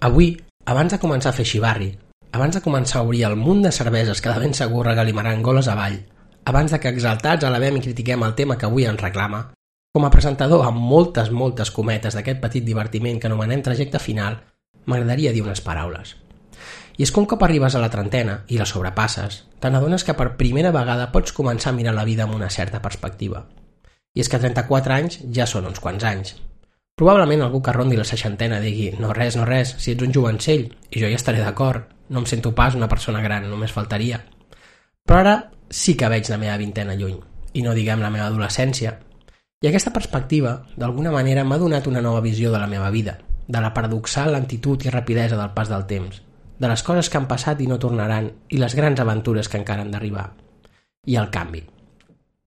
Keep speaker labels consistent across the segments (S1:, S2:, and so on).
S1: Avui, abans de començar a fer xivarri, abans de començar a obrir el munt de cerveses que de ben segur regalimaran goles avall, abans de que exaltats elevem i critiquem el tema que avui ens reclama, com a presentador amb moltes, moltes cometes d'aquest petit divertiment que anomenem trajecte final, m'agradaria dir unes paraules. I és que un cop arribes a la trentena i la sobrepasses, te n'adones que per primera vegada pots començar a mirar la vida amb una certa perspectiva. I és que 34 anys ja són uns quants anys. Probablement algú que rondi la seixantena digui no res, no res, si ets un jovencell, i jo hi estaré d'acord, no em sento pas una persona gran, només faltaria. Però ara sí que veig la meva vintena lluny, i no diguem la meva adolescència. I aquesta perspectiva, d'alguna manera, m'ha donat una nova visió de la meva vida, de la paradoxal lentitud i rapidesa del pas del temps, de les coses que han passat i no tornaran i les grans aventures que encara han d'arribar. I el canvi.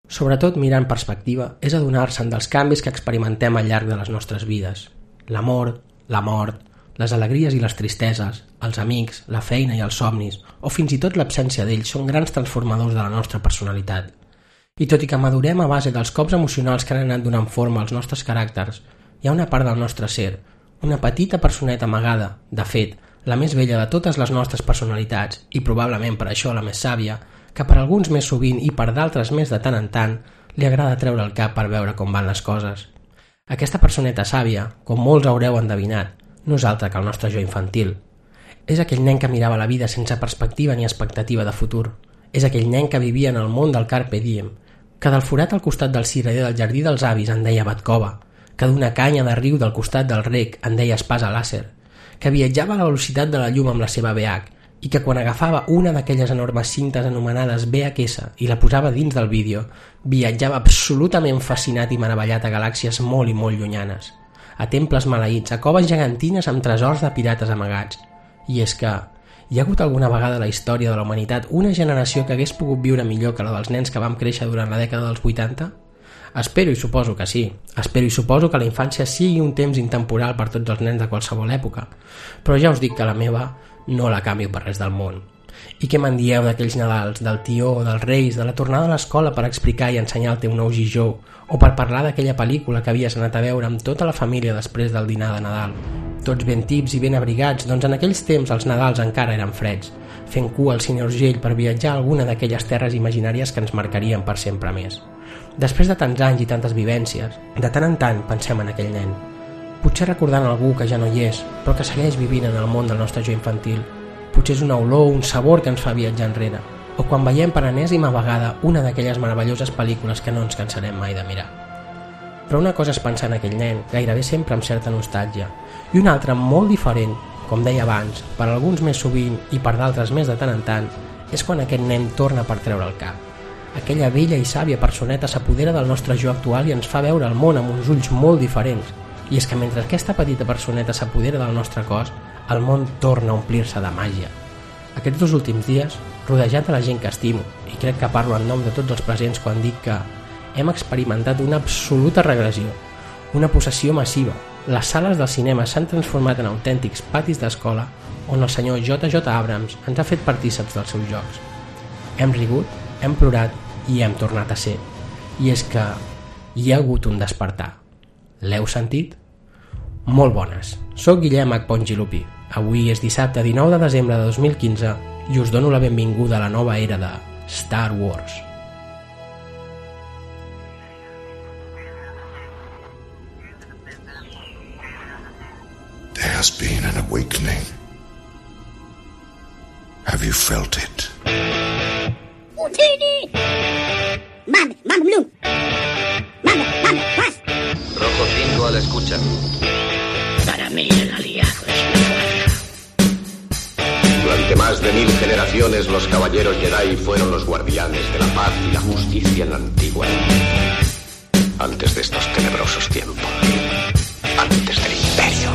S1: Sobretot mirant perspectiva és adonar-se'n dels canvis que experimentem al llarg de les nostres vides. L'amor, la mort, les alegries i les tristeses, els amics, la feina i els somnis, o fins i tot l'absència d'ells, són grans transformadors de la nostra personalitat. I tot i que madurem a base dels cops emocionals que han anat donant forma als nostres caràcters, hi ha una part del nostre ser, una petita personeta amagada, de fet, la més vella de totes les nostres personalitats, i probablement per això la més sàvia, que per alguns més sovint i per d'altres més de tant en tant, li agrada treure el cap per veure com van les coses. Aquesta personeta sàvia, com molts haureu endevinat, no és altre que el nostre jo infantil. És aquell nen que mirava la vida sense perspectiva ni expectativa de futur. És aquell nen que vivia en el món del carpe diem, que del forat al costat del cireller del jardí dels avis en deia batcova, que d'una canya de riu del costat del rec en deia espasa làser, que viatjava a la velocitat de la llum amb la seva BH i que quan agafava una d'aquelles enormes cintes anomenades VHS i la posava dins del vídeo, viatjava absolutament fascinat i meravellat a galàxies molt i molt llunyanes a temples maleïts, a coves gegantines amb tresors de pirates amagats. I és que hi ha hagut alguna vegada a la història de la humanitat una generació que hagués pogut viure millor que la dels nens que vam créixer durant la dècada dels 80? Espero i suposo que sí. Espero i suposo que la infància sigui un temps intemporal per tots els nens de qualsevol època. Però ja us dic que la meva no la canvio per res del món. I què me'n dieu d'aquells Nadals, del tió, dels reis, de la tornada a l'escola per explicar i ensenyar el teu nou gijó, o per parlar d'aquella pel·lícula que havies anat a veure amb tota la família després del dinar de Nadal. Tots ben tips i ben abrigats, doncs en aquells temps els Nadals encara eren freds, fent cua al Cine Urgell per viatjar a alguna d'aquelles terres imaginàries que ens marcarien per sempre més. Després de tants anys i tantes vivències, de tant en tant pensem en aquell nen. Potser recordant algú que ja no hi és, però que segueix vivint en el món del nostre jo infantil, potser és una olor o un sabor que ens fa viatjar enrere, o quan veiem per enèsima vegada una d'aquelles meravelloses pel·lícules que no ens cansarem mai de mirar. Però una cosa és pensar en aquell nen, gairebé sempre amb certa nostàlgia, i una altra molt diferent, com deia abans, per alguns més sovint i per d'altres més de tant en tant, és quan aquest nen torna per treure el cap. Aquella vella i sàvia personeta s'apodera del nostre jo actual i ens fa veure el món amb uns ulls molt diferents. I és que mentre aquesta petita personeta s'apodera del nostre cos, el món torna a omplir-se de màgia. Aquests dos últims dies, rodejat de la gent que estimo, i crec que parlo en nom de tots els presents quan dic que hem experimentat una absoluta regressió, una possessió massiva. Les sales del cinema s'han transformat en autèntics patis d'escola on el senyor JJ Abrams ens ha fet partíceps dels seus jocs. Hem rigut, hem plorat i hem tornat a ser. I és que hi ha hagut un despertar. L'heu sentit? Molt bones. Soc Guillem H. Pongilupi. Avui és dissabte 19 de desembre de 2015 i us dono la benvinguda a la nova era de Star Wars.
S2: There has been an awakening. Have you felt it?
S3: Utini! Mame, mame, Blue. Mame, mame, más.
S4: Rojo 5 a la escucha.
S3: Para mí el aliado es la fuerza.
S4: Durante más de mil generaciones los caballeros Jedi fueron los guardianes de la paz y la justicia en la antigua. Antes de estos tenebrosos tiempos. Antes del imperio.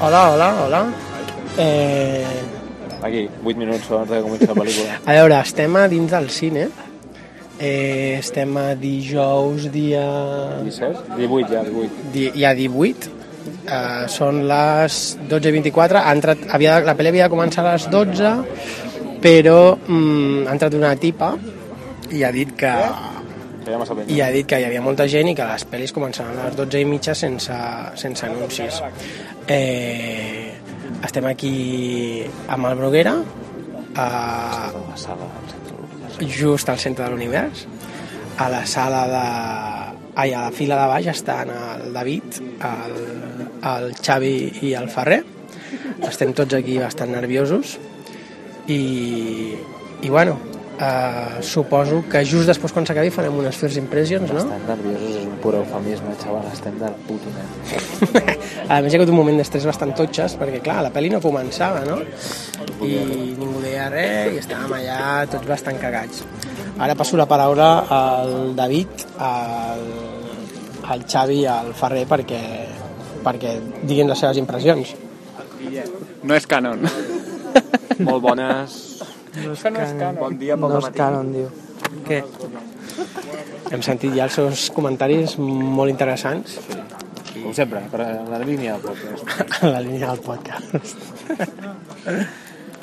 S5: Hola, hola, hola. Eh,
S6: Aquí, 8 minuts abans de que comenci la pel·lícula.
S5: a veure, estem a dins del cine. Eh, estem a dijous, dia...
S6: 17? 18 ja, 18.
S5: Di, ja 18.
S7: Eh, són les 12.24, ha entrat, havia, la pel·li havia de començar a les 12, però mm, ha entrat una tipa i ha dit que
S8: Que hi ha massa penya.
S7: i ha dit que hi havia molta gent i que les pel·lis començaven a les 12 i mitja sense, sense anuncis. Eh, estem aquí amb el Bruguera, a,
S8: Passada al centre de l'univers.
S7: just al centre de l'univers. A la sala de... Ai, a la fila de baix estan el David, el, el Xavi i el Ferrer. Estem tots aquí bastant nerviosos. I, i bueno, eh, suposo que just després quan s'acabi farem unes first impressions, no?
S8: Estan nerviosos, és un pur eufemisme, xaval, estem del puto net.
S7: a més hi ha hagut un moment d'estrès bastant totxes perquè clar, la pel·li no començava no? i ningú deia res i estàvem allà tots bastant cagats ara passo la paraula al David al, al Xavi i al Ferrer perquè, perquè diguin les seves impressions
S9: No és canon.
S8: Molt bones. Bon dia pel
S10: No
S8: dematí.
S10: és canon, diu.
S7: Què? Hem sentit ja els seus comentaris molt interessants
S8: Com sempre, per la línia doncs, del podcast.
S7: en la línia del podcast.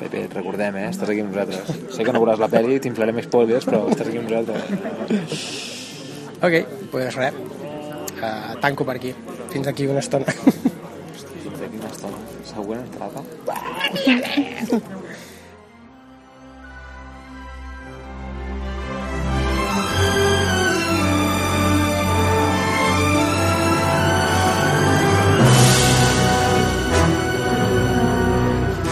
S8: Pepe, et recordem, eh? Estàs aquí amb nosaltres. Sé que no veuràs la pel·li, t'inflaré més pòlies, però estàs aquí amb nosaltres.
S7: Ok, doncs pues res, uh, tanco per aquí. Fins d'aquí una estona.
S8: Hosti, quina estona. Següent entrada.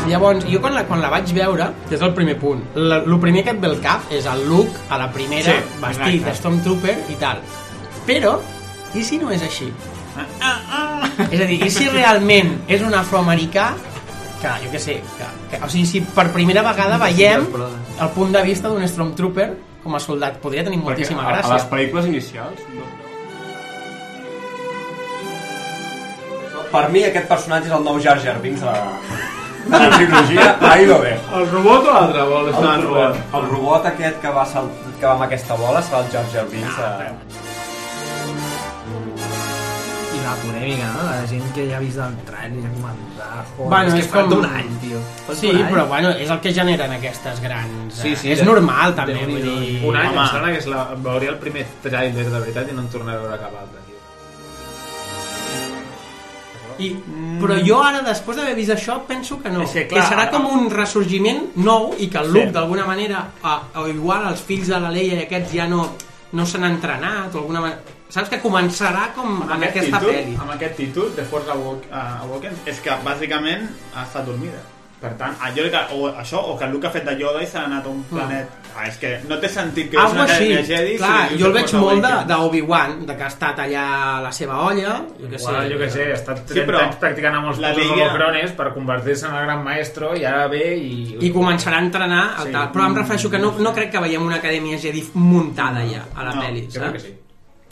S1: Llavors, jo quan la, quan la vaig veure, que és el primer punt, la, el primer que et ve al cap és el look a la primera,
S9: Sí,
S1: sí, vestit
S9: exacte.
S1: de Stormtrooper i tal. Però, i si no és així? És a dir, i si realment és un afroamericà que, jo què sé, que, que, o sigui, si per primera vegada veiem el punt de vista d'un Stormtrooper com a soldat, podria tenir moltíssima
S9: a, a les
S1: gràcia.
S9: pel·lícules inicials... No.
S11: Per mi aquest personatge és el nou Jar Jar Binks de la, de la trilogia Ahí lo dejo.
S9: El robot o l'altre vol
S11: El, robot, el robot aquest que va, sal, que va amb aquesta bola serà el Jar Jar Binks eh.
S9: Ah,
S11: de...
S10: I la polèmica, no? La gent que ja ha vist el trailer i ha comentat... Joder,
S1: Bueno,
S10: és que
S1: és
S10: fa
S1: com-
S10: un any, tio. Fa
S1: Sí,
S9: eh?
S10: un any.
S1: però bueno, és el que generen aquestes grans...
S10: Sí, sí,
S1: eh, és
S10: de-
S1: normal, també, vull
S10: Déu-n'hi-do.
S1: dir...
S9: Un any
S1: home,
S9: em sembla que és la, veuria el primer tràiler de veritat i no en tornaré a veure cap altre. Tio.
S1: I, però
S10: Mm.
S1: jo ara, després d'haver vist això, penso que no.
S9: És que, clar,
S1: que serà
S9: ara-
S1: com un ressorgiment nou i que el look,
S9: Sí.
S1: d'alguna manera, a, o igual els fills de la Leia i aquests ja no, no s'han entrenat, o alguna manera... Saps que començarà com en aquesta
S9: títol,
S1: pel·li.
S9: Amb aquest títol, The Force Awak- eh, Awakens, és que bàsicament ha estat dormida. Per tant, allò que, o això, o que el Luke ha fet de Yoda i s'ha anat a un planet... Ah, és que no té sentit que
S1: Algo així.
S9: acadèmia Jedi...
S1: Clar,
S9: si li dius
S1: jo el
S9: The
S1: veig
S9: Force
S1: molt de-
S9: Awakens.
S1: d'Obi-Wan, de, de que ha estat allà a la seva olla, jo que
S12: Igual,
S1: sé.
S12: jo què sé, ha estat
S9: Sí,
S12: 30
S9: però
S12: anys practicant amb els
S9: la
S12: putos
S9: Liga-
S12: holocrones per convertir-se en el gran maestro i ara ve i...
S1: i començarà a entrenar el
S12: Sí.
S1: tal. però em refereixo que no, no crec que veiem una acadèmia Jedi muntada ja a la
S9: No,
S1: pel·li
S12: Jo crec que sí.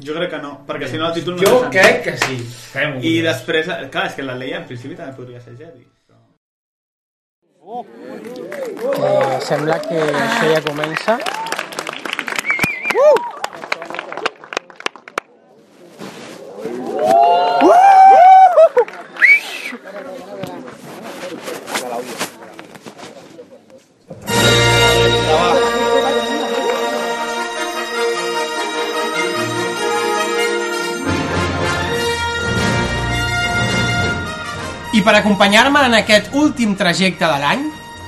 S9: Jo crec que no, perquè si no el títol no
S12: Jo
S9: té sentit.
S12: crec que sí. Fem-ho.
S9: I després, clar, és que la Leia en principi també podria ser Jedi. però-
S7: Eh, sembla que això ja comença.
S1: I per acompanyar-me en aquest últim trajecte de l'any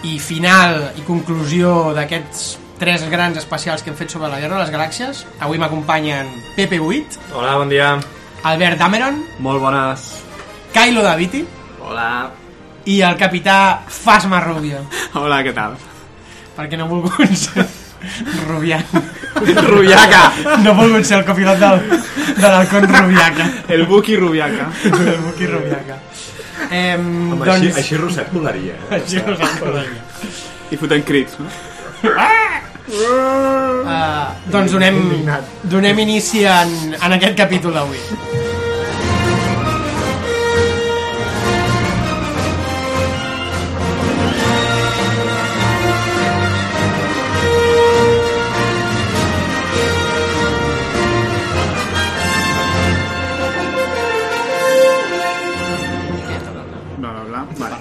S1: i final i conclusió d'aquests tres grans especials que hem fet sobre la Guerra de les Galàxies, avui m'acompanyen Pepe Buit,
S11: Hola, bon dia.
S1: Albert Dameron,
S11: Molt bones.
S1: Kylo Daviti
S11: Hola.
S1: i el capità Fasma Rubio,
S11: Hola, què tal?
S1: perquè no ha volgut ser Rubiaca.
S11: Rubiaca.
S1: No ha volgut ser el copilot del, de l'Alcon Rubiaca.
S11: El Buki Rubiaca.
S1: El Buki Rubiaca. Eh, doncs...
S11: Roset volaria.
S1: així no s'ha acordat.
S11: I fotent crits, no?
S7: Ah,
S1: Uh, doncs donem, donem inici en, en aquest capítol d'avui.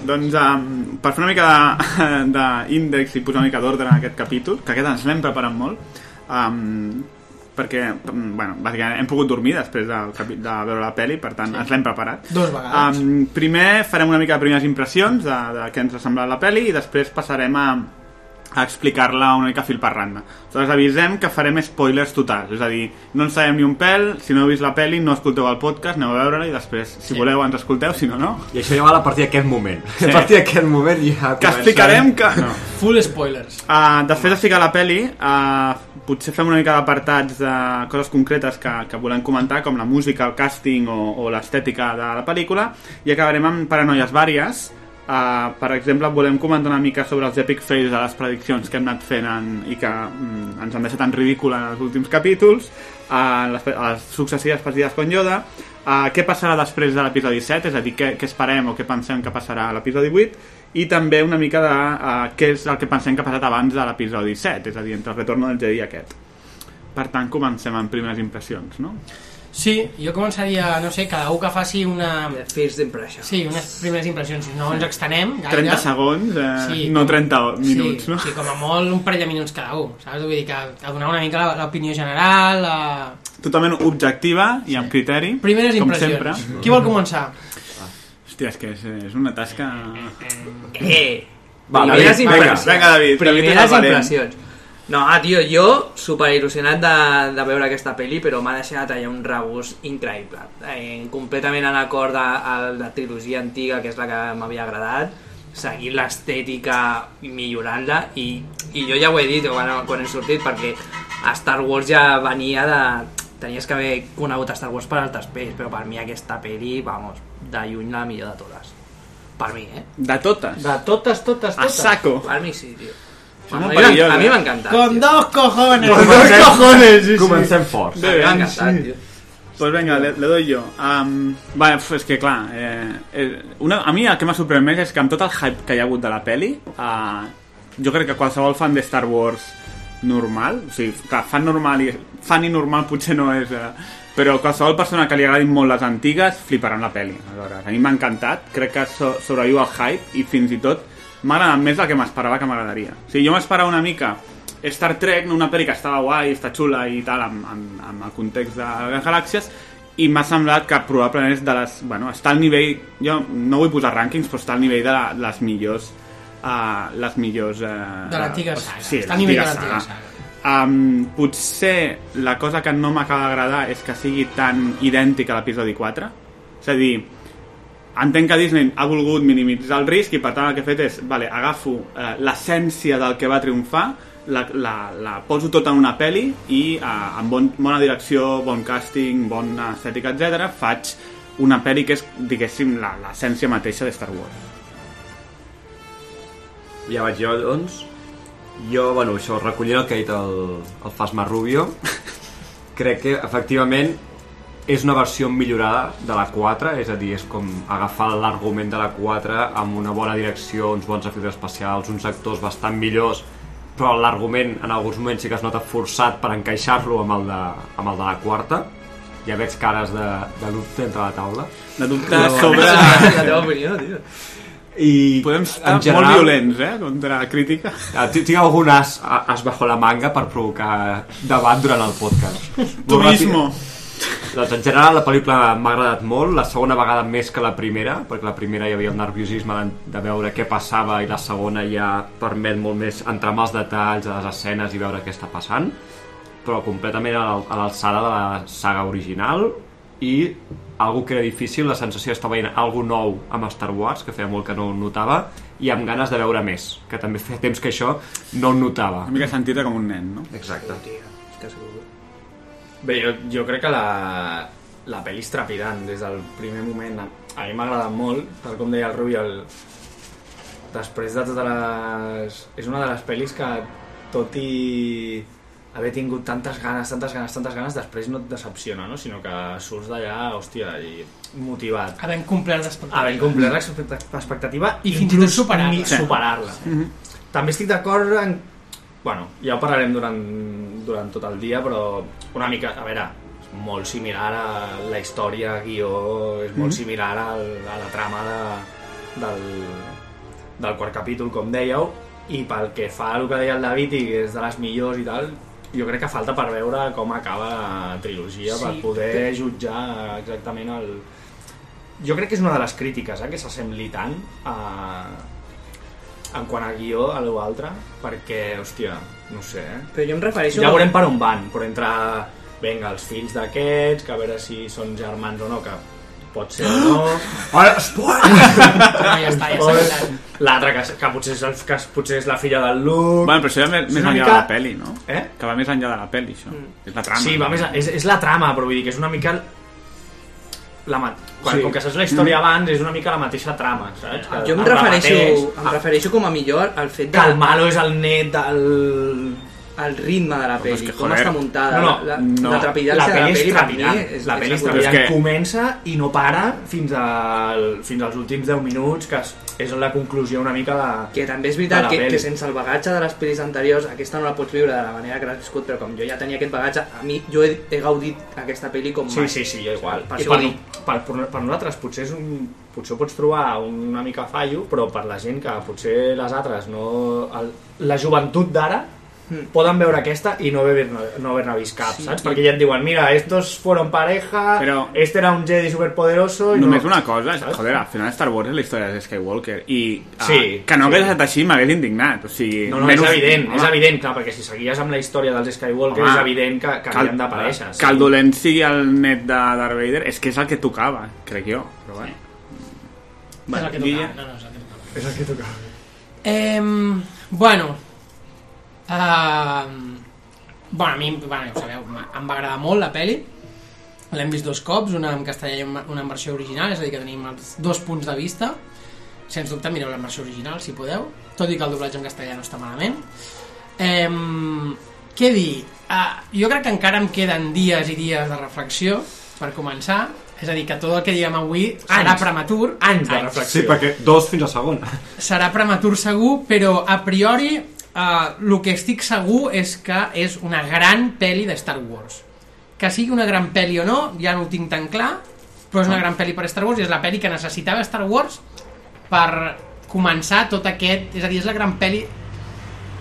S9: doncs um, per fer una mica d'índex i posar una mica d'ordre en aquest capítol, que aquest ens l'hem preparat molt, um, perquè, mm, bueno, bàsicament hem pogut dormir després del, capi- de veure la peli, per tant, sí. ens l'hem preparat.
S5: Dos vegades.
S9: Um, primer farem una mica de primeres impressions de, de què ens ha semblat la peli i després passarem a, a explicar-la una mica fil per randa. Aleshores avisem que farem spoilers totals, és a dir, no en sabem ni un pèl, si no heu vist la peli no escolteu el podcast, aneu a veure-la i després, si voleu, ens escolteu, si no, no.
S12: I això ja val a partir d'aquest moment.
S9: Sí.
S12: A partir d'aquest moment ja
S9: Que
S12: comencem.
S9: explicarem que... No.
S7: Full spoilers.
S9: Uh, després de ficar la peli, uh, potser fem una mica d'apartats de coses concretes que, que volem comentar, com la música, el càsting o, o l'estètica de la pel·lícula, i acabarem amb paranoies vàries. Uh, per exemple, volem comentar una mica sobre els epic fails de les prediccions que hem anat fent en, i que mm, ens han deixat en ridícul en els últims capítols, uh, les, pe- les successives partides con Yoda, uh, què passarà després de l'episodi 7, és a dir, què, què esperem o què pensem que passarà a l'episodi 8, i també una mica de uh, què és el que pensem que ha passat abans de l'episodi 7, és a dir, entre el retorn del Jedi i aquest. Per tant, comencem amb primeres impressions, no?
S7: Sí, jo començaria, no sé, cada un que faci una...
S13: First impression.
S7: Sí, unes primeres impressions. No ens extenem gaire.
S9: 30 segons, eh,
S7: Sí,
S9: sí, no
S7: com-
S9: 30 minuts,
S7: sí,
S9: no?
S7: Sí, com a molt un parell de minuts cada un, saps? Vull dir que a donar una mica la- l'opinió general, la...
S9: Totalment objectiva i amb criteri,
S7: primeres
S9: com
S7: impressions.
S9: sempre.
S7: Qui vol començar?
S9: Hòstia, és que és, és una tasca...
S13: Eh!
S9: Va,
S13: Primeres
S9: David,
S13: impressions.
S9: venga, venga, David, David és el
S13: Primeres
S9: valent.
S13: impressions. No, ah, tio, jo super il·lusionat de, de veure aquesta pel·li, però m'ha deixat allà un regust increïble. Eh, completament en acord a, a la trilogia antiga, que és la que m'havia agradat, seguint l'estètica i millorant-la, i, i jo ja ho he dit quan, quan he sortit, perquè a Star Wars ja venia de... Tenies que haver conegut Star Wars per altres pel·lis, però per mi aquesta pel·li, vamos, de lluny la millor de totes. Per mi, eh?
S9: De totes?
S13: De totes, totes,
S9: A
S13: totes.
S9: saco.
S13: Per mi sí, tio.
S9: és
S13: Bueno, a mi
S9: molt
S13: m'en-
S9: perillós,
S13: a mi
S9: eh?
S13: m'ha encantat.
S9: Con dos cojones.
S13: Con dos
S12: cojones, sí, sí. Comencem forts.
S9: Bé,
S12: M'ha
S9: bé,
S12: encantat,
S9: sí.
S12: tio.
S9: Pues venga, le, le doy yo. Um, vale, pues és que clar, eh, eh, una, a mi el que m'ha sorprès més és que amb tot el hype que hi ha hagut de la peli, eh, jo crec que qualsevol fan de Star Wars normal, o sigui, clar, fan normal i fan i normal potser no és... Eh, però qualsevol persona que li agradin molt les antigues fliparà amb la peli. Aleshores, a mi m'ha encantat, crec que so, sobreviu al hype i fins i tot m'ha agradat més del que m'esperava que m'agradaria. O sigui, jo m'esperava una mica Star Trek, una pel·li que estava guai, està xula i tal, amb, amb, amb el context de les galàxies, i m'ha semblat que probablement és de les... Bueno, està al nivell... Jo no vull posar rànquings, però està al nivell de la, les millors... Uh, les millors... Uh,
S7: De l'antiga saga.
S9: Sí,
S7: Està al nivell de
S9: l'antiga
S7: l'antiga
S9: saga. Um, potser la cosa que no m'acaba d'agradar és que sigui tan idèntic a l'episodi 4 és a dir entenc que Disney ha volgut minimitzar el risc i per tant el que he fet és, vale, agafo eh, l'essència del que va triomfar la, la, la poso tota en una peli i eh, amb bon, bona direcció bon càsting, bona estètica, etc faig una peli que és diguéssim la- l'essència mateixa de Star Wars
S12: Ja vaig jo, doncs. Jo, bueno, això, recollint el que ha dit el, el Fasma Rubio, crec que, efectivament, és una versió millorada de la 4, és a dir, és com agafar l'argument de la 4 amb una bona direcció, uns bons efectes especials, uns actors bastant millors, però l'argument en alguns moments sí que es nota forçat per encaixar-lo amb, el de, amb el de la quarta. Ja veig cares de, de dubte entre la taula.
S9: De dubte sobre- La teva opinió,
S13: tio.
S12: I
S9: Podem estar
S12: en general,
S9: molt violents, eh, contra la crítica.
S12: Ah, ti- Tinc algun as, a- as bajo la manga per provocar debat durant el podcast.
S9: Tu
S12: Molt
S9: mismo.
S12: ràpid. Doncs en general la pel·lícula m'ha agradat molt, la segona vegada més que la primera, perquè la primera hi havia el nerviosisme de, de veure què passava i la segona ja permet molt més entrar en els detalls de les escenes i veure què està passant, però completament a l'al- a l'alçada de la saga original i algo que era difícil, la sensació d'estar veient algo nou amb Star Wars, que feia molt que no ho notava, i amb ganes de veure més, que també feia temps que això no ho notava. Una
S9: mica sentir com un nen, no?
S12: Exacte.
S14: Bé, jo, jo crec que la, la pel·li és trepidant des del primer moment. A mi m'ha agradat molt, tal com deia el Rubi, el... després de totes les... És una de les pel·lis que, tot i haver tingut tantes ganes, tantes ganes, tantes ganes, després no et decepciona, no? sinó que surts d'allà, hòstia, i motivat.
S7: Havent complert l'expectativa.
S14: Havent complert l'expecta- l'expectativa
S7: I fins i tot
S14: inclús
S7: superar-la.
S14: ni superar-la.
S7: Mhm.
S14: També estic d'acord en... Bueno, ja ho parlarem durant, durant tot el dia, però una mica, a veure, és molt similar a la història, guió, és molt
S9: Mhm.
S14: similar al, a la trama de,
S12: del, del quart capítol, com dèieu, i pel que fa al que deia el David i que és de les millors i tal, jo crec que falta per veure com acaba la trilogia,
S15: Sí,
S12: sí, per poder
S15: que-
S12: jutjar exactament el... Jo crec que és una de les crítiques, eh, que s'assembli tant a... en quant a guió a l'altre, perquè, hòstia, no ho sé, eh?
S16: Però jo em refereixo...
S12: Ja veurem per on van, però entre vinga, els fills d'aquests, que a veure si són germans o no, que pot ser o no... Ara,
S7: ja està, ja s'ha quedat.
S12: L'altra, que, que, potser és el, que potser és la filla del Luke...
S9: Bueno, però això ja més,
S12: És
S9: més
S12: una
S9: enllà de
S12: mica-
S9: la peli, no?
S12: Eh? Mm.
S9: Que va més enllà de la peli, això. És la trama.
S12: Sí, va més, a- és, és la trama, però vull dir que és una mica... La, ma- quan,
S16: Sí.
S12: sí. Com que saps la història
S16: Mm.
S12: abans, és una mica la mateixa trama, saps? Que
S16: Jo em
S12: el Ah.
S16: refereixo,
S12: repeteix.
S16: em refereixo com a millor al fet de...
S12: Que el malo és el net del...
S16: El ritme de la
S12: Però és
S16: pel·li,
S12: que,
S16: com
S12: joder,
S16: està muntada,
S12: no, no,
S16: la, la,
S12: no.
S16: la trepidància
S12: La
S16: de la
S12: peli és
S16: pel·li per mi
S12: trepidant,
S16: és,
S12: la
S16: és
S12: peli és
S16: avorrida.
S12: trepidant. Comença i no para fins, al, fins als últims 10 minuts, que és- és la conclusió una mica de...
S16: Que també és veritat que, que sense el bagatge de les pel·lis anteriors aquesta no la pots viure de la manera que l'has viscut, però com jo ja tenia aquest bagatge, a mi jo he, he gaudit aquesta pel·li com
S12: Sí,
S16: mai.
S12: sí, sí, jo igual.
S16: Per
S12: I
S16: això
S12: per,
S16: ho dic.
S12: per, per, per nosaltres potser, és un, potser ho pots trobar una mica fallo, però per la gent que potser les altres no... El, la joventut d'ara
S16: Hmm.
S12: poden veure aquesta i no haver-ne no haver vist cap,
S9: Sí.
S12: saps? Perquè ja et diuen, mira, estos fueron pareja,
S9: Però-
S12: este era un Jedi superpoderoso... i
S9: Només
S12: no.
S9: una cosa,
S12: Saps?
S9: joder, al final Star Wars és la història de Skywalker i ah,
S12: Sí,
S9: que no
S12: sí.
S9: hagués estat així m'hagués indignat o sigui,
S12: No, no, és evident, és evident, clar, perquè si seguies amb la història dels Skywalker és evident que, que havien d'aparèixer.
S9: que el dolent sigui el net de Darth Vader és que és el que tocava, crec jo però bueno.
S7: és el que
S9: Guille?
S7: tocava. No, no, és el que tocava.
S12: És el que tocava.
S7: Eh, bueno. Uh, bueno, a mi, bueno, ja ho sabeu, m- em va agradar molt la pel·li. L'hem vist dos cops, una en castellà i una una en versió original, és a dir, que tenim els dos punts de vista. Sens dubte, mireu la versió original, si podeu. Tot i que el doblatge en castellà no està malament. Eh, què dir? Uh, jo crec que encara em queden dies i dies de reflexió per començar. És a dir, que tot el que diguem avui serà
S17: Anys.
S7: prematur. Anys
S17: Sí, perquè dos fins a segona.
S7: serà prematur segur, però a priori eh, el que estic segur és que és una gran pel·li de Star Wars. Que sigui una gran pel·li o no, ja no ho tinc tan clar, però és una gran pel·li per Star Wars i és la pel·li que necessitava Star Wars per començar tot aquest... És a dir, és la gran pel·li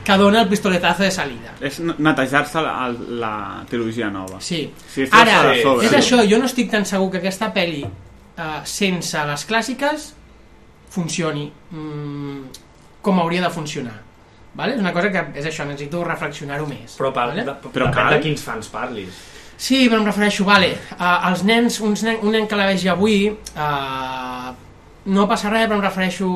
S7: que dona el pistoletazo de salida.
S9: és netejar-se la, el- la trilogia nova
S7: sí,
S9: sí és
S7: Ara,
S9: de sobre.
S7: és això, jo no estic tan segur que aquesta pel·li eh, sense les clàssiques funcioni mm, com hauria de funcionar. Vale? És una cosa que és això, necessito reflexionar-ho més.
S12: Però, per, de, però depèn de quins fans parlis.
S7: Sí, però em refereixo, vale, uh, els nens, uns nen, un nen que la vegi avui, uh, no passa res, però em refereixo...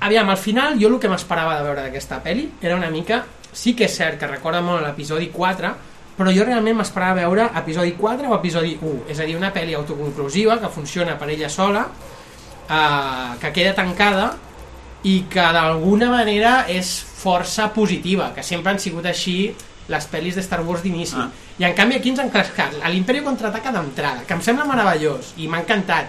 S7: Aviam, al final, jo el que m'esperava de veure d'aquesta pel·li era una mica... Sí que és cert que recorda molt l'episodi 4, però jo realment m'esperava veure episodi 4 o episodi 1, és a dir, una pel·li autoconclusiva que funciona per ella sola, uh, que queda tancada i que d'alguna manera és força positiva, que sempre han sigut així les pel·lis de Star Wars d'inici. Ah. I en canvi aquí ens han clascat a l'Imperi Contraataca d'entrada, que em sembla meravellós i m'ha encantat.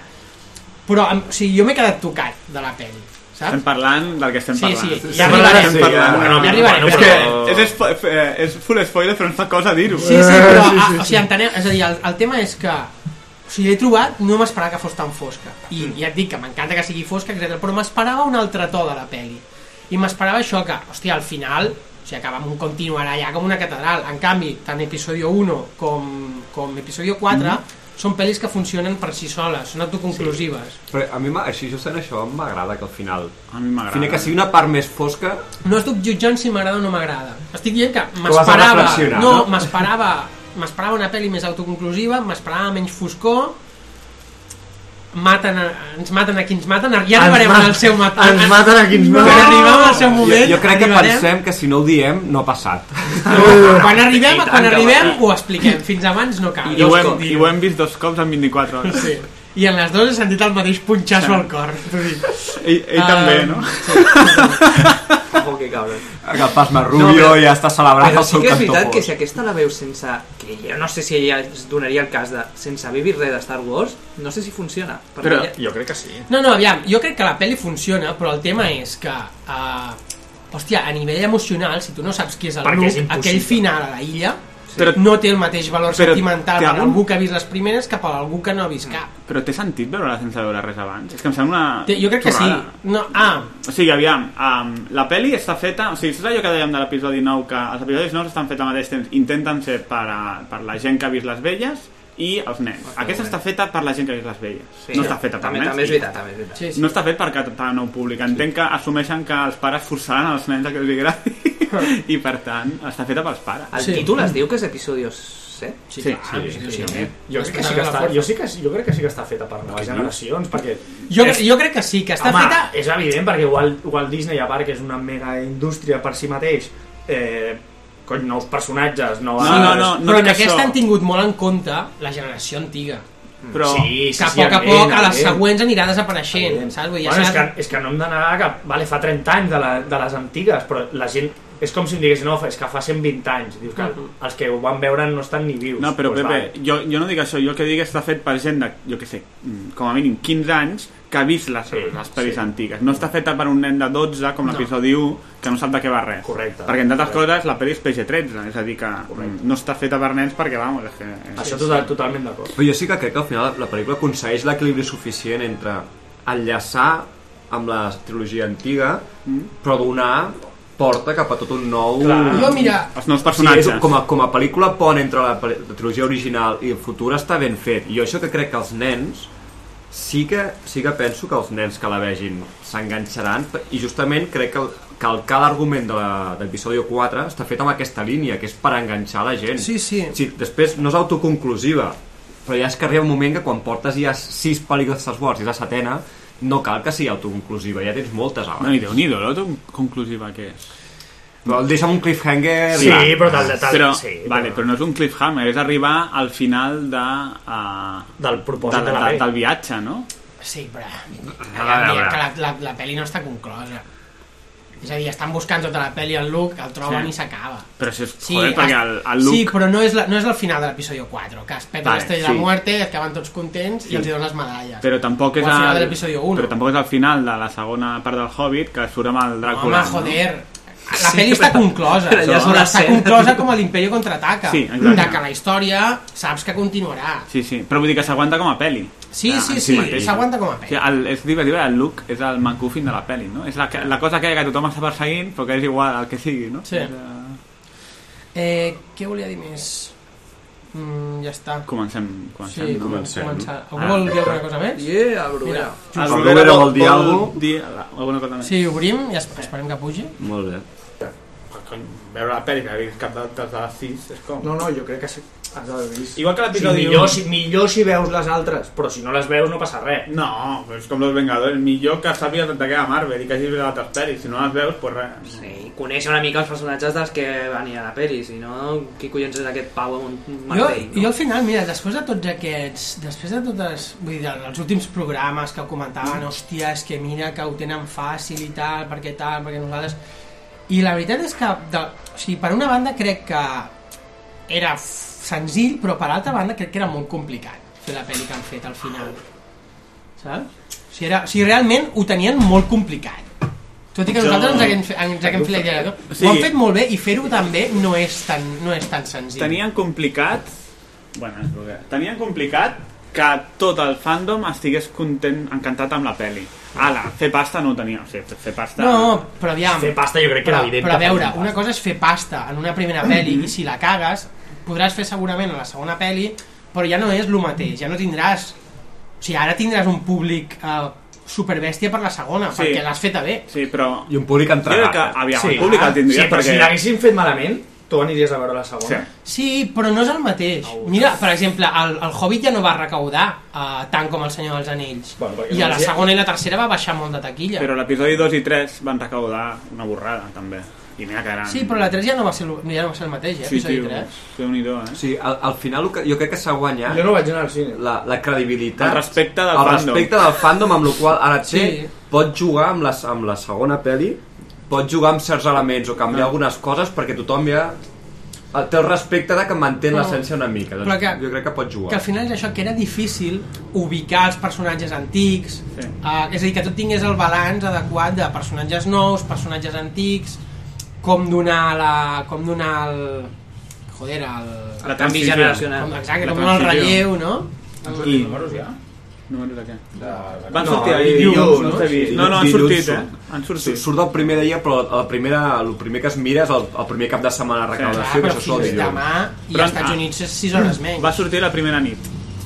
S7: Però em- o sigui, jo m'he quedat tocat de la pel·li, saps?
S9: estem parlant del que estem
S7: Sí,
S9: parlant
S7: sí, ja arribarem.
S9: Estem parlant.
S7: Sí, ja- Bueno, ja arribarem,
S9: és,
S7: però-
S9: que és, espo- eh, és full spoiler però ens fa cosa dir-ho
S7: Sí, sí, però sí, sí, sí. si entenem, és a dir, el, el tema és que o sigui, l'he trobat, no m'esperava que fos tan fosca i ja et dic que m'encanta que sigui fosca etc. però m'esperava un altre to de la peli i m'esperava això que, hòstia, al final o sigui, acaba amb un continuarà ja com una catedral en canvi, tant episodi 1 com, com episodi 4 són pel·lis que funcionen per si soles són autoconclusives
S17: Però a mi, m'ha- així justament això, m'agrada que al final... A mi
S9: m'agrada.
S17: Fins que sigui una part més fosca...
S7: no estic jutjant si m'agrada o no m'agrada estic dient que
S17: ho has de
S7: m'esperava
S17: reflexionar,
S7: no,
S17: no?
S7: m'esperava m'esperava una pel·li més autoconclusiva m'esperava menys foscor maten a, ens maten a qui ens maten ja
S18: Ens
S7: arribarem
S18: ma-
S7: al seu mat
S18: ens maten a qui ens maten.
S7: quan arribem al seu moment
S17: Jo, jo crec que
S7: arribarem-
S17: pensem que si no ho diem, no ha passat.
S7: quan arribem,
S17: I tant
S7: quan
S17: que
S7: arribem
S17: va.
S7: ho expliquem fins abans no cal
S9: I, ho hem, i ho hem vist dos cops en 24 hores
S7: Sí. i en les dues he sentit el mateix punxasso al cor t'ho dic.
S9: Ell-
S7: Ah,
S9: ell també, no?
S16: Ojo, que cabrón.
S17: Agafes Mar Rubio i ja està celebrant
S16: però
S17: el seu
S16: sí que és
S17: cantó
S16: veritat
S17: fosc.
S16: que si aquesta la veus sense... Que jo no sé si ella es donaria el cas de... Sense haver vist res de Star Wars, no sé si funciona. Perquè
S12: Però
S16: ella-
S12: jo crec que sí.
S7: No, no, aviam, jo crec que la pel·li funciona, però el tema és que... Uh, hòstia, a nivell emocional, si tu no saps qui és el
S12: Perquè és
S7: Luke,
S12: impossible.
S7: aquell final a la illa, però, no té el mateix valor
S9: Però
S7: sentimental
S9: té
S7: per
S9: algun-
S7: algú que ha vist les primeres cap a algú que no ha vist
S1: Mm.
S7: cap.
S9: Però té sentit veure-la sense veure res abans? És que em sembla una...
S7: Té- jo crec que
S9: torrada.
S7: sí. No, ah,
S9: O sigui, aviam, um, la peli està feta... O sigui, és allò que dèiem de l'episodi 9, que els episodis 9 estan fets al mateix temps. Intenten ser per, a, per la gent que ha vist les velles i els nens. Aquesta està feta per la gent que ha vist les velles.
S13: Sí,
S9: no està feta per
S13: també-
S9: nens.
S13: també és
S9: i
S13: veritat,
S9: ja
S13: també és veritat.
S9: està.
S13: Sí, sí.
S9: No està fet per cap nou públic. Entenc que assumeixen que els pares forçaran els nens a que els agradi i, per tant, està feta pels pares.
S13: El títol es diu que és episodi 7?
S9: Sí, Sí,
S7: Ah,
S9: clar, sí, sí, sí. sí.
S14: Jo, crec que sí que està, jo, sí que, jo crec que sí que està feta per noves generacions, perquè...
S7: Jo, jo crec que sí, que està
S14: Home,
S7: feta...
S14: és evident, perquè Walt, Walt Disney, a part que és una mega indústria per si mateix, eh, cony, nous personatges, noves...
S7: però en aquesta han tingut molt en compte la generació antiga.
S14: Però- Sí, sí,
S7: que a
S14: sí,
S7: poc a
S14: evident,
S7: poc a les
S12: eh.
S14: evident.
S7: següents anirà desapareixent, saps? Vull dir,
S14: Bueno, és,
S7: ja
S14: que, és que no hem d'anar que vale, fa 30 anys de, la, de les antigues, però la gent... És com si em diguessin, no, és que fa 120 anys. Dius que
S7: Mhm.
S14: els que ho van veure no estan ni vius.
S9: No, però
S14: Doncs
S9: Pepe,
S14: vale.
S9: jo, jo no dic això, jo el que dic està fet per gent de, jo què sé, mm, com a mínim 15 anys que ha vist les, les pel·lis antigues. No està feta per un nen de 12, com
S14: No.
S9: l'episodi 1, que no sap de què va res.
S14: Correcte.
S9: Perquè, entre altres
S14: Correcte.
S9: coses, la pel·li és PG-13, és a dir que mm, no està feta per nens perquè, vamos, és que... eh,
S14: Això total, totalment d'acord.
S12: Però jo sí que crec que al final la pel·lícula aconsegueix l'equilibri suficient entre enllaçar amb la trilogia antiga, però donar porta cap a tot un nou...
S7: Clar. Jo, mira-
S9: Els nous personatges.
S12: Sí, és, com, a, com a pel·lícula pont entre la, pel- la trilogia original i el futur està ben fet. I jo això que crec que els nens sí que, sí que penso que els nens que la vegin s'enganxaran i justament crec que el, que el cal argument de la- de l'episodi 4 està fet amb aquesta línia, que és per enganxar la gent.
S7: Sí, sí.
S12: sí després no és autoconclusiva, però ja és que arriba un moment que quan portes ja sis pel·lícules de Star Wars i la setena, no cal que sigui autoconclusiva, ja tens moltes abans.
S9: No, i Déu-n'hi-do, l'autoconclusiva que és.
S12: Però el deixa'm un cliffhanger...
S9: Sí,
S12: i-
S9: però tal de tal-
S12: Però-
S9: sí, Vale, però no és un cliffhanger, és arribar al final de... Uh,
S14: del propòsit de la
S9: de,
S14: peli.
S9: del viatge, no?
S7: Sí, però...
S9: A
S7: Ja
S9: veure.
S7: diem que la, la, la pel·li no està conclosa. És a dir, estan buscant tota la pel·li el Luke, el troben sí.
S9: Sí.
S7: i s'acaba.
S9: Però això és... joder, perquè el, el
S7: Sí,
S9: Luke...
S7: però no és, la, no és el final de l'episodi 4, que es peta
S9: Vale,
S7: vale, l'estrella sí. de
S9: sí.
S7: la muerte, es queden tots contents
S9: Sí.
S7: i els hi donen les medalles.
S9: Però tampoc és
S7: O al final
S9: el-
S7: de l'episodi 1.
S9: Però tampoc és al final de la segona part del Hobbit que surt amb el Dràcula.
S7: Home, joder, la
S9: Sí,
S7: peli està
S9: però-
S7: conclosa.
S9: però ja és una
S7: està
S9: escena.
S7: conclosa com a l'Imperio contraataca.
S9: Sí, exacte.
S7: de que la història saps que continuarà.
S9: no? Sí, sí, però vull dir que s'aguanta com a peli.
S7: Sí,
S9: Ah,
S7: sí,
S9: en
S7: sí,
S9: mateix.
S7: s'aguanta com a
S9: O
S7: peli.
S9: sigui, el, és divertit, el Luke és el McGuffin de la peli, no? És la, que- la cosa aquella que tothom està perseguint, però que és igual al que sigui, no?
S7: Sí. Eh, què volia dir més? Mm, ja està.
S9: Comencem, comencem.
S7: Sí,
S9: no?
S7: comencem. començar. Algú vol dir alguna cosa més?
S13: Yeah, el Bruguera.
S9: El
S12: Pablo
S9: Bruguera
S12: Vera
S9: vol,
S12: vol dir alguna cosa?
S9: dir la- alguna cosa més.
S7: Sí, obrim i es- esperem que pugi.
S12: Molt bé.
S9: Veure la pel·li, que hagués cap de, de les 6, és com...
S14: No, no, jo crec que sí. Has d'haver vist.
S9: Igual que l'episodi
S14: Sí, millor,
S9: un.
S14: si, millor si veus les altres, però si no les veus no passa res.
S9: No, però és com Los Vengadores, millor que sàpigues de què va Marvel i que hagis vist les altres pel·lis, si no les veus, pues res.
S13: Sí, conèixer una mica els personatges dels que van anar a la peli, si no, qui collons és aquest pau amb un
S7: Jo,
S13: martell?
S7: jo al final, mira, després de tots aquests, després de totes, vull dir, els últims programes que comentaven, hòstia, és que mira, que ho tenen fàcil i tal, perquè tal, perquè nosaltres... I la veritat és que, de, o sigui, per una banda crec que era f- senzill, però per altra banda crec que era molt complicat fer la pel·li que han fet al final. Saps? O sigui, era, o sigui realment ho tenien molt complicat. Tot i que
S9: Jo-
S7: nosaltres ens haguem, fe- ens haguem fet la idea. de-
S9: Sí.
S7: Ho han fet molt bé i fer-ho també no és tan, no és tan senzill.
S9: Tenien complicat... Bueno, és el que... Tenien complicat que tot el fandom estigués content, encantat amb la peli. Ala, fer pasta no ho tenia, o sigui, fer- fer pasta...
S7: No, però aviam... però, Però a veure,
S9: feien
S7: una cosa és fer pasta en una primera peli i si la cagues, podràs fer segurament a la segona peli, però ja no és el mateix, ja no tindràs... O sigui, ara tindràs un públic eh, superbèstia per la segona,
S9: Sí.
S7: sí. perquè l'has feta bé.
S9: Sí, però...
S12: I un públic
S9: entregat. Jo crec que, aviam, el públic el tindria
S14: sí, però
S9: perquè-
S14: si l'haguessin fet malament, tu aniries a veure la segona.
S9: Sí.
S7: Sí, però no és el mateix. Mira, per exemple, el, el Hobbit ja no va recaudar eh, tant com el Senyor dels Anells. Bueno,
S9: perquè
S7: I a la
S9: no-
S7: segona i la tercera va baixar molt de taquilla.
S9: Però l'episodi 2 i 3 van recaudar una borrada, també. I mira que eren...
S7: Sí, però la 3 ja no va ser, lo- ja no va ser el mateix, eh?
S9: Sí,
S7: episodi
S9: tio,
S7: 3.
S9: Déu-n'hi-do, eh?
S12: Sí, al, al final el que, jo crec que s'ha guanyat
S14: Jo no vaig anar al cine.
S12: la, la credibilitat
S9: El respecte del
S12: el
S9: fandom.
S12: respecte del fandom amb el qual ara et sé
S9: Sí.
S12: pot jugar amb la, amb la segona peli pot jugar amb certs elements o
S14: Ah.
S12: canviar algunes coses perquè tothom ja eh, té el respecte de que mantén
S14: Ah.
S7: Però-
S12: l'essència una mica
S7: però
S12: doncs
S7: que-
S12: jo crec que pot jugar
S7: que al final és això, que era difícil ubicar els personatges antics sí. eh, és a dir, que tot tingués el balanç adequat de personatges nous, personatges antics com donar la, com donar el, joder, el...
S14: El canvi
S9: Ah.
S14: generacional.
S7: Com, exacte,
S14: La
S7: com el
S14: transició.
S7: relleu, no?
S14: Han sortit números ja?
S9: Números de què?
S12: Van sortir
S9: ahir, dilluns, no? Sí, no, no, han sortit, eh? Han sortit.
S12: Surt el primer dia, però a la primera, el primer que es mira és el, el primer cap de setmana de recaudació, que
S7: però
S12: això sol
S7: fins
S12: dilluns.
S7: Doncs demà i
S9: Però-
S7: als Estats
S9: ah.
S7: Units és 6 hores menys.
S9: Va sortir la primera nit.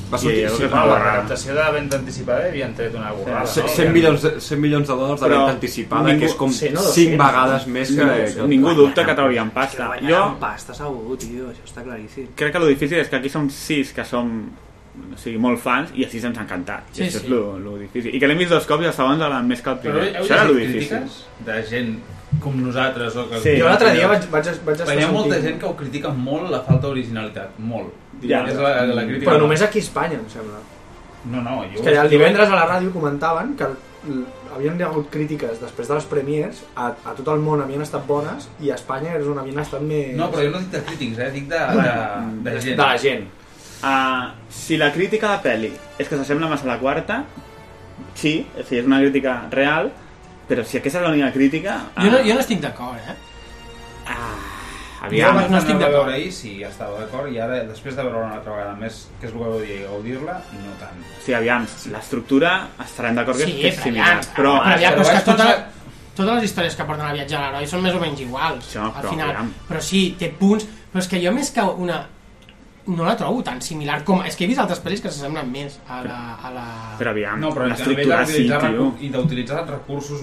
S12: Va sortir,
S9: I,
S12: sí,
S9: sí,
S12: va,
S9: la
S12: va.
S9: recaptació.
S19: L'acció de la venda anticipada havien tret una borrada.
S12: Ce-
S19: no?
S12: 100 milions, de- 100 milions de dòlars de
S9: Però
S12: venda anticipada,
S9: ningú-
S12: que és com
S9: sí, no, 200.
S12: 5 vegades més que...
S9: Ningú-
S12: que
S9: ningú dubta que traurien pasta.
S13: Treballar
S9: Jo-
S13: amb pasta, segur, tio, això està claríssim.
S9: Crec que el difícil és que aquí som sis que som o sigui, molt fans i a sis ens ha encantat.
S13: Sí,
S9: I això
S13: sí.
S9: és lo, lo difícil. I que l'hem vist dos cops i el segon de la més que el
S19: Però
S9: primer.
S19: heu
S9: això era
S19: llegit
S9: lo difícil.
S19: crítiques de gent com nosaltres o que...
S9: Sí. Jo l'altre dia vaig- vaig-
S14: vaig estar
S19: Perquè hi ha molta
S14: sentint-
S19: gent que ho critica molt la falta d'originalitat, molt.
S14: Ja.
S19: és la, la crítica.
S14: Però només aquí a Espanya, em sembla.
S19: No, no, jo...
S14: És que el divendres a la ràdio comentaven que l- havien hagut crítiques després de les premiers, a, a tot el món havien estat bones i a Espanya és on havien estat més...
S19: No, però jo no dic de crítics, eh? Dic de, de, de gent.
S14: De la gent.
S9: Ah, si la crítica de peli és que s'assembla massa a la quarta, sí, o sigui, és una crítica real, però si aquesta és l'única crítica... ah,
S7: Jo no, jo no estic d'acord, eh?
S19: Aviam,
S7: Jo
S19: jo
S7: no
S19: no
S7: estic
S19: estic
S7: d'acord. eh?
S19: veure ahir si ja estava d'acord i ara, després de veure-la una altra vegada més, que és el que vau dir, gaudir-la, no tant.
S9: Sí, aviam, l'estructura estarem d'acord que,
S7: Sí,
S9: és- que és
S7: però
S9: similar.
S7: aviam, però, aviam,
S9: eh,
S7: però és que
S19: vaig
S7: tota,
S19: pensar-
S7: totes les històries que porten a viatge a l'heroi són més o menys iguals,
S9: Això,
S7: al
S9: però,
S7: final.
S9: aviam.
S7: Però sí, té punts, però és que jo més que una... No la trobo tan similar com... És que he vist altres pel·lis que s'assemblen més a la... A la...
S9: Però aviam,
S19: No, però
S9: l'estructura sí, tio.
S19: I d'utilitzar recursos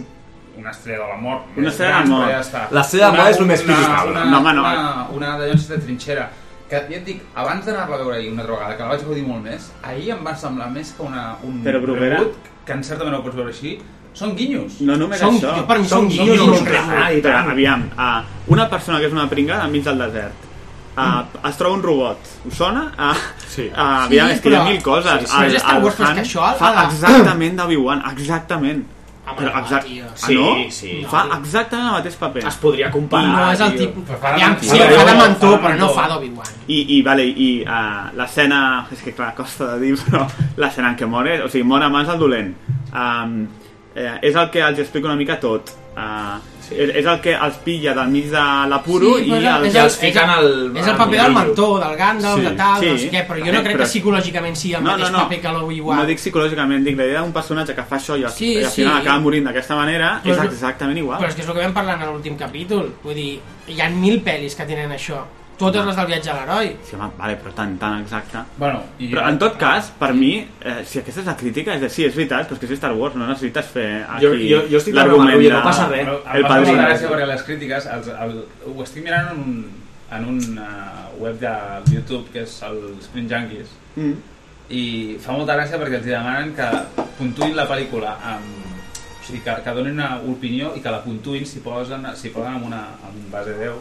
S19: una estrella de la mort.
S9: Una estrella de la
S19: grans,
S9: mort.
S19: però Ja està.
S9: La estrella de la
S19: Una-
S9: mort és lo més
S19: una-
S9: físic.
S19: Una,
S9: No,
S19: no,
S9: home, no.
S19: no. una, una de llances de trinxera que ja et dic, abans d'anar-la a veure ahir una altra vegada, que la vaig gaudir molt més, ahir em va semblar més que una, un
S9: Però, Bruguera-
S19: rebut, que en certa manera ho pots veure així, són guinyos.
S9: No només això. Ah, i tant. Aviam, ah, una persona que és una pringada enmig del desert. Ah, es troba un robot. Us sona? Ah, sí. Ah, aviam,
S7: Sí,
S9: és que hi ha
S7: però-
S9: mil coses.
S7: sí, sí, però és Star Wars, però és que
S9: Han
S7: això,
S9: fa
S7: la-
S9: exactament d'Obi-Wan, exactament. Però
S7: no,
S9: exact...
S7: tio.
S9: Ah,
S7: Sí,
S9: no?
S7: sí.
S9: Fa exactament el mateix paper. Es
S14: podria
S7: I no és el tipus... Aviam, sí,
S9: Però-
S7: fa de mentor, però no fa d'Obi-Wan.
S9: I, i, vale, i uh, l'escena... És que clar, costa de dir, però l'escena en què mor, és- o sigui, mor abans el dolent. Um, eh, és el que els explica una mica tot. Uh, sí. és, és el que els pilla del mig de l'apuro
S7: Sí,
S9: i
S7: però és el-
S9: els,
S7: és el- Els fiquen és el- al- és el paper al del brillo. mentor, del Gandalf, de tal, no sé què, però jo no crec que psicològicament sigui el mateix paper que l'Obi-Wan.
S9: No dic psicològicament, dic la idea d'un personatge que fa això i, al-
S7: Sí,
S9: i al final
S7: sí.
S9: acaba morint d'aquesta manera
S7: Però és-
S9: és exactament igual.
S7: Però és que és el que vam parlar en l'últim capítol. Vull dir, hi ha mil pel·lis que tenen això. Totes les del viatge a l'heroi.
S9: Sí, home, vale, però tan, tan exacte.
S19: Bueno,
S9: i... Però en tot cas, per mi, eh, si aquesta és la crítica, és de sí, és veritat, però és que és Star Wars, no necessites fer aquí
S14: Jo- jo- jo estic
S9: l'argument
S14: d'acord amb el Rubier,
S9: de-
S14: no passa res.
S19: Però
S9: Eh? El
S19: em va fer
S9: padrí.
S19: molta gràcia perquè les crítiques els, el, ho estic mirant en un, en un eh, web de YouTube que és el Screen Junkies
S9: Mm.
S19: i fa molta gràcia perquè els demanen que puntuïn la pel·lícula amb, o sigui, que, que donin una opinió i que la puntuïn si posen, si poden amb, una, amb un base 10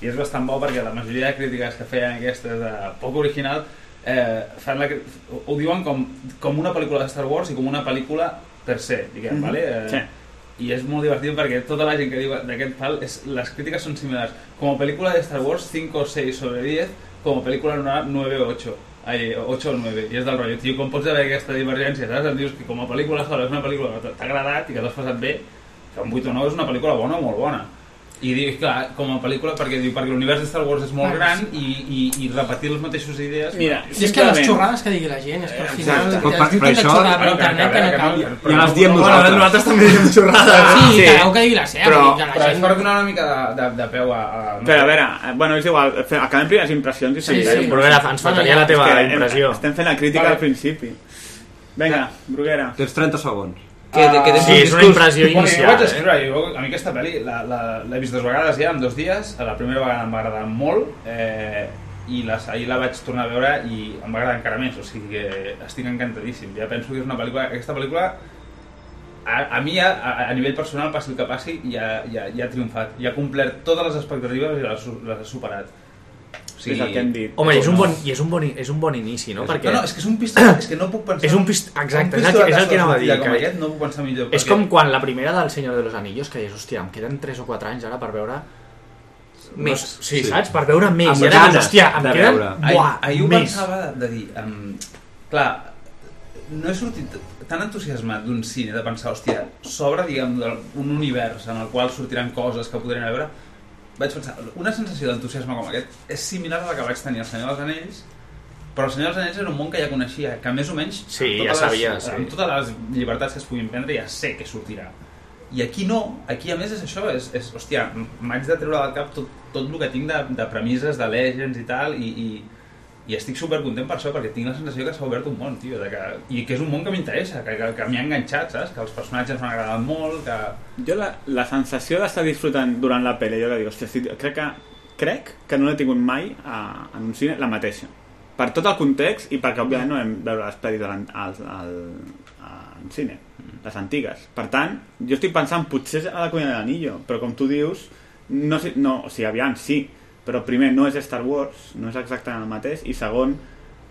S19: i és bastant bo perquè la majoria de crítiques que feien aquestes de poc original eh, fan la, cri- ho diuen com, com una pel·lícula de Star Wars i com una pel·lícula per se, diguem,
S9: Mhm.
S19: vale? Eh,
S9: Sí.
S19: i és molt divertit perquè tota la gent que diu d'aquest pal, és, les crítiques són similars. Com a pel·lícula de Star Wars, 5 o 6 sobre 10, com a pel·lícula una 9 o 8. Ai, 8 o 9, i és del rotllo. Tio, com pots haver aquesta divergència, saps? Em dius que com a pel·lícula sola és una pel·lícula que t'ha agradat i que t'has passat bé, que un 8 o 9 és una pel·lícula bona o molt bona. I dius, clar, com a pel·lícula, perquè diu perquè l'univers de Star Wars és molt gran i, i, i repetir les mateixes idees...
S9: Mira,
S7: I és que les xorrades que digui la gent, és que al final...
S19: Exacte. Però
S7: hi ha
S19: per- per
S7: tanta
S19: això-
S7: xorrada per
S19: Bueno, que-
S7: internet
S19: que-
S7: que no
S19: que-
S7: cal.
S19: que- Ja les diem
S7: Bueno,
S19: nosaltres.
S7: nosaltres també diem xorrades. Sí, que cada u que digui la seva,
S19: Però,
S7: vull dir, la
S19: però és
S7: gent-
S19: per donar una mica de, de, de peu a... a
S9: Però a veure, eh, bueno, és igual, fe- acabem primeres impressions i
S19: Sí,
S9: seguirem.
S19: sí, Bruguera, ens faltaria la teva
S9: És que hem-
S19: impressió.
S9: Estem fent la crítica
S19: Vale.
S9: al principi. Vinga, Bruguera.
S12: Tens 30 segons.
S19: Bueno, jo
S8: eh?
S19: vaig escriure, jo, a mi aquesta pel·li la- la- l'he vist dues vegades ja, en dos dies. La primera vegada em va agradar molt eh, i la, ahir la vaig tornar a veure i em va agradar encara més. O sigui que estic encantadíssim. Ja penso que és una pel·lícula... Aquesta pel·lícula a, a mi ja, a, a nivell personal, passi el que passi, ja, ja, ja ha triomfat. Ja ha complert totes les expectatives i les, su- les ha superat. O sigui,
S8: Home, i és un bon, i és un bon, i és un bon inici, no? Perquè...
S19: No, no, és que és un pistolet, és que no puc pensar...
S8: És un pist... Exacte,
S19: un
S8: és el, que- és el
S19: pistoletazo
S8: que anava a dir.
S19: sortida
S8: que-
S19: Com aquest, no puc pensar millor.
S8: És com quan la primera del Senyor de los Anillos, que dius, hòstia, em queden 3 o 4 anys ara per veure més,
S19: No,
S8: sí, saps? Per veure més. I ara dius, hòstia, em queden... Buah,
S19: ahir, ahir ho
S8: més.
S19: pensava de, de dir, um, clar, no he sortit tan entusiasmat d'un cine de pensar, hòstia, s'obre, diguem, del- un univers en el qual sortiran coses que podrem veure, vaig pensar, una sensació d'entusiasme com aquest és similar a la que vaig tenir al Senyor dels Anells, però el Senyor dels Anells era un món que ja coneixia, que més o menys
S14: Sí, ja
S19: amb totes les-
S14: sabia, sí.
S19: amb totes les llibertats que es puguin prendre ja sé que sortirà. I aquí no, aquí a més és això, és, és hòstia, m'haig de treure del cap tot, tot el que tinc de, de premisses, de legends i tal, i, i, i estic supercontent per això, perquè tinc la sensació que s'ha obert un món, tio, de que, i que és un món que m'interessa, que, que, que m'hi ha enganxat, saps? Que els personatges m'han agradat molt, que...
S9: Jo la, la sensació d'estar disfrutant durant la pel·li, jo que dic, hòstia, estic, crec que crec que no l'he tingut mai a, en un cine la mateixa. Per tot el context i perquè, òbviament, no vam veure les pel·lis de l'an- al, al, en cine, les antigues. Per tant, jo estic pensant, potser és a la cuina de l'anillo, però com tu dius, no, sé- no, o sigui, aviam, sí, però primer, no és Star Wars, no és exactament el mateix, i segon,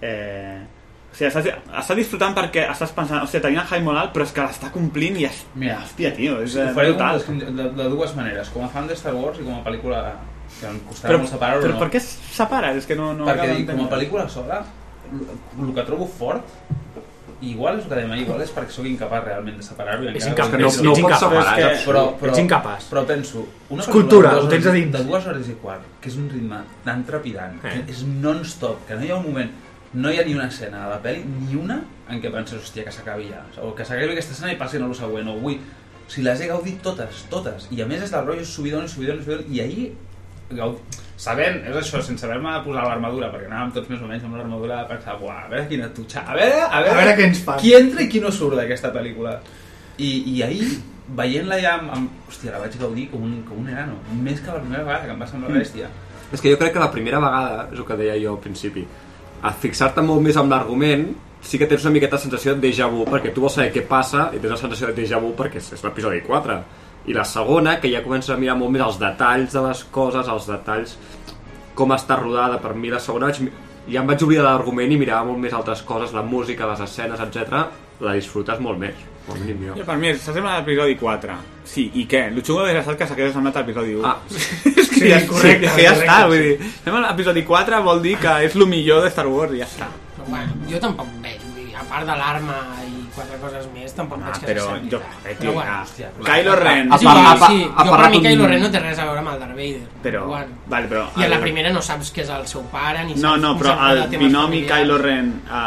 S9: eh, o sigui, estàs, estàs disfrutant perquè estàs pensant, o sigui, tenia el Jaime Olal, però és que l'està complint i és...
S19: Mira,
S9: hòstia, tio, és
S19: Ho
S9: eh,
S19: faré
S9: brutal.
S19: com- de, de, de, dues maneres, com a fan de Star Wars i com a pel·lícula que em costarà
S9: Però,
S19: molt
S9: però,
S19: separar-ho.
S9: però
S19: no.
S9: per què separes? És que no, no
S19: perquè
S9: acabo
S19: dic, com a
S9: d'entendre.
S19: pel·lícula sola el que trobo fort igual és el que demà igual és perquè sóc incapaç realment de separar-ho i
S14: Ets
S19: encara ho
S14: incapaç, no-
S19: intento.
S14: no ho pots separar,
S20: eh?
S14: és absurd. Ets incapaç.
S19: però penso una
S14: És cultura,
S19: pel·lícula de dues
S14: ho tens
S19: hores-
S14: a dins.
S19: de dues hores i quart que és un ritme tan trepidant
S14: Eh.
S19: que és non-stop que no hi ha un moment no hi ha ni una escena a la pel·li ni una en què penses hòstia que s'acabi ja o que s'acabi aquesta escena i passin a lo següent o avui si les he gaudit totes, totes i a més és del rotllo subidon, subidon, subidon i ahir gaudi... sabent, és això, sense haver-me de posar l'armadura perquè anàvem tots més o menys amb l'armadura de pensar, buah, a veure quina tutxa a veure, a veure,
S20: A veure què ens passa.
S19: qui entra i qui no surt d'aquesta pel·lícula i, i ahir veient-la ja amb, amb, hòstia, la vaig gaudir com un, com un enano més que la primera vegada que em va semblar
S12: Mm.
S19: bèstia
S12: És que jo crec que la primera vegada, és el que deia jo al principi, a fixar-te molt més amb l'argument, sí que tens una miqueta sensació de déjà vu, perquè tu vols saber què passa i tens la sensació de déjà vu perquè és, és l'episodi 4. I la segona, que ja comença a mirar molt més els detalls de les coses, els detalls, com està rodada. Per mi la segona vaig, mi- ja em vaig oblidar de l'argument i mirava molt més altres coses, la música, les escenes, etc. La disfrutes molt més, com a mínim jo.
S9: Jo, per mi, s'assembla a l'episodi 4. Sí, i què? El xungo hauria estat que s'hagués semblat a l'episodi 1. Ah. és que
S14: Sí,
S9: ja,
S14: correcte,
S9: sí, que ja
S14: correcte,
S9: està,
S14: sí.
S9: vull dir. Sembla l'episodi 4 vol dir que és el millor de Star Wars i ja està.
S7: Però, bueno, jo tampoc veig, vull dir, a part de l'arma i quatre coses més, tampoc veig que
S9: Ah, però
S7: se senti
S9: jo-
S7: res.
S9: eh, tio,
S7: Però, bueno,
S9: ah,
S7: hòstia,
S9: Kylo
S7: Sí,
S9: Ren. Ha parlat-
S7: sí,
S9: ha
S7: jo per
S9: parlat
S7: mi
S9: un-
S7: Kylo Ren no té res a veure amb el Darth Vader.
S9: Però,
S7: Bueno.
S9: vale, però...
S7: I a la
S9: el-
S7: primera no saps que és el seu pare, ni
S9: No,
S7: saps...
S9: no,
S7: ni
S9: però
S7: saps de
S9: el
S7: temes
S9: binomi
S7: familiars.
S9: Kylo Ren a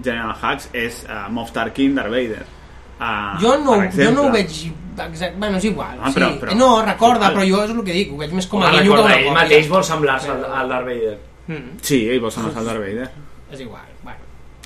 S9: General Hux és uh, Moff Tarkin Darth Vader. Uh,
S7: Jo no, jo no ho veig exacte, bueno, és igual.
S9: Ah, però-
S7: sí. eh,
S9: però-
S7: no, recorda,
S9: igual.
S7: però jo és el que dic, ho veig més com a
S14: Home,
S7: guinyo que
S14: recorda,
S7: una
S14: ell
S7: còpia.
S14: mateix vol semblar-se al, al Darth Vader.
S7: Mm.
S9: Sí, ell vol semblar-se al Darth Vader.
S7: És igual, bueno.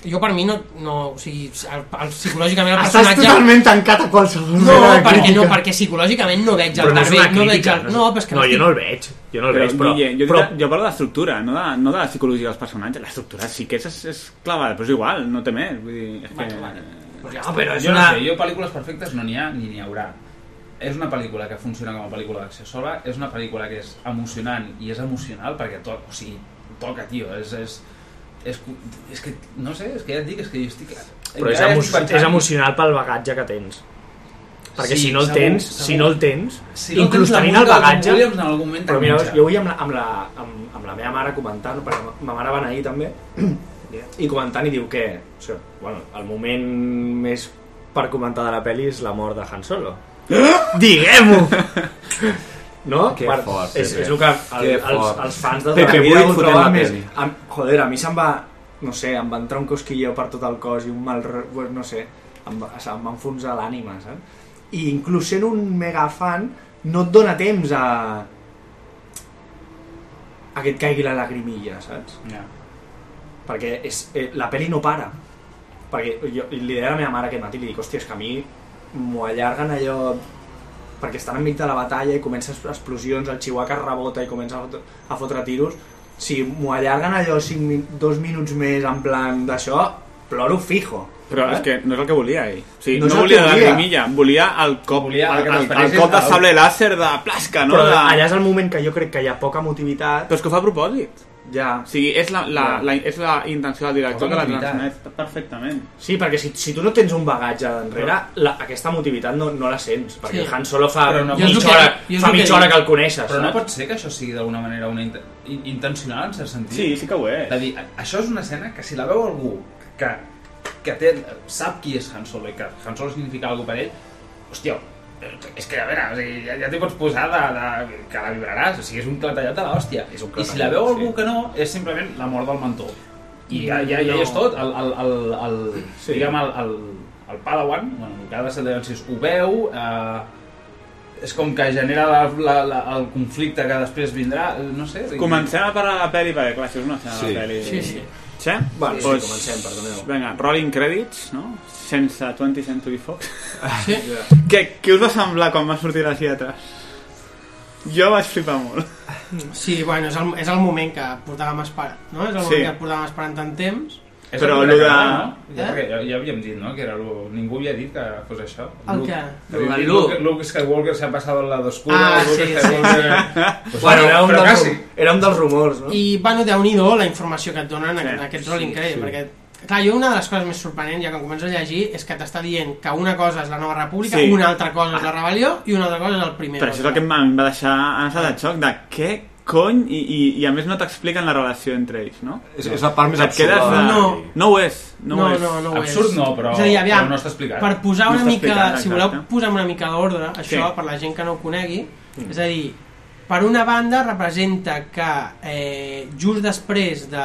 S7: Jo per mi no, no o sigui, el, el, psicològicament el
S20: Estàs
S7: personatge...
S20: totalment tancat a qualsevol
S7: No,
S20: mena de
S7: perquè,
S20: crítica.
S7: no, perquè psicològicament no veig el
S9: Però no
S7: Darth
S9: és
S7: Vader.
S9: una
S7: No, veig
S9: crítica,
S7: el...
S9: no és-
S7: no, però és que
S9: no, jo no el
S14: veig.
S9: Jo
S14: no el veig, però-
S9: Guille, jo,
S14: però-
S9: dic- jo parlo de l'estructura, no, de, no de la psicologia dels personatges. L'estructura sí que és, és, és clavada, però és igual, no té més. Vull dir, és que...
S19: Pues
S14: no, però és
S19: jo
S14: una-
S19: no sé, jo pel·lícules perfectes no n'hi ha ni n'hi haurà. És una pel·lícula que funciona com a pel·lícula d'acció sola, és una pel·lícula que és emocionant i és emocional perquè to o sigui, toca, tio, és, és, és, és que, no sé, és que ja et dic, és que jo estic...
S8: Però és,
S19: encara
S8: emo
S19: estic pensant-
S8: és emocional pel bagatge que tens. Perquè
S19: Sí,
S8: si no el
S19: segur,
S8: tens,
S19: segur.
S8: si no el tens,
S19: Si no tens
S8: inclús
S19: la
S8: tenint el
S19: música de John
S8: bagatge...
S19: Williams, en algun moment te
S8: però mira,
S19: menja.
S8: jo avui amb la, amb la, amb, amb la meva mare comentant, perquè ma mare va anar ahir també, i comentant i diu que això, bueno, el moment més per comentar de la pel·li és la mort de Han Solo. Diguem-ho! No?
S14: Que
S8: Per-
S14: fort,
S8: Oh, és,
S14: Pepe.
S8: és el que el,
S14: Que
S8: els,
S14: fort.
S8: els fans de
S14: Pepe, vull
S8: ho
S14: fotent
S8: troben
S14: la
S8: més...
S14: peli.
S8: Em, joder, a mi se'm va... No sé, em va entrar un cosquilleu per tot el cos i un mal... re- pues, No sé, em va, se'm va enfonsar l'ànima, saps? I inclús sent un mega fan, no et dona temps a... a que et caigui la lagrimilla, saps?
S19: Ja.
S8: Perquè és, eh, la peli no para. Perquè jo li deia a la meva mare aquest matí, li dic, hòstia, és que a mi m'ho allarguen allò perquè estan enmig de la batalla i comences explosions, el Chihuahua rebota i comença a fotre, a fotre tiros si m'ho allarguen allò 5, min- dos minuts més en plan d'això ploro fijo
S9: Però és que no és el que volia ell. O sigui,
S8: Eh? No
S9: no,
S8: és
S9: no
S8: el
S9: volia
S8: que
S9: la
S8: volia.
S9: lagrimilla, volia el cop, volia
S8: el
S9: el,
S8: que
S9: el, el,
S8: t'esperessis
S9: cop de
S8: al-
S9: sable làser de plasca, no?
S8: però
S9: de...
S8: allà és el moment que jo crec que hi ha poca emotivitat
S9: però és que ho fa a propòsit
S8: ja.
S9: O sigui, és la, la,
S8: Ja.
S9: la, és la intenció del director que la transmet perfectament
S8: sí, perquè si, si tu no tens un bagatge d'enrere la, aquesta emotivitat no, no la sents perquè
S19: Sí.
S8: el Han Solo fa
S19: Però no- Jo és el
S8: mitja
S19: que-
S8: hora,
S19: jo és
S8: fa
S19: el que
S8: mitja
S19: dic.
S8: hora que el coneixes
S19: Però no
S8: saps?
S19: pot ser que això sigui d'alguna manera una int in- intencional, en cert sentit.
S9: Sí, sí que ho és.
S19: De dir, a- això és una escena que si la veu algú que, que té, sap qui és Han Solo i que Han Solo significa alguna per ell, hòstia, és que, a veure, o sigui, ja, ja t'hi pots posar de, de, que la vibraràs, o sigui, és un clatellat de l'hòstia.
S14: És un
S19: I si
S14: clatellat,
S19: la veu
S14: sí.
S19: algú que no, és simplement la mort del mentor. I ja, ja, ja
S14: No.
S19: és tot, el, el, el, el, sí. diguem, el, el, el Padawan, bueno, cada set d'ansis ho veu, eh, és com que genera la, la, la, el conflicte que després vindrà, eh, no sé... vull dir-
S9: Comencem a parlar de la pel·li, perquè clar, això és una escena de
S19: Sí.
S9: la pel·li.
S19: Sí, sí.
S9: Sí?
S19: Vale, sí,
S9: Doncs,
S19: comencem, perdoneu.
S9: Vinga, rolling credits, no? Sense 20th Century Fox. Sí. què, què us va semblar quan va sortir les lletres? Jo vaig flipar molt.
S7: Sí, bueno, és el, és el moment que portàvem esperant, no? És el moment
S9: Sí.
S7: sí. que portàvem esperant tant temps.
S19: És
S9: Però
S19: el
S9: lo de-
S19: No? Ja,
S7: Eh?
S19: perquè ja, ja havíem dit, no?, que era lo... ningú havia dit que fos això.
S7: El
S19: Luke-
S7: què?
S19: Havíem
S7: Lo de
S19: dit
S7: Luke.
S19: Luke, Luke Skywalker s'ha passat al lado oscuro,
S7: Ah,
S19: Luke
S7: sí, sí,
S19: Skywalker...
S7: sí.
S19: Pues,
S7: Bueno,
S19: era un
S7: però
S19: dels
S7: casi.
S19: rum-
S8: Era un dels rumors, no?
S7: I, bueno, déu nhi la informació que et donen en, en aquest
S8: sí,
S7: rol increïble,
S8: sí.
S7: perquè... Clar, jo una de les coses més sorprenents, ja quan començo a llegir, és que t'està dient que una cosa és la Nova República,
S9: Sí.
S7: sí. una altra cosa és la Rebel·lió i una altra cosa és el primer.
S9: Però això és el que em va- em va deixar en estat de xoc, de què cony, i, i, i a més no t'expliquen la relació entre ells, no?
S12: És- és la part més
S9: Et
S12: absurda
S9: quedes
S12: de-
S9: No. no ho és, no, ho és.
S19: Absurd no, però-
S7: és a dir, aviam,
S19: però no està explicat.
S7: Per posar
S19: No
S7: una
S19: està
S7: mica,
S19: explicat, exacte.
S7: si voleu posar una mica d'ordre, això,
S19: Sí. Mm.
S7: per la gent que no ho conegui, és a dir, per una banda representa que eh, just després de,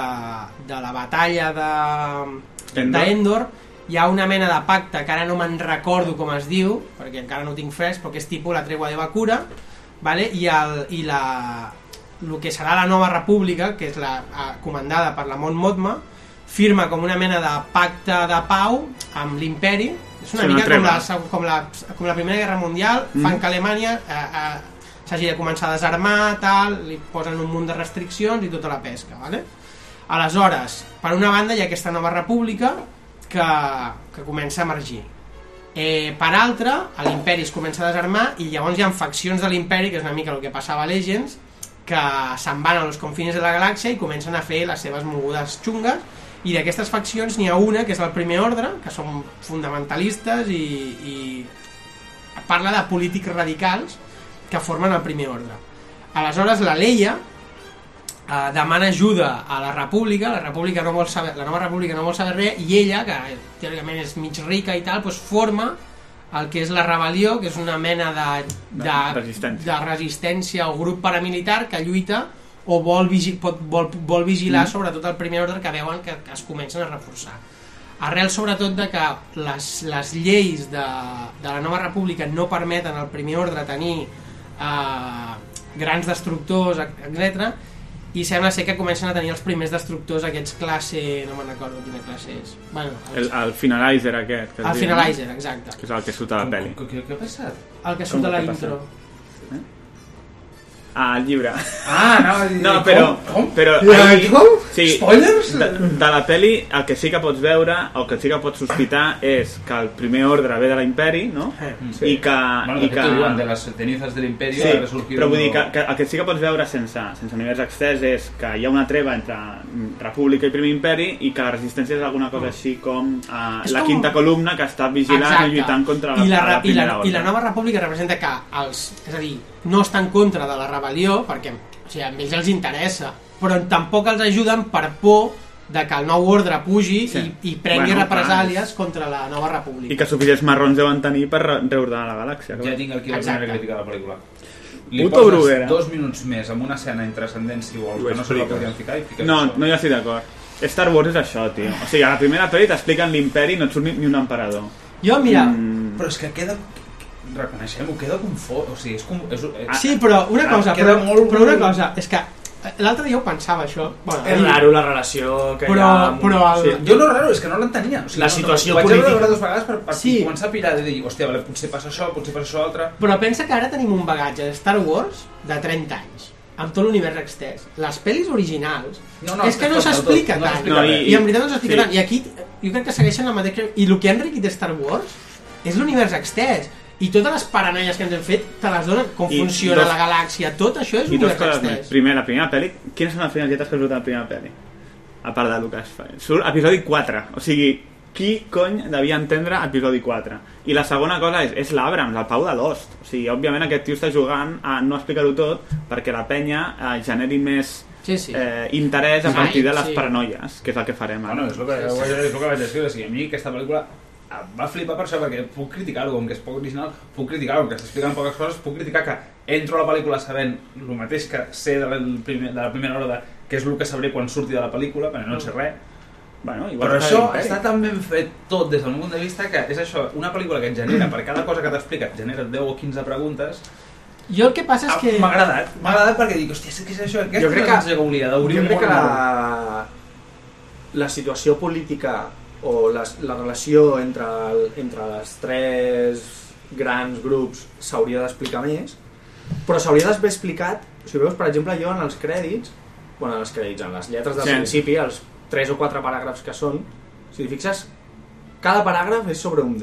S7: de la batalla de
S9: Endor.
S7: d'Endor hi ha una mena de pacte que ara no me'n recordo com es diu, perquè encara no ho tinc fresc, però que és tipus la tregua de Bakura, vale? I, el, i la, el que serà la nova república, que és la eh, comandada per la Mon Motma, firma com una mena de pacte de pau amb l'imperi. És una
S9: Sí,
S7: sí,
S9: una
S7: mica com
S9: treva.
S7: la, seg- com, la, com la Primera Guerra Mundial,
S9: Mhm.
S7: mm. fan que Alemanya eh, eh, s'hagi de començar a desarmar, tal, li posen un munt de restriccions i tota la pesca. Vale? Aleshores, per una banda hi ha aquesta nova república que, que comença a emergir. Eh, per altra, l'imperi es comença a desarmar i llavors hi ha faccions de l'imperi, que és una mica el que passava a Legends, que se'n van als confins de la galàxia i comencen a fer les seves mogudes xungues i d'aquestes faccions n'hi ha una que és el primer ordre, que són fundamentalistes i, i parla de polítics radicals que formen el primer ordre. Aleshores la Leia eh, demana ajuda a la República, la República no vol saber, la nova República no vol saber res i ella, que teòricament és mig rica i tal, doncs forma el que és la rebel·lió, que és una mena de, de,
S9: De resistència.
S7: de resistència o grup paramilitar que lluita o vol, vigi, pot, vol, vol vigilar
S9: Mm.
S7: mm. sobretot el primer ordre que veuen que, que es comencen a reforçar arrel sobretot de que les, les lleis de, de la nova república no permeten al primer ordre tenir eh, grans destructors, etc i sembla ser que comencen a tenir els primers destructors aquests classe, no me'n recordo quina classe és bueno,
S9: El, el finalizer aquest. Que es
S7: El
S9: diu, no?
S7: finalizer, exacte.
S9: Que és el que surt a la pel·li.
S19: Què, què ha passat?
S7: el que surt
S9: Com
S7: a la
S9: que passa?
S7: intro
S9: Ah, el llibre.
S19: Ah, no, i-
S9: no però...
S19: com? Com?
S9: però
S19: Ja, com?
S9: Sí,
S19: Spoilers?
S9: De, de la peli el que sí que pots veure, el que sí que pots sospitar és que el primer ordre ve de l'imperi, no?
S7: Eh,
S19: Sí.
S9: I que...
S19: Mm. Bueno, de
S9: i
S19: fet,
S9: que...
S19: ho diuen, de les cenizas de l'imperi
S9: Ah, Sí,
S19: ha resorgit
S9: però vull
S19: un
S9: dir que,
S19: nou-
S9: que el que sí que pots veure sense, sense univers extès és que hi ha una treva entre mm, República i Primer Imperi i que la resistència és alguna
S19: Mm.
S9: cosa així com eh,
S7: És
S9: la
S7: com-
S9: quinta columna que està vigilant i lluitant contra la,
S7: I la,
S9: la,
S7: i la,
S9: primera
S7: i la nova república representa que els, és a dir, no està en contra de la rebel·lió perquè o sigui, a ells els interessa però tampoc els ajuden per por de que el nou ordre pugi sí. i, i prengui bueno,
S9: Bueno,
S7: represàlies contra la nova república
S9: I que suficients marrons deuen tenir per re- reordenar la galàxia.
S19: Ja tinc aquí la
S7: Exacte.
S19: primera crítica de la pel·lícula.
S9: Puto
S19: poses
S9: Bruguera.
S19: dos minuts més amb una escena intrascendència o
S9: Ho
S19: algo que no se la
S9: expliques.
S19: podien ficar i fiques
S9: No,
S19: això.
S9: no hi estic d'acord. Star Wars és això, tio. O sigui, a la primera pel·li t'expliquen l'imperi i no et surt ni, ni un emperador.
S7: Jo, mira,
S9: Mm.
S19: Però és que queda... Reconeixem-ho, queda confós. O sigui, és com... És, eh,
S7: Sí, però una
S19: ah,
S7: cosa,
S19: queda
S7: però,
S19: molt...
S7: però una cosa, és que eh, l'altre dia ho pensava, això. Bueno,
S8: És
S7: ahir.
S8: raro la relació que
S7: Però-
S8: hi ha... amb-
S7: però el-
S19: Jo lo raro és que no l'entenia. O sigui,
S8: La
S19: no-
S8: situació
S19: vaig
S8: política.
S19: Vaig veure dues vegades per, per sí. començar a pirar i dir, hòstia, vale, potser passa això, potser passa això altre.
S7: Però pensa que ara tenim un bagatge de Star Wars de 30 anys, amb tot l'univers extès. Les pel·lis originals
S19: No,
S7: no,
S19: no,
S7: no, és que no
S19: tot,
S7: s'explica
S19: tot, no
S7: tant.
S19: s'explica
S7: i,
S19: res.
S7: I en veritat no s'explica
S19: Sí.
S7: tant. I aquí jo crec que segueixen la mateixa... I el que ha enriquit Star Wars és l'univers extès. I totes les paranaies que ens hem fet te les donen. Com
S9: I
S7: funciona
S9: dos-
S7: la galàxia, tot això és
S9: I dues
S7: l'univers
S9: coses més.
S7: extès.
S9: Primer, la primera pel·li... Quines són les primeres lletres que surt a la primera pel·li? A part de Lucas. Surt episodi 4. O sigui, qui cony devia entendre episodi 4? I la segona cosa és, és l'Abrams, el Pau de Lost. O sigui, òbviament aquest tio està jugant a no explicar-ho tot perquè la penya eh, generi més
S7: sí, sí.
S9: Eh, interès a
S19: Hype,
S9: partir de les
S19: sí.
S9: paranoies, que és el que farem ara.
S19: Bueno, és el que, és el que vaig dir, o sigui, a mi aquesta pel·lícula em va flipar per això, perquè puc criticar-ho, com que és poc original, puc criticar-ho, com que s'expliquen poques coses, puc criticar que entro a la pel·lícula sabent el mateix que sé de la, primer, de la primera hora de que és el que sabré quan surti de la pel·lícula, perquè no sé res. Bueno, igual Però
S14: està
S19: això
S14: bé, eh?
S19: està tan ben fet tot des del meu punt de vista que és això, una pel·lícula que et genera, per cada cosa que t'explica, et genera 10 o 15 preguntes, Ah,
S7: Jo el que passa
S8: Ah,
S7: és que...
S19: M'ha agradat, m'ha agradat perquè dic, hòstia, és que és això, aquesta
S8: Jo crec que-
S19: és la que volia, d'obrir
S8: jo
S19: un
S8: crec
S19: món
S8: que
S19: nou.
S8: la, la situació política o les, la relació entre, el, entre les tres grans grups s'hauria d'explicar més, però s'hauria d'haver explicat, si veus, per exemple, jo en els crèdits, bueno, en els crèdits, en les lletres del
S14: Sí.
S8: sí. principi, els tres o quatre paràgrafs que són, si t'hi fixes, cada paràgraf és sobre un...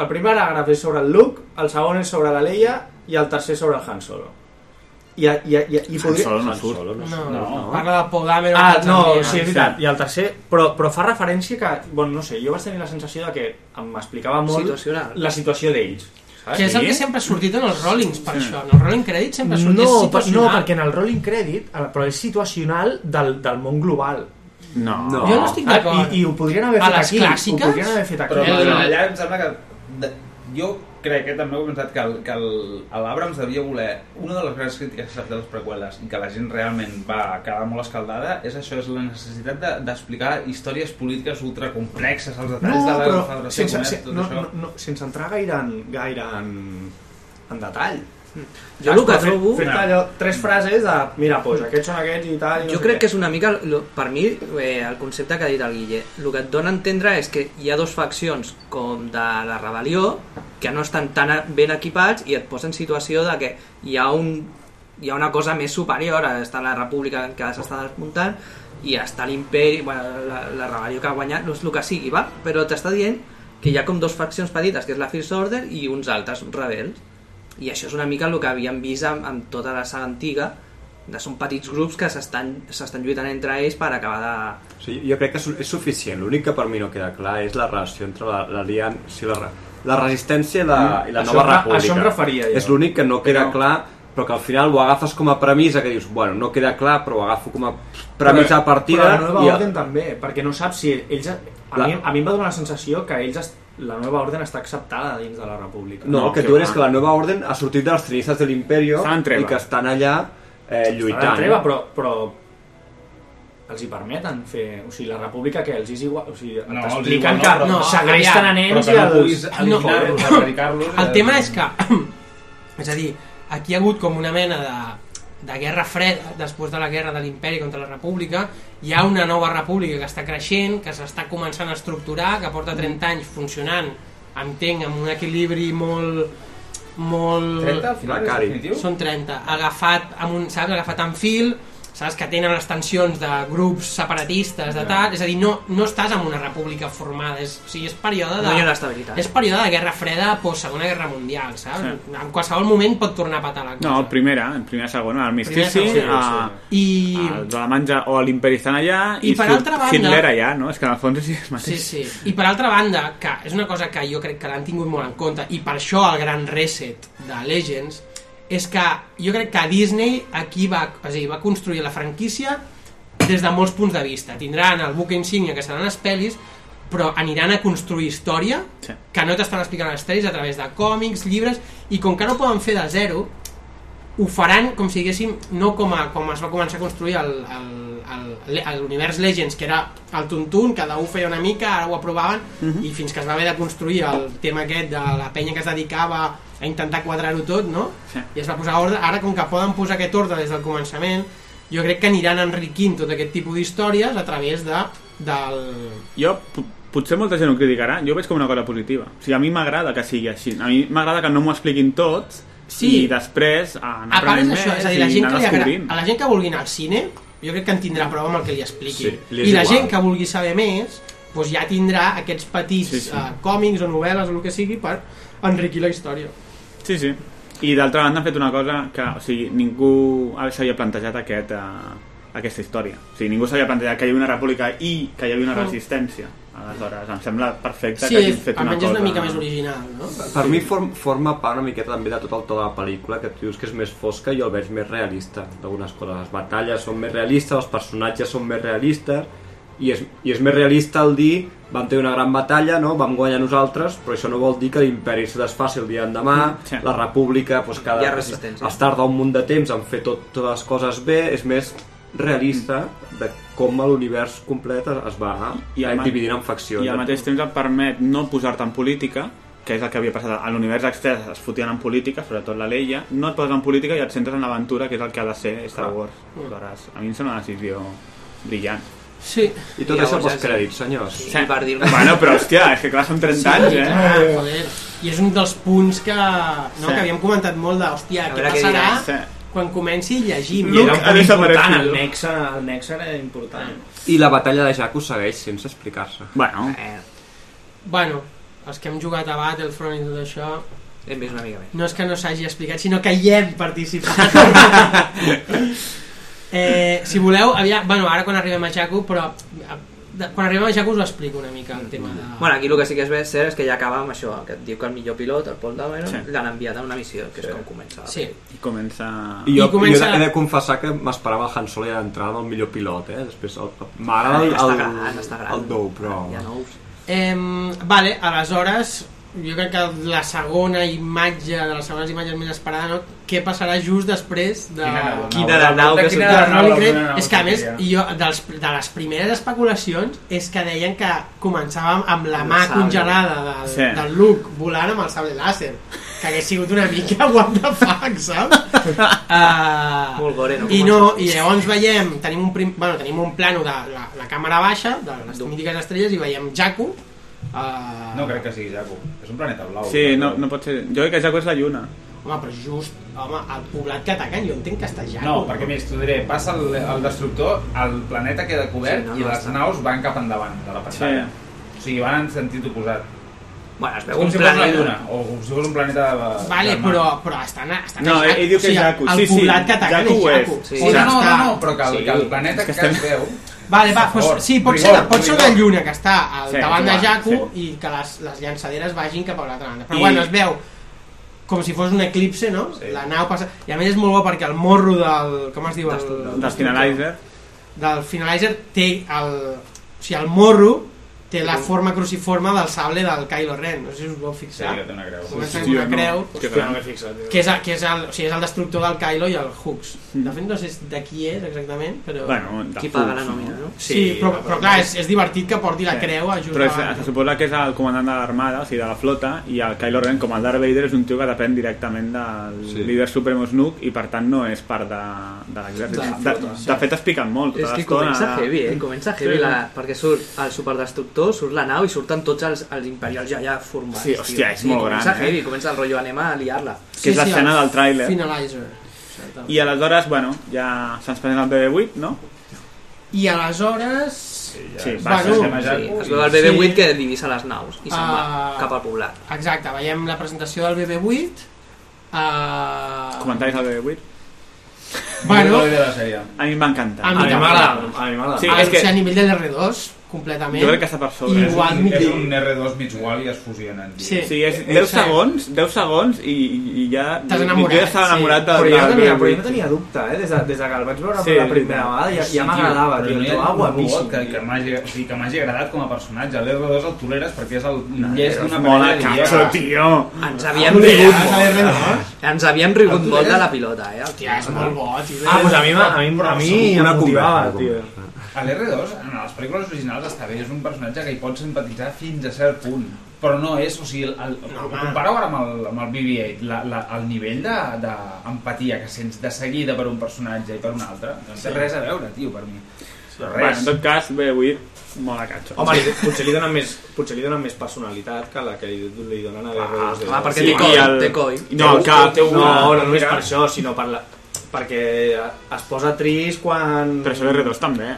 S8: El primer paràgraf és sobre el Luke, el segon és sobre la Leia i el tercer sobre el Han Solo. I, i, i, i, i podria...
S9: Solo no surt. Solo no
S7: No, parla de Paul Dameron.
S8: Ah,
S7: que
S8: no,
S7: també-
S8: sí, és veritat. I el tercer, però, però fa referència que, bueno, no sé, jo vaig tenir la sensació de que em explicava molt
S13: Situacional.
S8: la situació d'ells. saps?
S7: Que és el que sempre ha sortit en els Rollings, per això. En els Rolling Credits sempre surt
S8: no,
S7: és
S8: per, no,
S7: situacional.
S8: perquè en el Rolling Credit, eh, però és situacional del, del món global.
S9: No.
S8: No.
S7: Jo no estic
S8: Ah,
S7: d'acord.
S8: i- i ho podrien haver
S7: A
S8: fet
S7: les
S8: aquí, ho
S7: clàssiques?
S8: podrien haver fet aquí.
S19: Però
S8: Eh,
S19: no,
S8: no.
S19: allà em sembla que... De, jo crec que també heu pensat que, el, que el, a l'Abrams devia voler... Una de les grans crítiques que s'ha fet a les prequeles i que la gent realment va quedar molt escaldada és això, és la necessitat de- d'explicar de, històries polítiques ultracomplexes, els detalls de la
S8: però
S19: Federació
S8: sense,
S19: Comerç,
S8: se,
S19: tot
S8: no,
S19: això.
S8: no, no, sense entrar gaire en, gaire en, en detall.
S12: Mm.
S13: Jo el que
S8: Saps? Però
S13: trobo-
S8: Fer, fer allò, tres frases de, mira,
S12: Mm.
S8: doncs aquests són aquests i tal. I
S13: Jo crec que és una mica, lo- per mi, eh, el concepte que ha dit el Guille. El que et dona a entendre és que hi ha dos faccions, com de la rebel·lió, que no estan tan a- ben equipats i et posa en situació de que hi ha, un, hi ha una cosa més superior, està la república que s'està desmuntant, i està l'imperi, bueno, la, la rebel·lió que ha guanyat, no és el que sigui, va? però t'està dient que hi ha com dos faccions petites, que és la First Order i uns altres, uns rebels. I això és una mica el que havíem vist amb, amb tota la saga antiga, de són petits grups que s'estan s'estan lluitant entre ells per acabar de...
S12: Sí, jo crec que és, és suficient. L'únic que per mi no queda clar és la relació entre la- l'alian... Sí, la, re- la resistència i la, i la
S8: Això
S12: nova
S8: em re-
S12: república.
S8: això em referia jo.
S12: És l'únic que no queda clar, però que al final ho agafes com a premissa, que dius, bueno, no queda clar, però ho agafo com a premissa a partida.
S8: Però la nova
S12: i-
S8: Orden també, perquè no saps si ells... A,
S12: La-
S8: mi, a mi em va donar la sensació que ells es- la nova Orden està acceptada dins de la República.
S12: No, el que diuen és que la nova orden ha sortit de les cenizes de l'imperio
S8: Estan en treva.
S12: i que estan allà eh, lluitant.
S8: Estan en treva, però, però els hi permeten fer... O sigui, la república que els és igual... O sigui,
S19: No,
S8: no,
S19: els igual
S8: t'expliquen
S19: no,
S8: que
S19: però-
S8: no,
S19: no,
S8: segresten a
S19: aviam, però
S8: nens
S19: que
S8: i
S19: no
S8: els...
S19: puguis eliminar-los, erradicar-los,
S7: El
S19: eh,
S7: tema és que, és a dir, aquí hi ha hagut com una mena de, de guerra freda després de la guerra de l'imperi contra la república, hi ha una nova república que està creixent, que s'està començant a estructurar, que porta 30 anys funcionant, entenc, amb un equilibri molt molt...
S19: 30 al final és Precari. definitiu?
S7: Són 30. Agafat amb un, saps, agafat amb fil, saps que tenen les tensions de grups separatistes, de tal, és a dir, no, no estàs en una república formada, és, o sigui, és període de...
S13: No hi ha una estabilitat.
S7: És període de guerra freda post Segona Guerra Mundial, saps?
S9: Sí.
S7: En qualsevol moment pot tornar a patar la cosa.
S9: No, primera, en primera segona, el mistici,
S7: Primera, segona,
S9: a,
S7: I...
S9: els alemanys o a l'imperi estan allà
S7: I
S9: i,
S7: per
S9: Hit-
S7: altra banda-
S9: Hitler allà, no? És que en el fons és el
S7: Sí,
S9: mateix.
S7: sí. I per altra banda, que és una cosa que jo crec que l'han tingut molt en compte, i per això el gran reset de Legends, és que jo crec que Disney aquí va, és a dir, va construir la franquícia des de molts punts de vista. Tindran el buque insígnia, que seran les pel·lis, però aniran a construir història
S9: Sí.
S7: que no t'estan explicant les pel·lis a través de còmics, llibres, i com que no ho poden fer de zero, ho faran com si diguéssim, no com, a, com es va començar a construir el, el, el, el univers Legends, que era el tuntun, cada un feia una mica, ara ho aprovaven, i fins que es va haver de construir el tema aquest de la penya que es dedicava a intentar quadrar-ho tot, no?
S9: Sí.
S7: I es va posar ordre. Ara, com que poden posar aquest ordre des del començament, jo crec que aniran enriquint tot aquest tipus d'històries a través de, del,
S9: Jo, po- potser molta gent ho criticarà, jo ho veig com una cosa positiva. O sigui, a mi m'agrada que sigui així. A mi m'agrada que no m'ho expliquin tot
S7: Sí.
S9: i després anar
S7: a part és
S9: aprenent
S7: això, és a dir,
S9: més
S7: la gent,
S9: i
S7: que
S9: anar
S7: li agra...
S9: descobrint.
S7: a la gent que vulgui anar al cine jo crec que en tindrà prou amb el que li expliqui
S9: Sí, li és
S7: i la
S9: igual.
S7: gent que vulgui saber més doncs ja tindrà aquests petits sí, sí.
S9: Sí, sí.
S7: Uh, còmics o novel·les o el que sigui per enriquir la història
S9: Sí, sí. I d'altra banda han fet una cosa que, o sigui, ningú s'havia plantejat aquest, eh, aquesta història. O sigui, ningú s'havia plantejat que hi havia una república i que hi havia una
S7: Mm.
S9: resistència. Aleshores, em sembla perfecte
S7: sí,
S9: que hagin fet una
S7: almenys és
S9: cosa...
S7: una mica més original no?
S12: Per mi form, forma part una miqueta també de tot el to de la pel·lícula, que tu dius que és més fosca i jo el veig més realista d'algunes coses. Les batalles són més realistes, els personatges són més realistes i és, i és més realista el dir vam tenir una gran batalla, no? vam guanyar nosaltres, però això no vol dir que l'imperi se desfaci el dia endemà,
S14: Sí.
S12: la república doncs, cada,
S14: Hi ha resistència.
S12: es tarda un munt de temps en fer tot, totes les coses bé, és més realista de com l'univers complet es es va
S9: Mm. I al ma-
S12: dividint en faccions.
S9: I al mateix temps et permet no posar-te en política, que és el que havia passat a l'univers extès, es fotien en política, sobretot la Leia, no et poses en política i et centres en l'aventura, que és el que ha de ser Star Wars. Aleshores, a mi em sembla una decisió brillant.
S7: Sí.
S12: I tot I això llavors pels ja- crèdits, senyors.
S7: Sí, per dir-ho.
S9: Bueno, però hòstia, és que clar, són 30 anys, eh?
S7: clar, joder. I és un dels punts que, no,
S9: Sí.
S7: que havíem comentat molt de, hòstia,
S9: A
S7: què
S9: veure què
S7: passarà
S9: dirà. Sí.
S7: quan comenci i llegim.
S9: Luke Era un ha punt desaparegut. important,
S8: el nexe, el nexe era important.
S12: I la batalla de Jakku segueix sense explicar-se.
S9: Bueno.
S7: Eh. Bueno, els que hem jugat a Battlefront i tot això...
S13: Hem vist una mica més.
S7: No és que no s'hagi explicat, sinó que hi hem participat. eh, si voleu, aviam, bueno, ara quan arribem a Jakku, però eh, de- quan arribem a Jakku us ho explico una mica, el tema de...
S13: Mm. Bueno, aquí el que sí que és bé cert és que ja acaba amb això, que et diu que el millor pilot, el Paul Dameron,
S9: Sí.
S13: sí. l'han enviat a una missió, que és com comença.
S7: Sí.
S9: I comença...
S12: I jo, I
S13: comença-
S12: jo he de confessar que m'esperava el Han Solo ja d'entrada el millor pilot, eh? Després el- m'agrada el,
S13: Està
S12: el,
S13: gran, està gran.
S12: el nou, però...
S13: Hi ha nous.
S7: Eh, vale, aleshores, jo crec que la segona imatge, de les segones imatges més esperada, no? què passarà just després de...
S13: Quina era la nau? Quina era la nau que
S7: Quina
S13: sortia?
S7: era la nau,
S13: Quina
S7: la
S13: era la
S7: primera
S13: nau
S7: És que, a
S13: que
S7: més,
S13: sortia?
S7: jo, dels, de les primeres especulacions és que deien que començàvem amb la
S13: Amb
S7: mà
S13: el sable.
S7: congelada del, sí.
S13: Sí.
S7: del Luke volant amb el sable làser que hagués sigut una mica what the fuck, saps? Uh,
S13: Molt gore, no?
S7: i no, i llavors veiem, tenim un, prim, bueno, tenim un plano de la, la càmera baixa, de les mítiques estrelles, i veiem Jakku. Uh,
S19: No crec que sigui Jaco. És un planeta blau.
S9: Sí, no, no pot ser... Jo crec que Jakku és la lluna.
S7: Home, però just, home, el poblat que ataquen, jo entenc que està Jakku.
S19: No, perquè més, t'ho diré, passa el, el destructor, el planeta queda cobert sí,
S7: Sí, no,
S19: no, i
S7: no
S19: les
S7: està.
S19: naus van cap endavant de la pantalla. Sí. O sigui, van en sentit oposat.
S13: Bueno, es
S7: veu
S19: com
S7: un
S19: si fos una
S7: planeta.
S19: lluna, o com si fos un planeta de...
S7: Vale,
S19: del mar.
S7: però, però estan, a- estan
S19: No,
S7: a
S19: ell-
S7: Jakku.
S19: ell diu que
S7: o sigui,
S19: és Jakku.
S7: El
S19: Sí, sí,
S7: poblat que ataquen
S19: Jakku ho
S7: és
S19: és.
S7: Jakku.
S19: Sí. No, no, no, no, però que el- que el planeta que es veu-
S7: Vale, va,
S19: Per favor,
S7: doncs, sí, pot
S19: rigor,
S7: ser, la, pot ser la
S19: rigor.
S7: lluna que està al
S19: Sí,
S7: davant de
S19: clar,
S7: Jakku i que les, les llançaderes vagin cap a l'altra banda. Però
S19: I-
S7: bueno, es veu com si fos un eclipse, no? La nau passa... I a més és molt bo perquè el morro del... Com es diu? El,
S9: Del Finalizer.
S7: Del Finalizer té el... O sigui, el morro té la forma cruciforme del sable del Kylo Ren. No sé si us vau fixar.
S19: Sí, que té una creu.
S7: Comença amb
S19: Hòstia,
S7: una
S19: no.
S7: creu.
S19: Que gran. No m'he fixat, jo.
S7: que és, que és, el, o sigui, és el destructor del Kylo i el Hux. De fet, no sé de qui és exactament, però...
S9: Bueno, de
S7: qui
S9: Hux,
S7: paga la
S9: no?
S7: nòmina, no? Sí,
S9: Sí,
S7: però,
S9: la-
S7: però clar, és, és divertit que porti la
S9: Sí.
S7: creu a just
S9: Però és,
S7: davant.
S9: se suposa que és el comandant de l'armada, o sigui, de la flota, i el Kylo Ren, com el Darth Vader, és un tio que depèn directament del
S12: Sí.
S9: líder supremo Snook i, per tant, no és part de, de l'exèrcit.
S13: De la
S9: De,
S13: flota,
S9: de,
S13: sí.
S9: fet, es piquen molt
S13: És
S9: tota
S13: que
S9: l'estona.
S13: comença heavy, eh? Comença heavy, la... perquè surt el superdestructor, surt la nau i surten tots els, els imperials ja, ja formats.
S9: Sí,
S13: tio.
S9: hòstia, és molt
S13: comença
S9: gran, eh?
S13: heavy, comença el rotllo anem a liar-la.
S9: Que és l'escena del tràiler.
S7: Finalizer.
S9: I aleshores, bueno, ja se'ns presenta el BB-8, no?
S7: I aleshores...
S9: Sí, va,
S7: bueno,
S13: sí, es veu el BB-8 que divisa les naus i se'n va
S7: Ah.
S13: cap al poblat.
S7: Exacte, veiem la presentació del BB-8. Uh...
S9: Comentaris al BB-8?
S7: Bueno.
S9: Jo no l'he de la sèrie. a mi m'encanta.
S7: A mi també.
S9: Sí,
S7: Ah,
S9: és que...
S7: O sigui, a nivell de l'R2, completament.
S9: Jo crec que està per sobre.
S7: Igual,
S19: és,
S7: millor.
S19: un, és un R2 mig gual i es fusionen. tio.
S9: Sí, és
S8: Eh,
S9: 10 segons, 10 segons i, i ja...
S19: T'has
S9: Jo
S19: enamorat,
S9: ja estava
S19: sí.
S9: enamorat de...
S19: Però
S9: del
S19: jo tenia- però jo
S9: BB-8.
S8: No tenia dubte, eh? Des, de, des de que el vaig veure
S19: Sí,
S8: per la primera
S19: veritat.
S8: vegada ja,
S19: Sí,
S8: ja m'agradava,
S19: però
S8: tio,
S19: no
S8: el
S19: hi ha
S8: trobava
S19: ningú
S8: guapíssim.
S19: Que, que m'hagi o sigui, que m'hagi agradat com a personatge. L'R2 el toleres perquè és el
S13: No,
S19: llest
S13: és
S19: d'una
S13: molt
S19: manera
S13: a
S19: idiota.
S13: cacho, tio. Ens havíem
S19: Ah,
S13: rigut
S19: ja,
S13: molt.
S19: ja, ja.
S13: Ens havíem
S9: Ah,
S13: rigut
S19: El
S13: molt de la
S19: toleres.
S13: pilota, eh? Hòstia,
S7: és molt bo, tio.
S8: Ah, doncs a mi, m'ha- a mi, a mi em
S13: Una
S8: motivava, tio.
S19: A l'R2, en les pel·lícules originals està bé, és un personatge que hi pot simpatitzar fins a cert punt, però no és, o sigui, el, el, no, compara ara amb el, amb el BB-8, la, la, el nivell de- d'empatia de, que sents de seguida per un personatge i per un altre, no
S9: Sí.
S19: té res a veure, tio, per mi. Però
S9: Bueno, en
S19: res.
S9: tot cas, BB-8, molt a catxo.
S8: Home, li, potser, li donen més, potser li donen més personalitat que la que li, li donen a
S9: Ah,
S8: R2.
S9: clar, perquè té coi, té coi. No,
S8: Té-
S9: clar,
S8: té
S9: té una-
S8: No, no només per això, sinó per la, perquè es posa trist quan...
S9: Però Ah, això R2 també.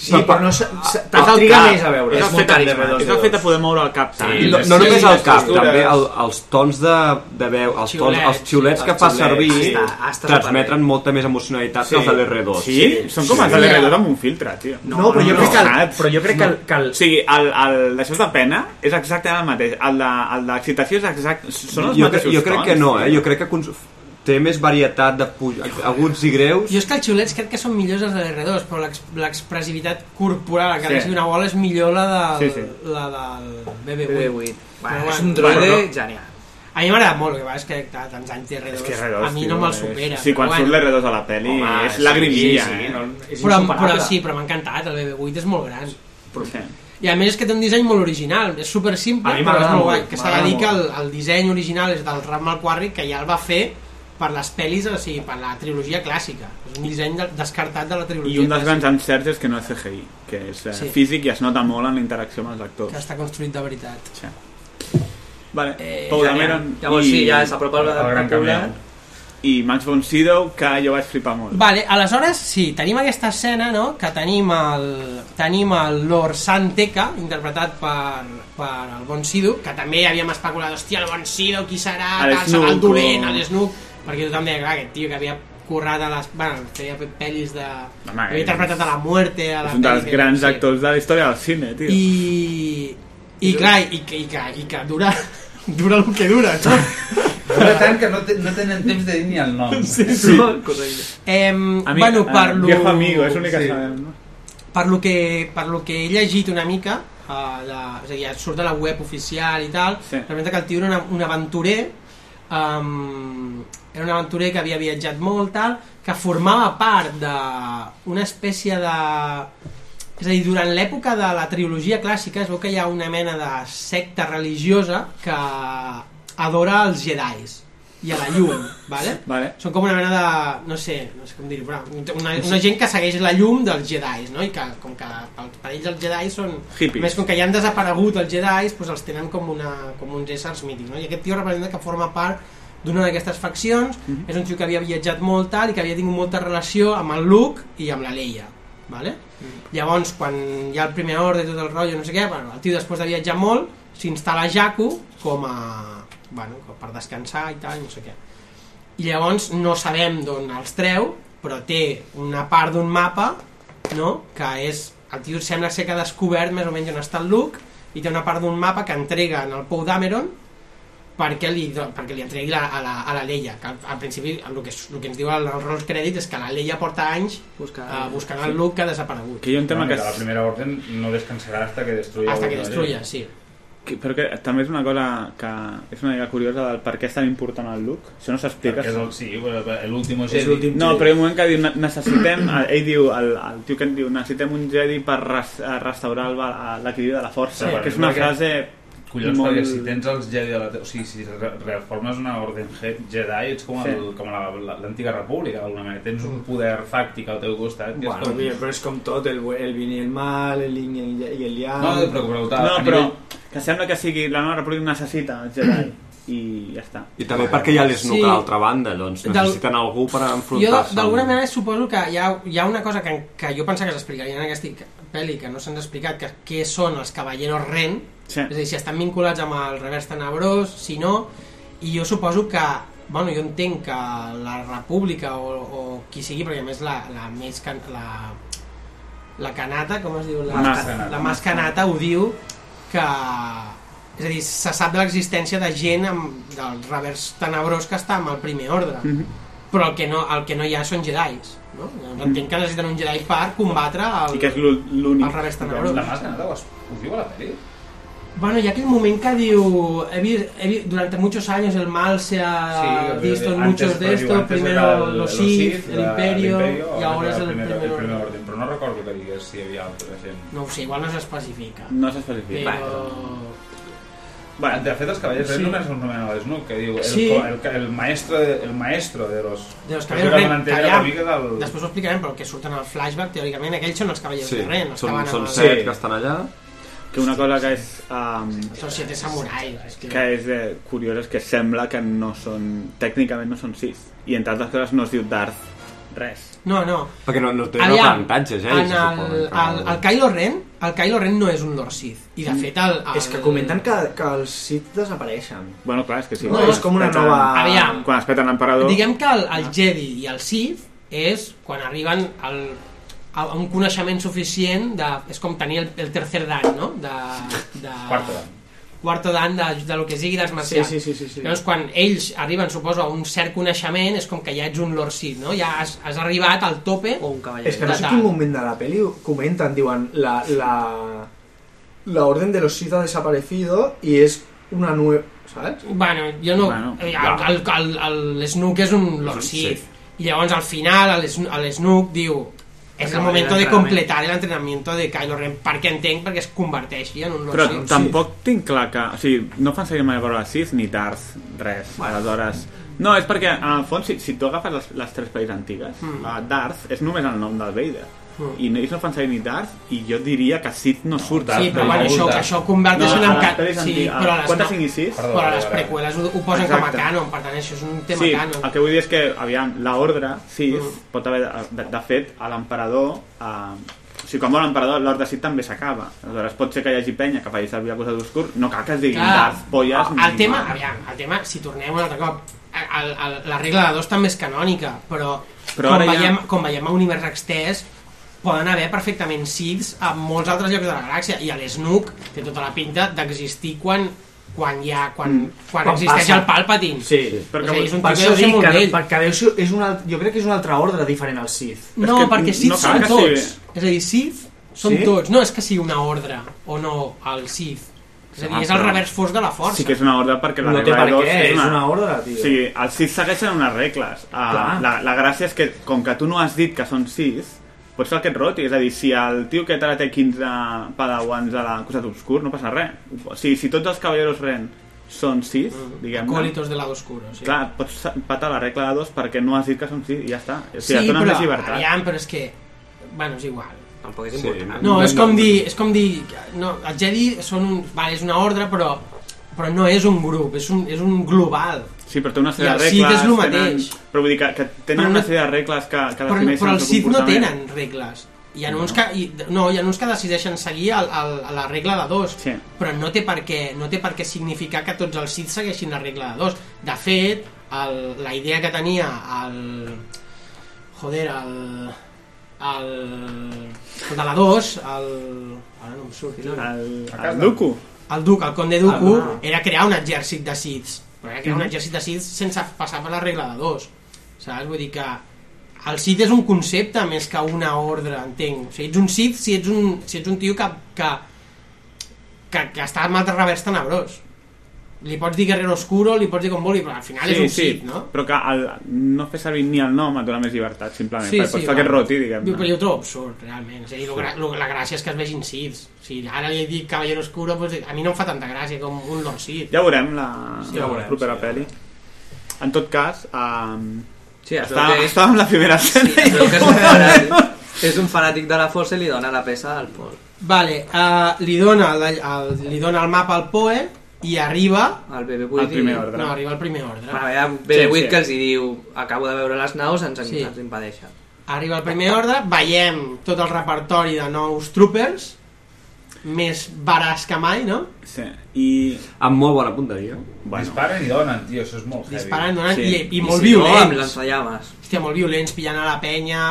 S8: Sí, però no se- se- te'l triga més a veure.
S9: És el, fet,
S8: carismàtic.
S9: és el fet de poder moure el cap tant.
S12: I no, no només el cap, també el, els tons de, de veu, els, tons,
S9: Xiulets,
S12: els xiulets
S9: sí,
S12: que
S9: els
S12: fa
S9: xiulets,
S12: servir
S9: sí. Està- està
S12: transmeten molta més emocionalitat
S9: Sí.
S12: que els de l'R2.
S9: Sí? Són com els de l'R2 amb un filtre, tio.
S8: No, però jo crec que el-
S9: però jo crec que el, que el... O sigui, el, el d'això de pena és exactament el mateix. El de- el d'excitació de, és exact... Són els
S12: jo, cre-
S9: mateixos
S12: jo crec
S9: tons.
S12: que no, eh? Jo crec que cons- té- té més varietat de puj... aguts i greus.
S1: Jo és que els xiulets crec que són millors els de l'R2, però l'ex- l'expressivitat corporal, que
S12: Sí.
S1: sí. una bola, és millor la del,
S12: Sí, sí.
S1: La del BB8.
S7: BB8. Va,
S1: Però
S7: és
S1: bueno,
S7: un droide
S1: bueno,
S7: no. genial.
S1: A mi m'ha agradat molt, el que va, és que clar, tants anys de R2,
S9: És que R2,
S1: a mi
S9: tio,
S1: no me'l
S9: és-
S1: supera.
S9: sí, quan surt l'R2 a la peli, és lagrimilla, eh?
S1: però, però sí, però m'ha encantat, el BB8 és molt gran. I a més és que té un disseny molt original, és super simple,
S21: A mi
S1: però és
S21: m'agrada
S1: molt
S21: molt,
S1: guai. Que s'ha de
S21: m'agrada
S1: dir que el,
S21: molt.
S1: el disseny original és del Ram Malquarri, que ja el va fer per les pel·lis, o sigui, per la trilogia clàssica. És un disseny de, descartat de la
S9: I
S1: trilogia
S9: un dels
S1: clàssica,
S9: grans encerts és que no és CGI, que és eh,
S1: Sí.
S9: físic i es nota molt en la interacció amb els actors.
S1: que està construït de veritat.
S9: Sí. Vale,
S1: Eh,
S9: Paul Dameron
S7: Llavors sí, ja s'apropa la
S9: pel·lícula. I Max von Sydow, que jo vaig flipar molt.
S1: Vale, aleshores, sí, tenim aquesta escena, no?, que tenim el, tenim el Lord Santeca, interpretat per, per el Bon Sidu, que també havíem especulat, hòstia, el Bon Sidu, qui serà, tal,
S9: El
S1: serà el
S9: Snook,
S1: dolent,
S9: o-
S1: el Snook, perquè tothom deia, clar, aquest tio que havia currat a les... Bueno, feia pel·lis de...
S9: Home,
S1: havia interpretat a la muerte, a la
S9: És un dels
S1: pel·li que-
S9: grans actors de la història del cine, tio.
S1: I... I clar, i que, i que, i que dura, dura el que dura, no?
S19: Dura tant que no, te, no tenen temps de dir ni el nom.
S1: Sí,
S9: sí.
S1: Eh,
S9: Ami-
S1: bueno,
S19: ah,
S9: eh,
S1: per lo...
S9: viejo amigo, és l'únic que sabem, no?
S1: Per lo que, per lo que he llegit una mica, eh, de, és a dir, surt de la web oficial i tal, sí. que el tio era una, un aventurer, um, era un aventurer que havia viatjat molt, tal, que formava part d'una espècie de... És a dir, durant l'època de la trilogia clàssica es veu que hi ha una mena de secta religiosa que adora els Jedis i a la llum, vale?
S9: vale.
S1: Són com una mena de, no sé, no sé com dir-ho, però una, una gent que segueix la llum dels Jedis, no? I que com que pel- per ells els Jedi són
S9: Hippies.
S1: a Més com que ja han desaparegut els Jedi, doncs els tenen com, una, com uns éssers mítics, no? I aquest tio representa que forma part d'una d'aquestes faccions,
S9: Mhm.
S1: és un tio que havia viatjat molt tal i que havia tingut molta relació amb el Luke i amb la Leia, vale?
S12: Mhm.
S1: Llavors, quan hi ha el primer ordre i tot el rotllo, no sé què, bueno, el tio després de viatjar molt, s'instal·la a Jakku com a... Bueno, com per descansar i tal, i no sé què. I llavors no sabem d'on els treu, però té una part d'un mapa, no?, que és... El tio sembla ser que ha descobert més o menys on està el Luke, i té una part d'un mapa que entrega en el Pou d'Ameron perquè li, do- perquè li entregui la, a, la, a la Leia que al, al principi el que, el que ens diu el, el roll crèdit és que la Leia porta anys buscant, uh, buscant el Luke que ha desaparegut
S9: Que hi ha un tema que...
S19: La primera orden no descansarà hasta que destruya.
S1: Hasta que
S19: Ordon.
S1: destruya, sí.
S9: Que, però que també és una cosa que és una mica curiosa del per què és tan important el Luke. Això no s'explica.
S19: Perquè és el- sí, bueno, l'últim
S9: És
S19: Jedi.
S9: l'últim No, però hi ha un moment que diu, "Ne- necessitem, ell diu, el, el tio que en diu, necessitem un Jedi per res, eh, restaurar el va- l'equilibri de la força,
S19: Sí,
S9: sí, que és una
S19: perquè-
S9: frase...
S19: Collons,
S9: molt-
S19: perquè si tens els Jedi de la... te- O sigui, si re- reformes una orden je- Jedi, ets com,
S9: Sí.
S19: el, com la- la- l'antiga república, d'alguna manera. Tens un poder fàctic al teu costat. que és
S21: Bueno,
S19: com-
S21: bien, però és com tot, el, bu- el bien i el mal, el yin i el- i el
S1: Ah,
S21: yang...
S19: No, però preguntar,
S9: No,
S19: a
S9: però
S19: nivell-
S9: que sembla que sigui la nova república necessita el Jedi i ja està.
S12: I també perquè hi ha l'Snook
S1: Sí.
S12: a l'altra banda, doncs
S1: Del-
S12: necessiten algú per
S1: jo
S12: enfrontar-se.
S1: d'alguna
S12: amb-
S1: manera suposo que hi ha, hi ha una cosa que, que jo pensava que s'explicaria en aquesta pel·li que no se'ns ha explicat que què són els cavalleros Ren
S9: sí.
S1: és a dir, si estan vinculats amb el revers tenebrós si no, i jo suposo que bueno, jo entenc que la república o, o qui sigui, perquè a més la, la més can, la, la canata, com es diu? La,
S9: Mascanata.
S1: la més canata ho diu que és a dir, se sap de l'existència de gent amb, del revers tenebrós que està amb el primer ordre
S9: Mhm.
S1: però el que no, el que no hi ha són Jedis no?
S8: Mhm.
S1: Llavors entenc que necessiten un Jedi per combatre el,
S9: I que és l'ú- l'únic.
S1: el revés tenebrós
S19: La màscara no ho, es- ho diu a la pel·li?
S1: bueno, hi ha aquell moment que diu he vist, he vist, durante muchos años el mal se ha
S19: Sí,
S1: Ah,
S19: eh,
S1: visto en
S19: antes,
S1: muchos
S19: però
S1: de
S19: diu,
S1: estos
S19: antes
S1: primero
S19: era el-
S1: los
S19: los
S1: Sith,
S19: Sith,
S1: el
S19: la-
S1: Imperio
S19: l'Imperio,
S1: y
S19: ara
S1: ahora es
S19: el
S1: el
S19: primer-
S1: primer
S19: el primer
S1: orden.
S19: orden, però no recordo que digués si hi havia altra gent.
S1: no ho sé, igual no s'especifica
S9: No s'especifica.
S1: però...
S19: Bueno, de fet, els cavallers
S1: Sí.
S19: sí. només un nomen a l'Snook, que diu el,
S1: Sí.
S19: co- el, ca- el, maestro de, el maestro de los...
S1: De los
S19: Crec que
S1: caballeros de
S19: van
S1: Ren, que
S19: entendre
S1: ja,
S19: una mica del...
S1: després ho explicarem, però que surten al flashback, teòricament, aquells són els cavallers
S12: Sí,
S1: de Ren. els que
S12: són-
S1: van amb
S12: són
S1: el-
S12: set que estan allà.
S9: Que una cosa que és... Um,
S1: Són siete samurais. És que...
S9: que és eh, curiós és que sembla que no són... Tècnicament no són sis. I entre altres coses no es diu Darth res.
S1: No, no.
S12: Perquè no, no té
S1: Aviam,
S12: avantatges, eh?
S1: en el, el, el, Kylo Ren, el Kylo Ren no és un Lord Sith. I
S8: Mhm.
S1: de fet el... el...
S21: És que comenten que, que els Sith desapareixen.
S9: Bueno, clar, és que sí.
S21: No,
S9: quan
S21: és com una
S9: es peten-
S21: nova-
S1: Aviam.
S9: Quan es peten l'emperador...
S1: Diguem que el,
S7: Ah.
S1: el Jedi i el Sith és quan arriben al, a un coneixement suficient de, és com tenir el, el tercer dan no? de, de,
S19: Quarto dan.
S7: quarto d'any de, de lo que sigui d'arts marcials.
S8: Sí, sí, sí, sí, sí.
S7: Llavors, quan ells arriben, suposo, a un cert coneixement, és com que ja ets un Lord Sid, no? Ja has, has arribat al tope o un cavaller.
S8: És que no sé quin moment de la peli ho comenten, diuen la, la, la orden de los Sith ha desaparecido y es una nueva... ¿Saps?
S7: Bueno, jo no...
S8: Bueno,
S7: Bueno, el,
S8: va.
S7: el, el, el, Snook és un Lord Sith. I llavors, al final, el, Sn- el Snook diu... És el
S9: Acaba
S7: moment de
S9: l'entrenament."
S7: completar l'entrenament de Kylo Ren, perquè entenc perquè es converteixi en un Lord
S9: Però
S7: Sith.
S9: tampoc tinc clar que... O sigui, no fan servir mai veure Sith ni Darth, res. Aleshores... No, és perquè, en el fons, si, si tu agafes les, les tres pel·lis antigues,
S7: Mm.
S9: la Darth és només el nom del Vader.
S7: Mm.
S9: I no, ells no fan servir ni Darth, i jo diria que Sith no surt.
S7: Sí, però bueno, això, que això
S9: Ah,
S7: converteix en... ca- sí, però a les,
S9: Quantes
S7: no-
S9: 5 i 6?
S7: Però a les preqüeles ho, ho posen
S9: Exacte.
S7: com a canon, per tant, això és un tema
S9: sí,
S7: canon.
S9: el que vull dir és que, aviam, l'ordre, sí,
S7: Mm.
S9: pot haver, de, de fet, a l'emperador, eh, o sigui, quan mor l'emperador, l'ordre sí també s'acaba. Aleshores, pot ser que hi hagi penya que faci servir el costat obscur, no cal que es diguin
S7: Clar.
S9: Darth, polles...
S7: El tema, aviam, el tema, si tornem un altre cop, el, el, la regla de dos també és canònica, però,
S9: Però
S7: però com,
S9: ara ja-
S7: veiem, ja... com veiem a univers extès, poden haver perfectament Siths a molts altres llocs de la galàxia, i a l'Snook té tota la pinta d'existir quan quan hi ha, quan, mm. quan,
S8: Quan
S7: existeix
S8: passa.
S7: el Palpatine.
S8: Sí,
S7: o sigui, és un
S8: per
S7: tio que
S8: això
S7: deu ser
S8: dic
S7: molt
S8: que,
S7: vell.
S8: perquè deu ser, és una, jo crec que és una altra ordre diferent al Sith.
S7: No, perquè Sith són tots. És a dir, Sith són
S8: Sí?
S7: tots. No és que sigui una ordre o no el Sith. És a dir, és el revers fos de la força.
S9: Ah, Sí que és una ordre perquè la
S8: No té
S9: regla de
S8: per
S9: dos
S8: què, és una ordre, tio.
S9: O sigui, els sis segueixen unes regles. Uh,
S8: Clar.
S9: la, la gràcia és que, com que tu no has dit que són sis, pots fer el que et roti. És a dir, si el tio que ara té 15 padawans a la costat obscur, no passa res. O sigui, si tots els cavalleros ren són sis,
S7: Mm.
S9: diguem-ne...
S7: Acólitos del lado oscuro, sí.
S9: Clar, et pots patar la regla de dos perquè no has dit que són sis i ja està. O sigui, et donen més llibertat.
S7: aviam, però és que... Bueno, és igual.
S13: Tampoc és
S9: Sí.
S13: important.
S7: No, és com dir... És com dir no, els Jedi són un, vale, és una ordre, però, però no és un grup, és un, és un global.
S9: Sí, però té una sèrie
S7: I
S9: de
S7: el
S9: regles...
S7: Sith és lo
S9: tenen-
S7: mateix.
S9: Però vull dir que, que tenen
S7: Però no-
S9: una sèrie de regles que, que
S7: Però,
S9: defineixen
S7: però
S9: el
S7: els
S9: seu
S7: Sith no
S9: comportament.
S7: tenen regles. Hi ha uns que, i, no, hi ha uns que decideixen seguir el, el, la regla de dos, sí. però no té, per què, no té per què significar que tots els Sith segueixin la regla de dos. De fet, el, la idea que tenia el... Joder, el... El, el de la 2, el... Ara no em surt. El, Mm.
S9: el Dooku.
S7: El Duc, el conde Dooku,
S9: Ah.
S7: era crear un exèrcit de Siths. Però era crear un
S9: Mhm.
S7: exèrcit de Siths sense passar per la regla de dos. Saps? Vull dir que el Sith és un concepte més que una ordre, entenc. O sigui, ets un Sith si ets un, si ets un tio que, que, que, que està amb altres revers tenebrós. Li pots dir Guerrero Oscuro, li pots dir com vulgui, però al final és un Sith, no?
S9: Però que el, no fer servir ni el nom et dona més llibertat, simplement.
S7: Sí,
S9: Sí, per,
S7: sí,
S9: pots
S7: va.
S9: fer aquest roti, diguem-ne.
S7: Jo, però jo ho trobo absurd, realment. És a dir, lo, gra- lo, la gràcia és que es vegin Siths. O sigui, ara li dic Caballero Oscuro, doncs, a mi no em fa tanta gràcia com un Lord Sith.
S9: Ja veurem la,
S7: Sí,
S9: la
S7: ja veurem,
S9: propera
S7: sí, ja
S9: pel·li. En tot cas, um,
S13: Sí, es veu
S9: estava,
S13: que-
S9: estava en la primera escena.
S13: Es veu que és un fanàtic, és un fanàtic de la força i li dona la peça al Pol.
S7: Vale, uh, li, dona la, el, li dona el mapa al Poe i arriba...
S13: Al BB-8
S7: Al primer
S13: i-
S7: ordre. No, arriba al primer ordre.
S13: Va, hi ha BB-8 sí, sí. que els hi diu acabo de veure les naus, ens,
S7: Sí.
S13: sí. ens impedeixen.
S7: Arriba al primer ordre, veiem tot el repertori de nous troopers, més baràs que mai, no?
S9: Sí, i...
S12: Amb molt bona punteria.
S9: Bueno.
S19: Disparen i donen, tio, això és molt heavy.
S7: Disparen, donen, sí. Ah, i, i molt
S13: si no, amb
S7: violents.
S13: lanzallames.
S7: Hòstia, molt violents, pillant a la penya...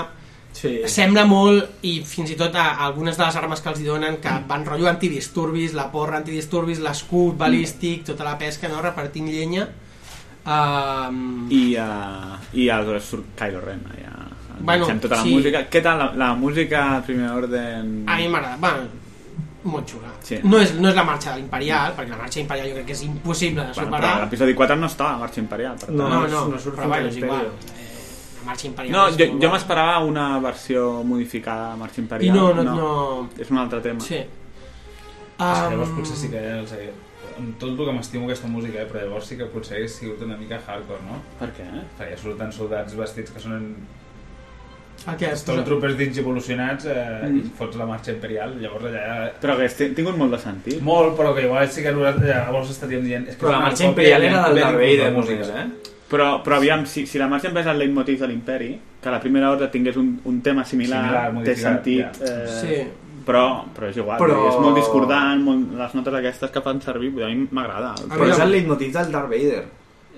S8: Sí.
S7: Sembla molt, i fins i tot a, a algunes de les armes que els hi donen, que van rotllo antidisturbis, la porra antidisturbis, l'escut balístic, tota la pesca, no? repartint llenya. Um,
S9: I, uh, i aleshores surt Kylo Ren. eh, Ja,
S7: Bueno,
S9: bueno, tota la
S7: sí.
S9: música. Què tal la, la música al primer ordre?
S7: A mi m'agrada, bueno, molt xula.
S9: Sí.
S7: No és, no és la marxa de l'Imperial, perquè la marxa imperial jo crec que és impossible de
S9: Bueno,
S7: superar.
S9: però l'episodi 4 no està a la marxa imperial. Per
S7: No, no, no,
S8: no surt
S7: però
S8: fins
S7: bueno,
S8: a
S7: és igual.
S8: l'Imperial.
S7: Eh, la marxa imperial
S9: No,
S7: és
S9: jo,
S7: molt
S9: jo
S7: guapa.
S9: m'esperava una versió modificada de Marxa Imperial.
S7: I no, no, no.
S9: És un altre tema.
S7: Sí.
S19: És que
S7: Um,
S19: llavors potser sí que els hagués... Amb tot el que m'estimo aquesta música, eh, però llavors sí que potser hagués sigut una mica hardcore, no?
S9: Per què?
S19: Perquè surten soldats vestits que són
S7: El que has
S19: Stormtroopers dins evolucionats eh,
S9: Mm.
S19: mm. i fots la marxa imperial, llavors allà...
S9: Però hagués ti- tingut molt de sentit.
S19: Molt, però que igual sí que nosaltres llavors estaríem dient... És que
S9: Però
S19: és
S9: la
S19: una
S9: marxa
S19: còpia
S9: imperial era
S19: ben-
S9: del Darth
S19: ben
S9: Vader,
S19: música,
S9: només,
S19: eh?
S9: Però, però aviam, si, si la marxa empezés el leitmotiv de l'imperi, que la primera ordre tingués un, un tema similar,
S19: Similar,
S9: té
S19: modificat,
S9: sentit.
S19: ja.
S9: Eh,
S19: Sí.
S9: Però, però és igual,
S8: Però-
S9: però... és molt discordant, molt, les notes aquestes que fan servir, a mi m'agrada.
S8: Però és el leitmotiv del Darth Vader.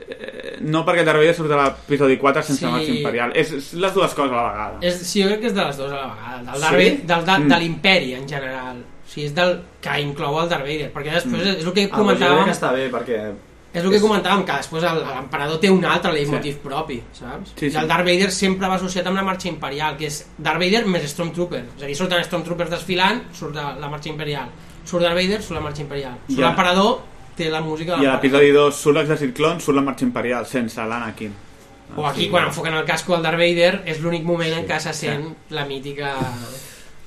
S9: Eh, No perquè Darth Vader surt a l'episodi 4 sense
S7: Sí.
S9: sí. marxa imperial. És, és les dues coses a la vegada.
S7: És, sí, jo crec que és de les dues a la vegada. Del,
S9: Sí?
S7: Darth Vader- del, de,
S9: Mm.
S7: de l'imperi, en general.
S1: sigui, és del que inclou el Darth Vader, perquè després
S12: Mm.
S1: és el que
S12: Ah, doncs jo crec
S1: comentàvem,
S12: que està bé, perquè...
S1: és el que comentàvem, que després el- l'emperador té un altre leitmotiv propi, saps?
S12: Sí,
S1: I
S12: sí.
S1: el Darth Vader sempre va associat amb la marxa imperial, que és Darth Vader més Stormtrooper. És a dir, surten Stormtroopers desfilant, surt la, la marxa imperial. Surt Darth Vader, surt la marxa imperial. Surt
S9: I a-
S1: l'emperador, té la música de
S9: I a l'episodi 2 surt l'exèrcit clon, surt la marxa imperial, sense l'Anakin.
S1: O aquí, quan enfoquen el casco del Darth Vader, és l'únic moment en què se sent la mítica...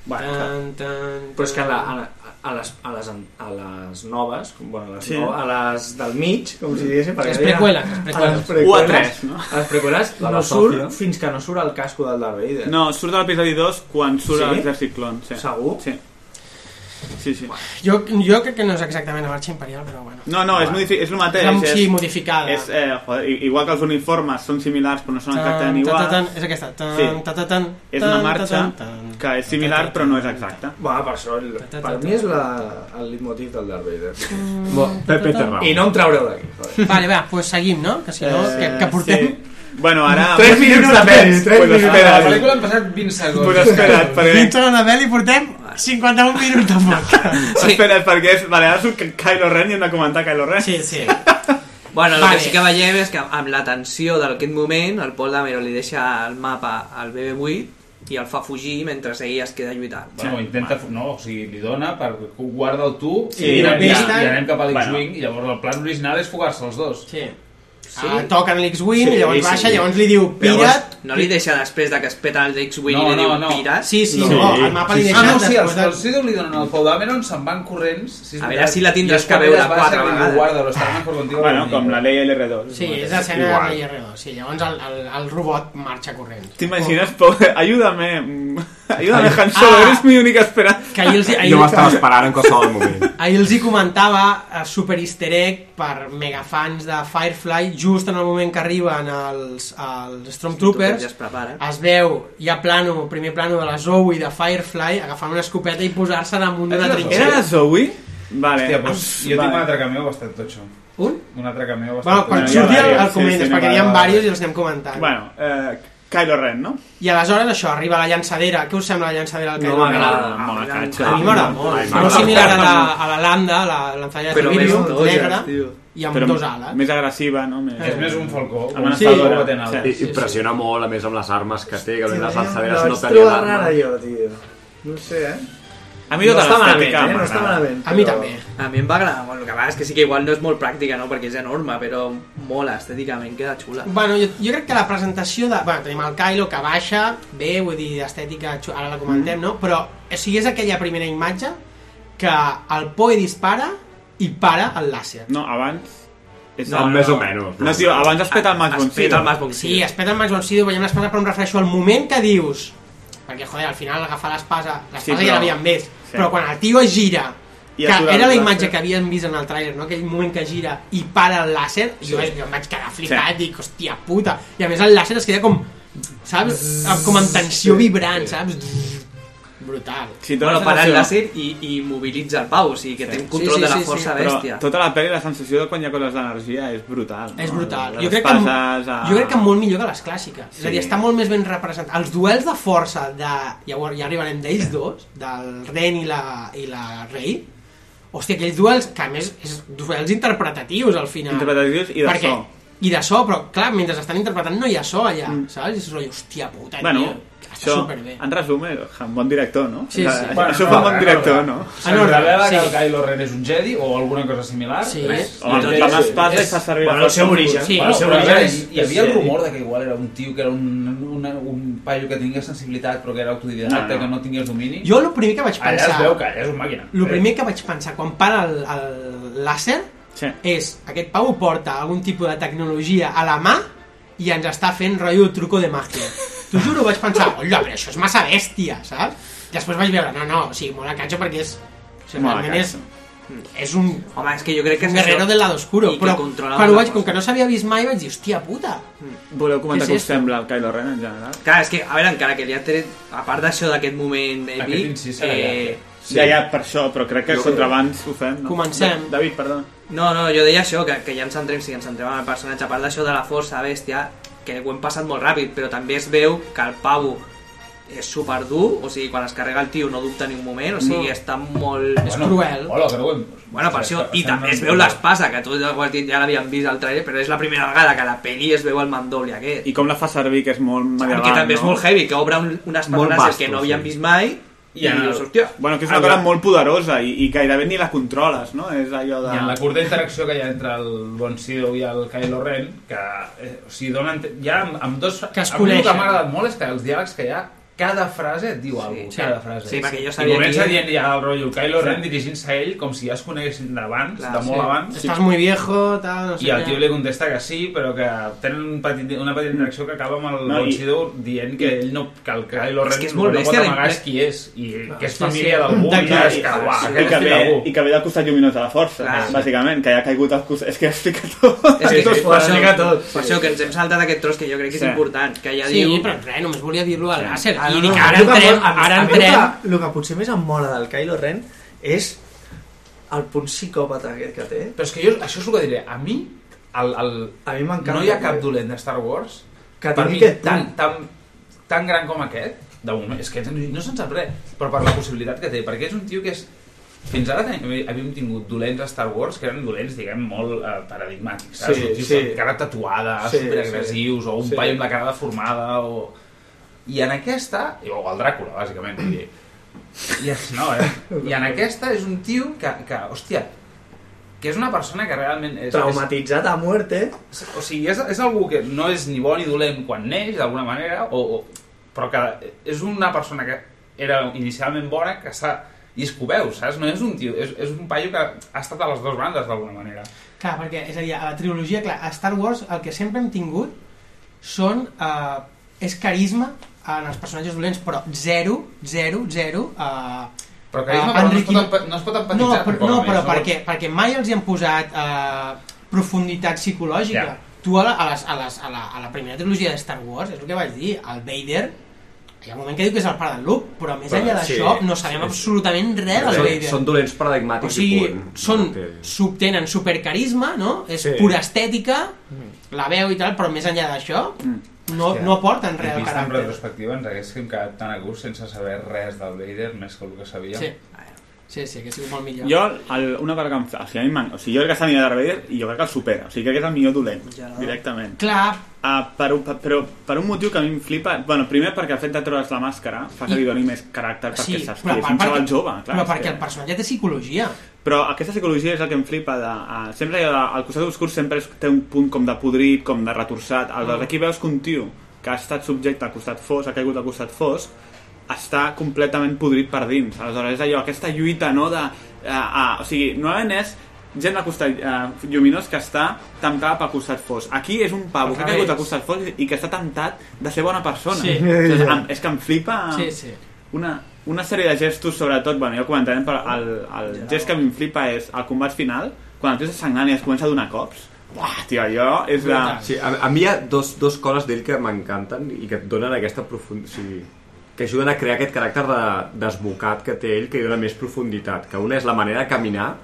S12: Bueno,
S7: Eh,
S1: tan, tan,
S12: Però és que a, la, a, a, les, a, les, a les noves, com- bueno, a les,
S1: Sí.
S12: sí. no, a les del mig, com si diguéssim... perquè
S1: Les
S12: deien-
S1: preqüeles, les preqüeles.
S12: A les preqüeles,
S9: U a tres, no?
S12: A les preqüeles
S9: La
S12: no
S9: Sofia.
S12: surt fins que no surt el casco del Darth Vader.
S9: No, surt de l'episodi 2 quan surt
S12: Sí?
S9: sí? l'exèrcit clon. Sí.
S12: Segur?
S9: Sí. Sí, sí.
S1: Jo, jo crec que no és exactament la marxa imperial, però bueno.
S9: No, no, és, modifi és el mateix.
S1: Amb-
S9: és,
S1: sí, modificada.
S9: És, eh, joder, i- igual que els uniformes són similars però no són exactament
S1: Tan,
S9: igual.
S1: tan, tan, tan, és aquesta. Tan, tan, tan, tan,
S9: és una
S1: tan,
S9: marxa
S1: tan, tan, tan.
S9: que és similar però no és exacta.
S12: Va, per això, el, per mi és la, el leitmotiv del Darth Vader.
S1: Mm.
S9: Bo, Pepe té raó.
S12: I no em traureu d'aquí. joder.
S1: Vale, va, pues seguim, no? Que si no,
S12: Eh,
S1: que, que portem...
S9: Sí. Bueno, ara...
S1: Tres minuts de
S9: pelis,
S1: tres
S9: pues
S1: minuts.
S9: espera't.
S1: Ah, la pel·lícula
S19: han passat 20 segons.
S9: Pues espera't, perquè...
S1: Fins a la pel·li portem 51 minuts de podcast.
S9: Sí. Espera't, perquè és... Vale, ara surt Kylo Ren i hem de comentar Kylo Ren.
S1: Sí, sí.
S7: Bueno, el
S1: Vale.
S7: que sí que veiem és que amb la tensió d'aquest moment, el Paul Damero li deixa el mapa al BB-8 i el fa fugir mentre ell es queda lluitant.
S19: Bueno, intenta... No, o sigui, li dona per... Guarda'l tu
S7: Sí,
S19: i, i,
S7: una
S19: i, i
S7: pista.
S19: anem cap a l'X-Wing
S7: Bueno.
S19: i llavors el plan original és fugar-se els dos.
S1: Sí. Sí. Ah, toquen l'X-Wing, sí, llavors baixa, llavors li diu,
S7: Llavors,
S1: pira't...
S7: no li deixa després de que es peta el X-Wing
S19: No,
S7: i li
S19: no,
S7: diu
S19: no.
S7: pira't?
S1: Sí, sí, No. no, el mapa li
S7: Sí, sí.
S19: Ah, no,
S7: sí,
S19: sí, els,
S7: els-
S19: els Sidor li donen el Pau Dameron, se'n van corrents... Si és
S7: A veure
S19: veritat.
S7: si la
S19: I
S7: tindràs
S19: es
S7: que veure
S19: es va
S7: quatre
S19: seguir,
S7: vegades.
S19: Guarda-lo, està anant per contigo.
S9: Bueno, com la Leia i l'R2.
S1: Sí, és l'escena de Rei R2. Sí, llavors el, el, el robot marxa corrent.
S9: T'imagines, pobre... Ayúdame. mm, Ayúdame, Han Solo,
S1: Ah.
S9: eres mi única esperança.
S1: Que ahir els- ahir-
S22: Jo m'estava esperant en qualsevol moment.
S1: Ahir els hi comentava eh, super easter egg per megafans de Firefly, just en el moment que arriben els, els Stormtroopers,
S7: Ja es prepara.
S1: es veu, hi ha plano, primer plano de la Zoe de Firefly, agafant una escopeta i posar-se damunt d'una
S9: Era la
S1: trinxera.
S9: Zoe? Vale.
S19: Hòstia, doncs,
S9: Ah,
S19: jo
S9: vale.
S19: tinc un altre cameo bastant totxo.
S1: Un?
S19: Un altre cameo bastant
S1: Bueno, quan surti el, el comentes, perquè n'hi ha diversos i els anem comentant.
S9: Bueno, eh, Kylo Ren, no?
S1: I aleshores això, arriba la llançadera. Què us sembla la llançadera? del Kylo Ren?
S9: molt la catxa.
S1: A mi m'agrada molt. Molt similar a la, a la Landa, la lanzadera de
S9: Però més
S1: Servilium,
S9: amb dos,
S1: negra,
S9: tio.
S1: i amb
S9: Però
S1: dos ales.
S9: Més agressiva, no? Més...
S19: És més un falcó.
S1: Sí.
S22: I, impressiona molt, a més, amb les armes que té, que les lançaderes no
S12: La vaig
S22: tenien
S12: trobar rara,
S22: armes.
S12: jo, tio. No ho sé, eh?
S9: A
S12: mi tota No està l'estètica malament, eh? No m'agrada. està malament,
S7: A mi
S12: però-
S7: també. A mi em va agradar molt. El que va és que sí que igual no és molt pràctica, no? Perquè és enorme, però mola, estèticament queda xula.
S1: Bueno, jo, jo crec que la presentació de... Bueno, tenim el Kylo que baixa, bé, vull dir, estètica, xu- ara la comentem, no? Però, o sigui, és aquella primera imatge que el Poe dispara i para el làser.
S9: No, abans... És
S22: No, més o menys.
S12: pues,
S9: No, tio, abans has peta el Max von Sydow.
S1: Sí, es peta el Max von Sydow, veiem l'espasa, però em refereixo al moment que dius... Perquè, joder, al final agafar l'espasa, l'espasa
S9: Sí,
S1: ja
S9: però-
S1: l'havíem vist,
S9: Sí.
S1: però quan el tio es gira,
S9: I
S1: que
S9: atura el
S1: era la
S9: làser.
S1: imatge que havíem vist en el tràiler, no? aquell moment que gira i para el làser, jo,
S9: Sí.
S1: jo em vaig quedar flipat, dic, hòstia puta, i a més el làser es queda com, saps? Amb- Com en tensió vibrant, saps? Brutal.
S9: Sí,
S7: bueno,
S9: la
S7: para el
S9: sensació-
S7: làser i, i mobilitza el pau, o sigui que té un control de la força bèstia.
S9: Però tota la pel·li, la sensació de quan hi ha coses d'energia és brutal. No?
S1: És brutal.
S9: Les
S1: Jo crec, que,
S9: espases, a...
S1: jo crec que molt millor que les clàssiques. Sí. És
S9: Sí.
S1: a dir, està molt més ben representat. Els duels de força de... Llavors, ja arribarem d'ells dos, del Ren i la, i la Rei, hòstia, aquells duels, que a més, és duels interpretatius al final.
S9: Interpretatius i de
S1: Perquè,
S9: so.
S1: I de so, però clar, mentre estan interpretant no hi ha so allà, mm. saps? I és rotllo, hòstia puta,
S9: Bueno,
S1: tio, està
S9: això,
S1: superbé.
S9: en resum, és un bon director, no?
S1: Sí, sí.
S9: Bueno, això fa un bon director, Ah, no?
S19: En ordre, revela que el Kylo Ren és un Jedi o alguna cosa similar.
S1: Sí.
S19: Res.
S9: Home,
S19: Doncs
S9: fa
S19: és-
S9: les passes
S19: és-
S9: i fa servir Bueno, la el seu força. origen,
S19: Sí,
S9: el
S19: no,
S9: seu
S19: però
S9: origen
S19: hi-
S9: és-
S19: hi havia el
S9: és
S19: rumor
S9: Jedi.
S19: de que igual era un tio que era un, un, un paio que tingués sensibilitat però que era autodidacta,
S1: No, no.
S19: que no tingués domini.
S1: Jo el primer que vaig
S19: Allà
S1: pensar...
S19: es veu que allà és un màquina. Eh,
S1: El primer que vaig pensar quan para el, el làser
S9: sí.
S1: és aquest Pau porta algun tipus de tecnologia a la mà i ens està fent rotllo truco de màgia. T'ho juro, vaig pensar, olla, però això és massa bèstia, saps? Després vaig veure, no, no, o sigui, mola canxo perquè és... O sigui,
S7: Mola
S1: realment és,
S7: canxo.
S9: Mm.
S1: és un...
S7: Home, és que jo crec que
S1: un
S7: és
S1: guerrero
S7: això.
S1: del lado oscuro,
S7: I que
S1: però
S7: controla
S1: quan ho
S7: molta
S1: vaig, com que no s'havia vist mai, vaig dir, hòstia puta.
S9: Voleu comentar
S7: Què
S9: què
S7: és
S9: us sembla el Kylo Ren en general?
S7: Clar, és que, a veure, encara que li ha tret, a part d'això d'aquest moment èpic...
S9: Aquest incís era llarg, eh?
S7: sí.
S9: Ja, ja, per això, però crec que
S7: Jo
S9: contra
S7: crec.
S9: abans ho fem, no?
S7: Comencem.
S9: David, perdona.
S7: No, no, jo deia això, que, que ja ens centrem, sí, ens centrem en el personatge, a part d'això de la força bèstia, que ho hem passat molt ràpid, però també es veu que el pavo
S13: és super dur, o sigui, quan es carrega el tio no dubta ni un moment, o sigui,
S19: No.
S13: està molt... és
S19: Bueno,
S13: cruel.
S19: hola, però bueno.
S13: Bueno, per això, i
S19: Estem
S13: també es
S19: en-
S13: veu l'espasa, que tu ja ho has dit, ja l'havíem vist al trailer, però és la primera vegada que a la peli es veu el mandoble aquest.
S9: I com la fa servir, que és molt medieval,
S13: que també
S9: no?
S13: és molt heavy, que obre un, unes
S9: Molt
S13: persones
S9: vasto,
S13: que no havíem
S9: sí.
S13: vist mai, i,
S9: en el-
S13: dius, hòstia...
S9: Bueno, que és una cosa molt poderosa i, i gairebé ni la controles, no? És allò de...
S19: I en la curta interacció que hi ha entre el Bon Sido i el Kylo Ren, que eh, o sigui, donen... Ja amb, amb dos...
S7: Que es
S19: a mi el que
S7: coneixen.
S19: m'ha agradat molt és que els diàlegs que hi ha, cada frase et diu sí, alguna cosa,
S13: sí.
S19: cada frase.
S13: Sí, perquè jo sabia
S19: I comença
S13: que-
S19: dient ja el rotllo Kylo
S13: Sí.
S19: Ren dirigint-se a ell com si ja es coneguessin d'abans,
S13: Clar,
S19: de molt
S13: sí.
S19: abans.
S7: Estás muy viejo, tal, no sé
S19: I el
S7: què.
S19: tio li contesta que sí, però que tenen un petit, una petita interacció que acaba amb el
S7: No,
S19: no,
S7: i-
S19: Bon Sido dient que ell no, que el Kylo
S13: És
S19: Ren
S13: que és molt
S19: no pot
S13: bèstia la
S19: amagar és
S13: imple-
S19: qui és, i que és
S13: Sí,
S19: família
S13: sí.
S19: d'algú,
S13: De
S19: i
S13: clar,
S19: és que,
S13: clar,
S19: uah,
S13: sí.
S19: aquest
S9: I que,
S19: és
S9: ve,
S19: d'algú.
S9: I que ve del costat lluminós de la força,
S13: Clar.
S9: bàsicament, que ja ha caigut al costat... És que explica tot.
S13: És que,
S9: Tot
S13: per, això,
S9: explica tot.
S13: per això que ens hem saltat aquest tros que jo crec que és
S9: Sí.
S13: important, que ja
S7: Sí,
S13: diu...
S7: però res, només volia dir-lo al Làser.
S13: Ah, no,
S7: I dic,
S13: no,
S7: ara
S13: a mi el que
S7: entrem,
S13: em mola-
S7: ara
S13: a mi el que-
S7: entrem...
S13: Ren.
S8: El que potser més em mola del Kylo Ren és el punt psicòpata aquest que té.
S19: Però és que jo, això és el que diré, a mi, el, el,
S8: a mi
S19: no hi ha cap dolent de Star Wars
S8: Que
S19: per
S8: tingui
S19: mi
S8: aquest
S19: tan,
S8: punt.
S19: tan, tan gran com aquest, de moment, és que no, no se'n sap res, però per la possibilitat que té, perquè és un tio que és... Fins ara tenim- havíem tingut dolents a Star Wars que eren dolents, diguem, molt eh, paradigmàtics. Saps?
S8: Sí,
S19: Sí, sí.
S8: sí.
S19: Amb cara tatuada,
S8: Sí,
S19: sí, superagressius,
S8: sí.
S19: o un
S8: Sí.
S19: sí. paio amb la cara deformada, o... I en aquesta, o el Dràcula, bàsicament, vull dir... I, no, eh? I en aquesta és un tio que, que hòstia, que és una persona que realment és...
S8: Traumatitzat a muerte.
S19: O sigui, és, és algú que no és ni bon ni dolent quan neix, d'alguna manera, o, o, però que és una persona que era inicialment bona, que s'ha... I és que ho veus, saps? No és un tio, és, és un paio que ha estat a les dues bandes, d'alguna manera.
S7: Clar, perquè, és a dir, a la trilogia, clar, a Star Wars el que sempre hem tingut són... Eh, és carisma en els personatges dolents, però zero, zero, zero... Eh,
S19: Però carisma, però no es pot empa- no es pot empatitzar,
S7: No, però,
S19: com a
S7: no,
S19: més,
S7: però
S19: no
S7: perquè, perquè mai els hi han posat eh, profunditat psicològica.
S19: Ja.
S7: Tu a la, a, les, a, les, a, la, a la primera trilogia de Star Wars, és el que vaig dir, el Vader, hi ha un moment que diu que és el pare del Luke, però més
S12: Però,
S7: enllà
S12: sí,
S7: d'això no sabem
S12: sí.
S7: absolutament
S1: eh,
S7: res del
S12: Són,
S7: Vader.
S12: són dolents paradigmàtics
S7: O sigui,
S12: i punt.
S7: són, subtenen supercarisma, no? És
S12: Sí.
S7: pura estètica, la veu i tal, però més enllà d'això, no,
S19: Hòstia.
S7: no aporten
S19: I
S7: res al
S19: vist en
S7: caràcter.
S19: retrospectiva ens haguéssim quedat tan a gust sense saber res del Vader, més que el que sabíem.
S7: Sí. Sí, sí, que ha sigut molt millor.
S9: Jo, el, una cosa que em fa... O sigui, a mi m'en- o sigui, jo crec que s'ha mirat Darth Vader i jo crec que el supera. O sigui, crec que és el millor dolent, directament.
S7: Clar,
S9: Uh, per, un- per- però per un motiu que a mi em flipa... Bueno, primer perquè el fet de treure's la màscara fa que li doni més caràcter perquè
S7: sí,
S9: saps
S7: però,
S9: que és
S7: per-
S9: un xaval
S7: perquè-
S9: jove. Clar,
S7: però
S9: és
S7: perquè
S9: que-
S7: el personatge té psicologia.
S9: però aquesta psicologia és el que em flipa de, uh, sempre allò de, el costat obscur sempre és, té un punt com de podrit, com de retorçat el de
S7: Mm.
S9: aquí veus que un tio que ha estat subjecte al costat fosc, ha caigut al costat fosc està completament podrit per dins aleshores és allò, aquesta lluita no, de, uh, uh, o sigui, normalment és gent del costat uh, lluminós que està temptada pel costat fosc aquí és un pavo
S7: Al
S9: que ha
S7: revés.
S9: caigut al costat fosc i que està temptat de ser bona persona
S7: Sí.
S9: Aleshores, em- és que em flipa
S7: Sí, sí.
S9: una, una sèrie de gestos, sobretot, bueno, ja ho comentarem, però el, el gest que m'inflipa és el combat final, quan el tio està sangrant i es comença a donar cops. Buah, tio, jo és la...
S12: Sí, a, a mi hi ha dos, dos coses d'ell que m'encanten i que et donen aquesta profunditat... O sigui, que ajuden a crear aquest caràcter de, desbocat que té ell, que li dona més profunditat. Que una és la manera de caminar,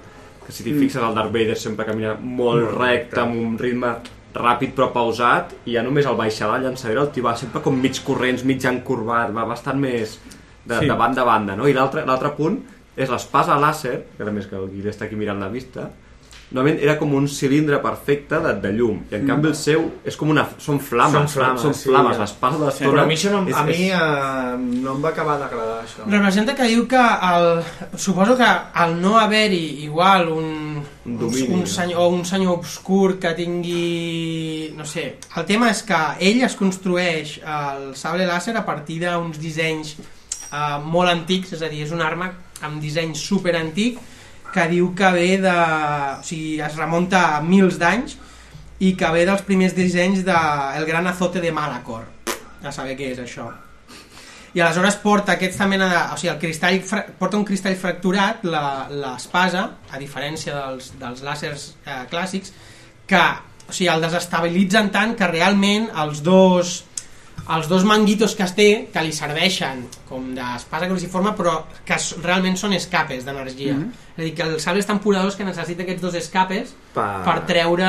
S12: que si t'hi
S14: Mm.
S12: fixes el Darth Vader sempre camina molt
S14: Molt
S12: recte,
S14: recte.
S12: amb un ritme ràpid però pausat, i ja només el baixar la llançadera el tio va sempre com mig corrents, mig encorbat, va bastant més de,
S14: Sí.
S12: sí. de banda a banda, no? I l'altre l'altre punt és l'espasa làser, que a més que el Guille està aquí mirant la vista, normalment era com un cilindre perfecte de, de llum i en
S8: Mm.
S12: canvi el seu és com una... són flames,
S8: Són
S12: són
S8: flames,
S12: flames, són
S8: sí,
S12: flames,
S8: ja.
S12: l'espasa de l'estona...
S8: Però a mi, això no,
S12: és-
S8: a mi
S12: és-
S8: eh, no em va acabar d'agradar això.
S7: Representa que diu que el, suposo que al no haver-hi igual un,
S12: Un
S7: un,
S12: domini,
S7: un,
S12: no?
S7: senyor, o un senyor obscur que tingui... no sé, el tema és que ell es construeix el sable làser a partir d'uns dissenys eh, molt antics, és a dir, és una arma amb disseny super antic que diu que ve de... o sigui, es remunta a mils d'anys i que ve dels primers dissenys de El gran azote de Malacor. A saber què és això. I aleshores porta aquesta mena de... O sigui, el cristall fra- porta un cristall fracturat, la- l'espasa, a diferència dels, dels làsers eh, clàssics, que o sigui, el desestabilitzen tant que realment els dos els dos manguitos que es té que li serveixen com d'espasa cruciforme però que s- realment són escapes d'energia
S14: Mhm.
S7: és a dir, que el sable és tan poderós que necessita aquests dos escapes
S14: Per-
S7: per treure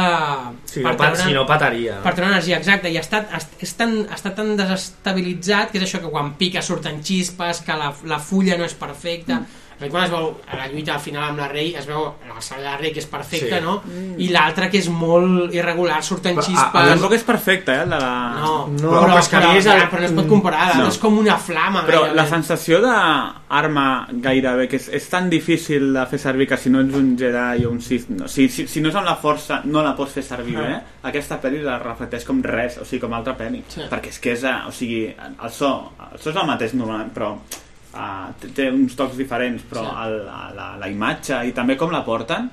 S14: Si no pa- si no petaria, no?
S7: per treure energia, exacte i està, est- és tan, està tan desestabilitzat que és això que quan pica surten xispes que la, la fulla no és perfecta mm. quan es veu a la lluita al final amb la rei es veu el sable de la rei que és perfecte
S9: Sí.
S7: no?
S9: Mm.
S7: i l'altre que és molt irregular surten
S9: Però,
S7: xispes
S9: a, a tampoc és perfecta, eh? La...
S7: No, no, però, però, però, ja, però no
S12: Mm.
S7: es pot comparar, no. és com una
S14: Ah,
S7: flama.
S9: Però
S7: gairebé.
S9: la sensació d'arma gairebé, que és, és tan difícil de fer servir que si no ets un Jedi o un Sith... No, si, si, si no és amb la força, no la pots fer servir,
S14: Ah.
S9: eh? Aquesta pel·li la reflecteix com res, o sigui, com altra pel·li.
S14: Sí.
S9: Perquè és que és... eh, O sigui, el so, el so és el mateix normalment, però... Uh, té uns tocs diferents però
S14: Sí.
S9: el, la, la, la imatge i també com la porten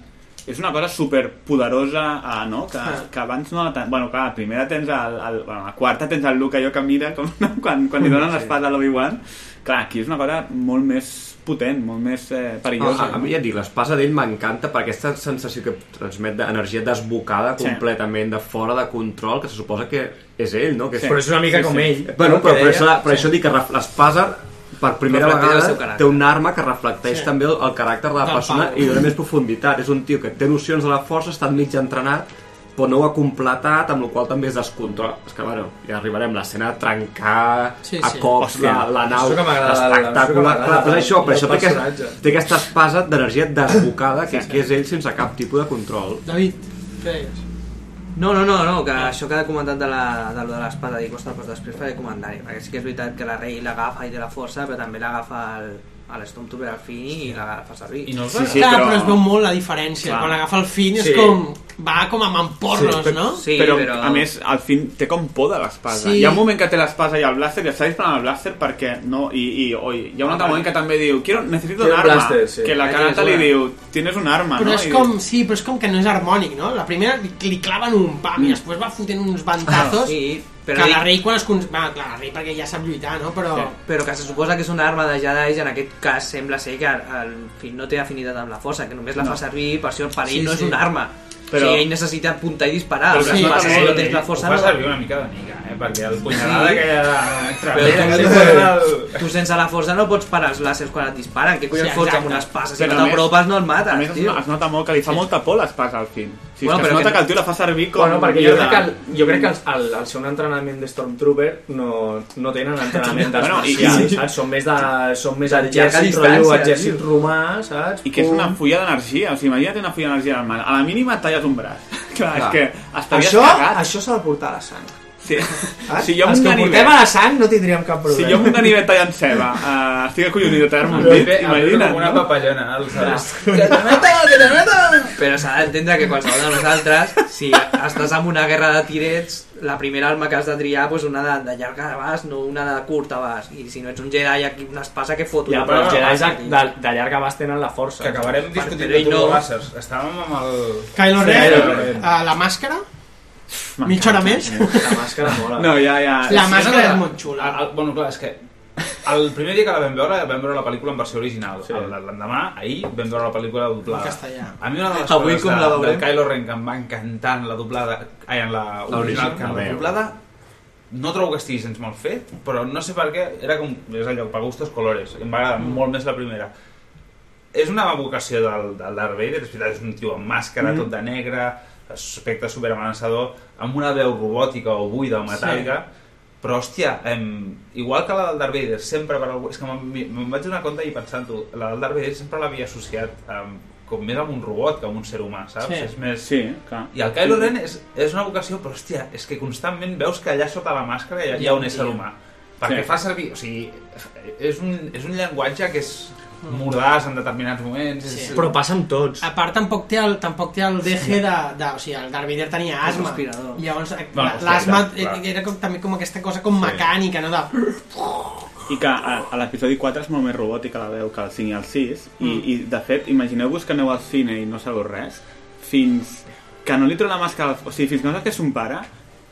S9: és una cosa super poderosa uh, no? que,
S14: Sí.
S9: que abans no la ten... bueno, clar, la primera tens el, el, bueno, la quarta tens el Luke allò que mira com, no? quan, quan li donen
S12: Sí.
S9: l'espada a l'Obi-Wan clar, aquí és una cosa molt més potent molt més eh, perillosa
S12: Ah, A, a mi ja et dic, l'espasa d'ell m'encanta per aquesta sensació que transmet d'energia desbocada
S9: Sí.
S12: completament de fora de control, que se suposa que és ell, no? Que
S14: Sí. Però és una mica com ell.
S12: Bueno,
S14: El que
S12: però, però,
S14: deia.
S12: això,
S14: Sí.
S12: però això dic que ref- l'espasa per primera
S14: Reflecteix el seu
S12: vegada
S14: caràcter.
S12: té una arma que reflecteix
S14: Sí.
S12: també el, el caràcter de la
S14: Del
S12: persona
S14: Pau.
S12: i dona més profunditat. És un tio que té nocions de la força, està mig entrenat, però no ho ha completat, amb la qual cosa també és descontrol. És que, bueno, ja arribarem. L'escena de trencar
S14: Sí,
S12: a
S14: sí.
S12: cops
S14: Hòstia,
S12: la, la nau,
S14: això que m'agrada, això que
S12: l'espectacle...
S14: m'agrada,
S12: Clar, però és això,
S14: del
S12: però això té,
S14: personatge.
S12: que, té aquesta espasa d'energia desbocada que, que és ell sense cap tipus de control.
S7: David, què deies?
S13: No, no, no, no que això que ha comentat de, la, de, lo de l'espada, dic, ostres, doncs després faré comentari, perquè sí que és veritat que la rei l'agafa i té la força, però també l'agafa el, a l'Stormtrooper al fin i l'agafa servir.
S7: I no el Sí, sí, Clar, però- però es veu molt la diferència. Clar. Quan agafa el fin és com- va com amb emporros,
S9: però,
S7: no?
S9: Sí, però, però, a més, al fin té com por de l'espasa.
S7: Sí.
S9: Sí. Hi ha un moment que té l'espasa i el blàster i està disparant el blàster perquè no... I, i oi, hi ha un altre moment que també diu Quiero, necessito
S14: Quiero
S9: un
S14: un
S9: arma.
S14: blaster, sí.
S9: Que la
S14: Ja
S9: Kanata li
S14: tienes una.
S9: diu Tienes un arma,
S7: Però
S9: no?
S7: és
S9: I
S7: com, sí, però és com que no és harmònic, no? La primera li, li claven un pam i després va fotent uns ventazos
S13: Sí,
S7: però
S13: però-
S7: que la rei quan es... Cons... Va, clar, la rei perquè ja sap lluitar, no? Però...
S13: Però, però que se suposa que és una arma de Jedi i en aquest cas sembla ser que el fill no té afinitat amb la força, que només la
S7: No.
S13: fa servir per si per ell
S7: Sí,
S13: no és
S7: sí.
S13: una arma. Però...
S19: Però-
S13: Si ell necessita apuntar i disparar,
S19: Però
S13: però
S19: sí,
S13: si
S19: sí,
S13: no tens la
S19: ho
S13: força...
S19: fa
S13: no-
S19: servir una mica de mica, eh? Perquè el punyalada sí. aquella de...
S13: Però
S19: Sí,
S13: tu,
S19: sí.
S13: tu sense la força no pots parar els làsers quan et disparen. Què collons
S9: Sí,
S13: fots amb
S9: exacte.
S13: una espasa? Si
S9: Però
S13: no
S9: a més-
S13: t'apropes no el mates,
S9: A més,
S13: tio.
S9: es nota molt que li fa molta por l'espasa al fin. Sí,
S13: Bueno,
S9: bueno, que es
S13: però
S9: nota
S13: que-
S9: que el tio la fa servir com...
S13: Bueno,
S9: perquè
S13: perquè
S9: jo
S13: jo
S9: de...
S13: crec
S9: que...
S13: que
S9: El...
S13: el-
S8: Jo crec que els, el, el seu entrenament de Stormtrooper no, no tenen entrenament d'arts
S9: Bueno, i-
S8: marcials,
S9: i-
S8: saps? Són més, de, són més
S9: Llarga
S8: exèrcit,
S9: distància,
S8: rotllo,
S9: tio.
S8: exèrcit romà, saps?
S9: I que és
S8: Pum.
S9: una fulla d'energia, o sigui, imagina't una fulla d'energia en el mà. A la mínima et talles un braç. Clar, és
S8: Clar.
S9: que estaries
S8: això,
S9: cagat.
S8: això s'ha de portar a la sang.
S9: Sí.
S12: Ah,
S8: Eh?
S9: Si jo amb
S8: els
S9: un
S8: que ho
S9: ganivet-
S8: portem a la sang no tindríem cap
S9: Si
S8: problema.
S9: jo amb un ganivet tallant ceba uh, estic acollonit de terra amb un
S19: Però
S9: dit,
S19: ve- a veure
S9: imagina't.
S19: com una
S9: papallona, no?
S13: Però s'ha d'entendre que qualsevol de nosaltres, si estàs en una guerra de tirets, la primera arma que has de triar és una de, de llarg abast, no una de curt abast. I si no ets un Jedi, aquí una espasa que fot.
S8: Ja, però els Jedi de, de, de llarg abast tenen la força.
S13: Que acabarem discutint
S8: Però ell
S13: de
S19: turbolàsers. Estàvem amb el...
S7: Kylo
S8: Sí,
S7: Ren, Ah.
S8: Kylo Ren.
S7: a la màscara, mitja hora més...
S8: La màscara mola.
S9: No, ja, ja.
S7: La màscara és
S19: molt xula. El, el, bueno, clar, és que el primer dia que la vam veure, vam veure la pel·lícula en versió original. Sí. L'endemà, ahir, vam veure la pel·lícula doblada.
S7: En castellà.
S19: A mi una de les
S13: Avui
S19: coses
S13: com
S19: de,
S13: la
S19: del
S13: veurem?
S19: Kylo Ren que em va encantar en la doblada, ai, en la original, que en la
S12: L'original.
S19: doblada, no trobo que estigui gens mal fet, però no sé per què, era com, és allò, per gustos colores, em va agradar
S7: Mm.
S19: molt més la primera. És una evocació del, del Darth Vader, és veritat, és un tio amb màscara,
S7: Mm.
S14: Mhm.
S19: tot de negre, aspecte superamenaçador, amb una veu robòtica o buida o metàl·lica, però, hòstia, em, igual que la del Darth Vader, sempre per algú... És que me'n- me'n vaig donar compte i pensant-ho, la del Darth Vader sempre l'havia associat amb, com més amb un robot que amb un ser humà, saps?
S9: Sí.
S19: És més...
S9: Sí, clar.
S19: I el Kylo Ren és, és una vocació, però, hòstia, és que constantment veus que allà sota la màscara hi ha, hi ha un ésser humà. Perquè
S9: Sí.
S19: fa servir... O sigui, és un, és un llenguatge que és mordàs en determinats moments.
S7: Sí.
S19: És...
S7: Però
S8: passa amb tots.
S7: A part, tampoc té el, tampoc té el DG de, de... O sigui, el Darth Vader tenia
S13: El
S7: asma.
S13: respirador.
S7: Llavors, eh,
S9: Bueno,
S7: l'asma
S9: sí, clar, clar.
S7: era com, també com aquesta cosa com mecànica,
S12: Ah,
S7: no? De...
S9: I que a, a l'episodi 4 és molt més robòtica la veu que el 5 i el 6 i,
S7: Mm.
S9: i de fet, imagineu-vos que aneu al cine i no sabeu res fins que no li treu la màscara al- o sigui, fins que no sap que és un pare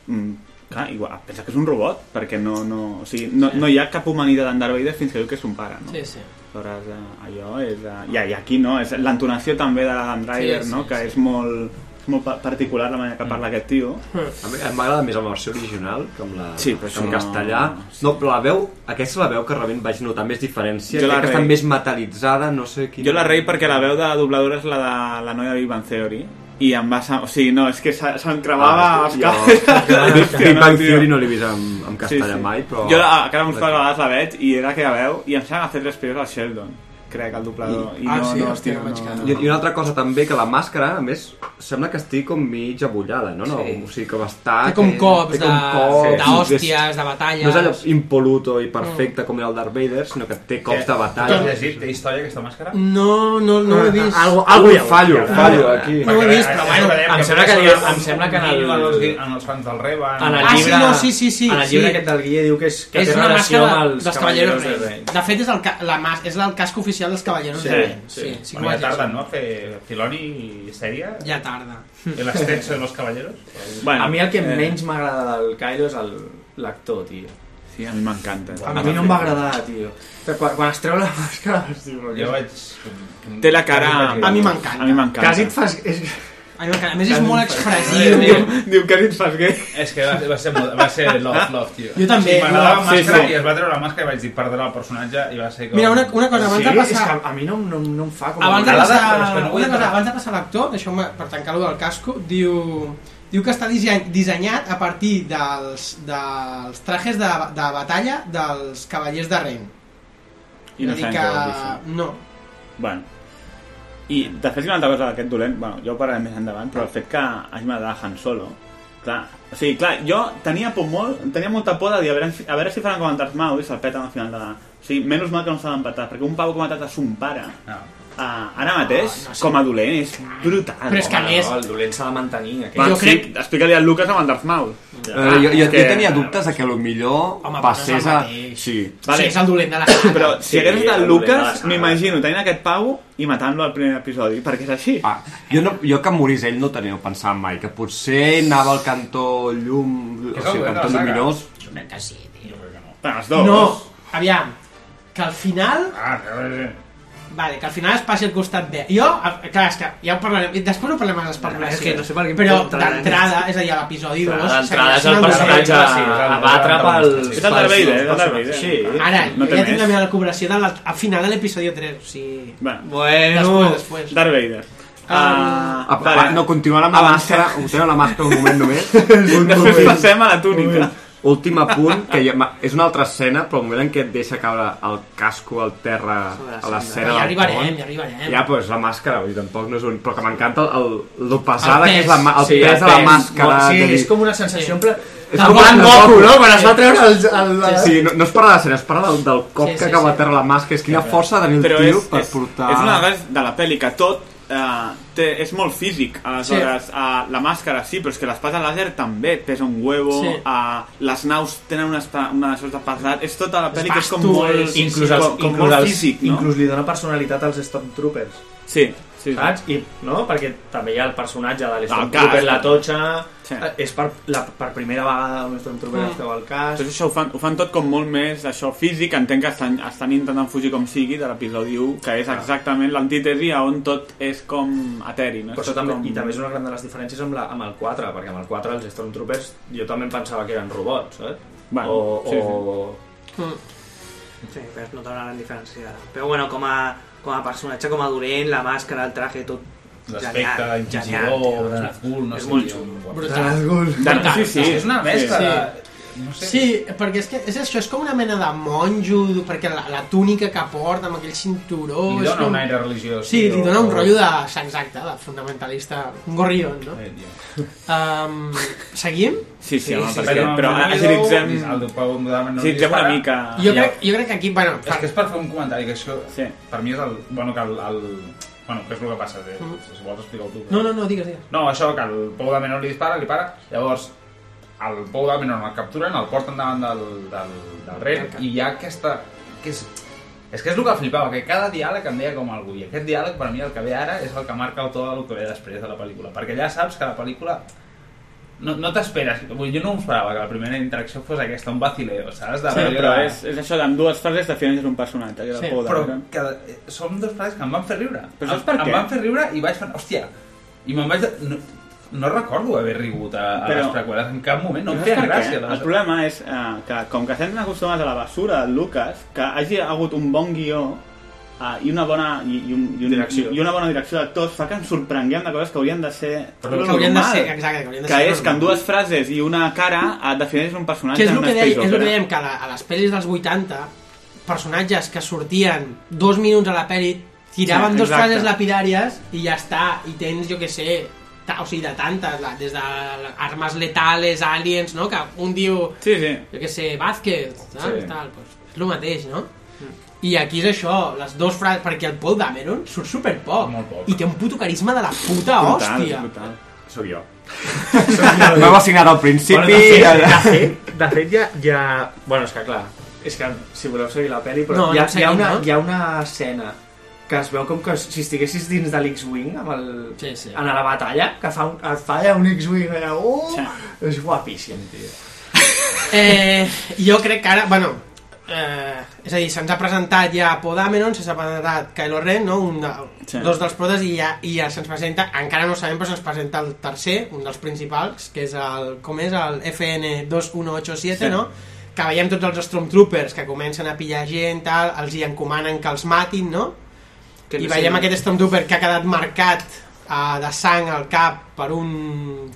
S9: mm, clar, igual, pensa que és un robot perquè no, no, o sigui, no, no hi ha cap humanitat en Darth Vader fins que diu que és un pare no?
S7: Sí, sí.
S9: Aleshores, eh, allò és... Eh, I i aquí no, és l'entonació també de l'Adam Driver,
S7: Sí, Mm. sí,
S9: no? que és molt, molt pa- particular la manera que parla aquest tio.
S12: A mi m'agrada més amb la versió original que amb la
S9: Sí,
S12: sí,
S9: però això
S12: en
S9: no-
S12: castellà. No, però la veu, aquesta és la veu que realment vaig notar més diferència.
S9: Jo la
S12: Crec que està
S9: rei.
S12: més metalitzada, no sé quina...
S9: Jo la rei perquè la veu de la dobladora és la de la noia de Big Bang Theory i em va... sem- O sigui, no, és que se- se'm cremava
S12: Ah,
S9: els
S12: jo-
S9: cabells.
S12: Big Bang
S9: tio.
S12: Theory no l'he vist en- en castellà mai, però-
S9: Jo la, ah, cada uns quants vegades la veig i era aquella veu i em sembla que ha fet les primeres al Sheldon, crec, el doblador. I, no, no, hòstia, no,
S12: I, I una altra cosa també, que la màscara, a més, sembla que estigui com mig abullada, no? no?
S7: Sí.
S12: O sigui, com està...
S7: Té com
S12: que-
S7: cops
S12: té com
S7: de-
S12: cops,
S7: d'hòsties,
S12: i és-
S7: de batalles.
S12: No és allò impoluto i perfecte com era el Darth Vader, sinó que té cops de
S19: Tu
S12: batalla.
S19: has llegit de història aquesta màscara?
S7: Mm. No, no, no ho he vist.
S12: Algo- algo Algú hi ha. fallo,
S19: Ah,
S12: fallo aquí.
S7: Ah, No ho he vist, però bueno,
S19: em sembla que, em sembla que en, el, en, els, en els fans del Reba...
S7: En el Ah, sí, llibre- no, sí, sí, sí, en el sí. llibre aquest
S19: del Guille diu que és,
S7: és una màscara de- dels Cavalleros Reis. De fet, és el, ca- la mas, és el casc oficial dels Cavalleros
S19: Sí,
S7: Reis.
S19: sí. sí,
S7: sí que
S19: bueno, ja
S7: ho vaig
S19: tarda,
S7: llegir.
S19: no?, a fer Filoni i sèrie.
S7: Ja tarda.
S19: El ascenso de los caballeros.
S9: Bueno,
S8: a mi el que
S9: eh.
S8: menys m'agrada del Kylo és el- l'actor, tio.
S9: Sí, a mi m'encanta.
S8: A mi no em va agradar, tio. Però Quan, quan es treu la màscara, hosti, bro,
S19: Jo vaig...
S9: Té la cara...
S8: A mi m'encanta.
S9: A mi m'encanta.
S8: Quasi et fas... És...
S7: A mi m'encanta. A més,
S8: Quasi
S7: és
S8: em
S7: molt
S8: fas-
S7: expressiu.
S9: Diu, diu que et fas gay.
S19: És que va, va ser, molt- va ser love, love, tio.
S7: Jo també,
S19: Sí, M'agradava la
S7: love, sí,
S19: màscara
S7: sí.
S19: i es va treure la màscara i vaig dir, perdrà el personatge i va ser com...
S7: Mira, una, una cosa, abans
S19: Sí?
S7: de
S19: És
S7: passar...
S19: que
S8: a mi no, no, no em fa
S19: com-
S7: Abans de
S19: M'agrada,
S7: passar,
S19: però és que no vull
S7: una cosa,
S19: entrar.
S7: abans de passar a l'actor, deixeu-me per tancar-lo del casco, diu, diu que està disseny, dissenyat a partir dels, dels trajes de, de batalla dels cavallers de Ren.
S9: I no
S7: És a dir
S9: saben què vol dir això.
S7: que... No,
S9: Bueno. I, de fet, hi ha una altra cosa d'aquest dolent, bueno, ja ho parlarem més endavant, però el fet que hagi m'agradat Han Solo, clar, o sigui, clar, jo tenia por molt, tenia molta por de dir, a veure, a veure si faran com en Darth Maul i se'l peten al final de... O sigui, menys mal que no s'ha d'empatar, perquè un pavo que ha matat a son pare,
S12: Ah.
S19: no.
S9: uh, ara mateix, no, no sé. com a dolent, és brutal.
S7: Ah, Però és que, a
S9: Home,
S7: més-
S9: no,
S8: El dolent s'ha de mantenir.
S9: Va, jo sí, crec... explica-li al Lucas amb el Darth Maul.
S12: Eh,
S8: Ah,
S12: jo, jo, jo tenia dubtes de que millor
S9: Home,
S12: passés
S9: però no
S12: a...
S9: és el mateix.
S12: Sí.
S9: Vale.
S7: Sí, és el dolent de la saga.
S9: Però si
S12: Sí,
S9: hagués estat el
S12: el dolent de la
S9: Lucas,
S12: saga.
S9: m'imagino tenint aquest pavo i matant-lo al primer episodi, perquè és així.
S12: Ah, jo, no, jo que morís ell no tenia pensat mai, que potser anava al cantó llum... O sigui, al cantó lluminós...
S7: Jo crec que sí, tio.
S9: Els
S7: No, aviam, que al final...
S19: Ah, sí.
S7: Vale, que al final es passi al costat bé. Jo, eh, clar, és que ja ho parlarem, i després ho parlem a les especulacions.
S13: és que no sé per què
S7: Però
S13: entrar en
S7: d'entrada,
S13: aquest-
S7: és a dir, a l'episodi 2...
S13: Clar,
S8: Ah,
S13: d'entrada és el personatge
S7: eh?
S13: a- a batre pel- És el Darth Vader, és
S12: eh?
S13: el Darth Vader.
S7: Sí.
S13: Sí.
S7: Ara,
S13: No
S7: no
S13: té
S7: jo ja tinc
S13: més.
S7: la meva recuperació de la, al final de l'episodi 3, o sigui...
S9: Bueno,
S7: Després, després.
S9: Darth Vader.
S7: Ah,
S12: Ah, vale. no, continuant amb la màscara, ho tenen la màscara un moment només. Un
S9: Després passem a la túnica.
S12: Últim apunt, que ja, ma- és una altra escena, però el moment en què et deixa caure el casco al terra a l'escena
S7: Ja
S12: del
S7: arribarem,
S12: pont,
S7: ja arribarem.
S12: Ja, però és la màscara, vull dir, tampoc no és un... Però que m'encanta el, el, lo pesada
S8: El
S12: que és la, ma- el
S8: pes. Sí,
S12: pes
S8: el
S12: de la
S8: pes.
S12: màscara.
S8: Sí,
S12: de dir-
S8: és com una sensació en pla-
S12: És
S8: Del
S12: com Eh,
S8: Van
S12: un
S8: Goku, eh?
S12: Goku.
S8: no? Quan es va treure el-
S12: Sí,
S8: el-
S12: sí, no, no es parla de l'escena, es parla del, del cop
S8: Sí,
S12: que
S8: sí,
S12: acaba
S8: sí.
S12: a terra la màscara. És quina força de tenir el
S9: Però
S12: tio
S9: és-
S12: per
S9: és-
S12: portar...
S9: És una de les de la pel·li que tot eh, té, és molt físic, aleshores sí. eh, la màscara sí, però és que l'espasa làser també pesa un huevo,
S19: Sí.
S9: sí. eh, les naus tenen una, espa- una sort de pesat, és tota la pel·li que és com
S8: Bastu,
S9: molt,
S8: sí, sí, inclús, els,
S9: com, com
S8: inclús,
S9: molt
S8: els,
S9: físic, no?
S8: inclús li dona personalitat als Stormtroopers.
S9: Sí, sí.
S8: Saps? I, no? Perquè també hi ha el personatge de
S9: cas,
S8: l'Stormtrooper, la totxa...
S9: Sí.
S8: eh, És per, la, per primera vegada un Stormtrooper
S9: Mm.
S8: es treu al cas...
S9: Però això ho fan, ho fan tot com molt més això físic, entenc que estan, estan intentant fugir com sigui de l'episodi 1, que és exactament l'antítesi a on tot és com eteri. No?
S8: Però
S9: És
S8: això
S9: tot
S8: també,
S9: com...
S8: I també és una gran de les diferències amb, la, amb el 4, perquè amb el 4 els Stormtroopers jo també em pensava que eren robots, eh?
S9: Bueno,
S8: o,
S9: sí, sí.
S8: o...
S13: Sí, però es nota una gran diferència ara. Però bueno, com a, com a personatge, com a dolent, la màscara, el traje, tot...
S19: L'aspecte,
S13: genial,
S19: inquisidor,
S13: genial, tio.
S19: Gran Azul, no
S13: és
S19: sé,
S13: molt
S19: tio,
S13: xulo.
S7: Brutal.
S13: Brutal.
S7: Sí. No sé. sí, perquè és que és això, és com una mena de monjo, perquè la, la túnica que porta amb aquell cinturó...
S19: Li
S7: és
S19: dona
S7: com...
S19: un aire religiós,
S7: Sí,
S19: tio.
S7: li dona un rotllo de... Exacte, de fundamentalista. Un gorrión, no? Um, seguim?
S9: Sí, sí, home, perquè- però agilitzem- agilitzem una mica.
S7: Jo crec, jo crec que aquí, bueno...
S19: És que és per fer un comentari, que això
S9: sí.
S19: per mi és el... Bueno, que el, el bueno, que és el que passa, eh? si vols explicar-ho tu.
S7: Mm. No, no, no, digues, digues.
S19: No, això, que el Pou de Menor li dispara, li para, llavors el Pou de Menor el capturen, el porten davant del, del, del rei, i hi ha aquesta... Que és, és que és el que flipava, que cada diàleg em deia com algú, i aquest diàleg per mi el que ve ara és el que marca el to del que ve després de la pel·lícula, perquè ja saps que la pel·lícula no, no t'esperes, vull dir, jo no m'ho esperava que la primera interacció fos aquesta, un vacileo, saps?
S9: Sí,
S19: rotllo
S9: però
S19: de-
S9: és, és això d'amb dues frases defineixes un personatge. Que
S19: Sí,
S9: sí,
S19: però que, eh, són dos frases que em van fer riure.
S9: Però
S19: Em-
S9: saps per
S19: em
S9: què?
S19: van fer riure i vaig fer... Hòstia! I me'n vaig... De... No, no recordo haver rigut a, a
S9: Però-
S19: les preqüeles en cap moment, no em
S9: saps
S19: feien
S9: per què?
S19: gràcia.
S9: El problema és eh, que, com que estem acostumats a la basura del Lucas, que hagi hagut un bon guió eh, i una bona i, i, un, i, un,
S6: Direcció.
S9: i una bona direcció d'actors fa que ens sorprenguem de coses que haurien de ser
S7: Però que
S9: normal.
S7: haurien de ser- exacte, que haurien de
S9: que
S7: ser
S9: és que
S7: normal.
S9: en dues frases i una cara et defineix un personatge
S7: Que és el
S9: en eh?
S7: que,
S9: una
S7: deia,
S9: space
S7: és el que
S9: opera.
S7: dèiem, que a, la, a les pel·lis dels 80, personatges que sortien dos minuts a la pel·li, tiraven
S9: Sí,
S7: sí, dos
S9: exacte.
S7: frases lapidàries i ja està, i tens, jo que sé, ta, o sigui, de tantes, la, des de armes letales, aliens, no? Que un diu,
S9: sí, sí.
S7: jo que sé, Vázquez, saps?
S9: Sí.
S7: Tal, pues, és el mateix, no? I aquí és això, les dues frases, perquè el Paul Dameron surt superpoc. I té un puto carisma de la puta
S12: Brutal,
S7: hòstia.
S9: Brutal.
S12: Sóc jo. M'heu assignat al principi.
S6: Bueno, de, fet, de, fet, de fet, ja, ja... Bueno, és que clar, és que si voleu seguir la pel·li, però
S8: No,
S6: hi, ha, hi,
S8: no
S6: ha
S8: seguim,
S6: una,
S8: no?
S6: hi ha una escena que es veu com que si estiguessis dins de l'X-Wing amb el...
S7: sí, sí.
S6: en la batalla, que fa un, et falla un X-Wing allà, oh, és guapíssim, tio.
S7: Eh, jo crec que ara, bueno, eh, és a dir, se'ns ha presentat ja Podameron, se'ns ha presentat Kylo Ren, no? un de,
S9: Sí.
S7: dos dels protes, i ja, i ja se'ns presenta, encara no ho sabem, però se'ns presenta el tercer, un dels principals, que és el, com és, el FN2187,
S9: Sí.
S7: sí. no? que veiem tots els Stormtroopers que comencen a pillar gent, tal, els hi encomanen que els matin, no?
S13: Que
S7: I
S13: no
S7: veiem
S13: sigui-
S7: aquest Stormtrooper que ha quedat marcat eh, de sang al cap per un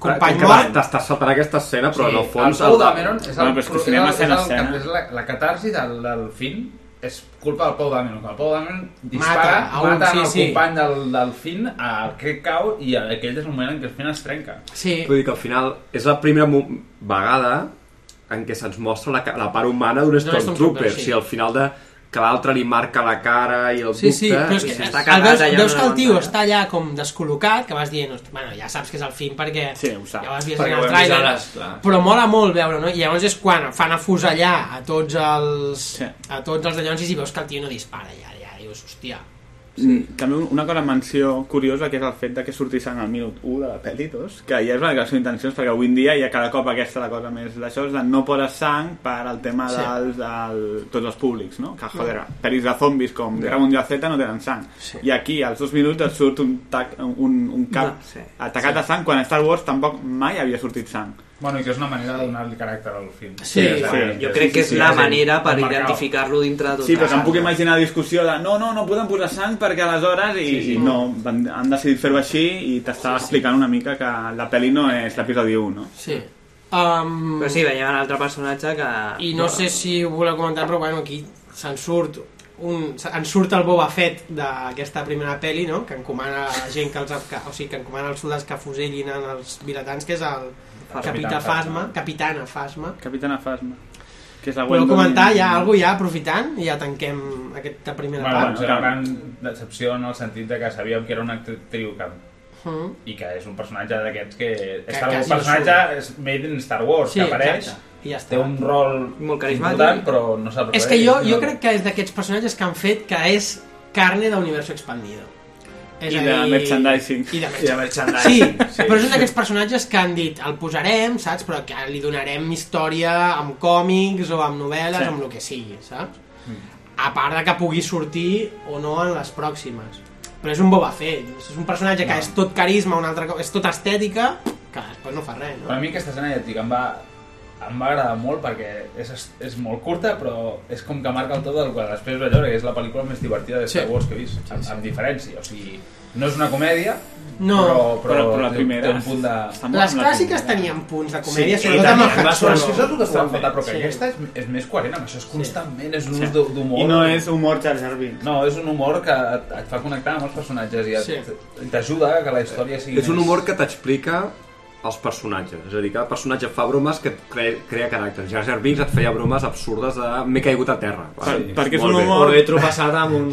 S7: company
S12: que
S7: mort.
S12: t'estàs saltant aquesta escena, però en el fons...
S19: el Paul Dameron és, el,
S12: Bueno, però és que si anem a escena a
S19: és, el,
S12: escena...
S19: és la, la catarsi del, del Finn és culpa del Paul Dameron. Quan el Paul Dameron dispara,
S7: Mata a
S19: mata,
S7: un,
S19: mata
S7: sí,
S19: el
S7: sí.
S19: company del, del Finn, el que cau, i aquell és el moment en què el Finn es trenca.
S7: Sí.
S12: Vull dir que al final és la primera mo- vegada en què se'ns mostra la, ca- la part humana d'un
S7: D'un Stormtrooper,
S12: Stormtrooper.
S7: sí.
S12: Sí. Si al final de que l'altre li marca la cara i el
S7: Sí,
S12: dubte...
S7: sí, però és
S12: i
S7: que
S12: si
S7: el,
S12: està quedat
S7: veus,
S12: allà
S7: veus
S12: en
S7: que el
S12: una
S7: tio
S12: pantalla.
S7: està allà com descol·locat, que vas dient, "Hosti, bueno, ja saps que és el film perquè sí, ja ho has vist
S19: Perquè
S7: en
S19: ho hem
S7: el
S19: vist
S7: tràiler,
S19: a les- clar.
S7: però mola molt veure, no? I llavors és quan fan afusellar a tots els, a tots els dallonsis i veus que el tio no dispara, ja, ja dius, hòstia,
S9: Sí. Mm, També un- una cosa, menció curiosa, que és el fet de que sortís en el minut 1 de la pel·li, dos, que ja és una declaració d'intencions, perquè avui en dia ja cada cop aquesta la cosa més d'això és de no posar sang per al tema
S6: Sí.
S9: dels, del, tots els públics, no? Que, joder,
S6: Mm.
S9: pel·lis de zombis com
S6: Ja.
S9: Guerra Mundial Z no tenen sang.
S6: Sí.
S9: I aquí, als dos minuts, et surt un, tac, un, un cap
S19: No, sí.
S9: atacat de sang, quan a Star Wars tampoc mai havia sortit sang.
S19: Bueno, i que és una manera de donar-li caràcter al Finn.
S13: Jo crec que és la manera per
S9: Emmarcar-ho.
S13: identificar-lo dintre de tot
S9: Sí, però
S13: el-
S9: que em puc imaginar la discussió de no, no, no podem posar sang perquè aleshores i, sí, sí. i no, van, han decidit fer-ho així i t'estava sí, explicant una mica que la pel·li no és l'episodi 1, no?
S7: sí. Um,
S13: Però sí, veiem un altre personatge que...
S7: I no sé si ho voleu comentar, però bueno, aquí se'n surt un, se- en surt el Boba Fett d'aquesta primera peli, no? que encomana a la gent que els, que, o sigui, que encomana els soldats que fusellin en els vilatans, que és el
S9: Fasma.
S7: Capità Fasma, Capitana Fasma.
S9: Capitana Fasma. Que és la
S7: Voleu
S9: Gwendoline-
S7: comentar ja alguna cosa, ja aprofitant, i ja tanquem aquesta primera
S9: Ah,
S19: Bueno,
S7: part.
S19: doncs era una gran decepció en el sentit de que sabíem que era una actriu que
S7: Mm.
S19: i que és un personatge d'aquests que...
S7: Que
S19: Star Wars,
S7: quasi no
S19: personatge és made in Star Wars,
S7: Sí,
S19: que apareix,
S7: exacte. I ja està.
S19: té un rol
S13: Molt carismàtic.
S19: important, però no sap res.
S7: És que jo, jo
S19: No.
S7: crec que és d'aquests personatges que han fet que és carne d'universo expandido. És
S9: I
S7: a
S9: de
S7: dir,
S9: merchandising.
S7: I de
S9: I de
S7: Sí,
S9: merchandising, sí.
S7: però és un d'aquests personatges que han dit el posarem, saps? Però que li donarem història amb còmics o amb novel·les
S9: Sí. Mm.
S7: o amb el que sigui, saps? A part de que pugui sortir o no en les pròximes. Però és un Boba Fett, és un personatge que
S19: No.
S7: és tot carisma, un altre cop, és tot estètica, que després no fa res, no?
S19: Per a mi aquesta escena, ja et dic, em va, em va agradar molt perquè és, és molt curta, però és com que marca el tot del que després vaig veure, que és la pel·lícula més divertida de Star Wars que he vist, amb, amb diferència. O sigui, no és una comèdia,
S7: No.
S19: però, però,
S9: Però- però la
S19: té-
S9: primera
S19: té un punt de...
S7: Les clàssiques tenien punts de comèdia,
S19: sí,
S7: sobretot amb el
S19: Solo.
S7: Han Solo.
S19: És el que estava faltant, però que
S7: Sí.
S19: aquesta és, és més coherent amb això, és constantment, és un
S9: Sí.
S19: ús d'hu- d'humor.
S9: I no és humor Jar Jar Binks.
S19: No, és un humor que et, et fa connectar amb els personatges i et-
S9: Sí.
S19: t'ajuda que la història sigui
S12: És un humor que t'explica els personatges, és a dir, cada personatge fa bromes que et crea, crea caràcter. Jar Jar Binks et feia bromes absurdes de m'he caigut a terra.
S9: Per,
S12: Vale,
S9: perquè és
S12: molt
S9: un
S12: bé.
S9: humor...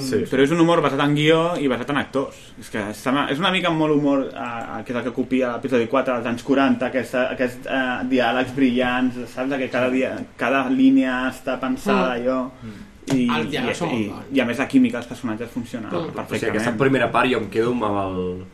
S12: Sí.
S9: Però és un humor basat en guió i basat en actors. És que se m'ha- és una mica molt humor, eh, que és el que copia l'episodi 4 dels anys 40, aquests, aquests eh, diàlegs brillants, saps? Que cada, dia, cada línia està pensada,
S7: Mm.
S9: allò... I,
S7: Els
S9: i,
S7: diàlegs són
S9: i,
S7: molt
S9: i, a més la química dels personatges funciona
S12: Mm.
S9: perfectament.
S12: O sigui, aquesta primera part jo em quedo amb el...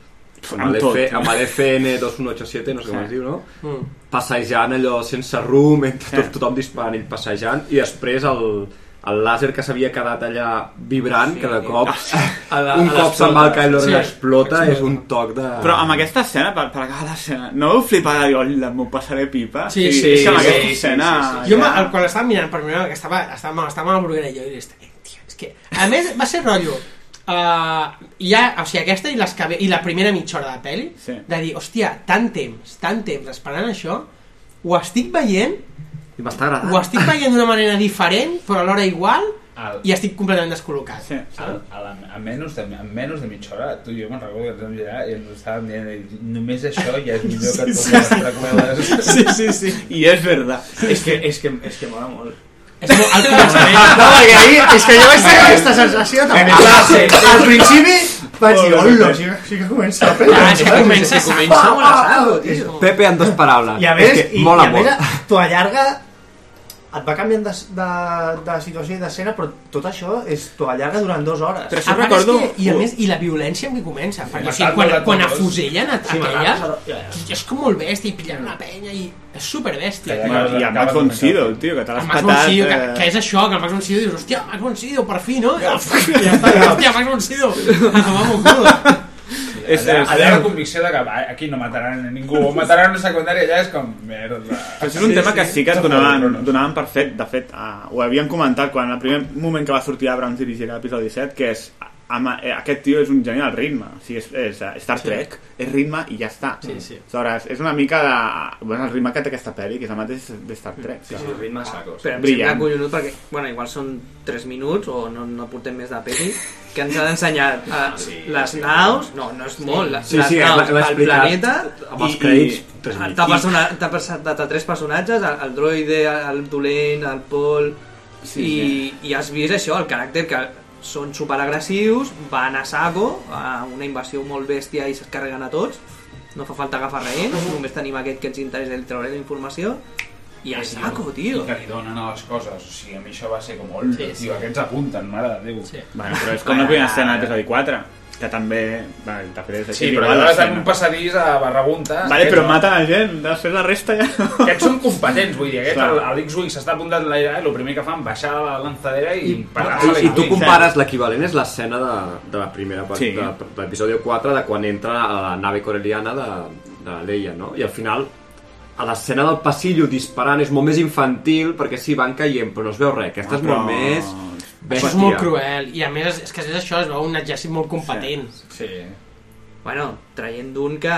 S9: Amb
S12: Amb,
S9: tot.
S12: l'F- amb l'FN2187, no sé com
S9: Sí.
S12: es diu, no?
S9: Mm.
S12: Passejant allò sense rum, entre tot, tothom disparant, ell passejant, i després el, el làser que s'havia quedat allà vibrant,
S9: Sí.
S12: que de cop,
S8: Ah,
S9: A la-
S12: un
S9: a
S12: cop se'n va al
S9: l'explota.
S12: Kylo Ren
S9: Sí.
S12: sí. explota,
S9: Explota.
S12: és un toc de...
S9: Però amb aquesta escena, per, per acabar l'escena, no vau flipar de dir, "Hola, m'ho passaré pipa"?
S7: Sí,
S9: O sigui,
S7: sí,
S9: és que amb
S7: sí,
S9: aquesta
S7: sí,
S9: escena...
S7: Jo,
S9: ja-
S7: me- quan l'estava mirant per primera vegada, que estava, estava, mal, estava mal bruguera, jo diria, "Eh, tio, és que... A més, va ser rotllo. Uh, ja, o sigui, aquesta i, les que, ve- i la primera mitja hora de pel·li, sí. de dir, hòstia, tant temps, tant temps esperant això, ho estic veient,
S12: I m'està agradant.
S7: ho estic veient d'una manera diferent, però alhora igual, i estic completament descol·locat.
S9: Sí,
S19: a, a, la, a, menys de, a menys de mitja hora, tu i jo me'n recordo que ens vam mirar i ens estàvem dient només això ja és millor que tot
S9: Sí, sí.
S19: les preqüeles.
S9: Sí, sí, sí. I és verdad.
S19: És que, és que, és que mola molt.
S7: Al
S8: començament... No, perquè ahir, és que jo vaig tenir aquesta sensació també.
S19: Eh, clar, sí.
S8: Al principi vaig dir,
S12: Molt bé.
S8: hola, sí, sí que comença la pel·li.
S12: és que comença- comença
S8: molestant, tio.
S12: Ah, Pepe en dos paraules.
S8: I a més,
S12: és que
S8: i,
S12: mola
S8: i a més
S12: molt.
S8: t'ho allarga et va canviant de, de, de situació i d'escena, però tot això és t'ho allarga durant dues hores.
S7: Però a part és que, i, a més, I la violència amb què comença, perquè Ah, o sigui,
S8: matant,
S7: quan,
S8: matant
S7: quan
S8: tots.
S7: afusellen a,
S8: Sí,
S7: aquella,
S8: matant,
S7: és com molt bèstia, i pillant una penya, i és superbèstia.
S9: Bueno, I amb Max von Sydow, tio, que te l'has
S7: Max
S9: patat...
S7: von Sydow, que,
S9: eh,
S7: que és això, que el Max von Sydow dius, hòstia, Max von Sydow, per fi, no? I ja està, i hòstia, Max von Sydow, a tomar molt culo.
S19: És, allà,
S7: és-
S19: allà la convicció de que va, aquí no mataran a ningú, o mataran una secundària, allà és com, merda.
S9: Però això és un tema que sí que et donaven, donaven per fet. De fet, uh, ho havien comentat quan el primer moment que va sortir Abrams dirigir l'episodi 7, que és ama, eh, aquest tio és un geni al ritme. O sigui, és, és eh, Star
S7: Sí.
S9: Trek, és ritme i ja està.
S7: Sí, sí.
S9: Aleshores, és una mica de... Bueno, el ritme que té aquesta pel·li, que és el mateix de Star Trek.
S6: Sí, sí, ritme saco.
S13: Però em
S9: Brillant.
S13: sembla collonut perquè, bueno, igual són 3 minuts o no, no portem més de peli, que ens han ensenyat eh, les naus, no, no és molt, les,
S12: Sí,
S13: les
S12: sí,
S13: naus,
S12: l'ha
S13: el
S12: explicat
S13: planeta, Ah,
S12: amb els crèdits, tres minuts.
S13: T'ha persona, t'ha passat a tres personatges, el, el droide, el dolent, el Pol,
S7: Sí,
S13: i, i has vist això, el caràcter que són superagressius, van a saco, a una invasió molt bèstia i s'escarreguen a tots, no fa falta agafar
S12: Oh.
S13: reins, només tenim aquest que ens interessa el treure la informació, i a saco, tio.
S19: I que li donen a les coses, o sigui, a mi això va ser com, hola,
S13: Sí,
S19: sí,
S13: sí.
S19: tio, aquests apunten, mare de Déu. Sí.
S9: Bueno, però és com la primera escena de l'episodi 4, que també... Va, de fet, és
S19: Sí,
S9: és
S19: però
S9: igual
S19: allò estan en
S9: l'escena.
S19: un passadís a Barragunta.
S7: Ah,
S9: Vale, però maten la gent, després la resta ja...
S19: Aquests són competents, vull dir, aquest,
S9: Clar.
S19: el, el X-Wing s'està apuntant a l'aire, el primer que fan, baixar la lanzadera i, I parar
S12: I, I tu compares l'equivalent és l'escena de, de la primera part
S19: Sí.
S12: sí. de, de l'episodi 4 de quan entra a la nave coreliana de, de la Leia, no? I al final a l'escena del passillo disparant és molt més infantil perquè sí, van caient però no es veu res, aquesta és
S7: Però-
S12: molt més
S7: Això
S12: bèstia.
S7: és molt cruel, i a més, és, és que és això, es veu un exèrcit molt competent.
S19: Sí.
S13: Bueno, traient d'un que,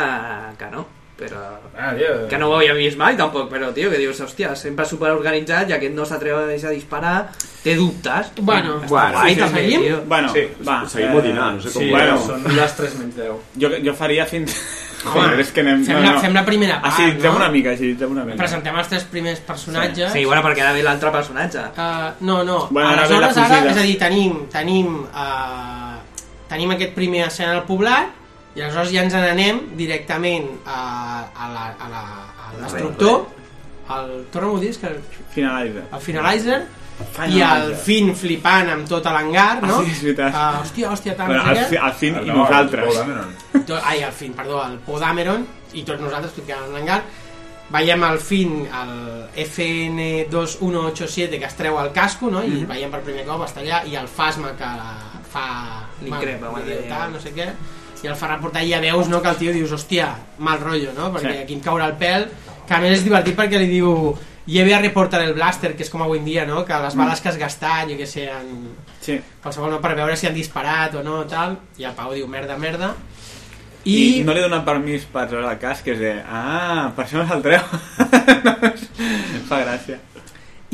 S13: que no, però...
S19: Ah, tio.
S13: Que no ho havia vist mai, tampoc, però, tio, que dius, hòstia, sempre superorganitzat i aquest no s'atreveix a disparar, té dubtes.
S7: Bueno,
S13: Està guai, també, tio.
S9: Bueno, sí, va.
S12: seguim o dinar, no sé com
S9: sí,
S12: ho
S9: bueno,
S12: veus.
S9: són
S8: les 3 menys 10.
S9: Jo, jo faria fins...
S7: Home,
S9: Joder, és que anem...
S7: fem la- fem la primera
S9: Ah, sí,
S7: part,
S9: fem
S7: no?
S9: una mica, sí, fem una mica.
S7: Presentem els tres primers personatges.
S13: Sí, bueno, perquè ara ve l'altre personatge.
S7: Uh, no, no.
S13: Bueno,
S7: Bueno,
S13: ara ve la
S7: Aleshores, ara,
S13: fugida.
S7: és a dir, tenim, tenim, uh, tenim aquest primer escena al poblat i aleshores ja ens n'anem directament a, a la- a la- a l'instructor, al... Torna-m'ho a dir, és que...
S9: Finalizer.
S7: El Finalizer,
S9: Finalizer.
S7: i el Finn flipant amb tot l'hangar, no?
S9: Ah, sí, és veritat.
S7: Ah, hòstia, hòstia, tant,
S9: Bueno,
S7: no sé
S9: el
S7: què.
S9: fi- el Finn
S12: Ah,
S9: i nosaltres.
S19: el Paul Dameron.
S7: To- Ai, el Finn, perdó, el Poe Dameron i tots nosaltres ficant en l'hangar. Veiem el Finn, el FN2187, que es treu el casco, no? I
S13: Mhm.
S7: veiem per primer cop, està allà, i el Fasma, que la- fa...
S13: Li
S7: bueno,
S13: crepa, bueno,
S7: idiota,
S13: ja.
S7: no sé què. I el fa reportar i ja veus, no?, que el tio dius, hòstia, mal rotllo, no? Perquè
S13: Sí.
S7: aquí em caurà el pèl. Que a més és divertit perquè li diu... Lleve a reportar el blaster, que és com avui en dia, no? Que les
S9: Mm.
S7: bales que has gastat, jo què sé, en...
S9: Sí.
S7: qualsevol no, per veure si han disparat o no, tal. I el Pau diu, merda, merda.
S9: I...
S7: I-
S9: I no li donen permís per treure el casc, que és de... Ah, per això no se'l treu. Fa gràcia.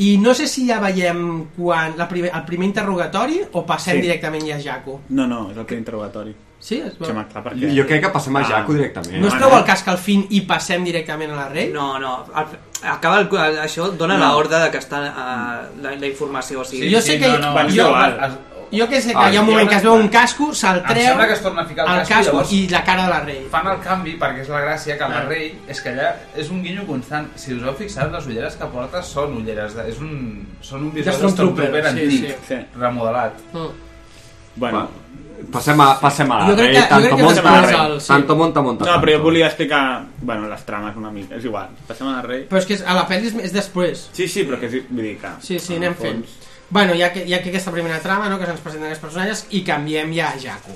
S7: I no sé si ja veiem quan la primer, el primer interrogatori o passem
S9: Sí.
S7: sí. directament ja a Jaco.
S9: No, no, és el primer interrogatori.
S7: Sí, es veu.
S9: Sí, home, clar, perquè...
S12: Jo crec que passem a Jaco directament.
S7: No es treu el casc al fin i passem directament a la rei?
S13: No, no, el, acaba el, el, això dona
S7: No.
S13: no. l'ordre de que està eh, la, la informació, o sigui...
S7: Sí, jo sé que... jo, jo que sé que
S13: Ah,
S7: hi
S13: hi ha
S7: ha un moment
S13: una-
S7: que es veu un casco, se'l
S13: Em
S7: treu,
S13: sembla que
S19: es torna a ficar el casco,
S7: casco
S19: llavors-
S7: i la cara de la rei.
S19: Fan el canvi perquè és la gràcia que la
S7: Ah.
S19: rei és que allà és un guinyo constant. Si us heu fixat, les ulleres que porta són ulleres de, és un, són un visor de
S7: Stormtrooper,
S19: Stormtrooper
S7: sí,
S19: antic,
S7: sí.
S19: sí. remodelat.
S7: Mm.
S9: Bueno,
S12: Passem a, passem a la
S9: Jo crec
S12: rei,
S9: que- jo
S12: tanto
S9: crec que
S12: monta,
S9: passem al
S12: rei.
S9: sí.
S12: tanto monta, monta.
S9: No, però jo volia explicar... Bueno, les trames una mica, és igual. Passem a la rei.
S7: Però és que és- a la pel·li és, és després.
S9: Sí, sí, però que sí, vull dir que...
S7: Sí, sí, anem
S9: en el fons-
S7: fent. Bueno, ja que, ja que aquesta primera trama, no?, que se'ns presenten aquests personatges, i canviem ja a Jaco.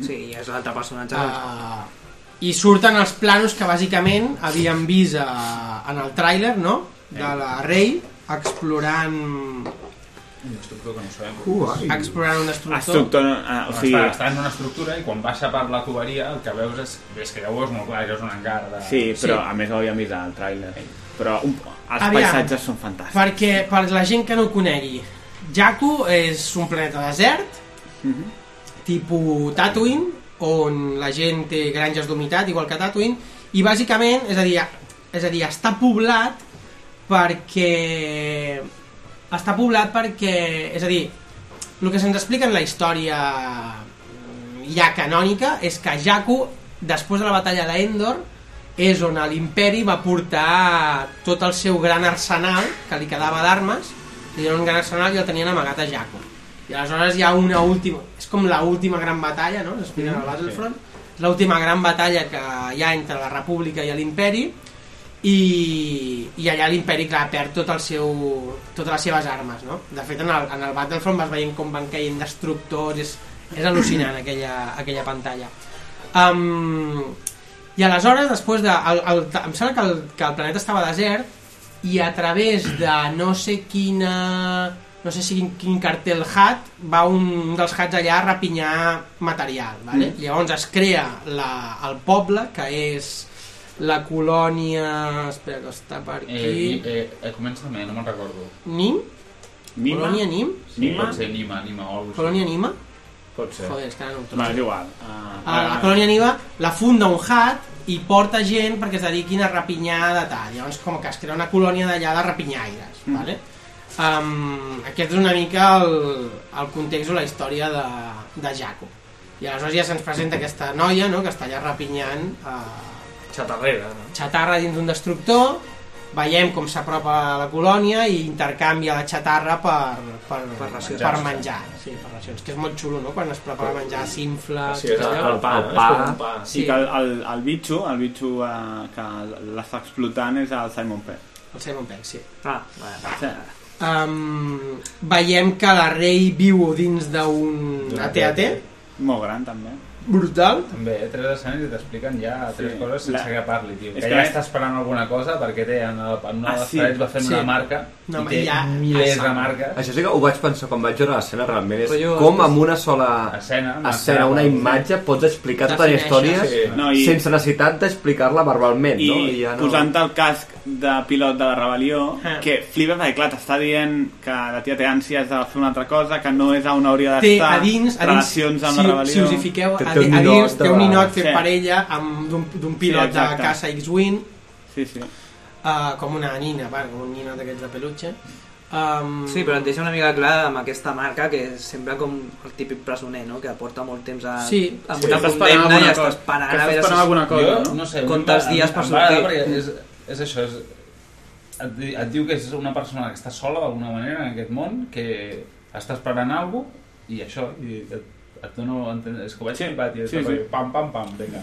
S13: Sí, és l'altre personatge.
S7: Uh, I surten els planos que bàsicament havíem vist a, en el tràiler, no?, de
S13: Eh.
S7: la Rey explorant...
S19: Un destructor que no sabem. Doncs
S7: Uai. Explorant un destructor.
S9: Destructor, eh, o sigui-
S19: està, està en una estructura i quan baixa per la tuberia el que veus és, és que ja ho veus molt clar, ja és un hangar de...
S9: Sí, però a més ho havíem vist al tràiler. Però un, els
S7: Aviam.
S9: paisatges són fantàstics.
S7: Perquè, per la gent que no ho conegui, Jakku és un planeta desert, tipus Tatooine, on la gent té granges d'humitat, igual que Tatooine, i bàsicament, és a dir, és a dir, està poblat perquè... Està poblat perquè... És a dir, el que se'ns explica en la història mm, ja canònica és que Jakku, després de la batalla d'Endor, és on l'imperi va portar tot el seu gran arsenal que li quedava d'armes li donen un gran arsenal i el tenien amagat a Jaco i aleshores hi ha una última és com la última gran batalla no? s'explica mm,
S13: Mhm,
S7: al Battlefront és l'última gran batalla que hi ha entre la república i l'imperi i, i allà l'imperi clar perd tot el seu, totes les seves armes no? de fet en el, en el Battlefront vas veient com van caient destructors és, és al·lucinant aquella, aquella pantalla um, i aleshores, després de... El, el, em sembla que el, que el planeta estava desert i a través de no sé quina... no sé si quin, quin cartel hat va un, un dels hats allà a rapinyar material, vale?
S13: Mm.
S7: Mm. Llavors es crea la, el poble, que és la colònia... Espera, que està per
S19: Eh,
S7: aquí...
S19: eh, eh, comença-me, no me'n recordo.
S7: Nim? Colònia Nim?
S19: Sí, Nima? Pot ser Nima, Nima o alguna cosa.
S7: Colònia Nima?
S19: Pot ser.
S7: Joder, és que ara no ho trobo.
S9: Va, és igual. Uh,
S7: a la colònia Niva la funda un hat i porta gent perquè es dediquin a rapinyar de tal. Llavors com que es crea una colònia d'allà de rapinyaires. Mm. Vale? Um, aquest és una mica el, el context o la història de, de Jaco. I aleshores ja se'ns presenta aquesta noia no, que està allà rapinyant eh,
S14: Xatarrera, no?
S7: xatarra dins d'un destructor veiem com s'apropa a la colònia i intercanvia la xatarra per, per, per,
S14: racions.
S7: per menjar sí, per racions, que és molt xulo, no? quan es prepara menjar s'infla
S14: Sí, és el- el pa, no?
S19: eh?
S14: És com un pa.
S9: Sí, que el, el, el bitxo, el bitxo eh, que l'està explotant és el Simon Pegg.
S7: El Simon Pegg, sí.
S13: Ah,
S9: Sí.
S7: Um, veiem que la rei viu dins d'un
S19: D'un
S7: AT-AT
S9: molt gran també
S7: brutal
S19: També, eh? tres escenaris i t'expliquen ja tres
S9: Sí.
S19: coses sense
S9: La-
S19: que parli, tio.
S9: És
S19: Que,
S9: que
S19: ja
S9: la-
S19: està esperant alguna cosa perquè té en, el, en una
S9: Ah,
S19: de les
S9: sí.
S19: parets va fent
S9: Sí.
S19: una marca
S9: No,
S19: i té
S9: ja-
S19: milers
S9: Exacte.
S19: de marques.
S12: Això sí que ho vaig pensar quan vaig veure l'escena, realment és
S19: Però jo-
S12: com amb una sola escena,
S19: una
S12: escena una
S19: escena,
S12: imatge, pots explicar tota la
S9: Defineixes.
S12: història
S9: Sí. No, i-
S12: sense necessitat d'explicar-la verbalment,
S9: I,
S12: no?
S9: ja no... posant el casc de pilot de la rebel·lió,
S7: Ah.
S9: que flipa perquè, clar, t'està dient que la tia té ànsies de fer una altra cosa, que no és on hauria
S7: té
S9: d'estar,
S7: a dins, a dins
S9: relacions amb
S7: si,
S9: la rebel·lió...
S7: si us hi fiqueu a, di- a dins té un ninot fet parella amb d'un d'un pilot de
S9: exacte.
S7: caça X-Wing
S9: sí, sí.
S7: Uh, com una nina, va, com un ninot d'aquests de peluche um,
S13: Sí, però et deixa una mica clar amb aquesta marca que sembla com el típic presoner, no? Que porta molt temps a...
S7: Sí.
S13: amb
S7: Sí,
S13: una
S7: estàs
S13: condemna
S7: esperant
S13: i
S7: alguna
S13: estàs
S7: cosa.
S13: esperant
S7: Que
S13: a
S7: estàs
S13: veure
S7: esperant alguna cosa,
S19: jo, no sé,
S13: comptes
S19: em-
S13: dies
S19: em
S13: per
S19: va
S13: sortir.
S19: agradar perquè És, és això, és, et, di- et diu que és una persona que està sola d'alguna manera en aquest món, que està esperant alguna cosa i això, i et, et dono a entendre, és que ho vaig flipar, tio,
S9: sí,
S19: sí, sí.
S9: sí.
S19: pam, pam, pam, vinga.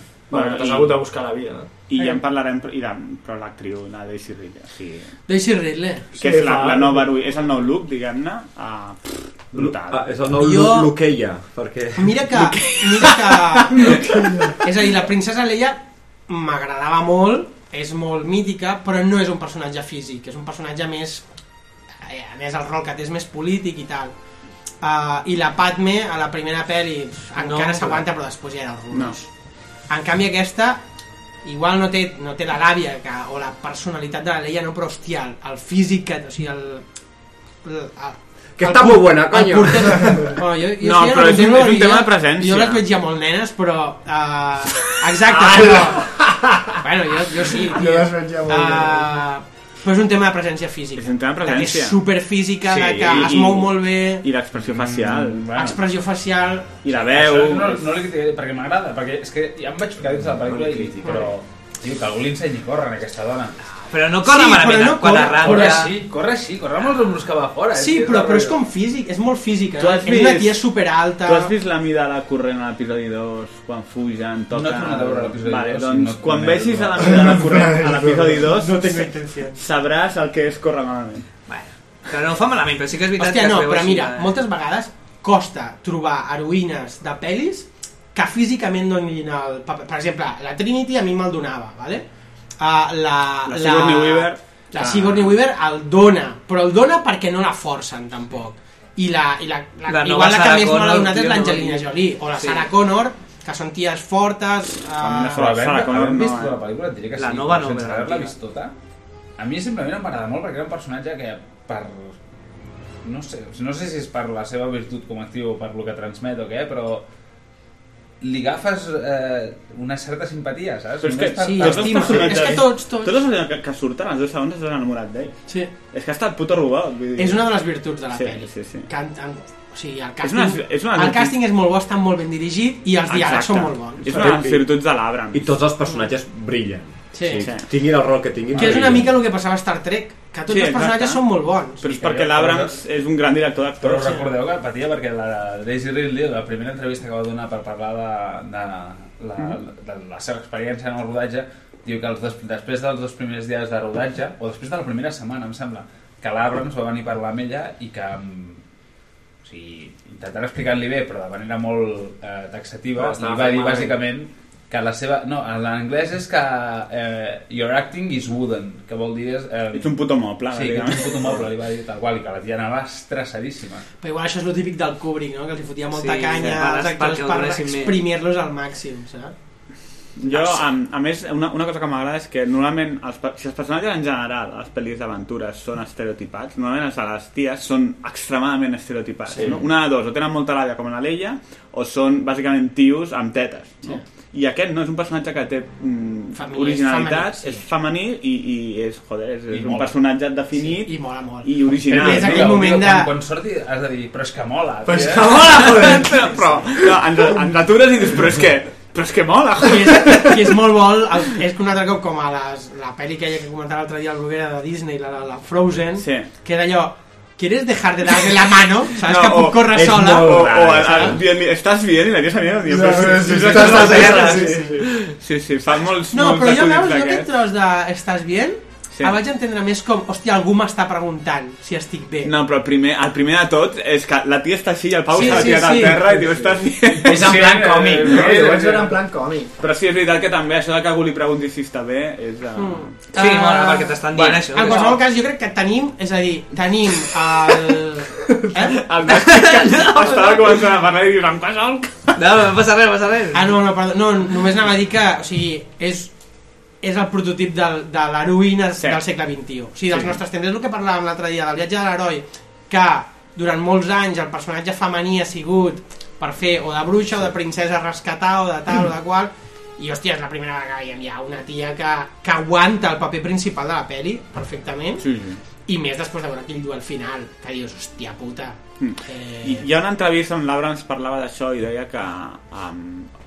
S9: I ja en parlarem, i de, però l'actriu, la Daisy Ridley, sí.
S7: Daisy Ridley.
S9: Que és la, la nova, heroi- és el nou look, diguem-ne, ah, pff, brutal.
S12: Ah, és el nou
S7: Jo-
S12: jo... Luqueia, perquè...
S7: Mira que... Mira que... és a dir, la princesa Leia m'agradava molt, és molt mítica, però no és un personatge físic, és un personatge més... eh, A més, el rol que té és més polític i tal. Uh, I la Padme, a la primera pel·li, pf,
S13: No,
S7: encara
S13: però-
S7: s'aguanta, però després ja era horrorós. En canvi, aquesta igual no té, no té la làbia que, o la personalitat de la Leia, no, però hòstia, el, el físic, que, o sigui, el... el, el
S12: Que està molt
S9: Ah,
S12: buena, coño.
S7: Bueno, jo, jo sí,
S12: No,
S7: ara
S12: però és un-
S7: continuo,
S12: és un
S7: jo-
S12: tema de presència.
S7: Jo les veig ja molt nenes, però... Uh, exacte,
S12: Ah.
S7: però... bueno, jo, jo sí.
S9: Jo
S7: tio.
S9: les veig ja molt
S7: Eh, Però és un tema de presència física. És
S9: un tema de presència.
S7: Que és superfísica, sí,
S9: Sí,
S7: que
S9: i-
S7: es mou molt bé,
S9: I l'expressió facial. Mm,
S7: expressió facial...
S9: I la veu...
S19: Això no, no li criticaré perquè m'agrada, perquè és que ja em vaig ficar dins de la pel·lícula i dic, però... Tio, que algú li ensenyi a córrer a aquesta dona.
S13: Però no corre Sí, malament, però no quan corre- arranca.
S19: Corre així, corre així, corre amb els ombros cap a fora.
S7: Sí,
S19: que
S7: però,
S19: el
S7: però és
S19: rotllo.
S7: com físic, és molt física.
S9: Tu has
S7: És una
S9: vist-
S7: tia superalta...
S9: Tu has vist la mirada corrent a l'episodi 2, quan fugen, toquen...
S19: No he tornat a veure l'episodi
S9: vale,
S19: dos,
S9: Doncs
S19: si no
S9: quan
S19: tornaré a
S9: vegis a la
S19: veure.
S9: mirada corrent a l'episodi 2,
S19: No tengo intención.
S9: sabràs el que és córrer malament.
S13: Bueno. Que no ho fa malament, però sí que és veritat
S7: Hòstia,
S13: que es
S7: no,
S13: veu
S7: però
S13: així,
S7: mira,
S13: eh?
S7: moltes vegades costa trobar heroïnes de pel·lis que físicament donin el paper. Per exemple, la Trinity a mi me'l donava, ¿vale? Uh, la,
S9: La Sigourney Weaver. Ah.
S7: La Sigourney Weaver el dona, però el dona perquè no la forcen, tampoc. I la, i la, la,
S13: La nova
S7: igual la que
S13: Sarah
S7: més me l'ha
S13: Connor,
S7: donat
S13: tio,
S7: és
S13: no
S7: l'Angelina
S13: vull dir.
S7: Jolie, o la
S13: Sí.
S7: Sarah Connor, que són ties fortes...
S19: Ah,
S7: Uh...
S19: però haver,
S9: Sarah Connor
S19: haver
S9: no,
S19: vist
S9: eh?
S19: la pel·lícula et diré que
S13: La
S19: sí,
S13: nova
S19: però
S13: no,
S19: sense
S13: la
S19: haver-la
S13: antiga.
S19: vist tota, a mi simplement em va agradar molt perquè era un personatge que per... No sé, no sé si és per la seva virtut com a actiu o per lo que transmet o què, però li agafes eh, una certa simpatia, saps?
S9: Però és que,
S19: Només per-
S9: sí,
S19: per-
S9: els dos personatges...
S7: És que tots, tots.
S9: Tots els personatges que, que surten, els dos segons, estan enamorats d'ell.
S7: Sí.
S9: És que està el puto robot. Vull dir.
S7: És una de les virtuts de la
S9: sí,
S7: pel·li.
S9: Sí, sí.
S7: que en, en, o sigui, el
S9: És
S7: càsting,
S9: una-
S7: és
S9: és una-
S7: el càsting és molt bo, està molt ben dirigit i els diàlegs
S9: Exacte.
S7: són molt bons.
S9: És una de les virtuts de l'arbre.
S12: I tots els personatges brillen.
S7: Sí.
S12: O sigui,
S7: Sí.
S12: Tinguin el rol que tinguin.
S7: Que és una
S12: brillen.
S7: mica el que passava a Star Trek, que tots
S9: Sí,
S7: els personatges
S9: exacte.
S7: són molt bons.
S9: Però és perquè l'Abrams és un gran director
S19: Però
S9: d'actors.
S19: recordeu que patia perquè la Daisy Ridley, la primera entrevista que va donar per parlar de, de, la,
S9: Mhm.
S12: Mm-hmm.
S19: de la seva experiència en el rodatge, diu que els dos, després dels dos primers dies de rodatge, o després de la primera setmana, em sembla, que l'Abrams va venir a parlar amb ella i que mm, o sigui, intentant explicar-li bé, però de manera molt eh, taxativa,
S12: Però estava
S19: li va dir
S12: malament.
S19: bàsicament que la seva... No, en l'anglès és que eh, your acting is wooden, que vol dir... És, eh,
S9: Ets un puto moble,
S19: Sí, que ets un
S9: bàsicament.
S19: puto moble, li va dir tal qual, i que la tia anava estressadíssima.
S7: Però igual això és el típic del Kubrick, no? que els hi fotia molta
S19: Sí,
S7: canya
S19: per-
S7: als actors
S19: perquè el
S7: per
S19: donessin més.
S7: exprimir-los al màxim, saps?
S9: Jo, a, a més, una, una cosa que m'agrada és que normalment, els, pe- si els personatges en general a les pel·lis d'aventures són estereotipats, normalment els de les ties són extremadament estereotipats.
S12: Sí.
S9: No? Una de dos, o tenen molta làbia com a la Leia, o són bàsicament tios amb tetes. No? I aquest no és un personatge que té mm,
S7: Femení,
S9: originalitat,
S7: femení, sí.
S9: és femení i, i és, joder, és,
S19: I
S9: és un
S19: mola.
S9: personatge definit
S7: sí, i, mola, molt.
S9: i original.
S19: Però
S9: no?
S19: digue-ho, digue-ho, Quan, quan surti has de dir, però és que mola.
S9: Però és
S19: tia".
S9: que mola, joder. Però, però no, ens, ens atures i dius, però és que, però és que mola,
S7: I és, i és molt bo, el, és que un altre cop com a les, la pel·li que, que comentava l'altre dia el Bruguera de Disney, la, la, la Frozen, sí. que era allò, ¿quieres dejar de darle la mano? ¿Sabes que
S9: o-
S7: puc córrer
S9: és
S7: sola?
S9: molt
S7: O-
S9: raro,
S7: o-
S9: saps? Dient-li, estàs bien? I la tia se mira, diu,
S7: No,
S9: però
S7: no,
S9: si-
S7: sí,
S9: si
S7: estàs
S9: estàs
S7: a terra,
S9: a terra,
S7: sí,
S9: sí, sí. Sí, sí, fan molts-
S7: No,
S9: molts
S7: però jo
S9: acudits
S7: llavors no aquest
S9: d'aquests.
S7: tros de estàs bien,
S9: Sí.
S7: sí. el vaig entendre més com, hòstia, algú m'està preguntant si estic bé.
S9: No, però el primer, el primer de tot és que la tia està així i el Pau
S7: Sí,
S9: s'ha
S7: sí,
S9: tirat al
S7: sí.
S9: terra i diu, estàs bien?
S7: És en plan
S19: Eh,
S7: còmic, no? Ho vaig veure en
S8: plan còmic.
S9: Però sí, és veritat que també això de que algú li pregunti si està bé és... eh,
S7: Sí, Ah. mola, perquè
S13: t'estan
S9: Bueno,
S7: En qualsevol cas, jo crec que tenim, és a dir, tenim el... eh?
S9: El Estava començant a parlar i dius, en qualsevol
S13: No, no passa res, no passa res.
S7: Ah, no, no, perdó, no, només anava a dir que, o sigui, és, és el prototip del, de l'heroïna sí. del segle XXI. O sigui, dels
S13: Sí.
S7: sí. nostres temps. És el que parlàvem l'altre dia, del viatge de l'heroi, que durant molts anys el personatge femení ha sigut per fer o de bruixa o de princesa a rescatar o de tal o de qual, i hòstia, és la primera vegada que veiem ja una tia que, que aguanta el paper principal de la peli perfectament,
S9: Sí, sí.
S7: i més després de veure aquell duel final, que dius, hòstia puta,
S8: Mm.
S7: Eh,
S9: I hi ha una entrevista on l'Abrams parlava d'això i deia que um,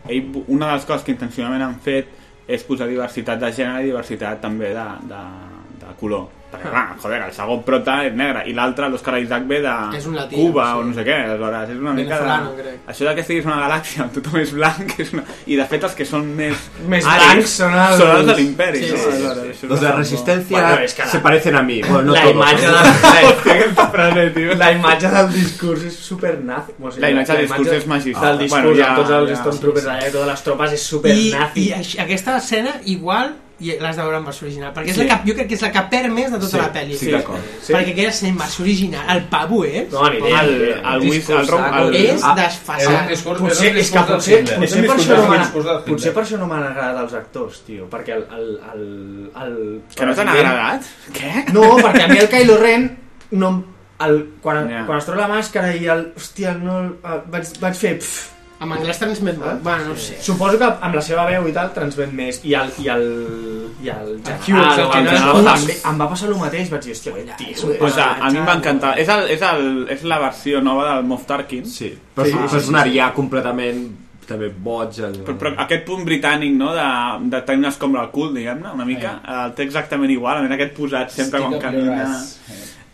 S9: ell, una de les coses que intencionalment han fet és posar diversitat de gènere i diversitat també de, de, de color.
S8: Ah.
S9: Perquè, clar, joder, el segon prota és negre i l'altre, l'Oscar Isaac, ve de
S7: És un latí,
S9: Cuba
S7: sí.
S9: o no sé què. Aleshores, és una mica
S7: Venezolano,
S9: de...
S7: crec.
S9: Això de que estiguis en una galàxia on tothom és blanc és una... i, de fet, els que són més...
S8: Més
S9: àrids
S8: blancs són els-
S9: Són els de l'imperi,
S8: Sí,
S9: no?
S8: sí, sí, sí.
S9: Aleshores, això és
S12: Los de
S9: una-
S12: la resistencia
S8: Bueno, es que la-
S12: se parecen a mí. Bueno, no
S8: la
S12: todos.
S8: imatge de-
S9: Hòstia, aquesta frase, tio.
S8: La imatge del discurs és super nazi. O
S9: La imatge del discurs és magistral.
S8: Del discurs
S9: Bueno,
S8: bueno,
S9: ja-
S8: tots els
S9: ja-
S8: Stormtroopers
S9: sí, sí.
S8: allà i totes les tropes és super
S7: I,
S8: nazi.
S7: i aix- aquesta escena igual i l'has de veure en versió original perquè és
S8: Sí.
S7: la que, jo crec que és la que perd més de tota
S8: Sí,
S7: la pel·li
S8: estic d'acord. Sí.
S7: perquè aquella escena en versió original el pavo és
S8: No, ni idea, ni idea.
S9: El Whis- el Rom- el-
S7: és
S9: Ah,
S8: Potser-
S7: desfassat
S8: potser, és que potser, potser, per això no m'han-
S19: discurs del Hitler.
S8: potser per això no m'han agradat els actors, tio, perquè el... el, el, el
S9: Que no t'han
S8: president-
S9: agradat? Què?
S8: No, perquè a mi el Kylo Ren no... em- El, quan,
S7: Ja.
S8: yeah. quan es treu la màscara i el... Hòstia, no... el- el- Vaig, vaig fer... Pff, Eh?
S7: en anglès transmet molt bueno, no ho sé
S8: Suposo que amb la seva veu i tal transmet més i el i el i el
S9: Hughes, el
S8: general, el
S9: que no és
S8: general
S9: Hughes.
S8: també em va passar el mateix, vaig dir, hòstia, aquest tio, és un
S9: Pues a, a mi em
S8: personatge".
S9: va encantar. És, el, és, el, és la versió nova del Moff Tarkin.
S12: Sí, Però és un personatge ja completament també boig. El...
S9: Però, però ah. aquest punt britànic, no?, de, de tenir una escombra al cul, diguem-ne, una mica, eh, el té exactament igual, en aquest posat sempre quan
S12: Stick up your
S9: camina...
S12: ass.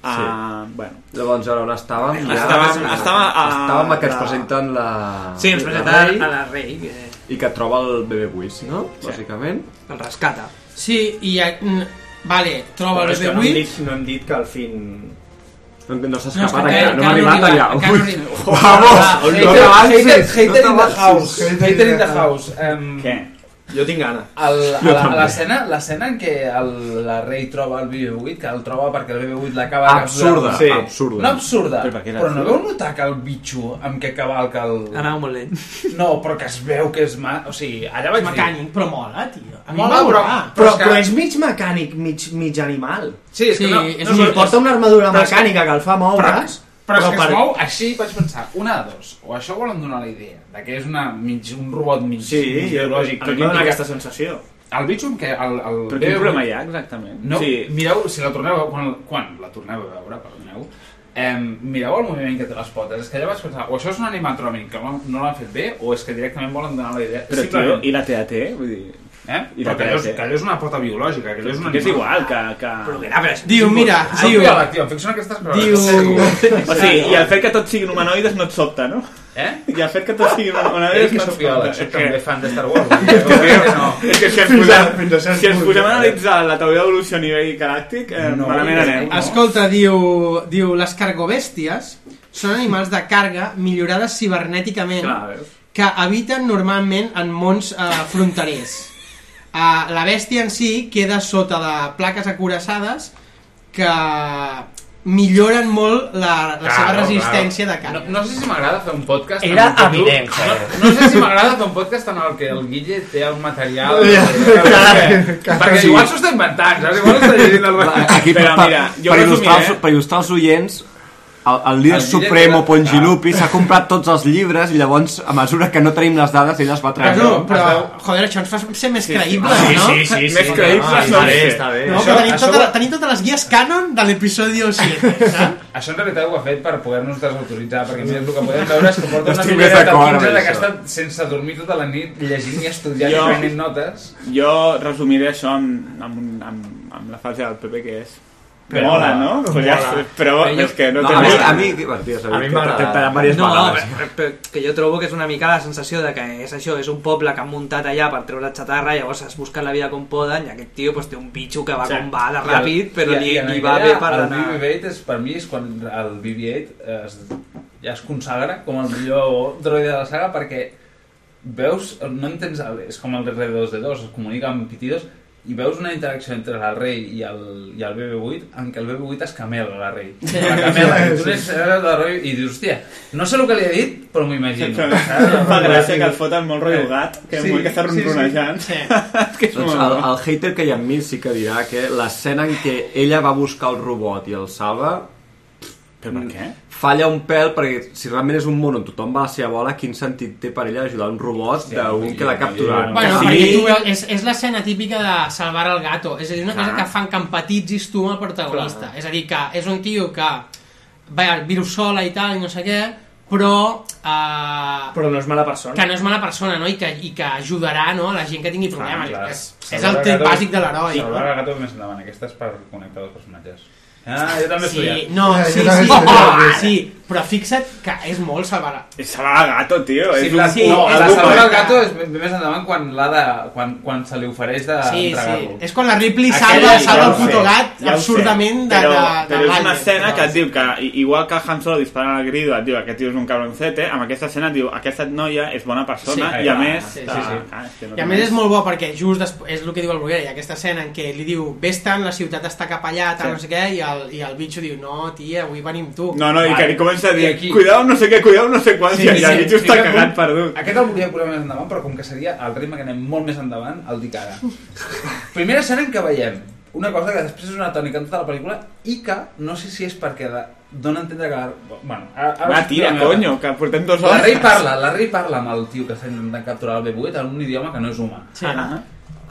S9: Ah, bueno.
S12: Llavors, ara on estàvem? Ja,
S9: Estàvem- estàvem a-
S12: estàvem a que ens
S9: la-
S12: presenten la...
S13: Sí, ens
S12: la
S13: presenta
S12: Rey
S13: a la Rey, que-
S12: I que troba el bebè Whis, no? Bàsicament.
S13: El rescata.
S7: sí, i mm, vale, troba
S8: Però
S7: el
S8: és que
S7: bebè
S8: no hem,
S7: Will
S8: dit, no hem dit que al fin
S12: No, no s'ha
S7: No,
S12: escapat
S7: és que
S12: encara,
S7: encara
S12: no hem
S7: no
S12: arribat
S7: arriba,
S12: allà.
S7: encara no arriba.
S12: Ui, vamos!
S19: Hater,
S12: No t'avancis!
S19: hater, hater in the
S12: t'avancis.
S19: house. Hater in the house. Què?
S8: Jo tinc gana.
S19: El, a
S12: Jo
S19: la- a
S12: també.
S19: l'escena l'escena en què el, la rei troba el BB-8, que el troba perquè el BB-8 l'acaba
S12: Absurda,
S19: capturant.
S12: absurda.
S19: No absurda,
S12: Però
S19: però,
S12: per què era
S19: no
S12: absurda?
S19: veu notar que el bitxo amb què cavalca el...
S13: Anava molt lent.
S19: No, però que es veu que és... Ma... O sigui, allà vaig dir...
S7: mecànic, però mola, tio.
S19: A mi
S7: Mola,
S19: m'ha
S7: però...
S19: agradat.
S8: Però,
S19: és que-
S8: però és mig mecànic, mig, mig animal.
S19: Sí, és que no- no,
S8: o sigui,
S19: però-
S8: porta una armadura
S19: però és que-
S8: mecànica que el fa eh? moure's.
S19: Però, és que
S8: per-
S19: es mou així, vaig pensar, una de dos, o això volen donar la idea, de que és una, mig, un robot mig,
S8: Sí,
S19: mig
S8: jo-
S19: biològic.
S8: a mi em dona aquesta sensació.
S19: El bitxo amb què... El, el
S9: Però quin problema hi ha, exactament?
S19: No,
S9: Sí.
S19: sí. mireu, si la torneu a quan, quan la torneu a veure, perdoneu, em, mireu el moviment que té les potes. És que allà vaig pensar, o això és un animatrònic que no, no l'han fet bé, o és que directament volen donar la idea.
S9: Però, tio,
S19: Simplement.
S9: i la TAT? Vull dir...
S19: Eh?
S9: i
S19: Però
S9: la
S19: que allò, és,
S9: TAT?
S19: que allò és una pota biològica, que allò és un
S9: Que és igual que... que...
S7: Diu, mira,
S19: diu...
S7: diu...
S19: Tio, em fixo en aquestes
S7: Diu-
S9: O sigui, i el fet que tots siguin humanoides no et sobta, no?
S19: Eh?
S9: I el fet que tots siguin humanoides
S19: Eric i
S9: no et
S19: Sofia
S9: sobta.
S19: Alex, són també fan de Star Wars. És que,
S9: És que si ens posem, si ens posem a analitzar la teoria d'evolució a nivell galàctic, eh,
S19: No,
S9: malament anem.
S7: Escolta, diu, diu les cargobèsties són animals de carga millorades cibernèticament
S9: Clar,
S7: que habiten normalment en mons eh, fronterers. Eh, la bèstia en si queda sota de plaques acuraçades que milloren molt la, la seva resistència de carga.
S19: No, no sé si m'agrada fer un podcast...
S7: Era
S19: amb un tio-
S7: evident,
S19: No, no sé si m'agrada fer un podcast en el que el Guille té un material...
S9: Ja,
S19: perquè,
S9: clar,
S19: perquè
S9: sí.
S19: igual s'ho està inventant, saps? Igual està llegint el...
S12: Aquí, per,
S19: Però
S12: per,
S19: mira, jo
S12: per,
S19: resumiré,
S12: il·lustrar,
S19: eh?
S12: els, per il·lustrar els oients, el, el líder
S19: El líder
S12: supremo
S19: que va-
S12: Pongilupi s'ha comprat tots els llibres i llavors, a mesura que no tenim les dades, ell les va
S7: Però,
S12: treure.
S7: Ah, no, però, joder, això ens fa ser més
S12: Sí, sí.
S7: creïbles,
S12: Sí,
S7: no?
S12: sí, sí, sí. Més creïbles
S19: no, està bé.
S7: No,
S19: Això-
S7: però tenim,
S19: això
S7: tota,
S19: ho-
S7: la- tenim totes les guies canon de l'episodi 7.
S19: Això en realitat ho ha fet per poder-nos desautoritzar, perquè mira, el que podem veure és que porta una
S9: Estic més
S19: miqueta de
S9: d'acord amb
S19: punxada
S9: això.
S19: que ha estat sense dormir tota la nit llegint i estudiant
S9: Jo-
S19: i prenent notes.
S9: Jo resumiré això amb, amb, un- amb, amb la frase del Pepe, que és...
S19: Però
S9: mola,
S19: mola,
S9: no? Però, ja,
S19: mola.
S9: però
S13: Però
S9: és que no,
S12: no,
S9: té
S12: a mi-
S9: mola.
S12: a mi- bueno, tio,
S8: Ah,
S12: sabia A mi que m'agrada. t'he tallat diverses
S13: no,
S12: vegades.
S13: però- però que jo trobo que és una mica la sensació de que és això, és un poble que han muntat allà per treure xatarra, llavors es busquen la vida com poden, i aquest tio pues, té un bitxo que va com va de ràpid, però li, li va bé per
S19: El
S13: anar...
S19: BB-8 és, per mi és quan el BB-8 eh, es, ja es consagra com el millor droide de la saga perquè veus, no entens, el, és com el R2-D2, es comunica amb pitidos i veus una interacció entre el rei i el, i el BB-8 en què el BB-8 es camela la rei. La camela, i tu les, la rei i dius, hòstia, no sé el que li he dit, però m'ho imagino.
S9: Em fa gràcia que el foten molt rotllugat, que sí, molt que està ronronejant.
S19: Sí, sí.
S12: Doncs
S9: molt
S12: el,
S9: bo.
S12: el hater que hi ha en mi sí que dirà que l'escena en què ella va buscar el robot i el salva
S9: Però per què?
S12: falla un pèl perquè si realment és un món on tothom va a la seva bola quin sentit té per ella ajudar un robot d'un que l'ha capturat
S7: Bueno,
S12: Que
S7: perquè
S12: sigui-
S7: tu veus, és, és l'escena típica de salvar el gato, és a dir, una cosa
S12: Clar.
S7: que fan que empatitzis tu amb el protagonista. És a dir, que és un tio que va al virus sola i tal, i no sé què, però... Eh,
S8: Però no és mala persona.
S7: que no és mala persona, no? I que, i que ajudarà no? a la gent que tingui problemes.
S19: Ah, clar.
S7: és, és el tret
S19: Salvador
S7: bàsic de l'heroi.
S19: Salvador
S7: no?
S19: Gato més endavant, aquesta és per connectar dos personatges. Ah, jo també he
S7: sí,
S19: estudiat.
S7: no, sí, sí, sí, oh, sí, però fixa't que és molt salvar
S9: Salvar gato, tio.
S19: Sí,
S9: és
S19: la,
S9: un-
S19: sí,
S9: no,
S19: no, la
S9: algú
S19: Salvador
S9: per-
S19: Gato és més més endavant quan, l'ha de, quan, quan se li ofereix
S7: Sí, sí.
S19: d'entregar-lo.
S7: És quan la Ripley
S19: Aquella
S7: salva,
S19: sí,
S7: salva
S9: Ah, ja
S7: el
S9: ho sé,
S7: puto gat
S9: ja ho
S7: absurdament de,
S9: sé, però,
S7: de, de
S9: però és una
S7: l'Alien,
S9: escena
S7: però-
S9: que et diu que i- igual que Han Solo disparant al grido et diu aquest tio és un cabroncete, amb aquesta escena et diu aquesta noia és bona persona
S7: Sí,
S9: i
S7: clar,
S9: a més
S7: sí, sí,
S9: clar,
S7: sí.
S9: clar, és que
S7: I a
S9: no té
S7: més
S9: més.
S7: és molt bo perquè just després, és el que diu el Bruguera, hi ha aquesta escena en què li diu vés-te'n, la ciutat està cap allà, tal,
S9: Sí.
S7: no sé què, i el, i el bitxo diu no, tia, avui venim tu.
S9: no, no, i que
S7: Vale.
S9: li comença a
S7: I
S9: dir
S7: aquí-
S9: cuidao no sé què, cuidao no sé quant
S7: Sí,
S9: i el
S7: sí,
S9: sí,
S7: sí,
S9: està
S7: sí,
S9: cagat
S7: sí.
S9: perdut
S19: Aquest el volia posar més endavant, però com que seria el ritme que anem molt més endavant, el dic ara. Primera escena en què veiem una cosa que després és una tònica en tota la pel·lícula i que no sé si és perquè de, dona a entendre que la... Bueno, ara, ara
S9: va, tira, conyo, que portem dos hores
S19: La rei parla, la rei parla amb el tio que està intentant capturar el B8 en un idioma que no és humà.
S13: Sí.
S9: Ah,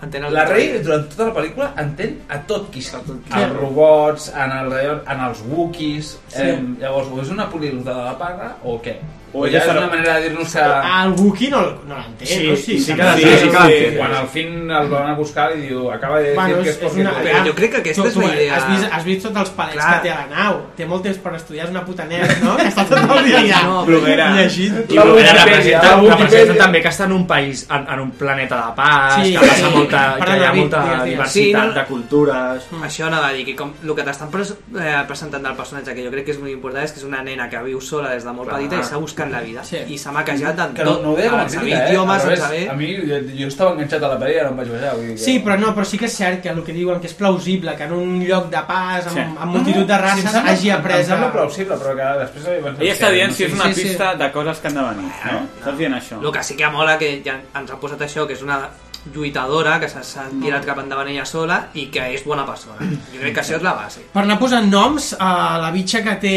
S13: Entén el
S19: La rei,
S13: contrari.
S19: durant tota la pel·lícula, entén a tot qui està.
S13: qui.
S19: Els robots, en, el, en els Wookiees...
S13: Sí.
S19: Eh, llavors, o és una políglota de la parra o què? O ja és una manera de dir-nos que...
S7: El Wookiee no, no l'entén,
S19: Sí,
S7: no?
S19: sí, sí que l'entén. Quan al fin el van a buscar i diu, acaba de dir
S7: Bueno,
S19: que
S7: és,
S19: és
S7: és
S19: porque
S7: una...
S19: tu-
S7: clar, tu- tu Has vist, has vist tots els palets
S19: Clar.
S7: que té a la nau. Té molt temps per estudiar, és una puta nerd, no? Que està tot el dia allà.
S8: No, Bruguera.
S7: Llegint.
S8: I Bruguera representa, representa també que està en un país, en, en un planeta de paz,
S13: Sí,
S8: sí, que passa
S13: sí.
S8: sí, molta, que hi
S13: Perdona,
S8: ha molta
S13: digues, digues.
S8: diversitat
S13: Sí, no, no.
S8: de cultures...
S7: Mm.
S13: Això anava a dir, que com el que t'estan pres, eh, presentant del personatge, que jo crec que és molt important, és que és una nena que viu sola des de molt
S19: Clar.
S13: petita i s'ha buscat la vida. Sí. I s'ha maquejat en
S19: Que no,
S13: tot,
S19: no ho deia com a
S13: en
S19: crítica, eh?
S13: idiomes,
S19: Al
S13: en
S19: revés,
S13: saber...
S19: A mi, jo, jo estava enganxat a la pel·li i ara em vaig ballar. Vull dir que...
S7: Sí, però no, però sí que és cert que el que diuen que és plausible que en un lloc de pas, amb,
S19: Sí.
S7: amb multitud de races,
S19: em sembla-
S7: hagi
S19: Em
S7: après...
S19: sembla
S7: A...
S19: plausible, però que després...
S9: Ella està dient si és una
S13: Sí, sí.
S9: pista de coses que han de venir, no? Estàs dient això.
S13: El que sí que mola que ja ens han posat això, que és una lluitadora que s'ha s'ha tirat cap endavant ella sola i que és bona persona. Jo crec que això és la base.
S7: Ah, Per anar posant noms, a la bitxa que té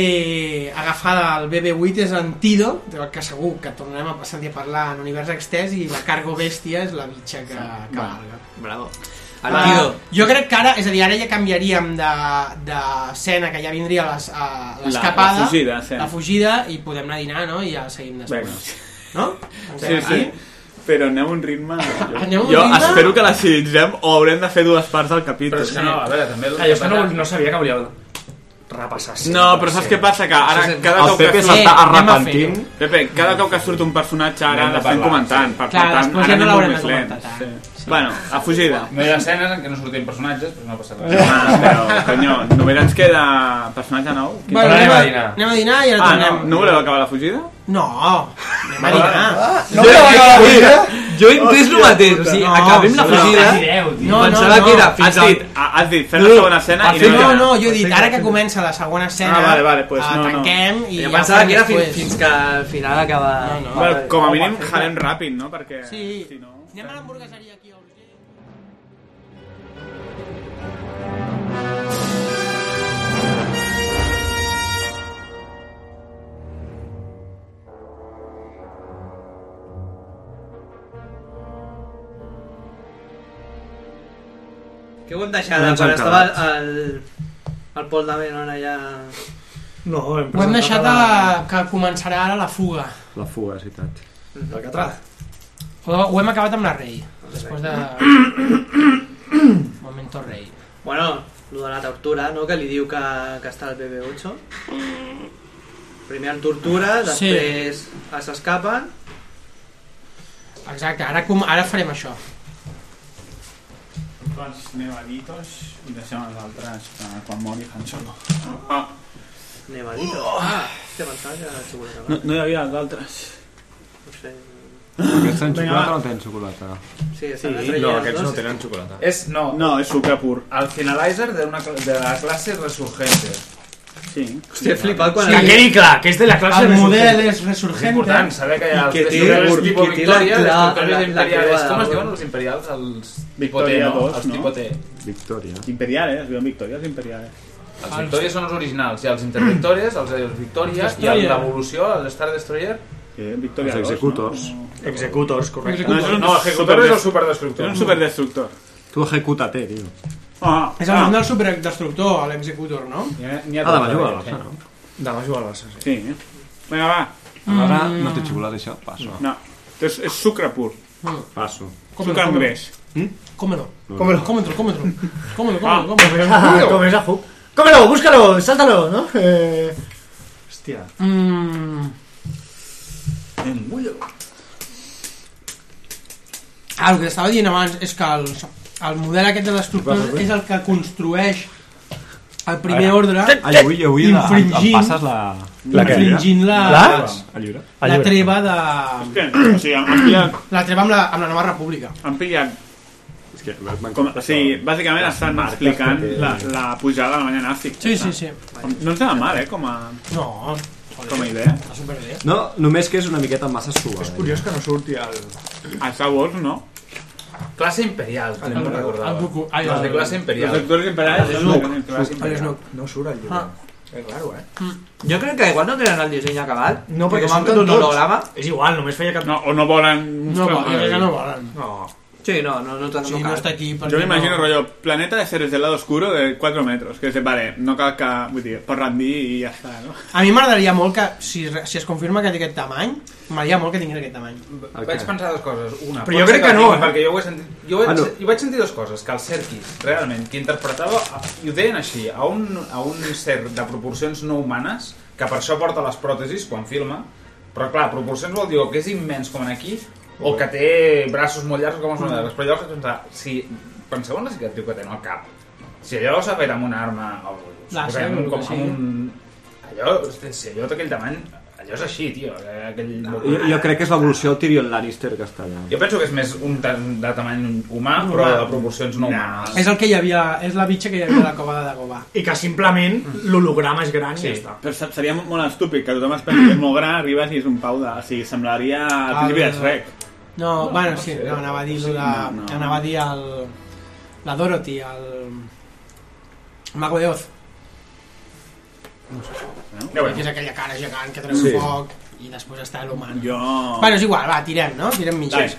S7: agafada el BB-8 és en Tido, del que segur que tornarem a sentir a parlar en Univers Extès, i la Cargo Bèstia és la bitxa que, que
S13: Bravo.
S7: valga.
S13: Bravo. El
S7: Ah,
S13: Guido.
S7: jo crec que ara, és a dir, ara ja canviaríem de- d'escena, de, que ja vindria les- a- l'escapada,
S9: La- la fugida, sí.
S7: la fugida, i podem anar a dinar, no? I ja seguim després.
S9: Vinga.
S7: No? Ah,
S9: Sí, sí. Però anem a un ritme... Jo,
S7: Anem a un
S9: jo
S7: ritme?
S9: espero que l'agilitzem o haurem de fer dues parts del capítol.
S19: Però és que no, a veure, també... el
S8: Ah, jo és que
S19: que
S8: no,
S19: passa-
S8: no sabia que hauria de repassar. sempre.
S9: No, però saps què passa? Que ara
S8: Sí, sí.
S9: cada cop que
S8: arrepentint.
S9: Pepe, cada cop que surt un personatge ara
S19: Anem de
S9: l'estem
S19: parlar,
S9: comentant.
S19: sí.
S9: Per
S19: Clar,
S9: tant,
S19: després
S9: ara
S19: ja no
S9: anem molt
S19: l'haurem
S9: més
S19: de
S9: lent.
S19: comentar
S9: Sí. Bueno, a fugida.
S19: No hi ha escenes en què no surtin personatges, però no passa res.
S9: Ah, però, conyo, només ens queda personatge nou.
S19: Bueno, Però anem anem a- a dinar.
S7: anem a dinar i ara
S9: ah,
S7: tornem.
S9: No, no voleu acabar la fugida?
S7: No, anem a dinar.
S9: no voleu acabar la fugida?
S13: Jo he entès el mateix, o sigui,
S7: No,
S13: acabem la
S7: no,
S19: eh?
S13: fugida,
S7: no, no,
S13: pensava
S7: no.
S13: que era
S9: Has
S13: fins
S9: dit,
S13: al...
S9: has dit, fer la segona escena i anem a
S7: no,
S9: dinar.
S7: no, jo he dit, ara que comença la segona escena,
S9: Ah, vale, vale, pues
S7: eh,
S9: no, no.
S7: tanquem i
S13: Jo
S7: ja
S13: pensava
S7: fem
S13: que era fins,
S7: després.
S13: fins que al final acaba... No, no.
S9: Bueno, com a mínim, jalem ràpid, no? Perquè... Sí. Si no...
S7: Anem a l'hamburgueseria aquí.
S13: Que ho hem deixat,
S8: No ens
S13: quan
S8: hem
S13: estava
S8: quedat.
S13: el, el Pol de Menon allà...
S8: No, hem
S7: Ho hem
S8: presentat
S7: deixat a,
S8: la-
S7: que començarà ara la fuga.
S12: La fuga, és veritat.
S8: El Catrà.
S7: Ho, ho hem acabat amb la rei. Després de... Momento rei.
S13: Bueno, lo de la tortura, no?, que li diu que, que està al BB-8. Primer en tortura,
S7: Sí.
S13: després sí. s'escapen.
S7: Exacte, ara, com, ara farem això.
S9: Doncs anem a Ditos i deixem els altres eh, quan mori Han Solo.
S13: Ah. Anem a dir. Ah, hòstia, pensava que era xocolata.
S9: No, no hi havia els altres.
S13: No sé.
S12: Aquests tenen
S9: Vinga,
S12: xocolata
S9: va.
S12: o no tenen xocolata?
S13: Sí,
S12: Sí, no, aquests no tenen xocolata.
S19: És, no,
S9: No, és sucre pur.
S19: el finalizer de, una, cla- de la classe resurgente.
S9: Sí.
S13: Hòstia, he flipat quan...
S8: Que quedi clar, que és de la classe
S7: El model
S8: resurgente.
S7: és resurgent.
S19: És important saber que hi ha
S8: I
S19: els
S8: que té
S19: destructores tipus
S8: el- i que té la
S19: Victòria,
S8: cla-
S19: els
S8: la-
S19: destructores
S8: la
S19: imperials.
S8: creuada.
S19: Com es diuen els imperials? Els Vipote,
S9: Victòria
S19: no?
S9: dos,
S19: Els E.
S9: no?
S19: Tipote.
S12: Victòria.
S9: Imperiales, eh? es diuen Victòries Imperiales.
S19: Els Victòries són els originals, i els Intervictòries, els, els Victòries, i
S9: Victòria.
S19: l'Evolució, els Star Destroyer...
S9: Sí, Victòria
S12: Els executors.
S8: Executors, correcte.
S9: No, és un
S19: No, Ejecutores
S9: superdes-
S19: o Superdestructor.
S9: És un superdestructor.
S12: Tu ejecuta-te, tio.
S9: Ah,
S7: És el nom del superdestructor, l'executor, no?
S19: N'hi
S12: Ah, demà juga al Barça, no?
S8: Demà juga al Barça, sí.
S9: eh? Sí. eh? Vinga, va.
S12: Ara
S7: Mm.
S12: no té xocolata, això? Passo.
S9: No. És, és sucre pur.
S12: Passo.
S9: Sucre amb greix.
S7: Cómelo.
S12: Cómelo.
S7: Cómetelo, cómetelo. Cómelo,
S9: Ah.
S7: cómetelo, cómetelo.
S23: Ah, com és a Hook. Cómelo, búscalo, sáltalo, ¿no? Eh...
S8: Hòstia.
S7: Mm.
S19: Engullo.
S7: Ah, el que estava dient abans és que el, el model aquest de destructors és el que construeix el primer
S12: Ara.
S7: ordre
S12: Ai, avui, avui la, em, em
S7: infringint,
S12: passes la...
S7: La què? Infringint la- Ah,
S12: La lliure.
S7: la treva de...
S9: O sigui, em pillat...
S7: La treva amb la, amb la nova república.
S9: Em pillat...
S12: És que m'han
S9: Com, o sigui, bàsicament
S12: Les
S9: estan
S12: marques
S9: explicant
S12: que té.
S9: la, la pujada de la manya nàstic.
S7: Sí, sí, sí.
S9: No ens anava mal, eh, com a,
S7: No,
S9: com a idea.
S7: està superbé.
S12: No, només que és una miqueta massa suave. És
S8: Curiós que no surti el...
S9: A Star Wars, no?
S19: Classe imperial, no me'n recordava.
S7: el Goku- ai,
S19: Els de
S7: el-
S19: classe imperial.
S9: Els actors imperials
S19: Els
S9: són
S19: Snoke.
S9: de classe imperial.
S7: Snoke.
S8: No surt el llibre.
S7: Ah.
S8: És raro, eh?
S13: Jo crec que igual no tenen el disseny acabat.
S8: No, perquè
S13: com han
S8: surten
S13: fet un
S8: tots.
S13: holograma...
S8: És igual, només feia cap...
S9: No, o no volen...
S7: eh, No, jo crec que no volen.
S8: No.
S13: Sí, no, no, no, no,
S7: Sí, no està aquí perquè
S9: Jo m'imagino,
S7: no-
S9: rotllo, planeta de seres del lado oscuro de 4 metres, que és de, vale, no cal que, vull dir, pot rendir i ja està, no?
S7: A mi m'agradaria molt que, si, re- si es confirma que té aquest tamany, m'agradaria molt que tingués aquest tamany.
S19: Vaig pensar dues coses. Una, pot
S7: Però jo
S19: ser
S7: crec que
S19: el
S7: no,
S19: tingui,
S7: eh?
S19: Perquè jo, ho he sentit, jo, vaig,
S7: Ah, no.
S19: jo vaig sentir dues coses. Que el Serkis, realment, que interpretava, i ho deien així, a un, a un cert de proporcions no humanes, que per això porta les pròtesis quan filma, però clar, proporcions vol dir o que és immens com en aquí, o que té braços molt llargs com els nosaltres. Però llavors vaig pensar, si penseu en la cicatriu que té en el cap, si allò s'ha fet amb una arma, o,
S7: Làser,
S19: suposem,
S7: o Ah, el que
S19: com,
S7: sigui.
S19: amb un... Allò, si allò té aquell tamany, allò és així, tio. eh, Aquell...
S7: Ah,
S12: Jo, jo crec que és l'evolució del Tyrion Lannister que està allà.
S19: Jo penso que és més un ta- de tamany humà, però de proporcions no humanes.
S7: És el que hi havia, és la bitxa que hi havia a la cova de Dagobah.
S8: I que simplement l'holograma és gran
S9: Sí,
S8: i ja està.
S9: però se- seria molt estúpid que tothom es pensi que és molt gran, arribes i és un pau de... O sigui, semblaria al principi de Shrek.
S7: No, bueno, sí, no, anava a dir lo de...
S9: No, no.
S7: Anava a dir el... La Dorothy, el... el Mago de Oz. No sé.
S9: Ja
S7: No?
S9: veurem.
S7: Que és aquella cara gegant que treu
S9: Sí.
S7: sí. foc i després està l'humana.
S9: Jo...
S7: Bueno, és igual, va, tirem, no? Tirem mitges.
S9: Sí.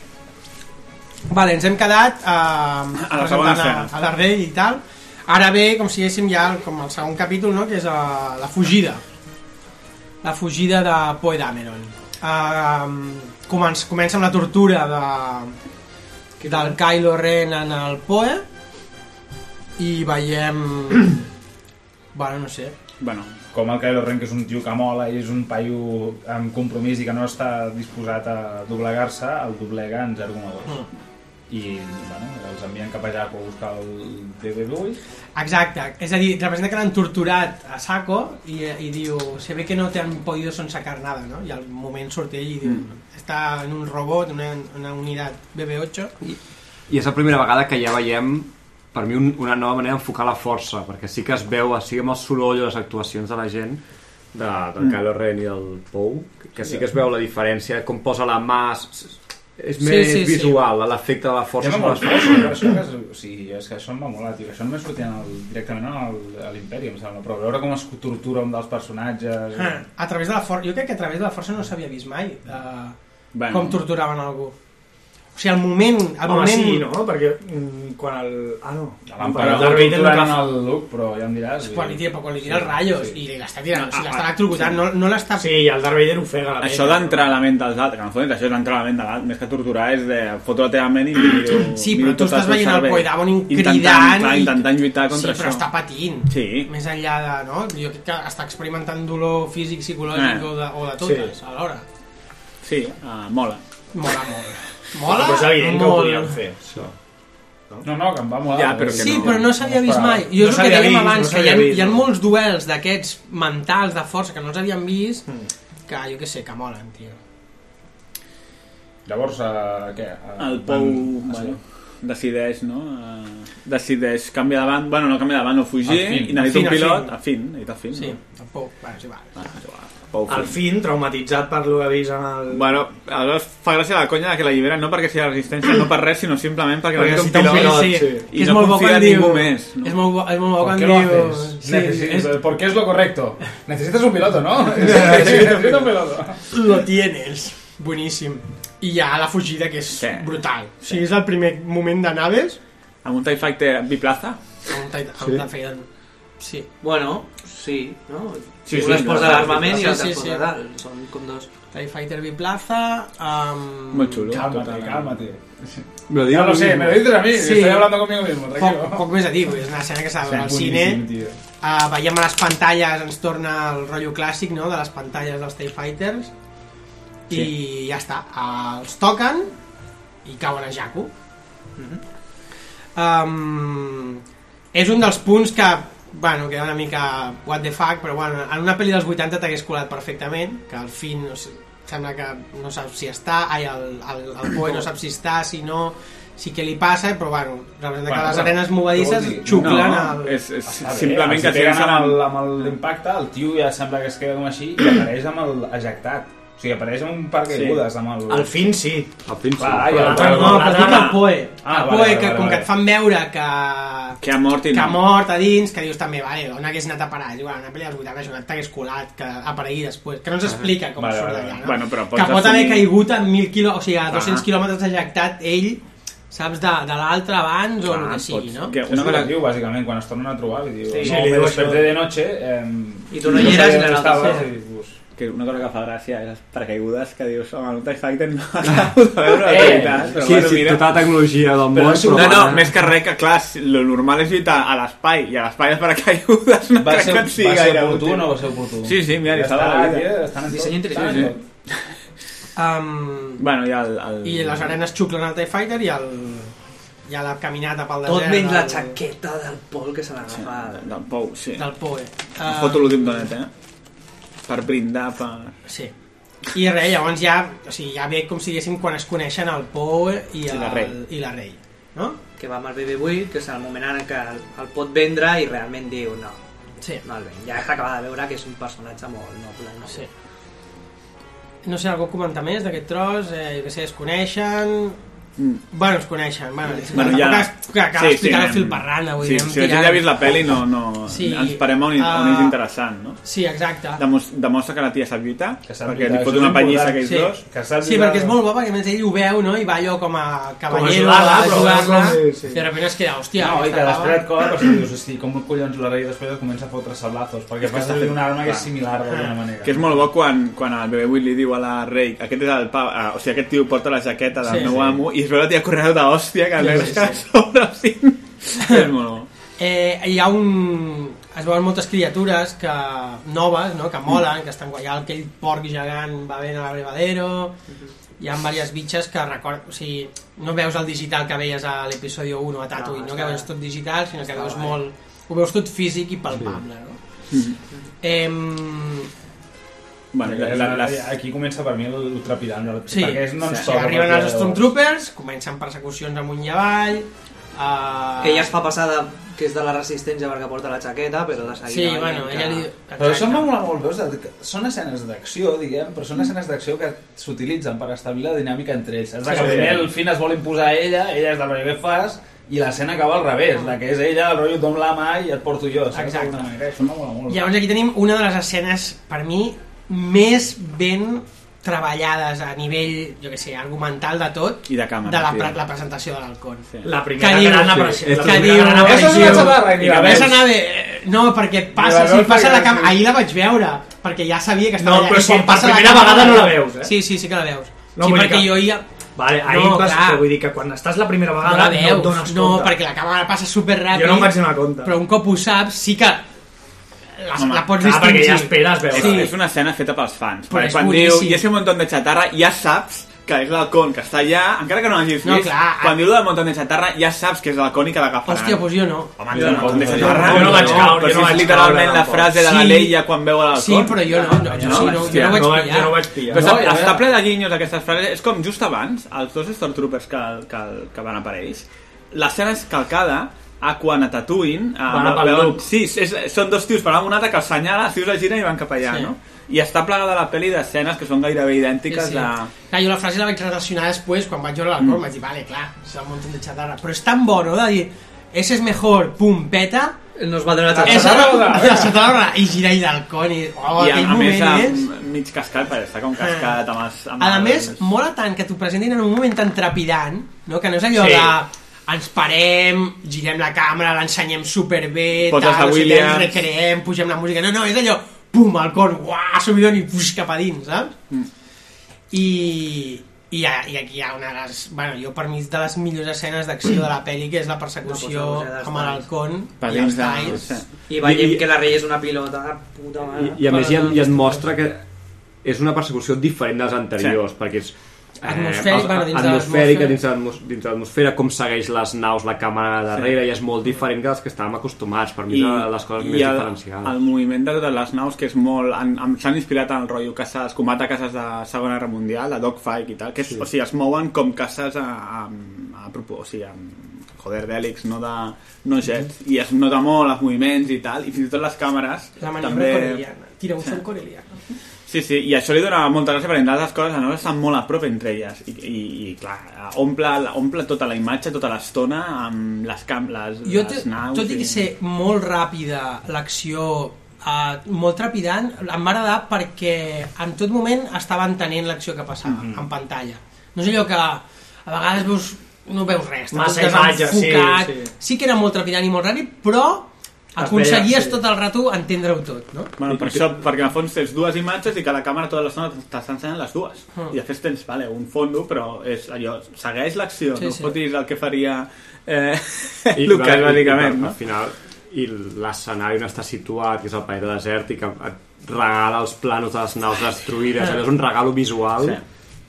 S7: Vale, ens hem quedat eh, a,
S9: la segona escena.
S7: a, a la rei i tal. Ara ve, com si haguéssim ja el, com el segon capítol, no? que és eh, la fugida. La fugida de Poe Dameron. Eh, comença, comença amb la tortura de, del Kylo Ren en el Poe i veiem... bueno, no sé.
S19: Bueno, com el Kylo Ren, que és un tio que mola i és un paio amb compromís i que no està disposat a doblegar-se, el doblega en 0,2. Mm. I, bueno, els envien cap allà per buscar el DB Lewis.
S7: Exacte, és a dir, representa que l'han torturat a saco i, i diu, se ve que no te han podido sonsacar nada, no? I al moment surt ell i diu, està en un robot, una, una unitat BB-8.
S12: I és la primera vegada que ja veiem per mi un, una nova manera d'enfocar la força, perquè sí que es veu, així amb el soroll o les actuacions de la gent, de, del
S14: Mm.
S12: Kylo Ren i del Pou, que sí que es veu la diferència, com posa la mà, s- s- és
S19: Sí,
S12: més
S19: sí, sí.
S12: visual, l'efecte de la
S19: Ja
S12: força
S19: m'ha
S12: sobre
S19: molat,
S12: les forces.
S19: això és, o sigui, és que això em va molar, tio. Això només sortia en el, directament al- a l'Imperi, em sembla. Però veure com es tortura un dels personatges...
S7: Ah, A través de la força, jo crec que a través de la força no s'havia vist mai eh,
S19: Bueno.
S7: com torturaven algú. O sigui, al moment... Al
S8: Home,
S7: moment...
S8: sí, no? Perquè mm, quan el... Ah, no.
S19: L'emperador
S8: Darth Vader no
S19: torturant
S8: fa-
S19: el Luke, però ja em diràs...
S7: Quan li tira, però quan li tira els rayos i li l'està tirant, o sigui,
S9: Ah,
S7: l'està
S9: ah,
S7: electrocutant,
S9: sí.
S7: no, no l'està...
S8: Sí, i el Darth Vader ofega
S9: Això d'entrar a la ment dels altres, que en el fons això és d'entrar a la ment de l'altre, més que torturar és de fotre la teva ment i miro,
S7: Sí, però tu estàs veient el Poe Dameron
S9: intentant,
S7: cridant
S9: Clar,
S7: i-
S9: intentant lluitar contra
S7: sí, però
S9: això.
S7: està patint.
S9: Sí.
S7: Més enllà de, no? Jo crec que està experimentant dolor físic, psicològic
S9: Eh.
S7: o, de, o de totes,
S9: Sí.
S7: sí. alhora.
S9: Sí, uh, mola.
S7: Mola molt. Mola
S8: Però és evident que ho
S7: molt.
S8: podien fer.
S19: No, no, que em va molar. Eh,
S9: Ja, però que
S7: Sí,
S9: no-
S7: però no s'havia vist
S9: esperava.
S7: mai. Jo és el
S9: No
S7: que
S9: s'havia
S7: dèiem
S9: vist,
S7: abans,
S9: no
S7: que hi ha,
S9: s'havia vist,
S7: hi ha
S9: no.
S7: molts duels d'aquests mentals de força que no els havien vist, que jo que sé, que molen, tio.
S19: Llavors, eh, què? Eh,
S9: El Pou
S19: van-
S9: bueno, decideix, no? Uh, decideix canviar de banda, bueno, no canviar de banda, no fugir,
S8: Al fin.
S9: i necessita
S8: Al
S9: un
S8: fin, al
S9: pilot,
S8: fin.
S9: a fin, necessita a fin. Ah, Sí,
S7: no? el Pou, bueno, sí, va.
S9: Pou
S8: Al fin, traumatitzat per lo que ha vist en el...
S9: Bueno, aleshores fa gràcia la conya de que l'alliberen no perquè sigui la resistència, no per res, sinó simplement perquè,
S8: Perquè
S9: necessita
S8: necessita un
S9: pilot,
S8: pilot, sí.
S9: i
S7: és
S9: no
S7: molt bo
S9: confia
S7: quan
S9: en ningú
S7: diu-
S9: més.
S7: És molt bo, és molt bo
S19: ¿Por
S7: quan
S19: qué lo
S7: diu...
S19: haces?
S7: Sí,
S19: Necesito-
S7: és-
S19: Porque es lo correcto. Necesitas un piloto, ¿no? Necesitas un piloto.
S7: Lo tienes. Boníssim. I hi ha la fugida, que és brutal. O sigui, és el primer moment de naves...
S9: Amb un TIE Fighter biplaza?
S7: Amb un TIE
S9: Sí.
S7: sí. Fighter... Sí.
S13: Bueno, sí, no? Sí,
S7: Sí, sí,
S13: sí, un es
S7: no,
S13: posa
S7: no,
S13: l'armament
S7: sí,
S13: i l'altre
S7: sí,
S13: es
S7: sí.
S13: posa dalt. Són com dos.
S7: TIE Fighter biplaza... Um...
S9: Molt xulo.
S19: Cálmate, cálmate.
S12: Lo
S19: Ya lo sé, me lo dices a mí. Estoy hablando conmigo mismo, tranquilo.
S7: Poc, poc més a dir, és una escena que s'ha de veure al
S19: Sí,
S7: cine.
S19: boníssim, tio.
S7: Uh, veiem a les pantalles, ens torna el rotllo clàssic no? de les pantalles dels TIE Fighters. I ja està. Uh, els toquen i cauen a Jakku.
S19: Mhm.
S7: Um, és un dels punts que bueno, queda una mica what the fuck, però bueno, en una pel·li dels 80 t'hagués colat perfectament, que al fin no sé, sembla que no sap si està, ai, el, el, el Poe no sap si està, si no, si què li passa, però bueno, representa que
S19: Bueno,
S7: les
S19: però,
S7: arenes
S19: què
S7: movedisses
S19: vol dir?
S7: xuclen
S19: No, eh,
S7: el...
S9: És, és
S19: Està bé,
S9: simplement
S19: els hi
S9: que
S19: peguen
S9: segueixen
S19: amb
S9: amb...
S19: el- amb l'impacte, el tio ja sembla que es queda com així i apareix amb el ejectat. O sigui, apareix amb un parc de caigudes, amb el...
S8: Al fin sí.
S12: Al fin
S19: Clar, i
S7: No,
S19: el-
S7: però dic el Poe.
S19: Ah,
S7: El
S19: vale,
S7: Poe,
S19: vale,
S7: que
S19: vale,
S7: com que
S19: vale.
S7: et fan veure que...
S9: Que ha mort i
S7: que
S9: no.
S7: ha mort a dins, que dius també, vale, on hagués anat a parar? Diu, bueno, una pel·li dels 80, això que t'hagués colat, que aparegui després, que no ens explica com
S9: Ah, Vale,
S7: surt
S9: vale,
S7: d'allà, no?
S9: bueno, però
S7: que
S9: pots Ah.
S7: pot haver
S9: assumir-
S7: caigut a 1.000 quilòmetres, o sigui, a
S9: Ah.
S7: 200 quilòmetres ejectat ell saps de, de l'altre abans o el que sigui, no?
S19: Ah, pues
S7: Doncs
S19: Que una cosa que diu, bàsicament, quan es tornen a trobar, li diu...
S7: Sí,
S19: Sí, no,
S7: sí,
S19: me
S7: li diu
S19: desperté
S7: això.
S19: de noche... Eh,
S7: I tu no hi eres, era
S19: estava,
S7: l'altre.
S19: i dius,
S24: que una cosa que fa gràcia és les precaigudes que dius, home, no t'expecten no acabo de veure la
S19: Eh,
S24: veritat, però
S12: sí,
S24: bueno,
S12: sí,
S24: mira.
S12: tota la tecnologia del
S24: és un-
S12: món... però
S24: no,
S12: bueno.
S24: no,
S9: Més que res, que clar, si- lo normal és lluitar a l'espai, i a l'espai és per a caigudes, no
S19: Va
S9: crec
S19: ser,
S9: que et sigui
S19: va ser
S9: gaire
S19: oportú
S9: útil.
S19: o no va ser oportú?
S9: Sí, sí, mira, li
S19: Ja
S9: estava la
S19: està,
S9: vida.
S19: tio, estan en
S7: Disseny
S19: tot,
S7: intel·ligent.
S19: estan en tot.
S7: Um,
S9: Bueno, i el... el...
S7: I les arenes xuclen al TIE Fighter i el... I a la caminata pel desert...
S13: Tot menys la
S7: del-
S13: xaqueta del Pol que se l'agafa.
S9: Del Pou, sí.
S7: Del Pou, eh?
S9: Uh...
S7: Ah.
S9: Foto l'últim donet, eh? Per brindar, per...
S7: Sí. I res, llavors ja, o sigui, ja ve com si diguéssim quan es coneixen el Poe i,
S13: la
S7: el,
S13: Rey.
S7: i la Rei, no?
S13: Que va amb el BB-8, que és el moment en què el, el pot vendre i realment diu no.
S7: Sí.
S13: No el ven. Ja s'acaba de veure que és un personatge molt noble. No sé.
S7: No sé, algú comenta més d'aquest tros? Eh, jo què sé, es coneixen...
S9: Mm.
S7: Bueno, es coneixen. Bueno,
S9: Bueno, ja-
S7: tampoc Que acaba
S9: sí, sí,
S7: d'explicar sí,
S9: anem-
S7: el fil per randa, vull
S9: sí,
S7: dir,
S9: si
S7: anem
S9: la gent
S7: tirant.
S9: ja ha vist la peli, no- no- ens parem a on- on
S7: Ah.
S9: és interessant, no?
S7: Sí, exacte.
S9: Demos- demostra que la tia sap lluitar, perquè
S19: lluitar,
S9: li fot
S19: això és
S9: una pallissa
S19: important.
S9: a aquells
S19: Sí.
S9: dos.
S19: Que
S7: Sí, perquè és molt bo, perquè a més ell ho veu, no? I va allò com a cavallero,
S19: ajudar-la, però
S7: ajudar-la,
S19: sí,
S7: sí, sí. i de sobte es queda, hòstia,
S19: no, i
S7: aquesta
S19: que després
S7: lava-
S19: et cola, però si dius, hosti, com collons la rei després et comença a fotre sablazos, perquè
S9: que
S19: fas
S9: està fet-
S19: una arma que
S9: clar.
S19: és similar d'alguna manera.
S9: Que és molt bo quan, quan el bebè Will li diu a la rei aquest és el pa, ah, o sigui, aquest tio porta la jaqueta del
S7: Sí,
S9: meu
S7: sí.
S9: amo i es veu la tia correu de hòstia que el
S7: Sí,
S9: negre
S7: sí,
S9: està a sobre, o sigui, és molt bo.
S7: Eh, hi ha un... Es veuen moltes criatures que noves, no? que molen, que estan guai. Hi ha aquell porc gegant va ben a l'abrevadero, hi ha diverses bitxes que record... O sigui, no veus el digital que veies a l'episodi 1 a
S13: No,
S7: Tatooine, no, no
S13: està-
S7: que veus tot digital, sinó que
S13: està
S7: veus
S13: guai.
S7: molt... Ho veus tot físic i palpable, no? Em,
S9: Bueno,
S19: la, la,
S9: les-
S19: Aquí comença per mi el trepidant, el-
S7: Sí,
S19: perquè és
S7: sí,
S19: non-stop.
S7: arriben
S19: a partir
S7: els
S19: de-
S7: Stormtroopers, comencen persecucions amunt i avall... Uh...
S13: Que ella es fa passar de, que és de la resistència perquè porta la xaqueta, però de seguida...
S7: Sí, bueno, ella li-
S19: Però això em va molar molt, veus? de- que Són escenes d'acció, diguem, però són escenes d'acció que s'utilitzen per establir la dinàmica entre ells. És
S13: Sí,
S19: que
S13: sí.
S19: primer el Finn es vol imposar a ella, ella és del rotllo que fas, i l'escena acaba al revés, la que és ella, el rotllo dom la mà i et porto jo. Saps?
S7: Exacte.
S19: D'alguna manera, Això em va molar molt.
S7: Llavors aquí tenim una de les escenes, per mi, més ben treballades a nivell, jo que sé, argumental de tot.
S9: I de càmera,
S7: De la,
S9: sí.
S7: pre la presentació de l'Halcón. Sí.
S9: La primera gran aparició- la
S7: Que
S9: primera
S7: diu...
S9: gran aparició. Això és una xerrada, i la veus.
S7: Ves a anar de... eh, No, perquè passa,
S9: veus
S7: si passa
S9: perquè-
S7: la càmera... Ahir la vaig veure, perquè ja sabia que estava
S8: No,
S7: allà.
S8: però
S7: I
S8: si per
S7: passa
S8: primera
S7: càmera-
S8: vegada no la veus, eh?
S7: Sí, sí, sí que la veus.
S8: No,
S7: sí,
S8: vull dir
S7: perquè
S8: que-
S7: jo ja...
S8: Vale, ahir
S7: no,
S8: vas,
S7: clar.
S8: però vull dir que quan estàs la primera vegada
S7: no, la veus,
S8: no et dones
S7: no,
S8: compte.
S7: perquè la càmera passa super ràpid.
S8: Jo no em vaig donar compte.
S7: Però un cop ho saps, sí que la,
S9: Home,
S7: la pots
S9: clar,
S7: distingir.
S9: perquè ja esperes veure-la.
S7: Sí.
S9: És una escena feta pels fans.
S7: Però
S9: Perquè
S7: és
S9: quan
S7: boníssim.
S9: diu, "Y ese montón de chatarra", ja saps que és l'halcón que està allà, encara que no l'hagis
S7: No,
S9: vist.
S7: clar. ah.
S9: Quan diu lo del montón de chatarra, ja saps que és l'halcón i que l'agafaran.
S7: Hòstia, doncs jo pues no.
S9: Home, jo no, montón de
S7: Jo
S9: chatarra,
S7: no vaig
S9: no,
S7: caure,
S9: però
S7: jo
S9: si
S7: no
S9: és
S7: vaig
S9: literalment
S7: caure
S9: la
S7: tampoc.
S9: frase de la
S7: Sí.
S9: Leia quan veu l'halcón.
S7: Sí, però jo no, no, jo sí, no, jo
S9: hòstia.
S7: no vaig No vaig- pillar. jo no vaig pillar.
S9: Però
S7: No,
S9: està-
S7: ja
S9: està
S7: veus.
S9: ple de guinyos aquestes frases. És com just abans, els dos Stormtroopers que, que, que van apareix, l'escena és calcada a quan a Tatooine... eh,
S8: Van a pel
S9: veuen-
S8: Luke.
S9: Sí, és, és- són dos tios parlant amb un altre que els senyala, els tios es giren i van cap allà,
S7: Sí.
S9: no? I està plegada la pel·li d'escenes que són gairebé idèntiques sí, sí.
S7: Clar, jo la frase la vaig relacionar després, quan vaig veure l'alcohol,
S9: Mm.
S7: mm. vaig dir, vale, clar, és un montón de chatarra. Però és tan bo, no?, de dir, ese es mejor, pum, peta...
S13: No es va donar
S7: la
S13: tanta
S7: chatarra.
S13: chatarra.
S7: La chatarra, i gira i d'alcohol, i... Oh,
S9: I a,
S7: aquell
S9: a més,
S7: moment és...
S9: amb, mig cascat, perquè està com cascat amb els... Amb
S7: A
S9: els-
S7: més, mola tant que t'ho presentin en un moment tan trepidant, no? que no és allò
S9: Sí.
S7: sí. de ens parem, girem la càmera, l'ensenyem superbé,
S9: Poses
S7: tal, no sé què,
S9: de
S7: ens
S9: Williams.
S7: recreem, pugem la música... No, no, és allò, pum, al con, uah, subidon i puix cap a dins, saps? I, i, a- i aquí hi ha una de les... Bueno, jo per mi és de les millors escenes d'acció de la pel·li, que és la persecució
S13: La persecució dels
S7: amb l'Halcón
S12: Per
S7: i els
S12: dins de-
S7: Tais.
S13: I veiem
S12: I-
S13: que la rei és una pilota de puta mare.
S12: I, i a més ja, ja et mostra que és una persecució diferent de les anteriors, sí. perquè és eh,
S7: Atmosfèric,
S12: els-
S7: bueno, dins de
S12: atmosfèrica
S7: l'atmosfera.
S12: dins de l'atmos- dins de l'atmosfera, com segueix les naus, la càmera darrere, sí. i és molt diferent que les que estàvem acostumats, per mi és una de les coses més
S9: el,
S12: diferenciades.
S9: el moviment de totes les naus que és molt... en- en- S'han inspirat en el rotllo caces, combat a cases de Segona Guerra Mundial, a Dogfight i tal, que és, sí. o sigui, es mouen com caces a, a, a, propó- o sigui, amb, joder, d'hèlix, no de no jets, i es nota molt els moviments i tal, i fins i tot les càmeres
S7: La maniobra
S9: també...
S7: coreliana. Tira un sí. coreliana.
S9: Sí, sí, i això li dona molta gràcia perquè entre altres coses no estan molt a prop entre elles i, i, i clar, omple, omple tota la imatge, tota l'estona amb les, cam, les,
S7: jo te,
S9: les naus
S7: tot i que ser molt ràpida l'acció eh, molt trepidant em va agradar perquè en tot moment estava entenent l'acció que passava mm -hmm. en pantalla no és allò que a vegades veus no veus res. te
S8: Massa
S7: puc
S8: imatge, sí,
S7: desenfocar.
S8: sí.
S7: sí que era molt trepidant i molt ràpid, però
S9: veia,
S7: aconseguies
S9: sí.
S7: tot el rato entendre-ho tot, no?
S9: Bueno, per això, perquè en el fons tens dues imatges i cada càmera tota l'estona t'està ensenyant les dues.
S7: Mm.
S9: I després tens, vale, un fondo, però és allò, segueix l'acció,
S7: Sí,
S9: no
S7: sí.
S9: fotis el que faria eh,
S12: I,
S9: Lucas,
S12: clar, i-
S9: bàsicament,
S12: i,
S9: no?
S12: Al final, i l'escenari on està situat, que és el planeta desèrtic, que et regala els planos de les naus destruïdes,
S9: Sí.
S12: allò és un regalo visual.
S9: Sí.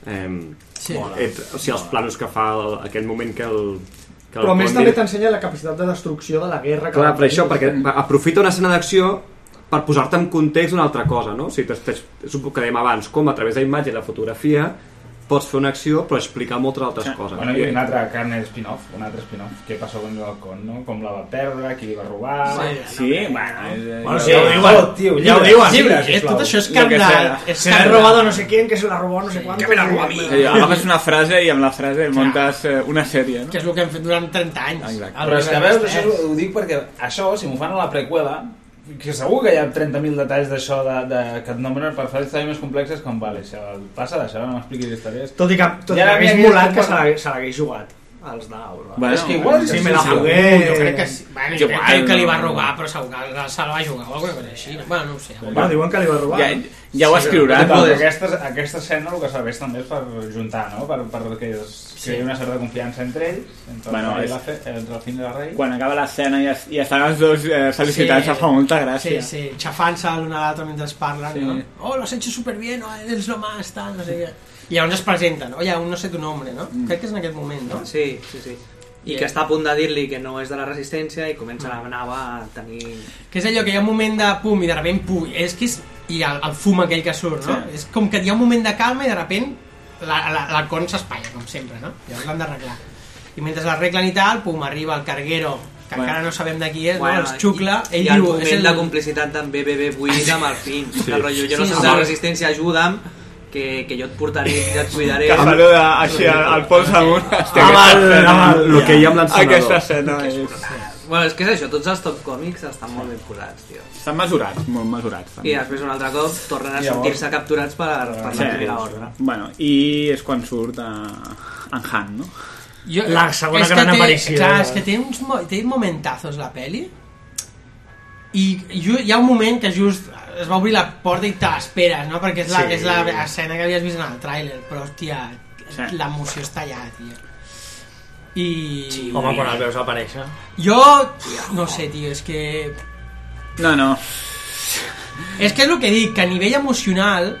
S12: Eh,
S7: Sí.
S12: Et, o sigui, els planos que fa el, aquell moment que el... Que
S23: Però a
S12: el
S23: més
S12: Bondi-
S23: també t'ensenya la capacitat de destrucció de la guerra.
S12: Clar,
S23: van
S12: per això,
S23: tenir.
S12: perquè aprofita una escena d'acció per posar-te en context una altra cosa, no? O sigui, t'es- t'es- és el que dèiem abans, com a través de la imatge i la fotografia pots fer una acció però explicar moltes altres coses.
S19: Bueno, i una altra carne spin-off, un altre spin-off. Què passa amb el balcón, no? Com la va perdre, qui li va robar... Eh,
S9: Sí,
S19: sí bueno...
S9: Bueno, eh, sí, ho diuen, tio, ja ho diuen.
S7: eh,
S9: Llibres,
S19: sisplau.
S9: tot això és
S19: Lo que
S9: carnal,
S19: sea.
S9: és
S23: Se l'ha robado no sé quién, que se l'ha robado no sé cuánto. Que me la roba a mi.
S9: Sí, eh, agafes una frase i amb la frase muntes eh, una sèrie, no?
S7: Que és el que hem fet durant 30 anys. eh?
S9: Exacte.
S19: Però és que veus, això ho- ho dic perquè això, si m'ho fan a la prequela, que segur que hi ha 30.000 detalls d'això de, de, que et nombren per fer històries més complexes com, vale, això, passa d'això, no m'expliquis històries.
S23: Tot i que, tot i que
S19: ara
S23: hagués
S19: m'hi-
S23: molat que se l'hagués- se l'hagués jugat als daus. va.
S19: Bueno, És que igual-
S23: Sí, me la
S19: sí, sí,
S23: jugué.
S19: segur, jo crec
S7: Que, sí, bueno,
S23: Jo
S7: jo crec
S23: Eh, igual,
S7: que, que li va
S23: no.
S7: robar, però segur que se la va jugar o alguna cosa així. Bueno, no ho sé.
S23: Bueno, diuen que li va robar.
S19: Ja-
S23: ja ho escriurà,
S19: Però,
S23: no?
S19: aquesta, aquesta escena el que serveix també és per juntar, no? Per, per que, es, que hi hagi una certa confiança entre ells, entre,
S9: Bueno,
S19: bueno, el,
S9: és-
S19: és... la fe, entre el fill i la rei.
S9: Quan acaba l'escena i, es- i estan els dos eh, felicitats, sí. fa molta
S7: Sí,
S9: gràcia.
S7: sí, xafant-se l'un a l'altre mentre es parlen,
S9: Sí.
S7: sí. no? Oh, lo has hecho superbien, oh, eres lo más, tal, no sé què. I llavors es presenten, oye, aún no sé tu nombre, no? Mm. Crec que és en aquest moment, no?
S13: Sí, sí, sí. I que està a punt de dir-li que no és de la resistència i comença la nava a tenir...
S7: Que és allò que hi ha un moment de pum i de repent pum, és que és... I el, el fum aquell que surt, no?
S13: Sí.
S7: Sí. És com que hi ha un moment de calma i de repent la, la, la con s'espatlla, com sempre, no? Llavors l'han d'arreglar. I mentre l'arreglen i tal, pum, arriba el carguero, que bueno.
S13: Bueno.
S7: encara no sabem de qui és, bueno, no? els xucla,
S13: i,
S7: ell
S13: i el
S7: diu...
S13: moment
S7: És
S13: de complicitat també BB8 amb el Finn.
S7: Sí.
S13: Sí. El rotllo, jo no
S7: Sí,
S13: sóc
S7: sí.
S13: de la resistència, ajuda'm, que, que jo et portaré, que et cuidaré.
S9: Que saluda així al, al pols amunt.
S12: lo que hi ha amb l'encenador.
S9: Aquesta escena és...
S13: Bueno, és que és això, tots els top còmics estan molt ben posats, tio.
S9: Estan mesurats, molt mesurats.
S13: I després un altre cop tornen a
S9: Llavors-
S13: sentir-se capturats per, per la primera
S9: sí.
S13: ordre.
S9: Bueno, i és quan surt eh, en Han, no?
S7: Jo, és que té- Clar, és que té uns mo- té momentazos la peli i ju- hi ha un moment que just es va obrir la porta i te l'esperes, no? Perquè és la,
S13: Sí.
S7: és la escena que havies vist en el tràiler, però hòstia, l'emoció està allà, tio. I... Sí,
S20: Home, quan el veus aparèixer.
S7: Jo, no sé, tio, és que...
S9: No, no.
S7: És que és el que dic, que a nivell emocional,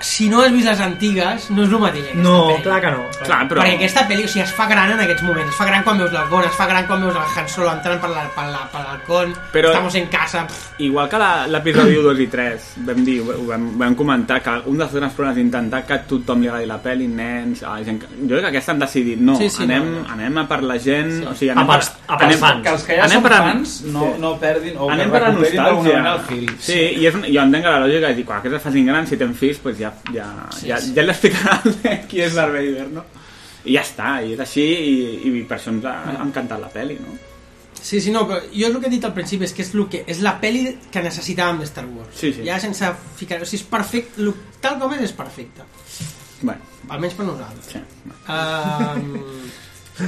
S7: si no has vist les antigues, no és el mateix. aquesta
S23: No,
S7: pel·li.
S23: clar que no.
S9: Clar, però-
S7: Perquè aquesta pel·li o sigui, es fa gran en aquests moments, es fa gran quan veus l'Alcon, es fa gran quan veus el Han Solo entrant per la- per la- per l'Alcon,
S9: Però-
S7: estamos en casa... pff,
S9: Igual que la- l'episodi 2 i 3 vam dir, ho vam, vam comentar que un dels grans problemes d'intentar que a tothom li agradi la pel·li, nens, a la gent... que- Jo crec que aquesta han decidit, no,
S19: Sí, sí,
S9: anem,
S19: no,
S9: anem a per la gent... Sí. O sigui, anem
S19: Que els que ja
S9: anem
S19: són
S9: per a-
S19: fans no,
S9: Sí.
S19: no perdin o
S9: Anem
S19: que
S9: per a
S19: recuperin d'alguna manera
S9: nostàlgia.
S19: el fil.
S9: Sí, i és, una- jo entenc que la lògica és dir, quan aquestes facin grans, si tenen fills, doncs pues ja, ja,
S19: Sí,
S9: ja,
S19: sí.
S9: ja li explicaran qui és Darth Vader, no? I ja està, i és així, i, i per això ens ha, ha encantat la pel·li, no?
S7: Sí, sí, no, però jo és el que he dit al principi, és que és, el que, és la pel·li que necessitàvem de Star Wars.
S9: Sí, sí.
S7: Ja sense ficar... O sigui, és perfecte, el- tal com és, és perfecte.
S9: Bueno.
S7: Almenys per nosaltres.
S9: Sí.
S7: Um,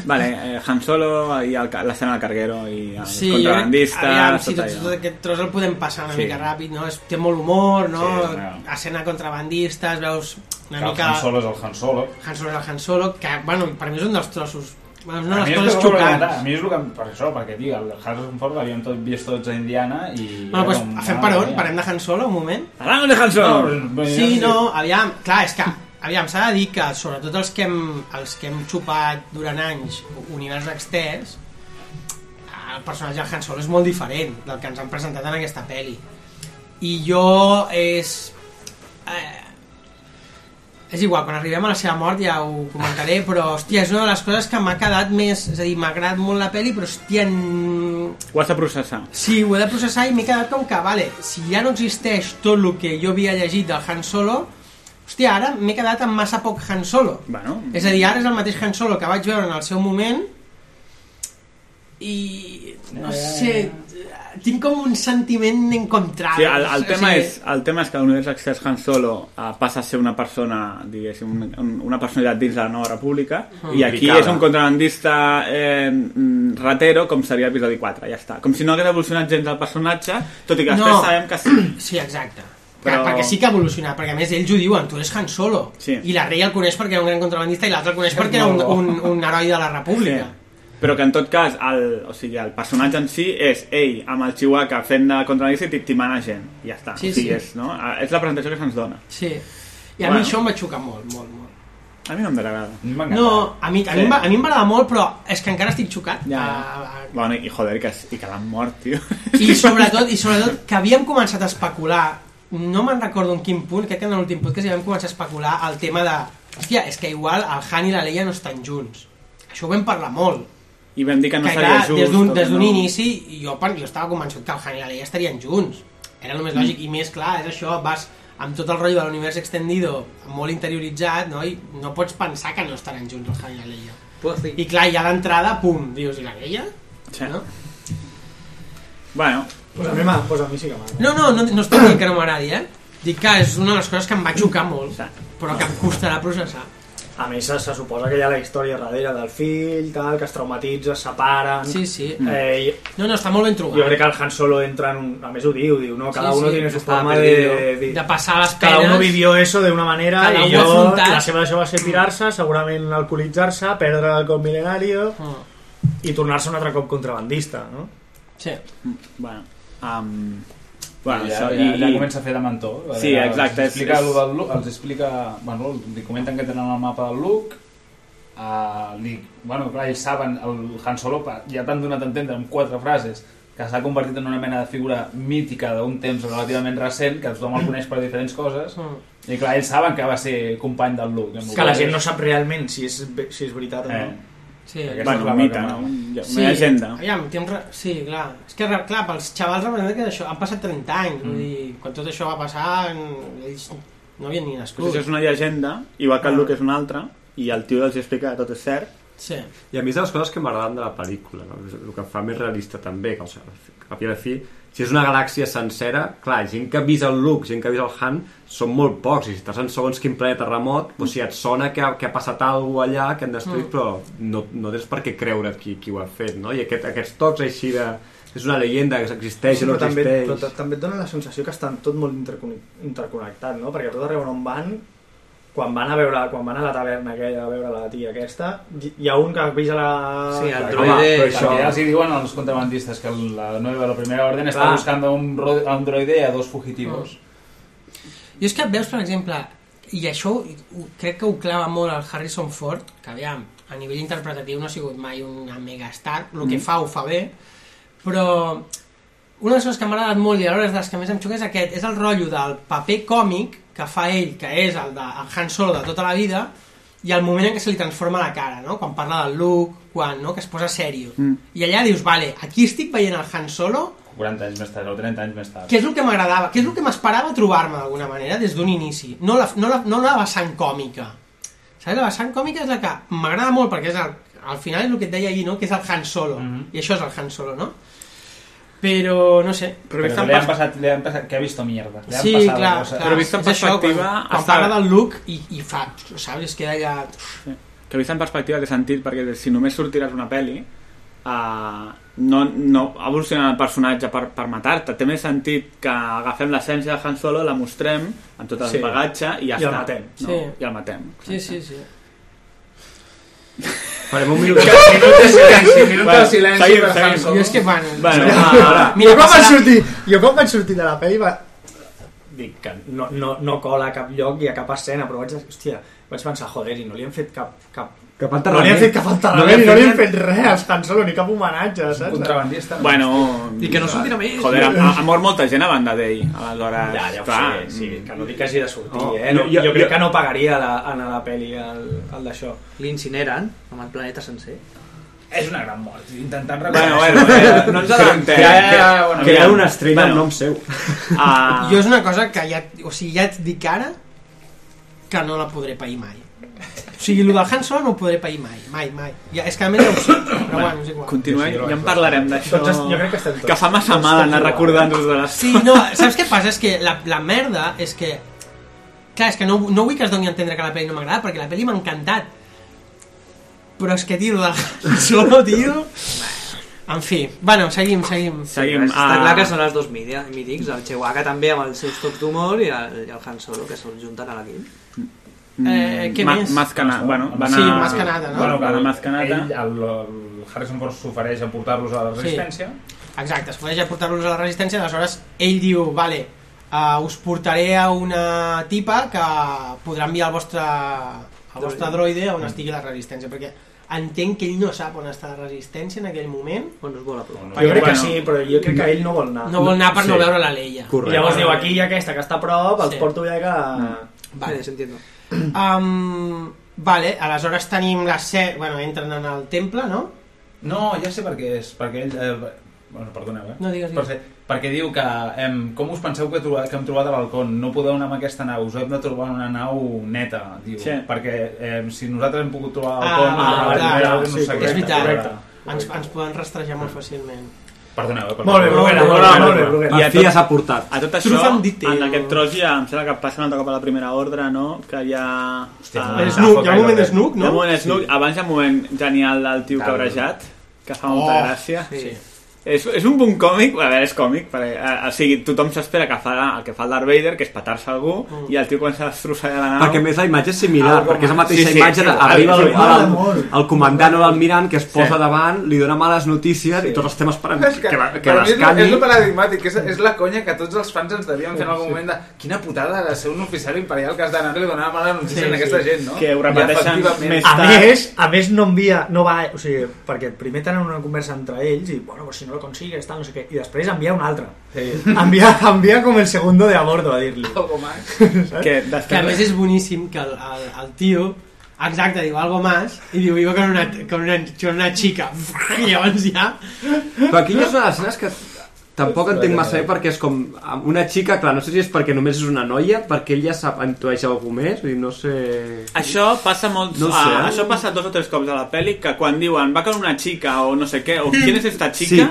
S9: Vale, eh, Han Solo i el ca- l'escena del carguero i el
S7: Sí,
S9: contrabandista,
S7: jo- aviam, si
S9: tot
S7: tot, tot
S9: allò.
S7: aquest tros el podem passar una
S9: Sí.
S7: sí. mica ràpid, no? És, té molt humor, no?
S9: Sí,
S7: Sí, Escena contrabandista, es veus una
S19: Que el
S7: mica...
S19: Han Solo és el Han Solo.
S7: Han Solo és el Han Solo, que, bueno, per mi és un dels trossos... Bueno, és una
S19: a, mi
S7: de
S19: és
S7: les coses
S19: que vol comentar, a
S7: xocants.
S19: mi és el que em per això, perquè tio, el Harrison Ford l'havíem tot vist tots a Indiana i... "Ah,
S7: Bueno, doncs pues, fem per on? Parem de Han Solo un moment?
S9: Parlem de Han Solo! No,
S7: sí, no, aviam, clar, és que aviam, s'ha de dir que sobretot els que hem, els que hem xupat durant anys univers extès el personatge de Han Solo és molt diferent del que ens han presentat en aquesta peli i jo és eh, és igual, quan arribem a la seva mort ja ho comentaré, però hòstia, és una de les coses que m'ha quedat més, és a dir, m'ha agradat molt la peli, però hòstia, n-
S9: Ho has de processar.
S7: Sí, ho he de processar i m'he quedat com que, vale, si ja no existeix tot el que jo havia llegit del Han Solo, hòstia, ara m'he quedat amb massa poc Han Solo.
S9: Bueno,
S7: És a dir, ara és el mateix Han Solo que vaig veure en el seu moment i, no sé, tinc com un sentiment encontrat.
S9: Sí, el, el, tema és, el tema és que l'univers exters Han Solo eh, passa a ser una persona, diguéssim, un- un- una personalitat dins de la nova república,
S7: Ah.
S19: Mm.
S9: i aquí
S19: Picada.
S9: és un contrabandista eh, mm, ratero, com seria episodi 4, ja està. Com si no hagués evolucionat gens el personatge, tot i que després
S7: No.
S9: sabem que sí.
S7: Sí, exacte. Però...
S9: Però-
S7: Perquè sí que ha evolucionat, perquè a més ells ho diuen, tu eres Han Solo. Sí. I la rei el coneix perquè era un gran contrabandista i l'altre el coneix perquè era un,
S9: molt bo.
S7: un, un heroi de la república.
S9: Eh, Però que en tot cas, el, o sigui, el personatge en si és ell amb el Chihuahua fent de contrabandista i timana gent. I ja està.
S7: Sí,
S9: o
S7: sí.
S9: sigui, És, no? Ah, és la presentació que se'ns dona.
S7: Sí. I a
S9: Bueno.
S7: mi això em va xocar molt, molt, molt.
S9: A mi no em desagrada.
S7: No, a mi, a, mi, em va- a mi em va agradar molt, però és que encara estic xocat. Ja. A,
S9: Bueno, i joder, que, i que l'han mort, tio.
S7: I sobretot, i sobretot que havíem començat a especular, no me'n recordo en quin punt, crec que en l'últim podcast ja vam començar a especular el tema de, hòstia, és que igual el Han i la Leia no estan junts. Això ho vam parlar molt.
S9: I vam dir que no
S7: que
S9: seria
S7: clar,
S9: just.
S7: Des d'un
S9: o que
S7: des d'un
S9: no.
S7: inici, jo, per- jo estava convençut que el Han i la Leia estarien junts. Era el més
S9: Mm.
S7: lògic, i més clar, és això, vas amb tot el rotllo de l'univers extendido molt interioritzat, no? I no pots pensar que no estaran junts el Han i la Leia. I clar, ja d'entrada, pum, dius, i la Leia?
S9: Sí. No? Bueno.
S8: Pues a mi, m'ha- pues a mi sí que m'agrada.
S7: No, no, no, no estic dient que no m'agradi, eh? Dic que és una de les coses que em va xocar molt, però que em costarà processar.
S8: A més, se, se suposa que hi ha la història darrere del fill, tal, que es traumatitza, es separen...
S7: Sí, sí.
S9: Mm.
S8: Eh, i,
S7: No, no, està molt ben trobat.
S8: Jo crec que el Han Solo entra en un... A més ho diu, diu, no? Cada uno tiene su forma de... de-
S7: Ah, de passar les penes.
S8: Cada uno vivió eso de una manera
S7: Cada
S8: i
S7: un ho ha
S8: jo,
S7: afrontat.
S8: la seva això va ser tirar-se, segurament alcoholitzar-se, perdre l'alcohol mil·lenario
S7: Ah.
S8: i tornar-se un altre cop contrabandista, no?
S7: Sí.
S9: Bueno, um, bueno,
S19: ja,
S9: això,
S19: ja,
S9: i-
S19: ja
S9: i-
S19: comença a fer de mentor. A
S9: Sí,
S19: veure,
S9: exacte,
S19: Els
S9: és-
S19: explica,
S9: és-
S19: lo del Luke, els explica bueno, li comenten que tenen el mapa del Luke, uh, li, bueno, clar, ells saben, el Han Solo pa- ja t'han donat a entendre amb quatre frases que s'ha convertit en una mena de figura mítica d'un temps relativament recent, que tothom el coneix per diferents coses,
S7: Mm.
S19: i clar, ells saben que va ser company del Luke.
S8: Que la gent no sap realment si és, ve- si és veritat o no.
S19: Eh.
S7: Sí,
S8: Aquesta
S9: Bueno,
S8: és la
S9: mite,
S8: vaca,
S9: no? Ja- una llegenda.
S7: Aviam, té un re... sí, clar. És que, re- clar, pels xavals representa que això, han passat 30 anys. Mm. Vull dir, quan tot això va passar, n- ells no havien ni
S9: Pues
S7: nascut.
S9: això és una llegenda, igual que el Luke és una altra, i el tio els explica que tot és cert.
S7: Sí.
S12: I a mi és de les coses que m'agraden de la pel·lícula, no? És el que fa més realista també, que, o sigui, que a fi de fi, si és una galàxia sencera, clar, gent que ha vist el Luke, gent que ha vist el Han, són molt pocs, i si estàs en segons quin planeta remot, o sigui, et sona que, ha- que ha passat alguna allà, que han destruït,
S7: Mm.
S12: però no, no tens per què creure qui, qui ho ha fet, no? I aquest, aquests tocs així de... És una llegenda que existeix
S8: Sí,
S12: o no
S8: però, també,
S12: existeix.
S8: però
S9: tota-
S8: ta- també et dona la sensació que estan tot molt interconnec- interconnectat, no? Perquè a tot arreu on van, quan van a veure, quan van a la taverna aquella, a veure la tia aquesta, hi- hi ha un que avisa la... la-
S19: Home,
S8: Home,
S19: Eh, perquè ja els hi diuen als contrabandistes que la nueva, la primera orden està
S8: Clar. Mm.
S19: buscant a un, ro- a un droide i a dos fugitivos.
S7: Jo és que veus, per exemple, i això ho- ho- crec que ho clava molt el Harrison Ford, que aviam, a nivell interpretatiu no ha sigut mai una megastar, el que
S13: Mm.
S7: fa ho fa bé, però una de les coses que m'ha agradat molt i alhora és de les que més em xoca és aquest, és el rotllo del paper còmic que fa ell, que és el de el Han Solo de tota la vida, i el moment en què se li transforma la cara, no? quan parla del look, quan, no? que es posa serio. Mm. I allà dius, vale, aquí estic veient el Han Solo
S19: 40 anys més tard o 30 anys més tard.
S7: que és el que m'agradava, que és el que m'esperava trobar-me d'alguna manera des d'un inici. No la, no, la, no la vessant còmica. Saps? La vessant còmica és la que m'agrada molt perquè és el, al final és el que et deia ahir, no? que és el Han Solo.
S19: Mhm.
S7: I això és el Han Solo, no? Però, no sé...
S19: Però,
S7: vist en
S19: li, han
S7: pers-
S19: passat, li han passat, que ha vist mierda. Li han
S7: Sí,
S19: passat
S7: clar,
S19: coses.
S7: clar, és això, quan, quan
S9: està-
S7: parla del look i, i fa, saps, es queda allà...
S9: Que vist en perspectiva té sentit, perquè si només sortiràs una pel·li, uh, no, no evoluciona el personatge per, per matar-te. Té més sentit que agafem l'essència de Han Solo, la mostrem amb tot el
S8: Sí.
S9: sí. bagatge i
S8: I
S9: ja
S8: el
S9: està.
S8: matem.
S9: No?
S8: Sí.
S9: I el matem.
S7: Sí, sí, sí.
S12: Farem un
S9: minut
S8: de silenci, minut de silenci
S9: seguim,
S8: per
S9: seguim.
S8: Han Solo. Jo és que, bueno,
S9: bueno
S8: sí.
S9: ah,
S8: Mira,
S23: jo quan vaig
S8: passarà-
S23: sortir, jo quan vaig sortir de la pel·li va...
S8: Dic que no, no, no cola a cap lloc i a cap escena, però vaig, dir, hòstia, vaig pensar, joder, i no li han fet cap... cap
S12: Cap
S8: no li han fet cap
S23: No
S8: enterrament,
S23: li
S8: no,
S23: han
S8: li
S23: fet
S8: han fet res, tan solo, ni cap homenatge, saps?
S19: contrabandista.
S9: Bueno,
S8: I que no sortirà més.
S9: Joder, ha, ha mort molta gent a banda d'ell. Aleshores,
S8: Ja, ja ho
S9: clar,
S8: sé, sí, que no dic que hagi de sortir,
S9: Oh,
S8: eh? No,
S9: jo-
S8: jo,
S9: jo-
S8: jo, crec que no pagaria la, anar a la pel·li el, el d'això.
S13: L'incineren amb el planeta sencer.
S19: És una gran mort, intentant
S9: Bueno, bueno, eh, no ens adentem.
S12: Crear una estrella amb nom seu.
S9: Ah.
S7: Jo és una cosa que ja, o sigui, ja et dic ara que no la podré pair mai. O sigui, el del Han Solo no ho podré pair mai, mai, mai. Ja, és que a més ja ho sé, però bueno, és igual.
S9: Continuem, ja en parlarem
S8: Doncs
S9: d'això.
S7: Tots es- jo crec que estem tots-
S9: Que fa massa
S7: tots
S9: mal
S7: estem
S9: anar
S7: igual.
S9: recordant-nos de les...
S7: Sí, no, saps què passa? És que la, la merda és que... Clar, és que no, no vull que es doni a entendre que la pel·li no m'agrada, perquè la pel·li m'ha encantat. Però és que, tio, la solo, tio... En fi, bueno, seguim, seguim.
S13: Seguim, Està clar que són els dos mídia, mítics, el Chewbacca també amb els seus tocs d'humor i, el, i el Han Solo, que se'ls junten a l'equip.
S9: Eh, què Ma- més? Mascana- bueno, va anar- Sí, Mascanada, no? Va anar Mascanada.
S25: Ah. Ell, el, el Harrison Ford s'ofereix a portar-los a la resistència.
S7: Exacte, s'ofereix a portar-los a la resistència, aleshores ell diu, vale, uh, us portaré a una tipa que podrà enviar el vostre, el vostre droide Mm. on estigui la resistència, perquè entenc que ell no sap on està la resistència en aquell moment.
S13: On es vol apropar.
S7: Perquè,
S8: Jo crec que
S7: bueno,
S8: sí, però jo crec que ell no vol anar.
S7: No vol anar per no veure la Leia.
S8: I llavors diu, aquí hi ha aquesta que està a prop, els
S7: Sí.
S8: porto ja que...
S9: Mm.
S7: Vale, Um, vale, aleshores tenim la set... Bueno, entren en el temple, no?
S25: No, ja sé per què és, perquè ell... Eh, bueno, perdoneu, eh?
S7: No, digues, digues.
S25: Perquè, perquè diu que em, com us penseu que, he trobat, que hem trobat a Balcón? No podeu anar amb aquesta nau, us hem de trobar una nau neta, diu.
S7: Sí.
S25: Perquè em, si nosaltres hem pogut trobar a
S7: Ah,
S25: Balcón...
S7: ah,
S25: la
S7: clar,
S25: primera,
S7: sí,
S25: no sé què,
S7: és veritat.
S25: correcte.
S7: Ens, ens poden rastrejar molt fàcilment.
S25: Perdoneu, eh?
S9: Molt bé, Bruguera, molt bé, molt bé, Bruguera.
S12: I a tot, ha portat.
S9: A tot això, en aquest tros ja em sembla que passa un altre cop a la primera ordre, no? Que hi ha... eh, Hòstia,
S25: Ah,
S7: no. Snook, hi ha un moment Snook, no?
S9: Hi ha un moment Snook,
S7: Sí.
S9: abans hi ha un moment genial del tio
S7: Claro.
S9: cabrejat, que fa
S7: Oh,
S9: molta gràcia.
S7: sí.
S9: És, és un bon còmic, a veure, és còmic, perquè, eh, o sigui, tothom s'espera que fa el que fa el Darth Vader, que és petar-se algú,
S25: Mm.
S9: i el tio comença a destrossar la nau.
S12: Perquè a més la imatge és similar,
S9: Algo
S12: perquè és la
S9: más.
S12: mateixa
S9: Ah, Sí, sí,
S12: imatge,
S9: sí,
S12: de,
S9: sí,
S12: arriba
S9: sí,
S12: el,
S9: sí,
S12: el,
S9: molt.
S12: el comandant o l'almirant que es posa
S9: Sí.
S12: davant, li dona males notícies i tots estem esperant que, que, la- que
S25: per mi és, lo- és
S12: l'escanyi.
S25: lo paradigmàtic, és, és la conya que tots els fans ens devien fer en algun moment de quina putada de ser un oficial imperial que has d'anar-li a donar mala notícia
S23: Sí,
S25: a aquesta
S23: sí.
S25: gent, no?
S23: Que ho
S25: I
S23: repeteixen
S25: efectivament-
S23: més tard.
S8: A més, a més no envia, no va, o sigui, perquè primer tenen una conversa entre ells i, bueno, pues si no lo consigues, tal, no sé què, i després envia un altre.
S25: Sí.
S8: Envia, envia com el segundo de a bordo a dir-li.
S25: Ah,
S8: Algo
S25: más.
S9: Que,
S7: Que a més és boníssim que el, el, el tio exacte, diu algo más i diu, vivo con una, con una, con una chica i llavors ja
S12: Però aquí ja és una de les escenes que tampoc entenc massa bé perquè és com amb una xica, clar, no sé si és perquè només és una noia, perquè ell ja sap, intueix algú més, vull dir, no sé...
S9: Això passa molt...
S12: No
S9: No
S12: ho
S9: sé,
S12: sé, eh?
S9: Això passa dos o tres cops a la pel·li, que quan diuen va con una xica o no sé què, o qui és esta xica,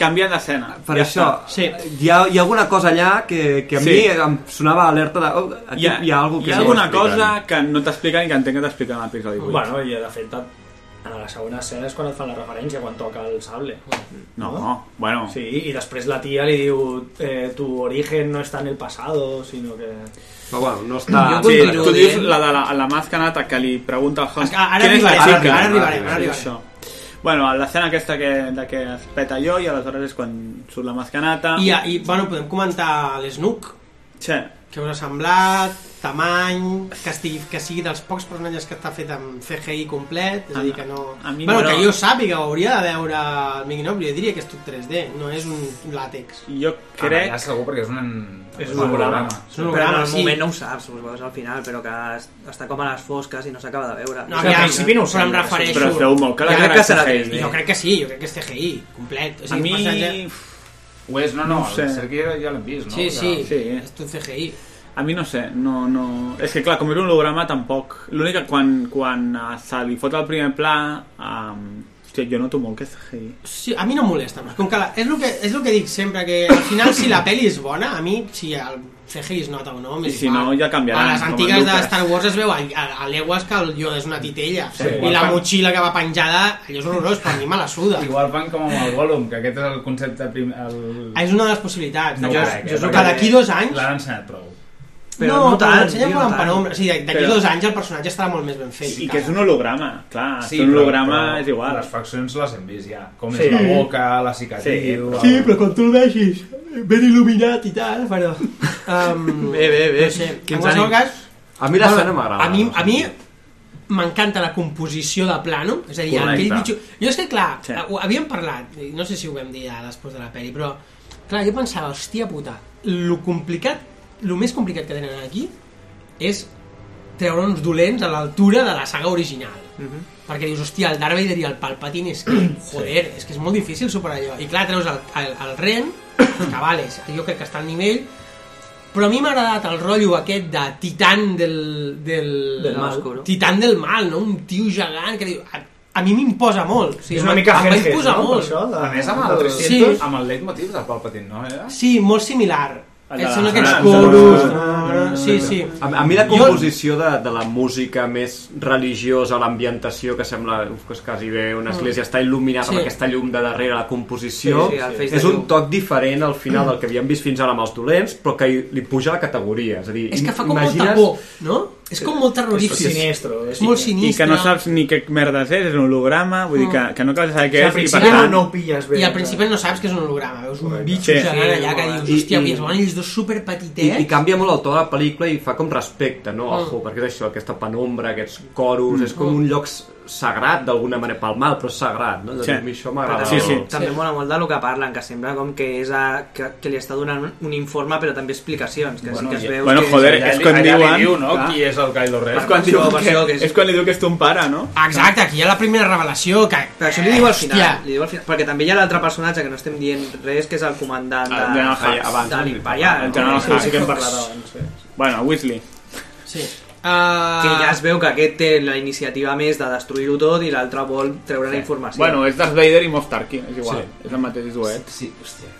S9: canvien d'escena.
S12: Mm. Per ja això,
S9: està.
S12: sí. hi, ha, hi ha alguna cosa allà que, que a
S9: Sí.
S12: sí. mi em sonava alerta de... Oh, aquí hi ha, hi ha, algo que
S9: hi ha
S12: no
S9: alguna
S12: expliquen.
S9: cosa que no t'expliquen i que entenc que t'expliquen a l'episodi 8.
S8: Bueno, i de fet, en la segona escena és quan et fan la referència, quan toca el sable.
S9: No, bueno...
S8: Sí, i després la tia li diu eh, tu origen no està en el pasado, sinó que...
S12: Però bueno, no està...
S9: Ah, sí, tu dius la de la, la más canata que li pregunta al Hans
S7: Ara- ara
S9: "Qui és la
S7: arribarem,
S9: xica?"
S7: ara arribarem, ara
S9: Sí,
S7: arribarem.
S9: això. Bueno, a l'escena aquesta que, de que es peta allò i aleshores és quan surt la mascanata.
S7: i, i bueno, podem comentar l'Snook
S9: sí.
S7: què us ha semblat, tamany que, estigui, que sigui dels pocs personatges que està fet amb CGI complet és a dir que no...
S9: A mi
S7: bueno,
S9: no.
S7: que jo sàpiga ho hauria de veure el Mickey Noble, jo diria que és tot 3D no és un làtex
S9: jo
S25: Crec... Ah, ja segur, perquè és un...
S13: És un holograma, en el moment no ho saps, ho veus al final, però que es- està com a les fosques i no s'acaba de veure.
S7: No, aviam, però em refereixo... Jo crec que serà 3D. Jo crec que sí, jo crec que és CGI, complet. O sigui,
S25: A mi-
S7: el personatge-
S25: Ho és, no, no,
S9: No ho sé.
S25: el Sergi ja, ja l'hem vist, no?
S7: Sí,
S25: ja.
S7: sí, és tot CGI.
S9: A mi no sé, no, no... És que clar, com era un holograma tampoc... L'únic que quan, quan eh, se li fot el primer pla... Um... Hòstia, jo noto molt que és CGI.
S7: Sí, a mi no em molesta, però és com que la, és, el que, és el que dic sempre, que al final si la pel·li és bona, a mi, si el CGI es nota o no,
S9: I
S7: m'és
S9: si
S7: igual.
S9: no, ja canviaran,
S7: A les
S9: com en
S7: antigues de
S9: Lucas.
S7: Star Wars es veu a, a, a l'Eguas que el Yoda és una titella,
S25: Sí,
S7: i
S25: igual
S7: la
S25: fan-
S7: motxilla que va penjada, allò és horrorós, però a mi me la suda.
S25: Igual van com amb el Gollum, que aquest és el concepte prim... El...
S7: Ah, és una de les possibilitats.
S25: No,
S7: jo,
S25: crec, eh,
S7: jo sóc
S25: perquè
S7: que d'aquí dos anys...
S25: L'han ensenyat prou.
S7: Però no, no tant, l'ensenyen molt en penombra. O sigui, d'aquí
S25: Però-
S7: dos anys el personatge estarà molt més ben fet.
S25: I
S9: que és un holograma, clar,
S25: Sí,
S9: és un
S25: però-
S9: holograma
S25: però
S9: és igual.
S25: Les faccions les hem vist ja, com
S9: Sí.
S25: és la boca, la cicatriu...
S7: Sí,
S25: el-
S7: però quan tu el vegis ben il·luminat i tal, però... Um,
S12: Eh,
S25: Bé, bé, bé.
S7: No sé,
S25: Quins
S7: en qualsevol
S25: ànims.
S7: cas...
S12: A mi l'escena m'agrada.
S7: A mi, a mi m'encanta la composició de plano, és a dir,
S12: Correcte.
S7: aquell bitxo... Jo és que, clar, sí. ho havíem parlat, i no sé si ho vam dir ja després de la peli, però, clar, jo pensava, hòstia puta, lo complicat, lo més complicat que tenen aquí és treure uns dolents a l'altura de la saga original.
S8: Mhm.
S7: Perquè dius, hòstia, el Darth Vader i el Palpatine és que, joder, és que és molt difícil superar allò. I clar, treus el, el, el Ren, que vale, jo crec que està al nivell, Però a mi m'ha agradat el rotllo aquest de titan del... Del,
S13: Del mal, no?
S7: Titan del mal, no? Un tio gegant que diu... A, a mi m'imposa molt. O sigui,
S8: És una
S7: em-
S8: mica
S7: em va
S8: Hergé,
S7: imposar
S8: no? Per
S7: molt.
S8: això, de-
S19: A més, amb el 300,
S7: Sí,
S19: amb el leitmotiv de Palpatine, no? Era?
S7: sí molt similar.
S19: Allà,
S7: Són aquests
S19: allà,
S7: coros...
S19: allà, allà,
S8: Ah,
S19: allà.
S7: Sí, sí.
S12: A, a mi la composició de, de la música més religiosa, l'ambientació, que sembla uf, que és quasi bé una
S7: Mm.
S12: església, està il·luminada
S13: Sí.
S12: sí. per aquesta llum de darrere, la composició,
S13: Sí, sí, el feix de
S12: és un
S13: llum.
S12: toc diferent al
S7: Mm.
S12: final del que havíem vist fins ara amb els dolents, però que hi- li puja la categoria. És a dir,
S7: És que fa com molta por, no? És com molt terrorífic. És molt
S9: I que
S7: sinistre.
S9: no saps ni què merdes és, és un holograma, vull dir que, que no acabes de saber què és. i per tant-
S7: pilles bé. I al principi no saps que és un holograma, veus un bitxo
S9: Sí.
S7: gegant
S9: Sí,
S7: allà que
S12: molt
S7: dius,
S12: bé.
S7: hòstia,
S12: I-
S7: i, es van ells dos
S12: I,
S7: superpetitets.
S12: I canvia molt el to de la pel·lícula i fa com respecte, no?
S7: Mm.
S12: Ojo, perquè és això, aquesta penombra, aquests coros,
S13: Mm.
S12: és com un lloc s- sagrat d'alguna manera, pel mal, però sagrat, no? De dir, a mi això m'agrada.
S13: Però
S12: molt.
S13: També mola molt del que parlen, que sembla com que, és a, que, que li està donant un- un informe, però també explicacions, que
S19: Bueno,
S13: sí que es
S19: i-
S13: veus...
S9: Bueno,
S13: que
S9: joder,
S13: allà
S9: és
S13: li-
S9: quan
S13: allà li
S9: diuen...
S13: diu,
S19: no? Qui és el Kylo Ren?
S9: És quan,
S13: Per
S9: diu
S13: això, per
S9: que,
S13: això que
S9: és...
S13: és-
S9: quan li diu que és ton pare, no?
S7: Exacte, aquí hi ha la primera revelació, que...
S13: Però això li diu al final,
S7: Hòstia.
S13: li diu al final perquè també hi ha l'altre personatge que no estem dient res, que és el comandant
S7: Ah,
S13: de,
S9: El General Hux. Abans
S13: de
S9: no li
S13: l'Imperial.
S9: parlàvem. El General Hux, sí que en parlàvem
S13: abans.
S9: Bueno, Weasley.
S7: Sí. Ah.
S13: Que ja es veu que aquest té la iniciativa més de destruir-ho tot i l'altre vol treure la informació.
S9: Bueno, és Darth Vader i Moff Tarkin, és igual. Sí. És el mateix duet.
S19: Sí, hòstia.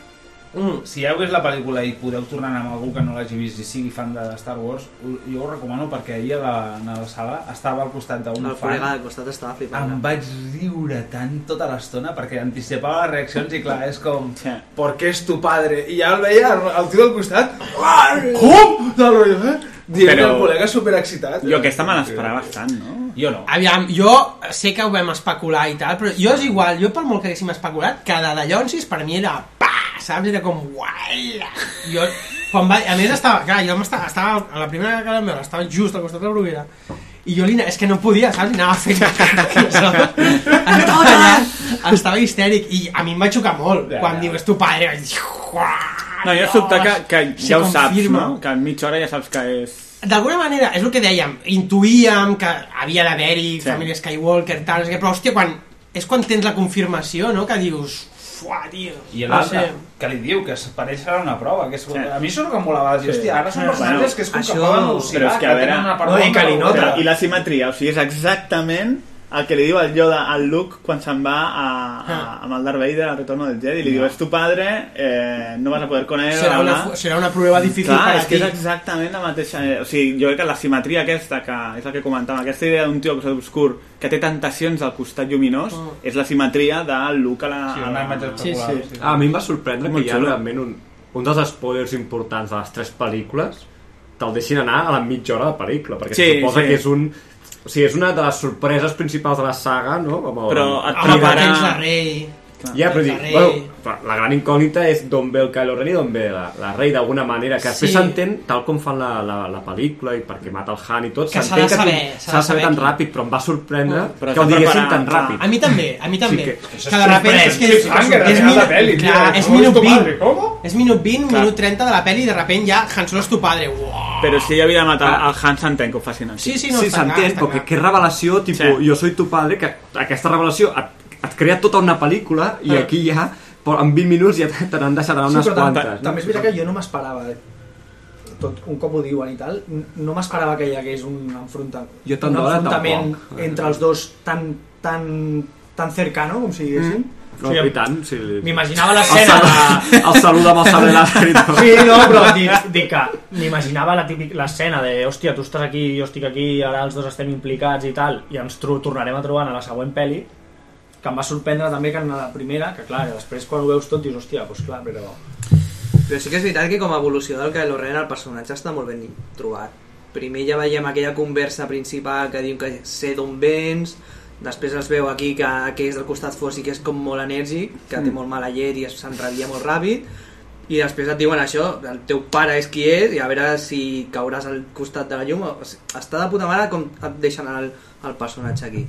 S19: Mm, Si heu vist la pel·lícula i podeu tornar a anar amb algú que no l'hagi vist i sigui fan de Star Wars, ho- jo ho recomano perquè ahir a la, a la sala estava al costat d'un
S13: el
S19: fan.
S13: col·lega del costat estava flipant.
S19: Em vaig riure tant tota l'estona perquè anticipava les reaccions i clar, és com ¿Por qué es tu padre? I ja el veia el, el tio del costat "Uah, Com? Del rotllo, eh? Dient
S9: Però-
S19: el col·lega superexcitat. eh? Ah,
S9: Jo aquesta me l'esperava bastant, no?
S19: Jo no.
S7: Aviam, jo sé que ho vam especular i tal, però jo és igual, jo per molt que haguéssim especulat, cada de Llonsis per mi era pa, saps? Era com uala. Jo, quan va, a més estava, clar, jo estava, estava a la primera vegada que vam veure, estava just al costat de la bruguera, i jo li, ana- és que no podia, saps? Li anava fent saps? Estava allà, estava histèric, i a mi em va xocar molt, quan diu, és tu padre, vaig dir,
S9: No, jo sobte que, que
S7: Se
S9: ja ho saps,
S7: confirma.
S9: no? Que en mitja hora ja saps que és...
S7: D'alguna manera, és el que dèiem, intuïem que havia d'haver-hi
S9: Sí.
S7: sí. família Skywalker, tal, no sé què, però hòstia, quan, és quan tens la confirmació, no?, que dius... Fuà, tio.
S19: I
S7: no
S19: l'altre, que li diu que es- per ell serà una prova. Que és, A mi això és el que em molava. Dir,
S24: Sí.
S19: hòstia, ara són
S24: Bueno,
S19: personatges que és com
S24: això-
S19: que poden al·lucinar,
S24: però és que, a veure,
S19: tenen una part
S24: no, i
S19: bona
S24: que li
S19: o
S24: nota.
S19: dolenta.
S24: I la simetria, o sigui, és exactament el que li diu el Yoda al Luke quan se'n va a, a,
S7: Ah.
S24: amb el Darth Vader al retorno del Jedi. Li diu, és tu padre, eh, no vas a poder con él. bla,
S7: Serà una,
S24: bla".
S7: fu- serà una prueba difícil
S24: Clar,
S7: per
S24: és
S7: a
S24: que
S7: ti.
S24: és exactament la mateixa... O sigui, jo crec que la simetria aquesta, que és el que comentàvem, aquesta idea d'un tio que és obscur, que té tentacions al costat lluminós,
S7: Mm.
S24: és la simetria del Luke a la...
S19: Sí,
S24: a
S19: Ah, una
S24: la-
S19: imatge espectacular. Sí, sí.
S12: A mi em va sorprendre
S24: Molt
S12: que hi ha
S24: xulo.
S12: realment un, un dels spoilers importants de les tres pel·lícules te'l deixin anar a la mitja hora de pel·lícula, perquè
S24: Sí,
S12: sí, suposa
S24: sí.
S12: que és un... O sigui, és una de les sorpreses principals de la saga, no? Com
S24: Però et
S7: Home, però tens la rei...
S12: Ja, però dic,
S7: La rei.
S12: bueno, però la gran incògnita és d'on ve el Kylo Ren i d'on ve la, la rei d'alguna manera, que després
S7: Sí.
S12: s'entén tal com fan la, la, la pel·lícula i perquè mata el Han i tot,
S7: Que s'ha
S12: s'entén
S7: de
S12: que tu-
S7: saber, s'ha de
S12: s'ha de saber
S7: saber
S12: tan
S7: qui.
S12: ràpid, però em va sorprendre
S7: Mm.
S12: que ho diguessin tan ràpid.
S7: A mi també, a mi també.
S12: que-
S7: que, de repente és que és,
S12: Cliffhanger,
S7: és,
S12: de la
S7: minut,
S12: peli, tio,
S7: clar,
S12: de
S7: és
S12: com és
S7: minut
S12: tu
S7: 20,
S12: padre,
S7: és minut 20, minut 30 de la peli i de repente ja Han Solo és tu padre. Uau.
S24: Però si ella havia de matar el Han, s'entén que ho facin així.
S7: Sí, sí, no,
S12: sí,
S7: està clar,
S12: s'entén,
S7: està
S12: però que, que revelació, tipus, sí. jo soy tu padre, que aquesta revelació et, et crea tota una pel·lícula i
S8: Ah.
S12: aquí ja, però en 20 minuts ja te te n'han deixat anar
S8: Sí,
S12: unes
S8: però tam-
S12: quantes. eh?
S8: tam- També és veritat que jo no m'esperava tot un cop ho diuen i tal, n- no m'esperava que hi hagués un, enfronta,
S12: Jo tant
S8: un
S12: d'hora
S8: enfrontament
S12: tampoc. eh.
S8: entre els dos tan, tan, tan cercano, com si diguéssim.
S12: No, sí, i tant, sí.
S8: M'imaginava l'escena
S12: El, sal, el saluda amb el sabre làser i tot.
S8: Sí, no, però dic, dic que m'imaginava la típic- l'escena de hòstia, tu estàs aquí, jo estic aquí, ara els dos estem implicats i tal, i ens tro tornarem a trobar en la següent pel·li, que em va sorprendre també que en la primera, que clar, després quan ho veus tot dius, hòstia, doncs clar, però...
S13: Però sí que és veritat que com a evolució del Kylo Ren el personatge està molt ben trobat. Primer ja veiem aquella conversa principal que diu que sé d'on vens, després es veu aquí que, que és del costat fort i que és com molt enèrgic, que té
S7: Mm.
S13: molt mala llet i es- s'enrabia molt ràpid, i després et diuen això, el teu pare és qui és, i a veure si cauràs al costat de la llum. O sigui, Està de puta mare com et deixen el, el personatge aquí.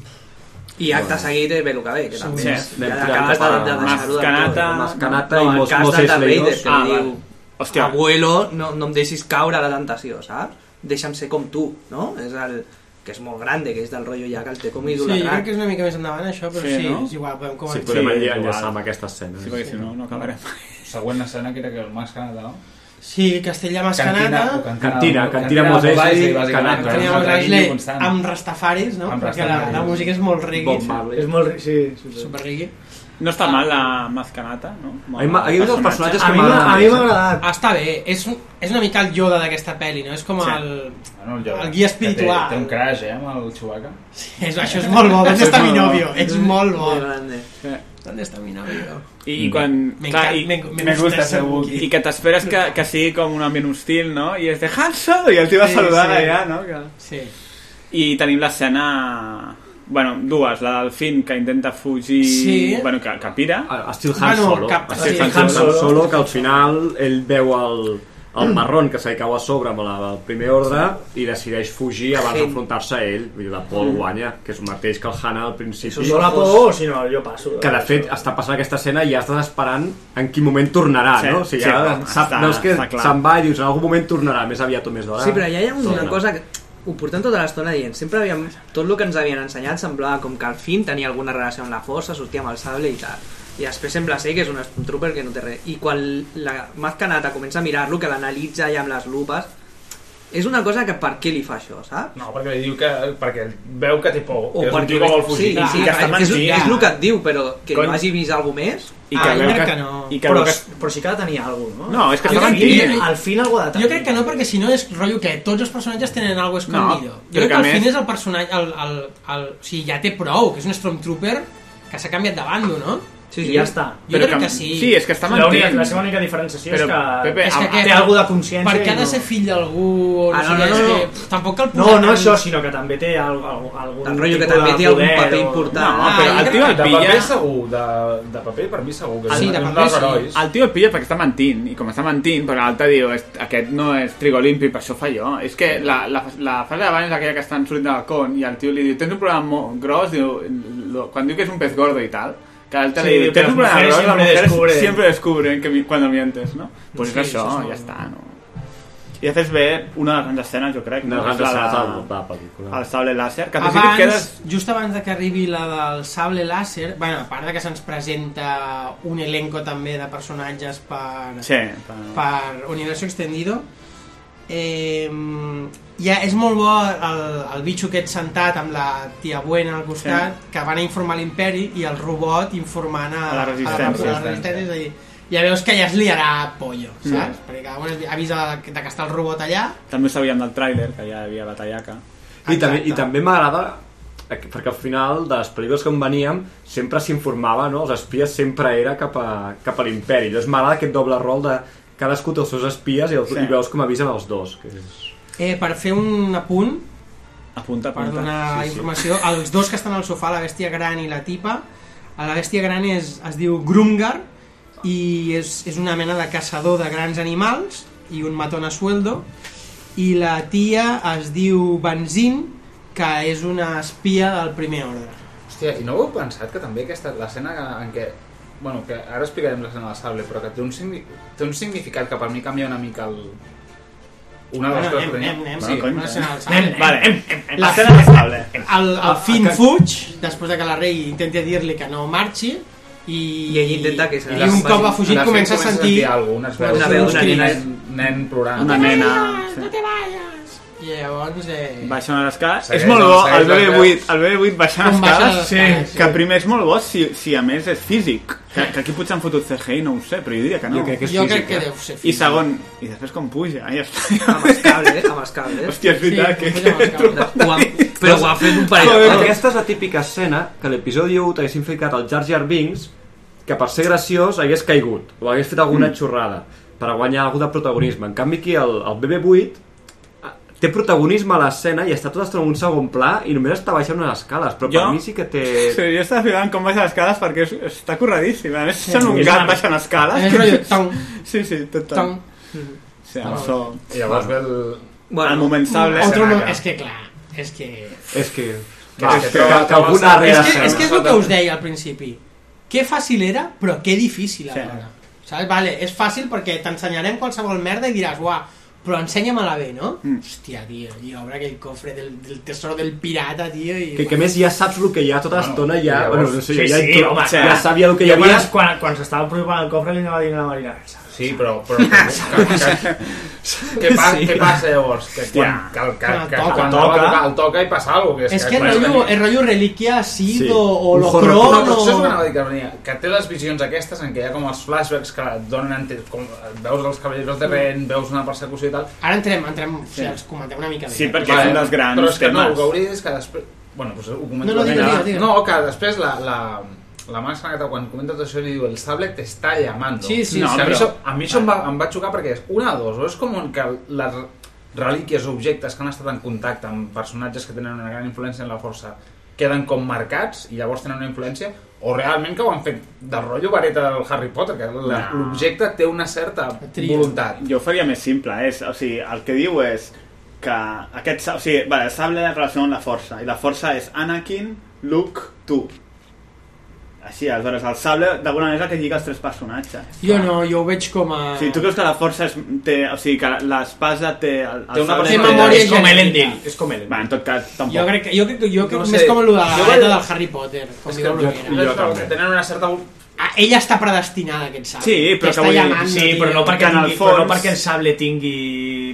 S13: I acte
S12: Bueno.
S13: seguit eh, ve el que ve, que també
S12: Sí.
S13: és... que
S12: Anem tirant
S13: acabes de,
S12: cap a
S13: de deixar-ho del
S12: Mascanata.
S13: tot. eh,
S12: Mascanata
S13: No,
S12: i
S13: el
S12: Mos-
S13: cas de
S12: Moses
S13: Darth Vader,
S12: Leidos.
S13: que
S12: Ah,
S13: li diu,
S12: vale. Hòstia.
S13: Abuelo, no, no em deixis caure a la tentació, saps? Deixa'm ser com tu, no? És el que és molt grande, que és del rotllo ja que el té com
S7: Sí, jo crec
S13: idolatrat.
S7: que és una mica més endavant això, però
S13: Sí,
S7: sí,
S13: no?
S7: és igual, podem
S12: Sí,
S7: començar.
S12: podem sí, enllaçar amb aquesta escena.
S19: Següent escena que era que el Max Canada, no?
S1: Sí, Castella Mascanata.
S19: Cantina- o Cantina- Cantina, Cantina Mos Eisley, bàsicament.
S1: Cantina Mos
S19: Cantina
S1: Eisley,
S19: constant.
S1: amb Rastafaris, no?
S9: Amb
S1: Perquè la,
S9: Rastafaris.
S1: la música és molt reggae.
S9: Bob Marley.
S1: És molt reggae, sí. sí, Super reggae.
S9: No està mal la Mazcanata, no?
S12: A mi m'ha- hi ha un dels personatges que
S9: A mi m'ha-
S12: m'agraden
S9: a mi
S12: més.
S9: m'ha agradat.
S1: Ah, està bé. És, un, és una mica el Yoda d'aquesta pel·li, no? És com
S19: Sí.
S1: el,
S19: Bueno, el, Yoda,
S1: el guia
S19: que Té, té
S1: espiritual.
S19: un crash, eh, amb el Chewbacca.
S1: Sí, és, això és molt bo. ¿Dónde
S19: Això
S1: está
S19: és
S1: mi
S19: molt bo.
S1: novio? És molt bo.
S9: Sí.
S1: ¿Dónde está mi novio?
S9: I quan... clar, i-
S1: me gusta ser Wookiee.
S9: I que t'esperes que, que sigui com un ambient hostil, no? I és de Han Solo! I el tio va saludant allà, no?
S1: Sí.
S9: I tenim l'escena... Bueno, dues. La del Finn, que intenta fugir...
S12: Sí.
S9: Bueno, que, que pira.
S12: Estil
S7: Ah,
S12: Han Solo. Estil Han, Solo. que al final ell veu el, el marron que se li cau a sobre amb la, el primer ordre i decideix fugir abans
S26: Sí.
S12: d'enfrontar-se a ell. Vull dir, la por
S26: Mm.
S12: guanya, que és el mateix que el Hanna al principi.
S26: Si us dona por, si no, jo passo.
S12: que de fet està passant aquesta escena i ja estàs esperant en quin moment tornarà,
S26: Sí,
S12: no? O sigui,
S26: sí,
S12: ja
S26: clar,
S12: sap,
S26: està-
S12: veus que
S26: està clar.
S12: se'n va i dius en algun moment tornarà, més aviat o més d'hora.
S7: Sí, però ja hi ha una
S12: Torna.
S7: cosa que ho portem tota l'estona dient. Sempre havíem, tot el que ens havien ensenyat semblava com que al fin tenia alguna relació amb la força, sortia amb el sable i tal. I després sembla ser que és un Stormtrooper que no té res. I quan la Maz Kanata comença a mirar-lo, que l'analitza ja amb les lupes, és una cosa que per què li fa això, saps?
S19: No, perquè li diu que... perquè veu que té por.
S7: O
S19: que és un
S7: perquè
S19: tio que vol fugir.
S7: Sí, sí, que és, és el que et diu, però que
S19: Cony.
S7: no hagi vist alguna més...
S19: I que Ah, veu jo crec que- que
S7: no.
S19: i
S26: que però, que... però sí que ha de tenir alguna cosa, no?
S9: No, és que
S26: Al
S9: està
S26: fi-
S9: mentint.
S26: Al fin alguna de
S1: Jo crec que no, perquè si no és rotllo que tots els personatges tenen algo escondido.
S9: No,
S1: jo crec
S9: crec
S1: que al
S9: que
S1: fin
S9: més-
S1: és el personatge... El, el, el, o sigui, ja té prou, que és un Stormtrooper que s'ha canviat de bando, no?
S26: Sí, sí, ja està.
S1: Jo crec que, sí.
S26: Sí, és que està mentint. L'única- la seva única diferenciació és que és que té
S1: per-
S26: algo de consciència
S1: Per què
S26: i
S1: ha de
S26: no-
S1: ser fill d'algú? o
S26: Ah, no,
S1: sé,
S26: no,
S1: és
S26: no.
S1: que, pff, Tampoc cal
S26: No, no això, sinó que també té al, al, algun
S7: El rotllo que
S26: tipus de
S7: també té algun
S26: poder
S7: paper
S26: o-
S7: important.
S26: No,
S1: Ah,
S26: però el tio el
S19: de
S26: pilla...
S19: paper segur, de, de paper per mi segur. Que
S9: El-
S19: és un dels herois.
S9: El tio el pilla perquè està mentint, i com està mentint, però l'altre diu, "Est- aquest no és trigolímpi, per això fa jo. És que la, la, la frase d'abans és aquella que estan sortint del con, i el tio li diu, tens un problema molt gros, diu, lo- quan diu que és un pez gordo i tal, que l'altre
S26: Sí,
S9: li diu,
S26: que
S9: tens un
S26: les
S9: problema
S26: mujeres
S9: gros, les
S26: siempre
S9: mujeres
S26: descubren".
S9: sempre descubren que mi, quan mientes, no? Pues
S26: Sí,
S9: és això,
S26: això és
S9: ja
S26: molt-
S9: està, no? I després ve una de les grans escenes, jo crec.
S12: Una de les grans escenes de la pel·lícula.
S9: El sable làser, que al
S1: abans,
S9: principi quedes...
S1: just abans de que arribi la del sable làser, bueno, a part de que se'ns presenta un elenco també de personatges per,
S9: Sí, per-
S1: per Universo Extendido, eh, ja és molt bo el, el bitxo aquest sentat amb la tia Buena al costat, sí. que van a informar l'imperi i el robot informant a,
S9: A la resistència.
S1: A la, a la resistència és a dir, ja veus que ja es liarà pollo,
S9: Mm.
S1: saps? Mm. Perquè cada un avisa de que està el robot allà.
S9: També ho sabíem del tràiler, que ja hi havia la tallaca.
S12: I també, i també m'agrada eh, perquè al final de les pel·lícules que en veníem sempre s'informava, no? els espies sempre era cap a, cap a l'imperi llavors m'agrada aquest doble rol de cadascú té els seus espies i, els,
S1: Sí.
S12: i veus com avisen els dos que és...
S1: Eh, per fer un apunt,
S9: apunta,
S1: per
S12: apunta.
S1: donar
S12: Sí, sí.
S1: informació, els dos que estan al sofà, la bèstia gran i la tipa, a la bèstia gran és, es diu Grumgar i és, és una mena de caçador de grans animals i un matón a sueldo i la tia es diu Benzin que és una espia del primer ordre
S19: Hòstia, i no heu pensat que també aquesta l'escena en què... Bueno, que ara explicarem l'escena del sable, però que té un, signi- té un significat que per mi canvia una mica el... Una de les
S1: Bueno,
S19: coses
S1: anem,
S19: que tenia.
S1: anem, anem,
S19: Sí,
S1: sí,
S19: cony,
S1: una escena del
S19: anem.
S1: sable.
S19: Anem, vale, anem, anem, anem.
S1: La-
S19: Escena del sable.
S1: El, el
S19: Ah,
S1: Finn
S19: que-
S1: fuig, després de que la rei intenti dir-li que no marxi, i,
S7: I ell intenta que se-
S1: i un cop ha fugit
S19: La Finn
S1: comença a sentir,
S19: algú, unes veus,
S1: una veu,
S19: uns
S1: una
S19: crits,
S1: nena.
S19: un nen plorant.
S9: Una nena...
S1: No te vayas. I llavors... Eh...
S9: Baixant a les escales.
S19: Segueix,
S9: És molt bo,
S19: segueix
S9: el
S19: les
S9: BB8, el BB8 baixant a
S1: Com
S9: les
S1: baixa
S9: escales,
S1: les escales, sí.
S9: que primer és molt bo si, si a més és físic. Que, que aquí potser han fotut CGI, no ho sé, però jo diria que no.
S1: Jo crec que és Jo crec físic, que eh? deu ser
S9: I
S1: físic.
S9: segon, i després com puja, ja està.
S7: Amb els cables, amb els cables.
S9: Hòstia, és veritat, que-
S7: Ho han- Però ho ha fet un parell de
S12: Però
S7: vegades.
S12: Aquesta és la típica escena que a l'episodi 1 t'haguessin ficat el Jar Jar Binks que per ser graciós hagués caigut o hagués fet alguna
S9: Mm.
S12: xorrada per guanyar algú de protagonisme. En canvi aquí el, el BB-8 ah, té protagonisme a l'escena i està tot estona en un segon pla i només està baixant unes escales, però
S9: Jo?
S12: per mi sí que té...
S9: Sí, jo estava fidant com baixa les escales perquè és, està corredíssim. A més, sí. són un
S12: És
S9: gat
S12: una-
S9: baixant escales.
S12: És rotllo,
S9: Sí, sí, tot tong. Sí, amb so.
S19: I llavors ve el...
S9: el moment sable.
S1: Otro moment, és que clar, és que...
S12: És que...
S9: Que
S12: Va,
S9: és que
S12: que, que,
S9: troba-
S12: que
S9: troba
S12: alguna
S9: escena.
S12: darrera
S1: és, que,
S12: escena.
S1: és que és el que us deia al principi. Que fàcil era, però que difícil alhora. Saps? Vale, és fàcil perquè t'ensenyarem qualsevol merda i diràs, uah, però ensenya-me-la bé, no? Mm. Hòstia, tio, i obre aquell cofre del, del tesoro del pirata, tio, i...
S12: Que, que a més ja saps el que hi ha tota l'estona, ja...
S26: Llavors-
S12: Bueno, no sé,
S26: sí,
S12: ja,
S26: sí,
S12: hi to-
S26: home,
S12: ja sabia el que hi
S26: jo
S12: havia...
S26: Quan, quan, quan s'estava provant el cofre li anava dient a la Marina, saps
S19: Sí, però... però que, que, que, que, pa,
S1: Sí.
S19: Què passa llavors? Que quan, que, el- que,
S1: Quan
S19: que,
S1: toca.
S19: quan toca, toca, el toca i passa alguna cosa.
S1: Es que eh, el rollo, el rollo reliquia ha sido o lo
S19: No, però això és una
S1: crono.
S19: anècdota que venia, que té les visions aquestes en què hi ha com els flashbacks que et donen ante- com, veus els cavalleros de Ren, veus una persecució i tal.
S1: Ara entrem, entrem, o sigui, els comentem una mica més.
S19: Sí,
S9: perquè
S26: eh?"
S9: és un dels grans
S19: Però és que no,
S9: temes.
S19: el que hauria de dir és que després... Bueno, doncs ho comento.
S1: No, no,
S19: quan-
S1: digue, digue, digue.
S19: No, que després la, la, la màscara que quan comenta tot això li diu el sable te està llamando.
S1: Sí, sí,
S19: no,
S1: sí.
S19: que a mi
S1: però-
S19: això, a mi això em, va, em va xocar perquè és una de dos. O és com que les relíquies o objectes que han estat en contacte amb personatges que tenen una gran influència en la força queden com marcats i llavors tenen una influència o realment que ho han fet del rotllo vareta del Harry Potter, que la-
S9: No.
S19: l'objecte té una certa voluntat.
S9: Jo ho faria més simple, és, o sigui, el que diu és que aquest, sa- o sigui, vale, el sable es relaciona amb la força, i la força és Anakin, Luke, tu. Així, aleshores, el sable d'alguna manera és el que lliga els tres personatges.
S1: Jo no, jo ho veig com a...
S9: O sigui, tu creus que la força és, té, o sigui, que l'espasa té... El, el
S1: Té una
S9: sable-
S1: persona- Té memòria És com genètica. Elendil,
S9: És com Elendil. Va, en tot cas, tampoc.
S1: Jo crec que, jo crec, que- jo crec
S9: No
S1: no
S9: sé.
S1: més com el de la
S9: Jo
S1: vareta
S9: vaig-
S1: del Harry Potter. Com diu l'Olivera.
S19: Tenen una certa...
S1: Ah, Ella està predestinada, aquest sap.
S12: Sí, però,
S1: T'està
S12: que vull dir,
S1: llamant,
S12: sí,
S1: tio.
S12: però no perquè, tingui, però no perquè el sable tingui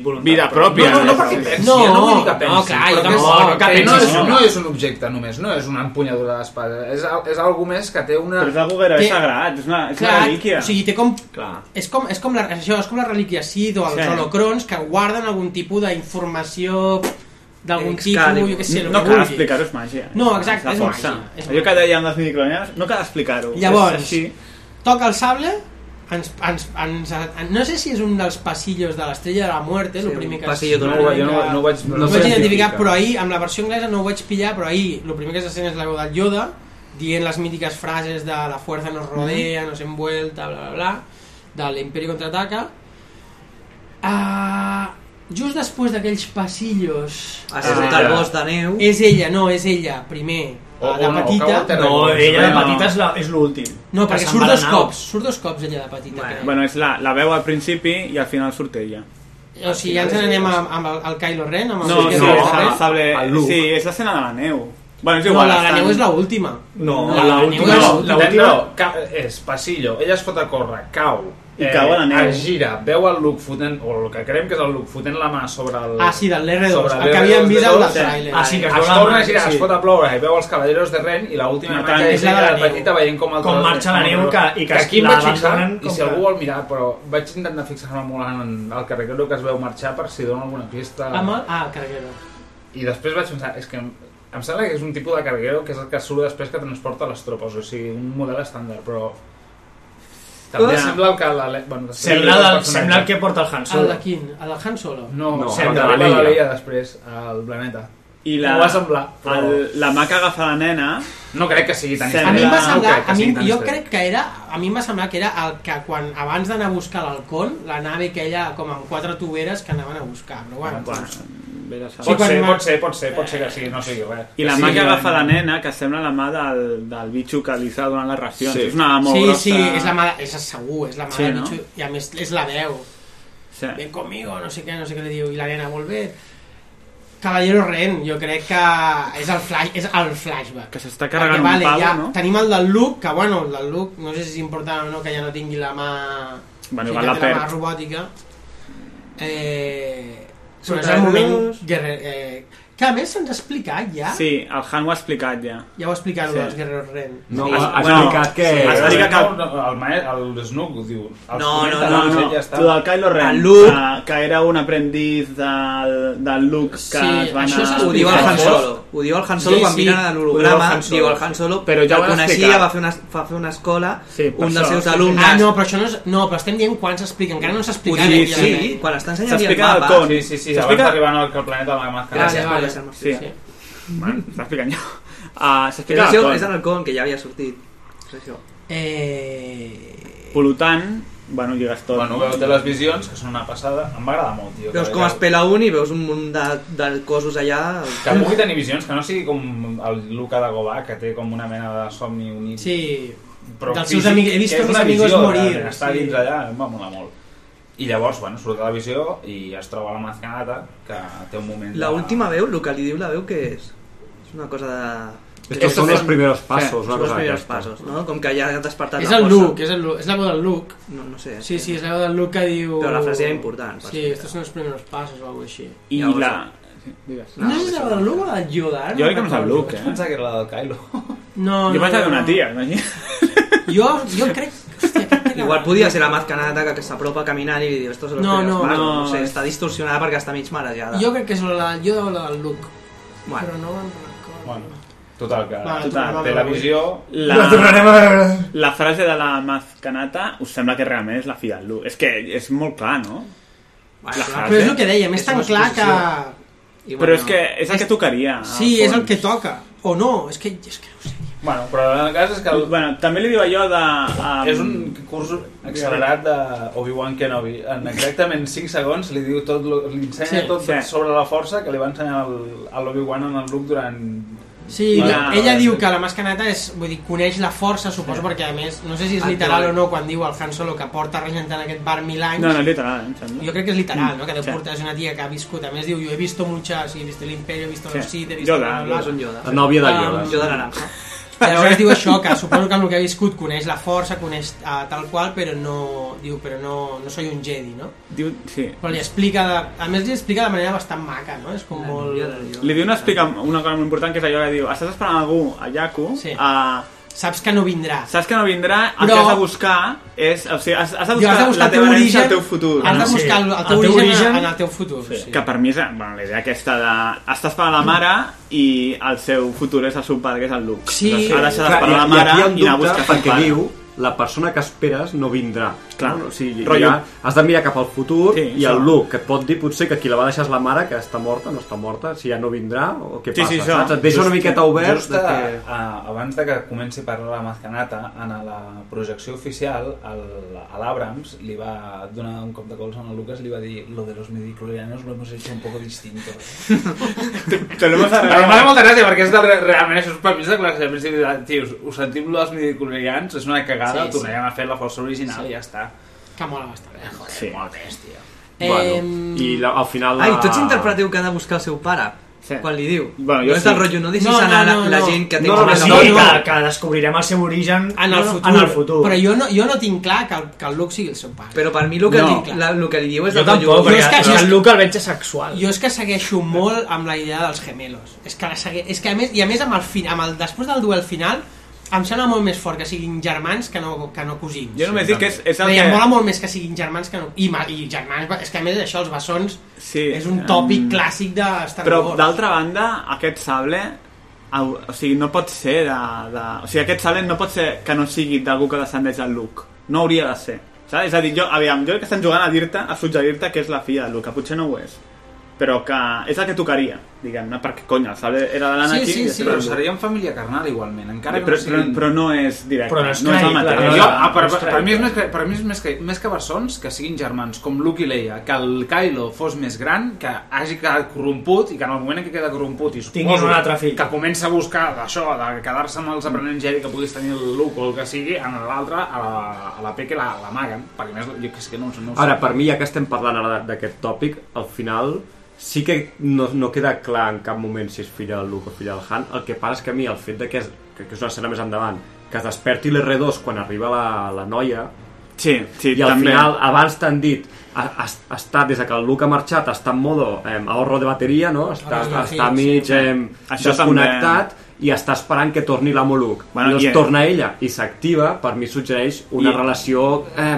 S12: voluntat.
S19: Vida
S9: pròpia.
S12: No, no, no perquè pensi, no, jo no vull dir que pensi.
S19: pensin, però que és-
S12: no, que
S19: que no,
S12: pensi.
S19: és, no és un objecte només, no és una empunyadura d'espada, és, al- és algo més que té una...
S9: Però és algo gairebé Té- sagrat, és una-
S1: o sigui, té com...
S19: Clar.
S1: És com, és com, la, això, és com la relíquia Sid o els
S9: Sí.
S1: sí. holocrons que guarden algun tipus d'informació d'algun tipus,
S9: Excalibur.
S1: jo què sé, el
S9: no
S1: que
S9: cal
S1: vulguis.
S9: explicar-ho, és màgia.
S1: No, exacte,
S9: la
S1: és
S9: força.
S1: màgia, és
S9: Allò que dèiem les microcronies, no cal explicar-ho.
S1: Llavors,
S9: És així.
S1: toca el sable, ens, ens, ens, en- no sé si és un dels passillos de l'estrella de la muerte, sí, el primer
S7: un
S1: que...
S7: passillo
S1: es-
S7: d'una No ho vaig- jo no- no ho vaig-
S1: no
S7: no
S1: ho
S7: sé
S1: vaig identificar,
S7: identificar.
S1: però ahir, amb la versió anglesa no ho vaig pillar, però ahir el primer que se sent és la veu del Yoda, dient les mítiques frases de la fuerza
S7: Mm-hmm.
S1: nos rodea, nos envuelta, bla, bla, bla, de l'imperi contraataca. Ah, just després d'aquells passillos...
S7: Has escoltat
S1: Ah,
S7: el bosc de neu.
S1: És ella, no, és ella, primer. eh,
S7: O-
S1: de
S7: o no,
S1: petita.
S7: cau al terra i No,
S12: ella de petita és la- és l'últim.
S1: No,
S12: Que
S1: perquè
S12: se'n
S1: surt
S12: va la
S1: dos
S12: nau.
S1: cops, surt dos cops ella de petita. crec.
S9: Bueno, és la, la veu al principi i al final surt ella.
S1: O sigui, ja ens n'anem amb, amb el, el Kylo Ren, amb el
S9: No, sí,
S1: Kylo
S9: no,
S1: Ren.
S9: el sable...
S1: El Luke.
S9: Sí, és l'escena de la neu. Bueno, és
S1: eh? No,
S9: igual.
S1: la de la
S9: estan-
S1: neu és l'última.
S9: No,
S1: La de la neu
S9: l'última
S1: és-
S9: no,
S19: La última... No, ca, és passillo, ella es fot a córrer, cau, eh,
S9: I cau a la neu.
S19: Es gira, veu el Luke fotent, o el que creiem que és el Luke fotent la mà sobre el...
S1: Ah, sí, del R2,
S19: sobre
S1: el que havíem vist al
S19: R2,
S1: tràiler.
S19: Ah, sí, que es,
S1: Es
S19: es
S1: torna
S19: torna
S1: a
S19: a girar,
S1: sí.
S19: es fot a ploure i veu els cavalleros de Ren i l'última
S12: No tant,
S19: imatge
S12: és
S19: és
S12: la de
S19: ella
S12: la
S19: de
S12: neu.
S19: petita veient com el
S12: Com
S19: tros-
S12: marxa la neu que- i que
S19: que aquí em
S12: la
S19: vaig fixar,
S12: abandonen
S19: i si
S12: com que-
S19: algú vol mirar, però vaig intentar fixar-me molt en el carrer que es veu marxar per si dona alguna pista
S1: Amb el... Ah, el carguero.
S19: i després vaig pensar, és que em, em sembla que és un tipus de carguero que és el que surt després que transporta les tropes, o sigui, un model estàndard, però... També
S12: Ah.
S19: sembla el que la... Bueno, després-
S12: Sembla,
S19: el
S12: del,
S19: personatge.
S12: sembla el que porta el Han
S1: El
S12: Solo.
S1: de quin? El de Han Solo?
S19: No, no
S12: sembla
S19: sembla
S12: la
S19: la Leia.
S12: Leia.
S19: la Leia després, al planeta.
S9: I la,
S19: M'ho va semblar, però...
S9: el, la mà que agafa la nena...
S19: No crec que sigui tan
S1: A mi em va semblar,
S19: crec que
S1: a mi,
S19: sigui tan
S1: jo
S19: històric.
S1: crec que era, a mi em va semblar que era el que quan, abans d'anar a buscar l'Halcón, la nave que ella, com amb quatre tuberes que anaven a buscar, però bueno.
S9: bueno.
S19: Pot, ser, pot ser, pot ser, pot ser que sigui, no sigui res.
S9: I la
S19: Sí,
S9: mà que
S19: no,
S9: agafa
S19: no.
S9: la nena, que sembla la mà del, del bitxo que li està donant les racions.
S19: Sí.
S9: És una mà molt
S1: sí,
S9: grossa.
S1: sí, és la mà, de- és segur, és la mà
S9: Sí,
S1: sí, de
S9: no?
S1: bitxo, i a més és la veu.
S9: Sí.
S1: Ven conmigo, no sé què, no sé què li diu, i la nena, volver. Caballero Ren, jo crec que és el, flash, és el flashback.
S9: Que s'està carregant
S1: vale,
S9: un pal,
S1: ja
S9: no?
S1: Tenim el del Luke, que bueno, el del Luke, no sé si és important o no que ja no tingui la mà...
S9: Bueno,
S1: o sigui, que
S9: igual la
S1: té la mà
S9: perd.
S1: robòtica. Eh, però
S9: Surt
S1: és el
S9: de
S1: moment...
S9: dos.
S1: Guerrer, eh, que a més se'ns ha explicat ja.
S9: Sí, el Han ho ha explicat ja.
S1: eh? Ja ho ha explicat,
S9: Sí.
S1: sí. dels Guerreros Ren.
S9: No,
S1: Sí.
S9: ha- ha Bueno, explicat que-
S19: Sí,
S9: ha explicat que-
S19: no, no, el, ma- el Snook ho diu. Els
S7: No, no,
S19: comenta,
S7: no,
S19: doncs,
S7: no.
S19: ell ja està.
S9: Tu del Kylo Ren,
S7: El Luke.
S9: que, que era un aprendiz del, del Luke que es va anar...
S7: Ho diu el Han Solo. Ho diu el Han Solo
S9: Sí,
S7: quan
S9: sí.
S7: miren a
S9: Ho diu el
S7: l'holograma,
S9: Han Solo,
S7: diu el Han Solo,
S9: sí.
S7: però ja el
S9: ho van
S7: coneixia,
S9: explicar.
S7: va fer una, va fer una escola,
S9: sí,
S7: un dels seus
S1: Ah,
S7: alumnes...
S1: no, però això no és... No, però estem dient quan s'explica. Encara no s'ha explicat.
S7: Sí,
S1: eh,
S7: sí,
S1: evidentment.
S7: sí, quan està ensenyant S'explica el el mapa. con.
S19: Sí, sí, sí, abans
S9: S'explica-
S19: d'arribar al al planeta de la màscara.
S7: Gràcies,
S1: Vale,
S7: Pere Sant
S9: Sí.
S7: Martí.
S9: sí.
S7: Sí.
S9: Bueno, s'ha explicat jo. Uh, s'ha
S7: Que és, el
S9: explicat
S7: seu,
S9: el
S7: és en
S9: con.
S7: el con, que ja havia sortit. És això.
S1: Eh...
S9: Pol·lutant, bueno, lligues tot.
S19: Bueno, veu de les visions, que són una passada. Em va agradar molt, tio.
S7: Veus
S19: Que-
S7: com es
S19: que-
S7: pela un i veus un munt de, de cossos allà...
S19: Que pugui tenir visions, que no sigui com el Luca de Gobà, que té com una mena de somni unit.
S1: Sí,
S19: però
S1: dels seus amics- he vist
S19: que és
S1: a mis
S19: una
S1: amigos
S19: visió,
S1: morir,
S19: realment, Està
S1: sí.
S19: dins allà, em va molar molt. I llavors, bueno, surt de la visió i es troba la mascanata, que té un moment...
S7: La última veu, el que li diu la veu, que és? És una cosa de...
S12: Estos son los primeros pasos, una
S7: Són els
S12: cosa
S7: primers
S12: d'aquesta.
S7: passos, no? Com que ja has despertat
S1: És
S7: la
S1: el
S7: força.
S1: Luke, és, el Luke, és la veu del Luke.
S7: No, no sé.
S1: Sí, sí, és la veu del Luke que diu...
S7: Però la frase era important, per
S1: Sí,
S7: explicar.
S1: estos són els primers passos o alguna cosa així.
S9: I
S7: Llavors,
S9: la...
S1: No, és la veu del Luke o la Yoda? ara
S9: Jo crec que
S1: no
S9: no és el
S1: recordo.
S9: Luke, eh? Pensava que era la del Kylo.
S1: No,
S9: jo
S1: no,
S9: pensava que era
S1: no.
S9: una tia, imagina.
S1: Jo, jo crec...
S7: Igual podia ser la Maz Kanata que, que s'apropa caminant i li diu estos són els
S1: No,
S7: primers
S1: no,
S7: passos.
S1: no.
S7: no sé, està distorsionada perquè està mig marejada.
S1: Jo crec que és la Yoda o la del Luke.
S7: Bueno.
S1: Però no...
S7: Bueno.
S19: Total, que
S1: Va,
S19: total,
S1: tornem a
S19: té la
S1: veure.
S19: visió...
S9: La,
S19: La tornarem a veure.
S9: la frase de la Mazcanata us sembla que realment és la filla del Luke. És que és molt clar, no? La frase.
S12: Ah,
S1: Però és el que dèiem, és,
S9: És
S1: tan
S9: una
S1: clar que...
S9: suposició. Però és que és el que tocaria.
S1: Sí, és el que toca. O no, és que... És que no ho sé.
S9: Bueno, però el cas és que... El... Bueno, també li diu allò de... Um...
S19: És un curs accelerat d'Obi-Wan Kenobi. En exactament 5 segons li diu tot, lo- li ensenya
S1: Sí,
S19: tot
S1: sí.
S19: sobre la força que li va ensenyar el- a l'Obi-Wan en el Luke durant...
S1: Sí,
S19: Bueno,
S1: ella
S19: sí.
S1: diu que la mascanata és, vull dir, coneix la força, suposo, perquè a més, no sé si és
S9: Ah,
S1: literal o no, quan diu el Han Solo que porta regentant aquest bar mil anys.
S9: No, no, literal, em sembla.
S1: Jo crec que és literal, no? Que deu
S9: Sí.
S1: portar és una tia que ha viscut, a més diu, jo he visto muchas, he visto el imperio, he visto
S9: Sí.
S1: los Sith, he visto...
S9: Yoda,
S1: bla, bla, bla".
S9: és un Yoda. La nòvia de Yoda.
S1: Um,
S9: Yoda naranja.
S1: Llavors diu això, que suposo que amb el que ha viscut coneix la força, coneix uh, tal qual, però no, diu, però no, no soy un Jedi, no?
S9: Diu, sí.
S1: Però li explica, de, a més li explica de manera bastant maca, no? És com molt...
S9: Li diu una, explica, una cosa molt important, que és allò que diu Estàs esperant algú a Yaku sí. a...
S1: Saps que no vindrà.
S9: Saps que no vindrà, el
S1: Però-
S9: que has de buscar és... O sigui, has, has de
S1: Diu,
S9: buscar,
S1: has de buscar
S9: la
S1: el teu
S9: teva herència
S1: origen,
S9: al teu futur.
S1: has de
S9: no?
S1: buscar el- el teu origen en- en el teu futur, sí.
S9: Que per mi és bueno, la idea aquesta de... Estàs parlant la mare i el seu futur és el seu pare, que és el Luke.
S1: Sí.
S9: Ha deixat
S12: Clar,
S9: d'esperar la
S12: i-
S9: mare
S12: i, aquí hi ha un
S9: i anar a
S12: dubte
S9: buscar el
S12: perquè
S9: pare.
S12: diu la persona que esperes no vindrà. Clar, no? O sigui,
S9: Rotllo.
S12: ja has de mirar cap al futur sí, i
S9: això.
S12: el Luke, que et pot dir potser que qui la va deixar és la mare, que està morta, no està morta, si ja no vindrà, o què
S19: Sí,
S12: passa,
S19: sí, això.
S12: saps? Et deixa una
S19: Just-
S12: miqueta obert
S19: just
S12: de
S19: a-
S12: que...
S19: a- abans de que comenci a parlar la Mazcanata, en la projecció oficial, el- a l'Abrams li va donar un cop de cols a Lucas i li va dir lo de los midiclorianos lo hemos hecho un poco distinto.
S9: te lo hemos arreglado.
S19: Em fa molta gràcia perquè és del, realment això és per mi és de classe de principi de, tios, us sentim lo dels midiclorians, és una
S1: Sí,
S19: cagada,
S1: sí.
S19: tornarem a fer la força original
S1: Sí.
S19: i ja està.
S1: Que mola bastant. Eh,
S19: joder, sí. molt bèstia.
S1: Bueno,
S12: i la, al final
S7: Ai, tots interpreteu que ha de buscar el seu pare. Sí. Quan li diu.
S12: Bueno,
S7: no és el rotllo, no deixis anar la gent que té
S27: no,
S7: com
S27: no,
S7: a
S27: sí,
S7: la-
S27: Que, que descobrirem el seu origen
S1: en el,
S27: no, no,
S1: futur.
S27: En el futur.
S1: Però jo no, jo no tinc clar que el, que el Luke sigui el seu pare.
S7: Però per mi el que,
S1: No.
S7: li, la, el que li diu és
S1: Jo
S7: el rotllo...
S1: tampoc, perquè Jo és que- jo és- el
S27: Luke el veig sexual.
S1: Jo és que segueixo molt amb la idea dels gemelos. És que, la segue... és que a més, i a més amb el, fin... amb el... després del duel final, em sembla molt més fort que siguin germans que no, que no cosins.
S9: Jo només dic que és- és el
S1: Vull dir,
S9: que-
S1: Em mola molt més que siguin germans que no... I, ma- i germans... És que a més això, els bessons,
S9: Sí, Mm.
S1: és un tòpic
S9: em,
S1: clàssic de Star
S9: Però
S1: Wars.
S9: d'altra banda, aquest sable au- o sigui, no pot ser de, de... O sigui, aquest sable no pot ser que no sigui d'algú que descendeix del Luke. No hauria de ser. Saps? És a dir, jo, aviam, jo crec que estan jugant a dir-te, a suggerir-te que és la filla de Luke, que potser no ho és. Però que és el que tocaria, diguem-ne, perquè, cony, el sable era de l'Anakin... i després
S19: però
S9: del Luke.
S19: serien família carnal igualment, encara
S9: però,
S19: que no
S9: però,
S19: siguin...
S9: però, no és directe.
S19: Però no és
S9: el
S19: crèdit,
S9: mateix.
S19: clar, jo, ah, per,
S9: No
S19: per,
S9: és
S19: per, mi és
S9: crèdit.
S19: més, que- per mi és més que, més que bessons que siguin germans, com Luke i Leia, que el Kylo fos més gran, que hagi quedat corromput i que en el moment en què queda corromput i
S27: Tinguis
S19: suposo
S27: un altre fill.
S19: que comença a buscar això, de quedar-se amb els aprenents Jedi que puguis tenir el Luke o el que sigui, en l'altre a la, a la P que la- l'amaguen, perquè a més jo que és que no, no ho sé.
S12: Ara, per mi, ja que estem parlant ara de- d'aquest tòpic, al final sí que no, no queda clar en cap moment si és filla del Luke o filla del Han. El que passa és que a mi el fet de que és, que, que és una escena més endavant, que es desperti l'R2 quan arriba la, la noia...
S9: Sí, sí,
S12: I al
S9: també.
S12: final, abans t'han dit, ha, ha, ha estat, des de que el Luke ha marxat, està en modo eh, ahorro de bateria, no? Està,
S9: Ahorro de
S12: està,
S9: bateria,
S12: està
S9: sí.
S12: mig eh,
S9: Això
S12: desconnectat i està esperant que torni l'amo Luke.
S9: Bueno,
S12: Bueno, I
S9: i-
S12: es torna ella i s'activa, per mi suggereix una
S9: I-
S12: relació eh,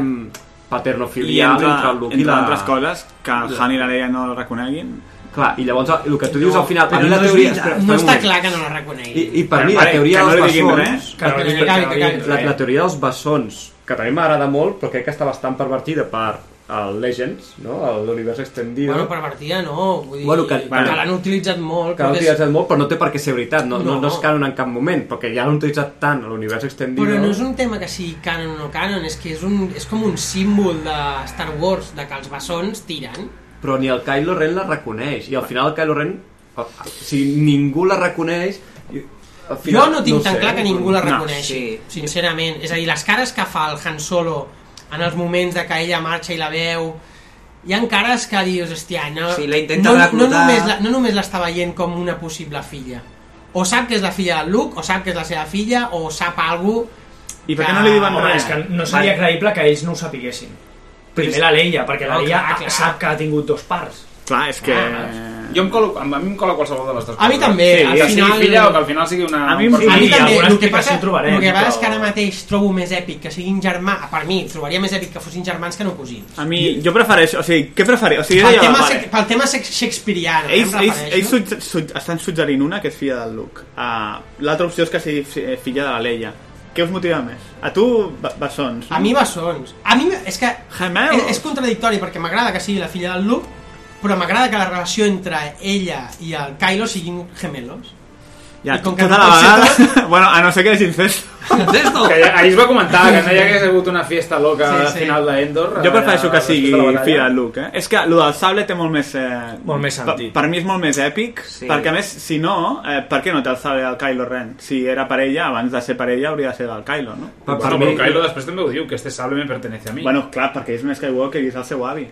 S9: I
S12: paternofilial
S9: entre,
S12: entre el Luke
S9: entre
S12: i la...
S9: altres coses, que el Han i la Leia no el reconeguin...
S12: Clar, i llavors el que tu dius al final...
S1: però
S12: a mi la
S1: no, és
S12: teoria...
S1: veritat,
S12: espera, espera
S1: no
S12: un
S1: està
S12: moment.
S1: clar que no la reconegui.
S12: I, i per mi la teoria dels
S1: Que no
S12: bessons
S1: li diguin res. Que acabi, que
S12: la,
S1: acabi.
S12: la teoria dels bessons que també m'agrada molt però crec que està bastant pervertida per el Legends no? l'univers extendido
S1: Bueno, pervertida no, vull dir,
S12: Bueno, que-
S1: que,
S12: bueno.
S1: l'han utilitzat molt.
S12: que l'han
S1: però és-
S12: utilitzat molt però no té per què ser veritat no,
S1: No.
S12: no. no és canon en cap moment perquè ja l'han utilitzat tant a l'univers extendido
S1: Però no és un tema que sigui canon o no canon, és que és, un, és com un símbol de Star Wars, de que els bessons tiren.
S12: però ni el Kylo Ren la reconeix i al final el Kylo Ren o sigui, ningú la reconeix i,
S1: Jo
S12: al final,
S1: no tinc tan
S12: sé,
S1: clar que ningú la
S12: no.
S1: reconeixi, sí. sincerament. És a dir, les cares que fa el Han Solo en els moments de que ella marxa i la veu, hi ha cares que dius, hòstia, no,
S7: Sí, la intenta
S1: no, no,
S7: reclutar.
S1: només la, no només l'està veient com una possible filla, o sap que és la filla del Luke, o sap que és la seva filla, o sap algú...
S9: I per què no li diuen
S28: Home,
S9: res?
S28: és que no seria creïble que ells no ho sapiguessin. Primer la Leia, perquè la
S9: No,
S28: Leia
S9: clar, clar.
S28: sap que ha tingut dos parts.
S9: Clar, és que...
S1: Ah,
S19: Jo em colo, a mi em cola qualsevol de les dues
S1: A mi també,
S19: sí,
S1: al
S19: que
S1: final-
S19: sigui filla o que al final sigui una...
S1: A mi, a mi també, el que passa,
S19: trobarem,
S1: el que passa és que
S19: però-
S1: ara mateix trobo més èpic que siguin germà, per mi, trobaria més èpic que fossin germans que no cosins.
S9: A mi, jo prefereixo, o sigui, què prefereixo? O sigui,
S1: Pel
S9: jo-
S1: tema,
S9: vale.
S1: vale. pel tema sex- shakespeareano, eh,
S9: ells,
S1: em
S9: ells,
S1: refereixo.
S9: ells sut, sut, estan suggerint una que és filla del Luke uh, l'altra opció és que sigui fi- eh, filla de la Leia què us motiva més? a tu ba- bessons no?
S1: A mi bessons. A mi és que
S9: Gemelos.
S1: Ah, és, és contradictori perquè m'agrada que sigui la filla del Luke, però m'agrada que la relació entre ella i el Kylo siguin gemelos.
S9: ja,
S1: i com
S9: com
S1: que
S9: tota
S1: no
S9: la
S1: pot ser
S9: vegada bueno, a no ser que hagin fet
S19: Que ja, ahir es va comentar que no hi hagués hagut una fiesta loca sí, sí.
S9: Sí, sí.
S19: al final d'Endor.
S9: jo prefereixo que
S19: allà,
S9: sigui
S19: Eh, després de la batalla.
S9: filla del Luke eh? és que el del sable té molt més eh,
S19: Molt més
S9: per,
S19: sentit.
S9: per mi és molt més èpic sí. perquè a més, si no, eh, per què no té el sable del Kylo Ren? si era parella, abans de ser parella hauria de ser del Kylo no?
S19: Bueno, però mi... Kylo després també ho diu, que este sable me pertenece a mi.
S9: Bueno, clar, perquè és més Skywalker i és el seu avi.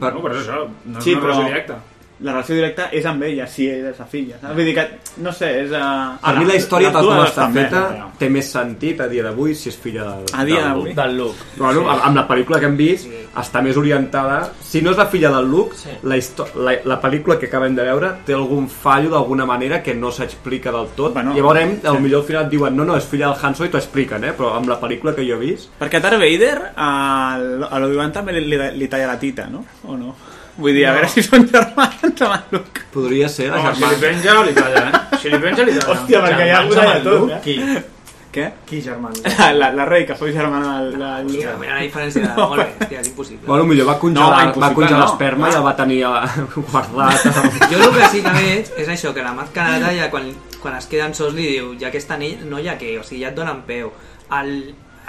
S19: Per- No, però és això, no és una relació directa.
S9: La relació directa és amb ella, si ella és la filla. Saps? Vull dir que, no sé, és... eh, A...
S12: A mi la història, tal com està feta,
S9: no.
S12: té més sentit a dia d'avui si és filla del,
S9: A dia d'avui.
S12: Del Luke. Bueno, amb- amb la pel·lícula que hem vist, està més orientada... Si no és la filla del Luke, la, histo- la, la pel·lícula que acabem de veure té algun fallo d'alguna manera que no s'explica del tot. Bueno, I veurem, sí. potser al final et diuen no, no, és filla del Han Solo i t'ho expliquen, eh? però amb la pel·lícula que jo he vist...
S9: Perquè a Darth Vader, a, a l'Obi-Wan també li, li, li, talla la tita, no? O no? Vull dir, a
S12: No.
S9: veure si són germans amb el Luke.
S12: Podria ser la
S19: Home, si
S12: germana.
S19: li penja, li talla, eh? Si li penja, li talla.
S9: Hòstia,
S19: Germans
S9: perquè ja ho deia
S19: amb el
S9: tot,
S19: Luke,
S9: eh? Què?
S28: Qui, germans?
S9: La, la, la rei, que fou germana del... del... Hòstia,
S7: mira la diferència. Molt bé, hòstia, és impossible.
S12: Bueno, millor va congelar, no, va
S9: impossible,
S12: congelar
S9: no.
S12: no. l'esperma i el va tenir eh, guardat.
S7: Jo el que sí que veig és això, que la Maz Kanata ja quan, quan es queden sols li diu ja que aquesta ni- noia què, o sigui, ja et donen peu. El,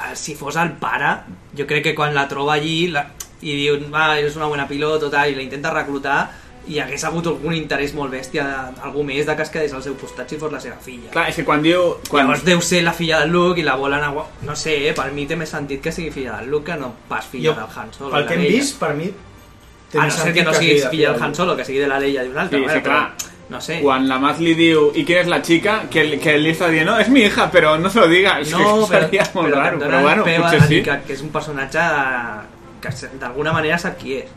S7: el, si fos el pare, jo crec que quan la troba allí la, i diu, va, és una bona pilot o tal, i la intenta reclutar, hi hagués hagut algun interès molt bèstia, algú més de que es quedés al seu costat si fos la seva filla.
S9: Clar, és que quan diu...
S7: Quan...
S9: Quan...
S7: Llavors deu ser la filla del Luke i la volen... A... No sé, eh? per mi té més sentit que sigui filla del Luke que no pas filla
S28: Jo,
S7: del Han Solo.
S28: Pel
S7: la
S28: que hem
S7: vella.
S28: vist, per mi... té
S7: A no
S28: més
S7: ser
S28: sentit
S7: que no
S28: que sigui
S7: sigui
S28: de
S7: filla
S28: filla
S7: del Han
S28: del-
S7: Solo, que sigui de la Leia i d'un altre. a
S9: Sí, sí,
S7: veure,
S9: clar.
S7: però No sé.
S9: Quan la Maz li diu, i qui és la xica, que, que li està dient, no, és mi hija, però no se lo diga. És que
S7: No, però,
S9: seria molt
S7: però
S9: raro,
S7: que et
S9: però
S7: donen
S9: bueno,
S7: peu a
S9: potser
S7: dir
S9: sí.
S7: Que, que és un personatge de, que se- d'alguna manera sap qui és.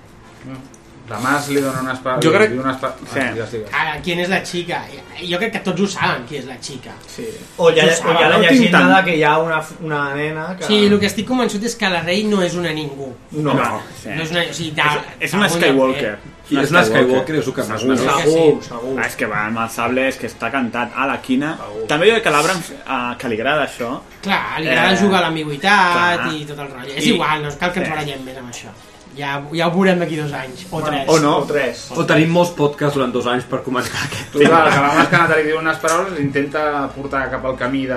S19: La Mas li dona una espada.
S9: Jo
S19: li
S9: crec-
S19: diu Una espada...
S9: Sí.
S19: Ah, digues, digues.
S1: Ara, qui és la xica? Jo crec que tots ho saben, qui és la xica.
S28: Sí. O hi ha,
S9: Pues,
S28: o hi ha la llegenda de que hi ha una, una nena que...
S1: Sí, el que estic convençut és que la rei no és una ningú.
S28: No.
S1: no,
S28: No,
S9: sí.
S1: no és una... O sigui, de,
S9: És una
S1: d'alguna
S9: Skywalker.
S1: manera.
S12: I és una Skywalker, és el que més
S9: Segur,
S12: mereix.
S9: segur,
S1: Sí.
S9: segur. Ah, és que va amb el sable, és que està cantat a la quina. També jo crec que a l'Abrams, eh, que li agrada això...
S1: Clar, li agrada
S9: Eh,
S1: jugar a l'ambigüitat
S9: clar.
S1: i tot el rotllo. És
S9: I-
S1: igual, no cal que
S28: eh.
S1: ens
S9: Sí.
S1: barallem més amb això. Ja, ja ho veurem d'aquí dos anys, o tres.
S12: O no. O tenim molts podcasts durant dos anys per comentar aquest
S19: Total, que la Mas Kanata li diu unes paraules i intenta portar cap al camí de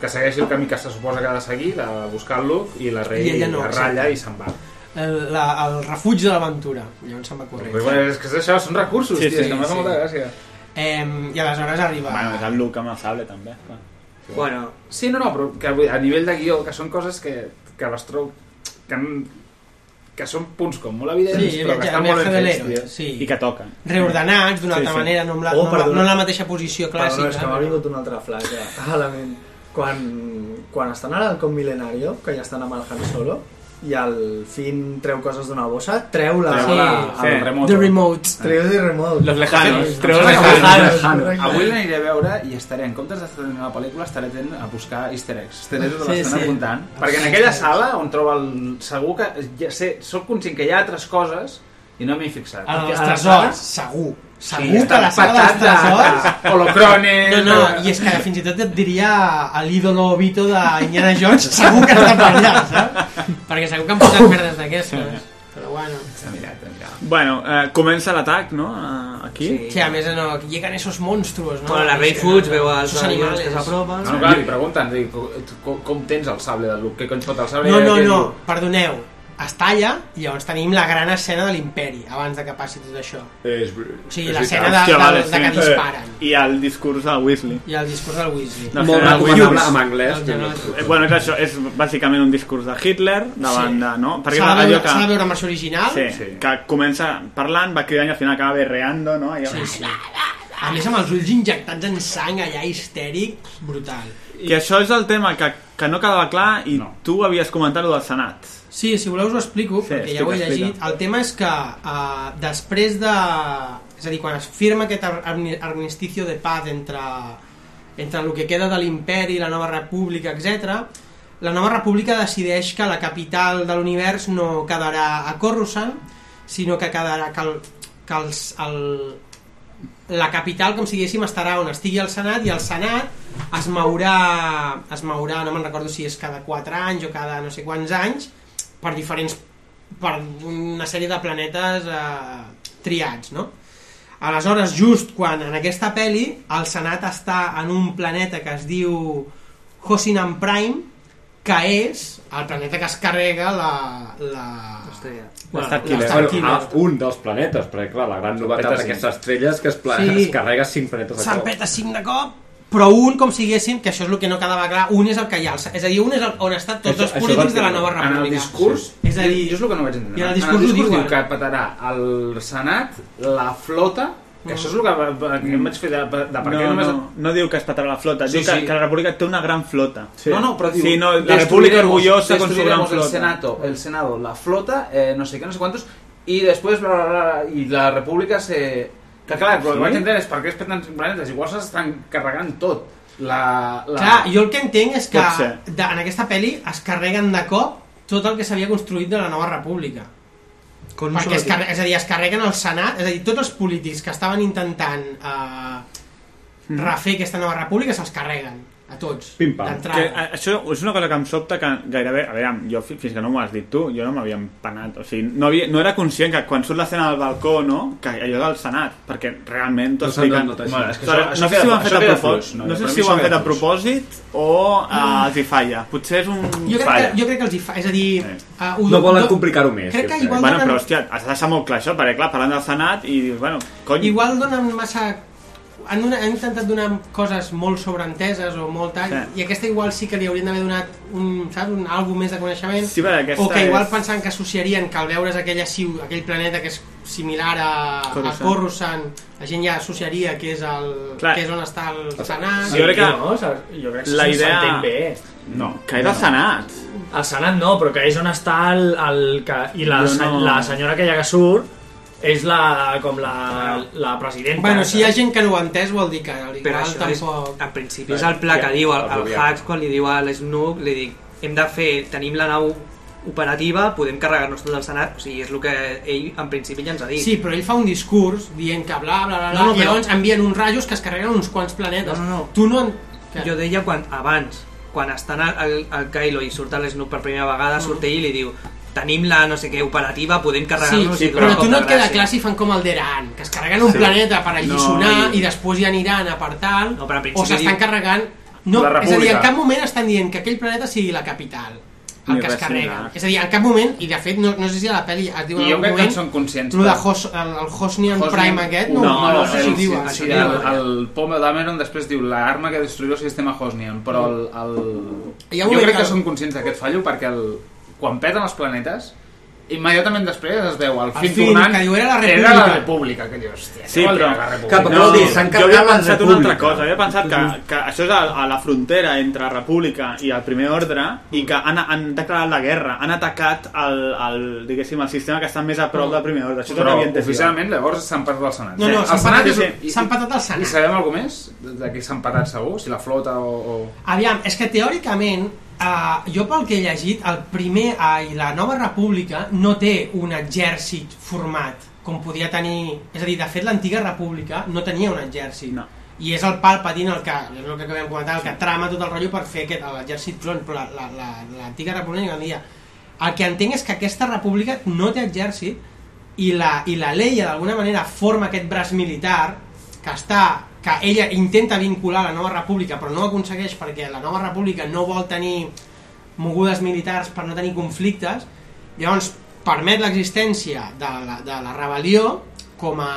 S19: que segueixi el camí que se suposa que ha de seguir, de buscar el Luke, i la rei
S1: I ella no,
S19: la ratlla
S1: exacte.
S19: i se'n va.
S1: El, la, el refuig de l'aventura. Llavors se'n va corrent.
S19: Però bueno, és que és això, són recursos, sí, tio, sí, és que m'ha sí. molta gràcia.
S1: Eh, I aleshores arriba...
S9: Bueno, és el Luke amb el sable, també. clar.
S7: Bueno,
S19: sí, no, no, però que vull dir, a nivell de guió, que són coses que, que les trobo... Que, n- que són punts com molt evidents,
S1: Sí,
S19: però
S1: viatge-
S19: que estan molt ben
S1: viatge
S19: fets,
S1: de l'héroe,
S19: tio.
S1: sí.
S9: I que toquen.
S1: reordenats d'una altra manera, no amb, la,
S28: Oh,
S1: no, amb la,
S28: perdona.
S1: no en la mateixa posició clàssica.
S28: Perdona, és que m'ha vingut un altre flash eh, a la ment. Quan, quan estan ara al Com Milenario, que ja estan amb el Han Solo, i al fin treu coses d'una bossa, treu la...
S19: Treu la- Sí, el sí. remoto. The remote.
S28: Treu de remote.
S19: Los lejanos.
S28: Sí,
S19: Treu
S28: em
S19: los
S28: sembla que
S19: lejanos.
S28: correcte.
S19: Avui l'aniré a veure i estaré, en comptes d'estar en la pel·lícula, estaré atent a buscar easter eggs. Estaré tota
S28: Sí,
S19: l'estona
S28: sí.
S19: apuntant. Perquè en aquella sala on troba el... Segur que... Ja sé, sóc conscient que hi ha altres coses i no m'hi he fixat.
S1: En els
S19: Perquè a la sala-
S1: tresors, segur. Segur que a la sala dels
S19: Patata,
S1: tresors... eh.
S19: holocrones,
S1: No, no, i és que fins i tot et diria l'ídolo Vito d'Indiana Jones, segur que està per allà, saps? Perquè segur que han posat merdes d'aquestes. Però bueno...
S19: S'ha mirat, s'ha mirat.
S9: Bueno, eh, comença l'atac, no? Eh, Aquí.
S1: Sí. a més no, que lleguen esos monstruos, no?
S7: Bueno, la Rey
S1: És que
S7: fuig,
S1: no,
S7: veu els
S1: esos
S7: animals
S1: animals.
S7: que s'apropen.
S19: No, no, clar, li pregunten, dic, com, com tens el sable de Luke? Què cony pot el sable?
S1: No, no,
S19: Què
S1: no,
S19: diu?
S1: perdoneu. Es talla i llavors tenim la gran escena de l'imperi, abans de que passi tot això.
S12: És...
S1: O sigui, l'escena de,
S9: Hòstia,
S1: de,
S9: vale,
S1: de, de que
S9: sí.
S1: disparen.
S9: I el discurs del Weasley.
S1: I el discurs del Weasley. Doncs
S9: No,
S12: Molt
S9: eh,
S12: recomanable
S9: Hughes.
S12: en anglès.
S9: Eh, Bueno, és això, és bàsicament un discurs de Hitler davant
S1: Sí.
S9: de... No? Perquè
S1: S'ha
S9: és
S1: de
S9: allò
S1: veure-
S9: que...
S1: s'ha de veure en versió original.
S9: Sí,
S1: Sí.
S9: que comença parlant, va cridant i al final acaba berreando, no? Allò...
S1: Sí, sí.
S7: A més, amb els ulls injectats en sang allà, histèric, brutal.
S9: I... Que això és el tema que, que no quedava clar i no. tu havies comentat lo del Senat.
S7: Sí, si voleu us ho explico, sí, perquè ja ho he
S9: explica,
S7: llegit. El tema és que uh, després de... És a dir, quan es firma aquest ar- amni- armisticio de paz entre, entre el que queda de l'imperi, la nova república, etc, la nova república decideix que la capital de l'univers no quedarà a Coruscant, sinó que quedarà que, el, que els, el, la capital, com si diguéssim, estarà on estigui el Senat i el Senat es mourà, es mourà no me'n recordo si és cada 4 anys o cada no sé quants anys per diferents per una sèrie de planetes eh, triats, no? Aleshores, just quan en aquesta peli el Senat està en un planeta que es diu Hosinan Prime, que és el planeta que es carrega la... la...
S12: Bueno,
S7: l'Starkiller.
S12: bueno, ah, un dels planetes, perquè clar, la gran novetat
S7: peta
S12: d'aquestes estrelles és que es, pla...
S7: Sí.
S12: es carrega cinc planetes a
S7: Se'n
S12: cop.
S7: peta cinc de cop, però un, com siguéssim, que això és el que no quedava clar, un és el que hi ha. És a dir, un és el, on estan tots els polítics de la nova república.
S19: En el discurs,
S7: És a dir,
S19: jo és el que no vaig entendre.
S7: i en el discurs ho
S19: diu
S7: diuen.
S19: que petarà el Senat, la flota, que això és el que, va-
S7: Mm.
S19: que em vaig fer de, de per
S9: no,
S19: què Ah, només...
S9: no, no diu que es petarà la flota,
S19: Sí,
S9: diu que,
S19: sí.
S9: que la República té una gran flota.
S19: No, no, però diu...
S9: Sí, no, la
S19: destruiremos-
S9: República orgullosa con su gran
S19: destruiremos el
S9: flota.
S19: Senato, el Senado, la flota, eh, no sé qué, no sé cuántos, y después, bla, bla, bla, bla, y la República se... Que clar, el
S7: Sí?
S19: que vaig entendre és per què es peten cinc planetes, igual s'estan carregant tot. La, la...
S7: Clar, jo el que entenc és que
S19: Pot ser.
S7: de, en aquesta pel·li es carreguen de cop tot el que s'havia construït de la nova república.
S1: Con un
S7: Perquè
S1: solo
S7: es,
S1: tiro.
S7: carre- és a dir, es carreguen el Senat, és a dir, tots els polítics que estaven intentant eh,
S1: Mm.
S7: refer aquesta nova república se'ls carreguen, a tots.
S9: Que,
S7: d'entrada.
S9: a- això és una cosa que em sobta que gairebé, a veure, jo fi- fins que no m'ho has dit tu, jo no m'havia empanat, o sigui, no, havia, no era conscient que quan surt l'escena del balcó, no, que allò del Senat, perquè realment tots
S19: No s'han
S9: fiquen...
S19: donat així. Bueno, és que
S9: O sigui,
S19: això-
S9: no
S19: això
S9: sé si ho
S19: queda-
S9: han
S19: això
S9: fet a
S19: queda
S9: propòsit,
S19: fluix, no?
S9: no, sé
S19: Per mi
S9: si ho
S19: això
S9: han
S19: queda
S9: fet a
S19: fluix.
S9: propòsit o eh, els hi falla. Potser és un
S7: Mm. Jo crec,
S9: falla.
S7: que, jo crec que els hi fa... És a dir... Uh, Crec que igual
S9: Bueno,
S7: donen,
S9: però hòstia, has de deixar molt clar això, perquè clar, parlant del Senat i dius, bueno, cony...
S7: igual donen massa... Han, donat, han intentat donar coses molt sobreenteses o molt tal,
S9: Sí.
S7: i aquesta igual sí que li haurien d'haver donat un, saps, un àlbum més de coneixement,
S9: Sí, perquè aquesta
S7: o que igual
S9: és-
S7: pensant que associarien que al veure's aquella ciu, aquell planeta que és similar a, a
S9: Coruscant.
S7: Coruscant, la gent ja associaria que és, el, que és on està el Senat...
S9: Sí, jo crec que-
S29: No, saps? jo crec que
S9: La
S29: la
S9: idea-
S29: idea... s'entén bé.
S9: No, que és el Senat.
S29: El Senat no, però que és on està el... el que, I la,
S9: Jo
S29: se-
S9: no.
S29: la senyora aquella que surt és la, com la, la presidenta.
S7: Bueno, si hi ha gent que no ho ha entès, vol dir que
S1: Però
S7: igual
S1: això
S7: tampoc...
S1: és, en principi és el pla que diu el, el Hacks quan li diu a l'Snook, li dic, hem de fer, tenim la nau operativa, podem carregar-nos tot el Senat, o sigui, és el que ell en principi ja ens ha dit.
S7: Sí, però ell fa un discurs dient que bla, bla, bla,
S1: No,
S7: bla
S1: no,
S7: i
S1: però-
S7: llavors envien uns rajos que es carreguen uns quants planetes.
S1: No, no, no.
S7: Tu no... En...
S1: Jo deia quan, abans, quan estan al, al, al Kylo i surt l'Snook per primera vegada, surt ell i li diu tenim la no sé què operativa, podem
S7: Mm. Sí,
S1: carregar-nos
S7: sí,
S1: i tot
S7: però
S1: el
S7: tu no
S1: cop
S7: et
S1: de
S7: queda
S1: gràcia.
S7: clar si fan com el d'Eran, que es carreguen un
S1: Sí.
S7: planeta per allisonar
S1: No,
S7: i... després ja aniran a per tal, no,
S1: però en
S7: o
S1: principi
S7: s'estan
S1: diu-
S7: carregant... No,
S1: La
S7: és a dir, en
S1: República.
S7: cap moment estan dient que aquell planeta sigui la capital el
S19: Ni
S7: que es
S19: res
S7: carrega.
S19: similar.
S7: És a dir, en cap moment, i de fet, no, no sé si a la pel·li es
S19: I
S7: diu en
S19: jo
S7: algun
S19: crec que en
S7: moment,
S19: són conscients.
S7: el, de
S19: però-
S7: Hos, el, el Hosnian
S19: Hosnian-
S7: Prime aquest, no, no, no, sé si ho
S19: sí,
S7: diuen. això ho
S19: el,
S7: diuen.
S19: el Pomo Dameron després diu l'arma que destruirà el sistema Hosnian, però el, el...
S7: Ja ho
S19: jo
S7: veig,
S19: crec que
S7: el-
S19: són conscients d'aquest fallo perquè el... quan peten els planetes immediatament després es veu el,
S7: El
S19: fin
S7: fin,
S19: tornant
S7: que diu, "Era la
S19: era la
S7: República".
S19: República que diu, hòstia,
S9: Sí,
S19: què vol dir
S9: però...
S19: la República?
S9: jo havia pensat una altra cosa, havia pensat que,
S19: Doncs
S9: que això és a, a la frontera entre República i el Primer Ordre i que han, han declarat la guerra, han atacat el, el, diguéssim, el sistema que està més a prop del Primer Ordre. Això és el que
S19: però
S9: havia entès jo.
S19: oficialment llavors s'han patat el Senat.
S9: No, no,
S19: El
S9: s'han
S19: Senat
S9: patat-
S19: és un-
S7: s'han patat el Senat.
S19: I sabem alguna més de què s'han patat segur? Si la flota o... o...
S7: Aviam, és que teòricament, eh, jo pel que he llegit, el primer eh, i la nova república no té un exèrcit format com podia tenir... És a dir, de fet, l'antiga república no tenia un exèrcit. No. I és el Palpatine el que, és el que vam comentar, el que trama tot el rotllo per fer aquest l'exèrcit clon, però la- la- la- l'antiga la, república no tenia. El que entenc és que aquesta república no té exèrcit i la, i la Leia d'alguna manera forma aquest braç militar que està que ella intenta vincular la nova república però no ho aconsegueix perquè la nova república no vol tenir mogudes militars per no tenir conflictes llavors permet l'existència de, la, de la rebel·lió com a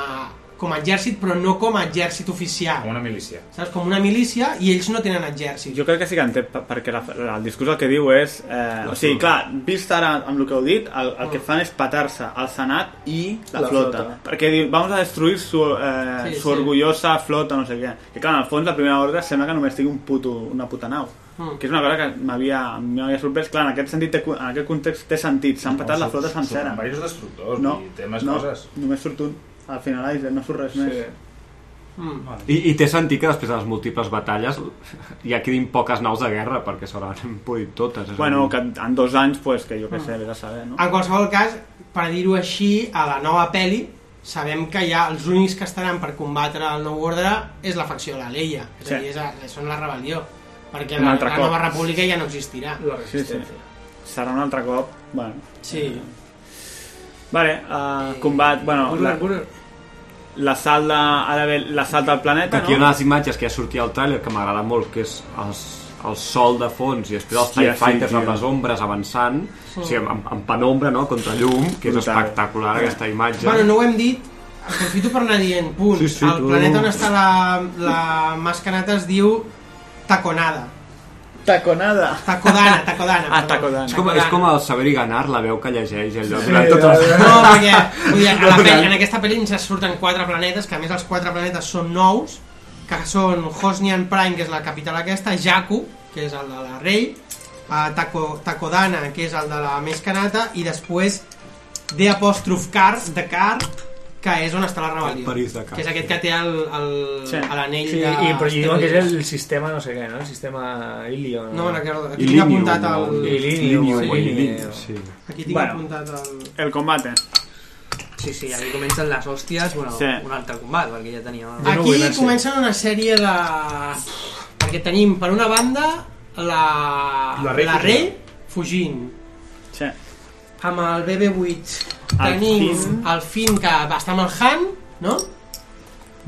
S7: com a exèrcit, però no com a exèrcit oficial.
S25: Com una milícia.
S7: Saps? Com una milícia i ells no tenen exèrcit.
S9: Jo crec que sí que entén, per- perquè la, la, el discurs el que diu és... Eh, o sigui, clar, vist ara amb el que heu dit, el, el que fan és petar-se al Senat i la,
S25: La
S9: flota.
S25: flota.
S9: Perquè diu, vamos a destruir su, eh,
S25: Sí,
S9: su
S25: sí.
S9: orgullosa flota, no sé què. Que clar, en el fons la primera ordre sembla que només tingui un puto, una puta nau.
S7: Mm.
S9: Que és una cosa que m'havia m'havia sorprès. Clar, en aquest sentit, té, en aquest context té sentit. S'han petat la
S25: surt-
S9: flota
S25: surten
S9: sencera.
S25: diversos destructors, vull dir, té més
S9: no,
S25: coses.
S9: només surt un. Al final, ai, no surt res més.
S7: Mm.
S12: I, I té sentit que després de les múltiples batalles ja quedin poques naus de guerra perquè s'hauran podit totes. és a
S9: Bueno,
S12: dir.
S9: que en dos anys, pues, que jo què
S7: Mm.
S9: sé, vés a saber, no?
S7: En qualsevol cas, per dir-ho així, a la nova peli sabem que ja els únics que estaran per combatre el nou ordre és la facció de la Leia, és a
S9: Sí.
S7: dir, és a, són la rebel·lió, perquè
S9: Un
S7: la,
S9: altre
S7: la
S9: cop.
S7: nova república ja no existirà.
S9: Sí, sí. Serà un altre cop, bueno.
S7: Sí.
S9: Vale, uh, combat, bueno, la- l'assalt de, ara ve l'assalt del planeta,
S12: Aquí hi ha
S9: no?
S12: una de les imatges que ja sortia al tràiler que m'agrada molt, que és els, el sol de fons i després els
S9: Hòstia,
S12: TIE
S9: sí,
S12: Fighters
S9: tio.
S12: amb les ombres avançant,
S7: Sí.
S12: o sigui, amb, amb penombra, no?, contra llum, que és
S9: Brutal.
S12: espectacular aquesta imatge.
S7: Bueno, no ho hem dit, aprofito per anar dient, punt,
S12: Sí, sí,
S7: el
S12: tu-
S7: planeta on està la, la mascanata es diu Taconada.
S9: Taconada.
S7: Tacodana, Tacodana. Ah,
S9: Tacodana.
S12: És com, és com el saber i ganar, la veu que llegeix en lloc
S7: Sí,
S12: durant tot el...
S7: No, perquè vull dir, a la pel·li, en aquesta pel·li ens surten quatre planetes, que a més els quatre planetes són nous, que són Hosnian Prime, que és la capital aquesta, Jakku, que és el de la rei, eh, Taco, Takodana, que és el de la més canata, i després D apòstrof Car, de Car, que és on està la rebel·lió.
S12: París de Car.
S7: Que és aquest que té el, el,
S8: Sí.
S7: a l'anell
S8: Sí, i,
S7: de...
S8: però
S7: asteroides.
S8: diuen que és el sistema no sé què, no? El sistema Ilion.
S7: No, no, que- aquí tinc Ilinium, apuntat el- no?
S8: Ilinium.
S7: Ilinium,
S8: Ilinium.
S12: sí.
S7: Aquí tinc apuntat el...
S9: El combat, eh?
S13: Sí, sí, aquí comencen les hòsties, bueno,
S9: Sí.
S13: sí. un altre combat, perquè ja teníem...
S7: Aquí comencen una sèrie de... Perquè tenim, per una banda, la,
S13: La Rey
S7: la
S13: fugint.
S7: rei fugint.
S9: Sí.
S7: Amb el BB-8
S13: El
S7: tenim
S13: Finn.
S7: el Finn que va estar amb el Han, no?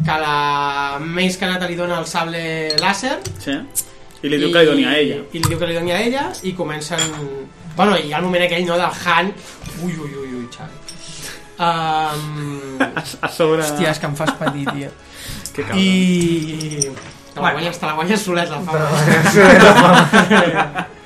S7: Que la Mace Kanata li dona el sable làser.
S9: Sí. I li diu que li doni a ella.
S7: I li diu que li doni a ella i comencen... Bueno, i al moment aquell, no, del Han... Ui, ui, ui, ui, Xavi. Um...
S9: A sobre...
S7: Hòstia, és que em fas patir, tio.
S9: Que cabra.
S7: I... Te la guanyes, te la guanyes solet, la fama.
S13: Te la guanyes.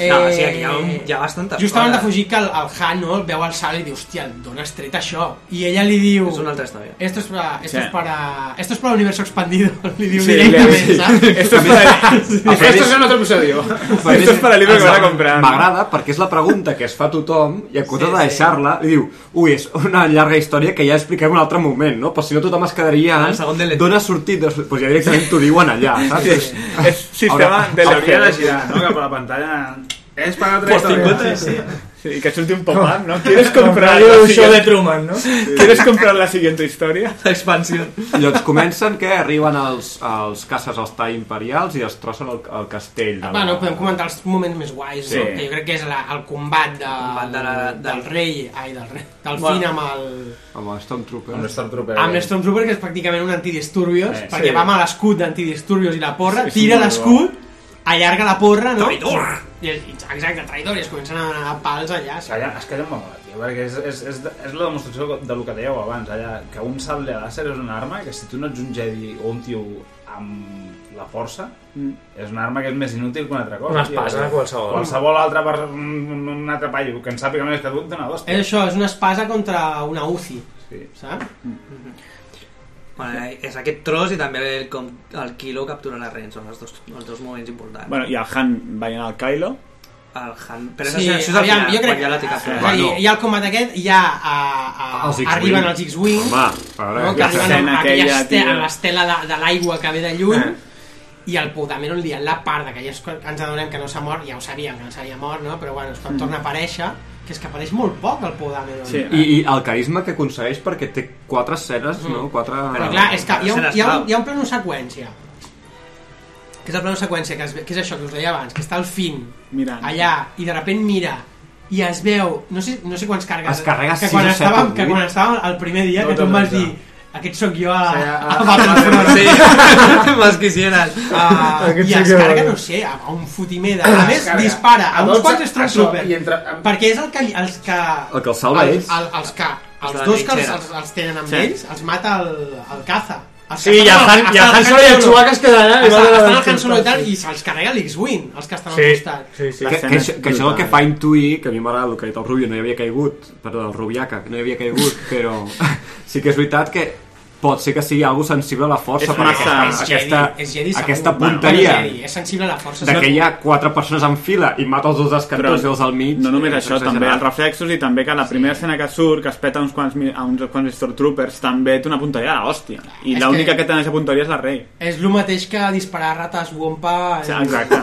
S13: No, sí, aquí hi ha un- hi ha bastantes
S7: Eh, Just abans de
S13: coses.
S7: fugir que el, el Han no, el veu al sal i diu, hòstia, d'on has tret això? I ella li diu...
S13: És una altra història.
S7: Esto es para, esto
S13: Sí.
S7: es para, Eh, esto es para el universo expandido, li diu
S13: Sí,
S7: directament,
S13: sí.
S7: saps?
S13: Esto es para-
S12: Ah,
S13: Esto es un otro episodio. Esto es para el libro que van a comprar, ¿no?
S12: M'agrada perquè és la pregunta que es fa a tothom i en comptes
S13: Sí,
S12: de
S13: sí.
S12: deixar-la li diu, ui, és una llarga història que ja expliquem un altre moment, no? Però si no tothom es quedaria
S13: Al segon
S12: en d'on ha sortit, doncs pues ja directament t'ho diuen allà, saps?
S13: Sí, sí. És sistema
S12: Haurà-
S13: de la-
S9: Hauria de
S25: girar, no? Cap a la pantalla... És per altra
S9: Pues
S25: història.
S9: t'inventes, sí. sí. I que surti un pop-up, no?
S25: Com-
S9: ¿Quieres
S25: com
S9: comprar
S25: Radio
S9: la
S25: Show
S9: siguiente-
S25: de Truman, no?
S9: ¿Quieres comprar la siguiente historia?
S13: Expansión.
S12: I doncs comencen que arriben els, els caces als TIE imperials i destrossen el, el castell. De
S7: Bueno, podem comentar els moments més guais,
S12: Ah, Sí.
S7: sí. que jo crec que és la, el combat, de,
S12: combat de la- de-
S7: del rei, ai, del rei, del
S12: Bueno.
S7: fin amb el...
S12: Amb el Stormtrooper.
S25: Amb el Stormtrooper.
S7: Amb l'Stormtrooper, que és pràcticament un antidisturbios,
S12: Eh,
S7: perquè
S12: sí.
S7: va amb l'escut d'antidisturbios i la porra,
S12: Sí, sí,
S7: tira
S12: molt
S7: l'escut, allarga la porra, no?
S25: Traïdor!
S7: I, i- exacte, traïdor, i es comencen a anar a pals allà. Es
S25: calla, es calla molt, tio, perquè és, és, és, és la demostració de lo que dèieu abans, allà, que un sable làser és una arma que si tu no ets un Jedi o un tio amb la força,
S9: Mm.
S25: és una arma que és més inútil que una altra cosa.
S8: Una
S25: tio.
S8: espasa, qualsevol.
S25: Qualsevol altra per un, un altre paio que en sàpiga més que tu, et dona dos.
S7: És això, és una espasa contra una UCI,
S25: sí.
S7: saps?
S13: Bueno, és aquest tros i també el, com el Kilo capturarà Ren, són els dos, els dos moments importants.
S9: Bueno, i el Han va anar al Kylo.
S13: El Han... Però sí, això, això és al final,
S7: jo crec
S13: quan ja la té
S7: que...
S13: capturada.
S7: és a dir, hi ha el combat aquest, hi ha... A, a,
S13: Els X-Wing.
S7: arriben els X-Wing,
S12: Home, a veure,
S7: no, que
S12: la
S7: arriben
S12: escena
S7: amb aquella
S12: aquella,
S7: este,
S12: tio.
S7: amb l'estela de, de l'aigua que ve de lluny, i el Podameron li en la part de que ja ens, ens adonem que no s'ha mort, ja ho sabíem que no s'havia mort, no? però bueno, és quan
S12: Mm.
S7: torna a aparèixer, que és que apareix molt poc el Podameron.
S12: I, I el carisma que aconsegueix perquè té quatre escenes, no? Quatre...
S7: Però clar, és que hi ha, un, hi ha, un, hi ha un plano seqüència que és el plano seqüència que, es, ve- que és això que us deia abans que està el Finn
S9: Mirant.
S7: allà i de repent mira i es veu, no sé, no sé quants cargues
S12: Es carrega
S7: que
S12: sis
S7: quan,
S12: o set
S7: estàvem,
S12: o
S7: que
S12: vuit.
S7: quan estàvem el primer dia
S12: No
S7: que tu em vas
S12: t'adones,
S7: dir aquest sóc jo a,
S13: Sí,
S7: sí,
S13: a-
S7: a,
S13: a-
S7: Battlefront
S13: sí. Más quisieran.
S7: Ah,
S13: Aquest
S7: i
S13: sóc
S7: es
S13: jo.
S7: carrega, no sé, a, a un fotimer de...
S13: Ah,
S7: a més,
S13: es carrega.
S7: dispara a,
S13: A
S7: uns
S13: dotze,
S7: quants
S13: a
S7: Stormtroopers
S13: so- i entre-
S7: perquè és el que, els que
S12: El que el salva
S7: el,
S12: ells.
S7: El, els que
S13: Els de
S7: Els
S13: la
S7: dos que els,
S13: trinxera.
S7: els, els tenen amb
S13: Sí.
S7: ells, els mata el, el caza. Els
S23: Sí,
S7: que
S23: i
S7: estan-
S23: el Han-
S7: estan
S23: i el
S7: al
S23: Han Solo i el Chewbacca es quedaran i van
S7: Estan,
S23: a
S7: estan
S23: la
S7: el Han Solo i tal,
S23: sí.
S7: i se'ls carrega l'X-Wing, els que estan
S12: Sí,
S7: al costat.
S12: sí, sí. Que, que, això, que això és el que fa intuir, que a mi m'agrada el que ha dit el Rubio, no hi havia caigut, perdó, el Rubiaca, que no hi havia caigut, però sí que és veritat que pot ser que sigui algo sensible a la força,
S7: És
S12: per
S7: massa- és
S12: aquesta,
S7: Jedi,
S12: Ah, aquesta,
S7: és Jedi segur.
S12: aquesta
S7: Bueno,
S12: punteria
S7: és Jedi, és sensible a la força,
S12: de
S7: segur.
S12: que hi ha quatre persones en fila i mata els dos dels
S9: Però
S12: cantons i els al mig.
S9: No només
S12: eh,
S9: això,
S12: és
S9: també
S12: exagerat.
S9: els reflexos i també que la primera escena que surt, que es peta uns quants, mi- a uns quants Stormtroopers, també té una punteria de l'hòstia. I
S7: És
S9: l'única
S7: que-
S9: que... té aquesta punteria és la Rey.
S7: És el mateix que disparar rates Wompa...
S9: Sí, exacte.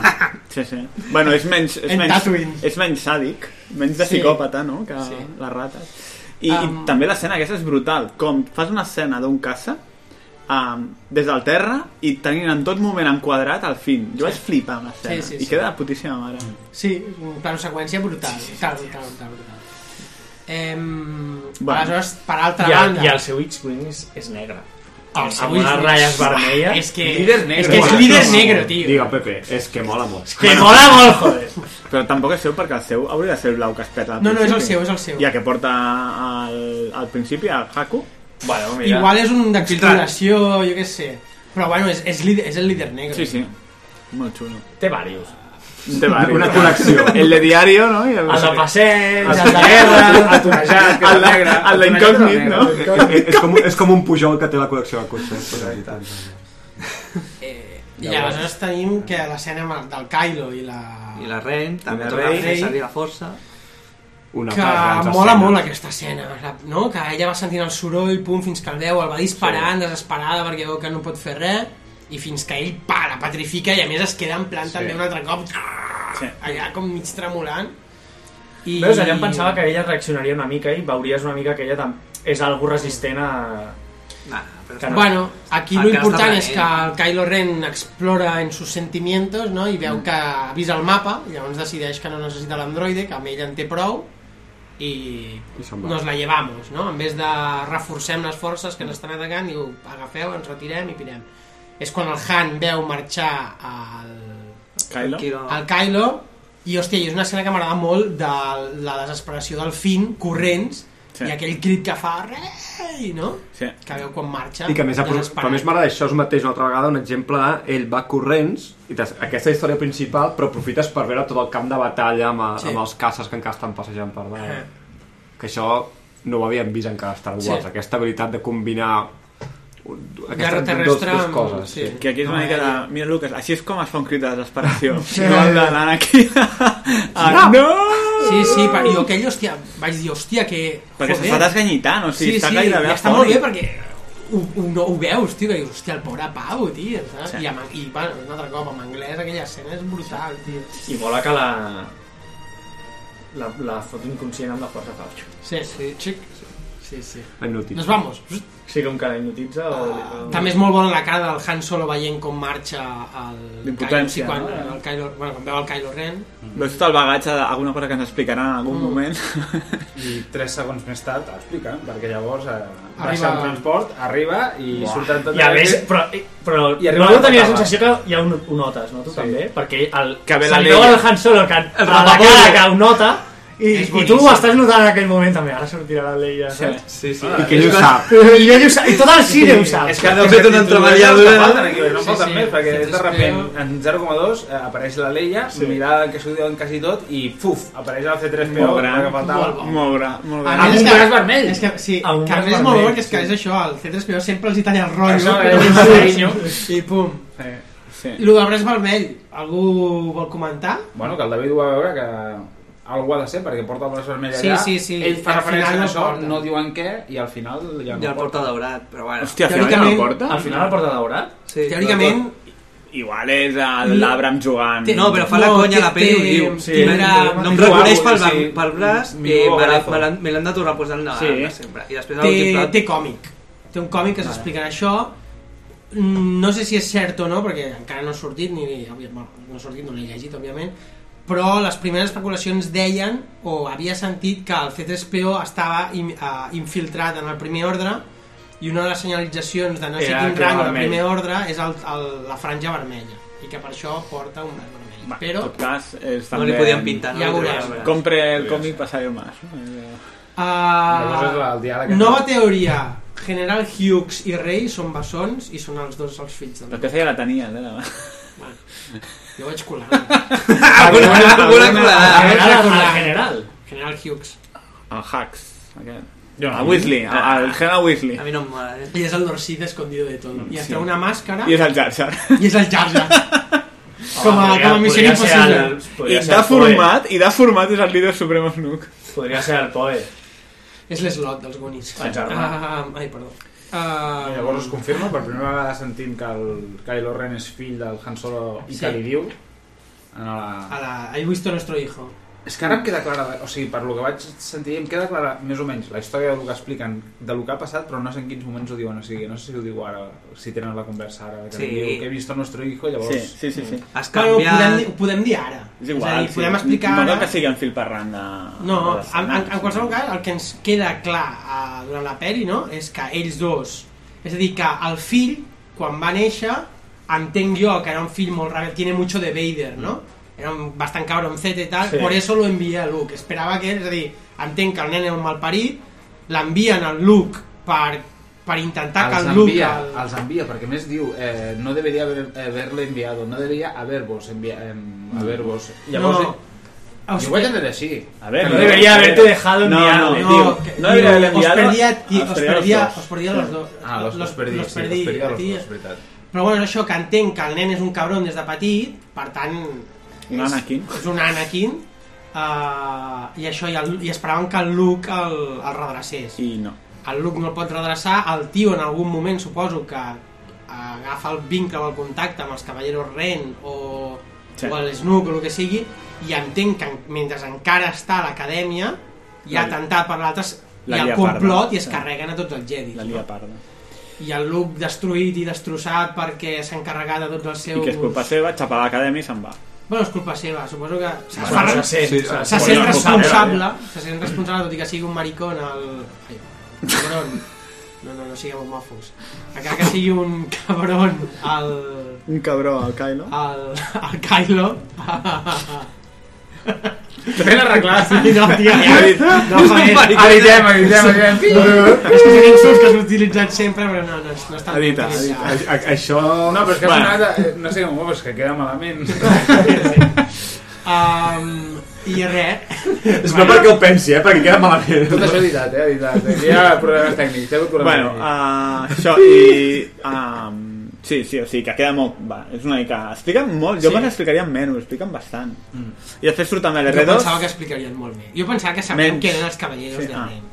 S9: Sí, sí. Bueno, és menys, és
S7: En
S9: menys,
S7: Tatooine.
S9: és menys sàdic, menys de
S7: Sí.
S9: psicòpata, no?, que
S7: Sí.
S9: sí. les rates. I, um...
S7: Um,
S9: i també l'escena aquesta és brutal. Com fas una escena d'un caça um, des del terra i tenint en tot moment enquadrat al fin. Jo vaig flipar amb l'escena.
S7: Sí,
S9: Sí,
S7: sí,
S9: sí,
S7: sí.
S9: I queda de putíssima mare.
S7: Sí, un plano seqüència brutal, brutal, brutal, brutal. brutal. Em,
S9: Bueno.
S7: Aleshores, per altra
S8: I, el-
S7: banda...
S8: I el seu X-Wing és, és negre.
S7: El seu
S8: amb unes
S7: X-Wing-
S8: ratlles vermelles.
S7: És que- Líder negre. és que és líder negre, tio.
S12: Digue, Pepe, és que mola molt.
S9: Que mola molt, joder. Però tampoc és seu perquè el seu hauria de ser el blau que es peta al
S7: No, no, és el
S9: principi.
S7: seu, és el seu.
S9: I el que porta al, al principi, al Haku.
S8: Bueno,
S7: Igual és un d'exploració, jo què sé. Però bueno, és, és, líder, és el líder negre.
S9: Sí, sí. Molt xulo.
S8: Té varios.
S9: Té varios.
S8: Una col·lecció.
S9: El de diario, no? I el,
S8: El de passeig,
S9: El
S8: el de guerra, el tonejat, que
S9: El
S8: era
S9: de-
S8: negre.
S9: el de
S8: tonejat era
S9: incògnit,
S8: negre.
S9: no?
S12: és, és, com, és com un pujol que té la col·lecció de cotxes.
S7: I aleshores tenim que l'escena amb el- del Kylo i la...
S13: I la Ren, també
S7: la
S13: torna a
S7: Rey.
S13: fer servir la força.
S12: Una
S7: que mola molt aquesta escena, la- no? que ella va sentint el soroll, pum, fins que el veu, el va disparant, desesperada, perquè veu que no pot fer res, i fins que ell, pa, la petrifica, i a més es queda en plan
S8: Sí.
S7: també un altre cop, allà com mig tremolant. I...
S8: Veus, allà em pensava que ella reaccionaria una mica i veuries una mica que ella tam- és algo resistent a... Que no.
S7: Bueno, aquí lo
S8: Encara està
S7: important és que
S1: eh?
S8: prenent.
S7: el Kylo Ren explora en sus sentimientos no? i
S13: Mm.
S7: veu que ha vist el mapa i llavors decideix que no necessita l'androide, que amb ell en té prou i
S12: se'n va.
S7: nos la llevamos, no? En vez de reforcem les forces que ens estan atacant, diu, agafeu, ens retirem i pirem. És quan el Han veu marxar al...
S9: Kylo?
S7: Al Kylo i, hòstia, i és una escena que m'agrada molt de la desesperació del Finn, corrents,
S9: Sí.
S7: i aquell crit que fa, rei, no?
S9: Sí.
S7: Que veu quan marxa.
S12: I que a més, ha posat,
S7: desesperat.
S12: però a més m'agrada això és mateix una altra vegada, un exemple de ell va corrents, i t'has- aquesta història principal, però aprofites per veure tot el camp de batalla amb, a,
S7: Sí.
S12: sí. amb els caces que encara estan passejant per dalt.
S7: Eh.
S12: Que això no ho havíem vist encara a Star Wars,
S7: Sí.
S12: sí. aquesta habilitat de combinar un- du- aquestes dos,
S7: terrestre
S12: dos
S7: amb-
S12: coses.
S7: sí.
S9: Que aquí és una
S7: Ah,
S9: mica de...
S7: ja.
S9: Mira, Lucas, així és com es fa un crit de desesperació.
S7: Sí.
S9: No el de l'Anakin. Ah, no!
S7: Sí, sí, però jo aquell, hòstia, vaig dir, hòstia, que...
S9: Perquè s'està desganyitant, o sigui,
S7: sí,
S9: està
S7: sí,
S9: gairebé
S7: i està
S9: afònic.
S7: molt bé perquè ho, ho, no, ho veus, tio, que dius, hòstia, el pobre Pau, tio, saps?
S8: Sí.
S7: Sí. I, amb, i bueno, un altre cop, en anglès, aquella escena és brutal, tio.
S8: I mola que la... La, la fot inconscient amb la força fauxa.
S7: Sí, sí, xic. Sí, sí.
S12: Inútil.
S7: Nos vamos.
S8: Sí, com que la hipnotitza o... o...
S7: També és molt bona la cara del Han Solo veient com marxa el... Kylo, sí,
S9: D'impotència,
S7: quan,
S9: no?
S7: el Kylo, bueno, quan veu el Kylo Ren.
S9: Veus tot el bagatge d'alguna cosa que ens explicaran en algun
S7: Mm.
S9: moment.
S25: I tres segons més tard explica, perquè llavors eh,
S8: Arriba-
S25: baixa el transport, arriba i
S8: Buah.
S25: surten totes...
S8: Ja ves, però, però
S25: I
S8: I
S25: arriba
S8: no, no
S25: on
S8: tenia la
S25: tocava.
S8: sensació que ja ho, ho notes, no? Tu
S25: Sí.
S8: també? Perquè el,
S25: Que ve
S8: se
S25: la
S8: li
S25: Leia.
S8: veu al Han Solo que,
S25: El
S8: a la
S25: Rapacolla.
S8: cara que ho nota i,
S25: És
S8: i tu
S25: boníssim.
S8: ho estàs notant en aquell moment també. Ara sortirà la Leia,
S25: Sí.
S8: saps?
S25: Sí, sí.
S8: Ah,
S25: I que ell ho sap.
S8: I, ell ho sap. I tot el cine ho sap.
S25: És que deu
S9: tota
S25: ser tot No falten aquí, no falten més, perquè és de repent, en 0,2 eh, apareix la Leia, sí. mirada que s'ho diuen quasi tot, i fuf, apareix el C3PO.
S9: Molt gran,
S25: que faltava.
S9: molt bo. Molt gran, molt gran.
S7: A més,
S25: Amb un
S7: és que-
S25: braç vermell.
S7: És que, sí,
S25: Amb un
S7: que a
S25: braç
S7: més és molt
S25: vermell,
S7: bo, que és que
S25: sí.
S7: és això, el C3PO sempre els hi talla el rotllo.
S25: Això és un carinyo.
S7: I pum.
S25: Sí. Sí.
S7: I lo del braç vermell, algú vol comentar?
S25: Bueno, que el David ho va veure que algú ha de ser perquè porta el braç vermell
S7: Sí,
S25: allà
S7: sí, sí.
S25: ell fa
S7: Al
S25: referència
S7: final
S25: a
S7: no
S25: això,
S7: porta.
S25: no diuen què i al final ja no
S13: Ja el porta daurat, però
S7: Ah,
S13: bueno.
S9: Hòstia, al final ja no el porta?
S8: Al final el porta daurat?
S13: Sí.
S7: Teòricament-
S9: Igual és el- l'Abram jugant.
S13: No, però fa la conya a la pell i ho diu. Tindrà- no em reconeix pel, banc, pel braç, eh, me l'ha- me l'han- me l'han de tornar a posar al
S7: Sí.
S13: davant de sempre. I després a l'últim
S7: Té,
S13: plat-
S7: té còmic. Té un còmic que s'explica això. Mm, No sé si és cert o no, perquè encara no ha sortit, ni, ni òbvia- bueno, no ha sortit, no l'he llegit, òbviament, però les primeres especulacions deien, o havia sentit, que el C-3PO estava im, eh, infiltrat en el primer ordre i una de les senyalitzacions de no sé
S8: Era
S7: quin
S8: que era
S7: rang del
S8: vermell.
S7: primer ordre és el, el, la franja vermella i que per això porta un braç vermell. però...
S9: En tot cas, és
S7: No
S9: també...
S7: li podien pintar, no?
S9: Ja
S7: No li
S9: veuràs.
S7: podien pintar.
S9: Compre el
S7: Ja
S9: còmic Passario Mas.
S7: Ah,
S6: Llavors és el diàleg aquest.
S7: eh, nova teoria. General Hughes i Rey són bessons i són els dos els fills del...
S9: El que feia la tenia, eh?
S7: Jo vaig colar. Ah,
S9: Alguna- alguna- alguna-
S7: colar.
S9: Ah, general.
S7: General Hughes.
S9: El Hacks, aquest.
S7: Jo no.
S9: el Weasley, el, el General Weasley.
S7: A mi no em mola, eh? I és el Dorsit escondido de todo. I es
S9: Sí.
S7: treu una màscara...
S9: I és el Jar Jar.
S7: I és el Jar Jar. com a, com a missió
S9: podria ser
S7: impossible.
S9: el- I de format, i de format és el líder suprem Snook.
S7: Podria ser el Poe. És l'eslot dels Goonies.
S9: El
S6: germà.
S7: Ah, ai, perdó. Ah,
S6: Llavors es confirma, per primera vegada sentim que el Kylo Ren és fill del Han Solo i
S7: Sí.
S6: que li diu en la...
S7: A la... He visto nuestro hijo.
S6: És que ara em queda clara, o sigui, per lo que vaig sentir, em queda clara més o menys la història del que expliquen, de lo que ha passat, però no sé en quins moments ho diuen, o sigui, no sé si ho diu ara, si tenen la conversa ara, que
S7: Sí.
S6: sí. diu que he vist el nostre hijo, llavors...
S9: Sí, sí, sí, sí.
S13: Has
S7: Bueno, ho podem, dir- ho podem dir ara.
S9: És igual,
S7: a dir, podem explicar
S9: no
S7: ara...
S9: cal que sigui un fil per randa.
S7: No, en, en, en qualsevol cas, el que ens queda clar eh, durant la pel·li, no?, és que ells dos... És a dir, que el fill, quan va néixer, entenc jo que era un fill molt rebel, tiene mucho de Vader, no? Era un, bastant cabroncete i tal,
S13: Sí.
S7: por eso lo envia a Luke. Esperava que, és a dir, entenc que el nen era un malparit, l'envien al Luke per, per intentar que
S6: els
S7: el Luke...
S6: envia,
S7: El...
S6: els envia, perquè a més diu eh, no debería haber, haberle enviado, no debería haver-vos enviat, eh, haver-vos. Llavors, eh,
S7: No. O
S6: jo
S7: sigui-
S6: ho vaig entendre així.
S9: A ver, no debería haberte dejado No, enviado. no, digo,
S7: que-
S9: no debería haber
S7: os
S9: enviado
S7: perdía, ti-
S9: a
S7: os
S9: Australia
S7: perdía-
S9: los dos.
S7: os perdía los dos.
S6: Ah, los, los, perdí,
S7: los
S6: sí,
S7: perdí,
S6: los perdí a
S7: a
S6: los
S7: ti.
S6: dos, veritat.
S7: Però bueno, això que entenc que el nen és un cabron des de petit, per tant...
S9: Un
S7: és-
S9: Anakin.
S7: És un Anakin. Uh, i això, i, el, i esperaven que el Luke el, el redrecés.
S9: I no.
S7: El Luke no el pot redreçar, el tio en algun moment suposo que agafa el vincle o el contacte amb els cavalleros Ren o,
S9: Sí.
S7: sí. o el Snook o el que sigui, i entenc que en- mentre encara està a l'acadèmia hi ha
S9: La-
S7: atemptat per l'altre i
S9: la
S7: el
S9: lia
S7: complot
S9: parda.
S7: i es carreguen a tots els Jedi.
S9: La lia parda.
S7: I el Luke destruït i destrossat perquè s'ha encarregat de tots els
S9: I
S7: seus...
S9: que és culpa seva, xapar l'acadèmia i se'n va.
S7: Bueno, és culpa seva, suposo que se,
S9: Bueno,
S7: fa-
S9: se
S7: se,
S9: sent- sí,
S7: se,
S9: se
S7: sent
S9: sent
S7: responsable,
S9: culpable,
S7: se sent responsable, tot i que sigui un maricón el... Ai, cabron. No, no, no siguem homòfobs. Encara que sigui un cabron el...
S9: Un cabró, el Kylo.
S7: el, el Kylo.
S9: T'he arreglat.
S7: Sí, no, tia, ja. No,
S9: eh? Un
S7: joder.
S9: maricón. Editem, editem, editem.
S7: No, És que són insults que has utilitzat sempre, però no, no, no estan
S6: Edita,
S7: utilitzats.
S6: edita. A- a- això- Ah. No, però és que
S7: Bueno.
S6: bueno. una, eh, no sé com ho és que queda malament.
S7: Um, I res.
S6: És
S12: no perquè ho pensi, eh? Perquè queda malament.
S6: Tot això editat, eh? Editat. Aquí hi ha problemes tècnics. Eh? Problemes
S9: Bueno,
S12: ah,
S6: tècnics.
S9: uh, això i... Um, sí, sí, o sigui que queda molt... Va, és una mica... Expliquen molt, jo sí. pensava que explicarien menys, expliquen bastant. Mm. I després surt també
S7: Jo
S9: l'R2.
S7: pensava que explicarien molt més. Jo pensava que sabíem
S9: Menys.
S7: que eren els cavalleros
S9: Sí,
S7: sí, de
S9: ah.
S7: nen.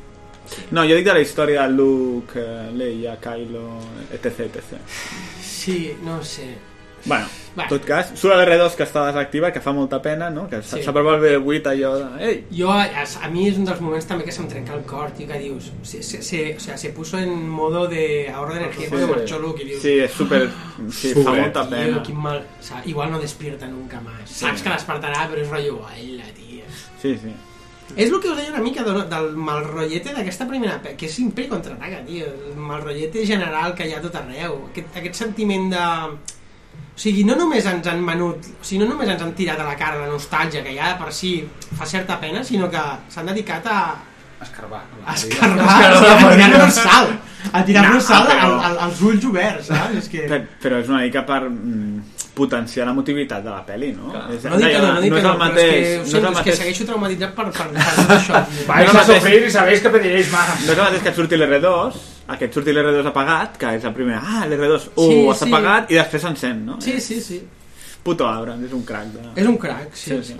S9: No, jo dic de la història de Luke, eh, Leia, Kylo, etc, etc.
S7: Sí, no ho sé.
S9: Bueno,
S7: Va.
S9: en tot cas, surt l'R2 que està desactiva, que fa molta pena, no? Que
S7: Sí.
S9: s'apropa sí. el B8 allò de... Ei,
S7: Yo, a, a mí es un dels moments també que se'm trenca el cor, tio, que dius... Se, se, se, o sea, se puso en modo de ahorro de energía cuando marchó Luke y dius...
S9: Sí, és super... Sí, fa
S7: "Joder,
S9: molta
S7: tio,
S9: pena.
S7: quin mal... O sea, igual no despierta nunca más.
S9: Sí.
S7: Saps que despertarà, però és rotllo... Hola, tia...
S9: Sí, sí.
S7: És el que us deia una mica del, del mal rotllete d'aquesta primera... pe- Que és imperi contraataca, tio. El mal rotllete general que hi ha a tot arreu. Aquest, aquest sentiment de... O sigui, no només ens han menut, o sigui, no només ens han tirat a la cara la nostàlgia que ja de per si fa certa pena, sinó que s'han dedicat a,
S6: Escarbar.
S7: escarbar, o sigui, a tirar-nos sal. A tirar-nos sal al- al- als ulls oberts, saps? És que...
S9: Però, però és una mica per mm, potenciar l'emotivitat de la pel·li, no? És,
S7: No dic que no, no dic
S9: no
S7: que no, però
S9: és el
S7: és que,
S9: mateix...
S7: ho
S9: no és
S7: sento,
S9: el
S7: és que
S9: mateix...
S7: segueixo traumatitzat per, per, per tot això.
S9: Vais a sofrir
S6: i sabéis que pediréis más.
S9: No és el mateix que et surti l'R2, a que et surti l'R2 apagat, que és el primer, ah, l'R2, uh,
S7: Sí,
S9: sí, està
S7: sí.
S9: apagat, i després s'encén, no?
S7: Sí, sí, sí.
S9: Puto Abrams, és un crac. De...
S7: És un crac, sí. sí,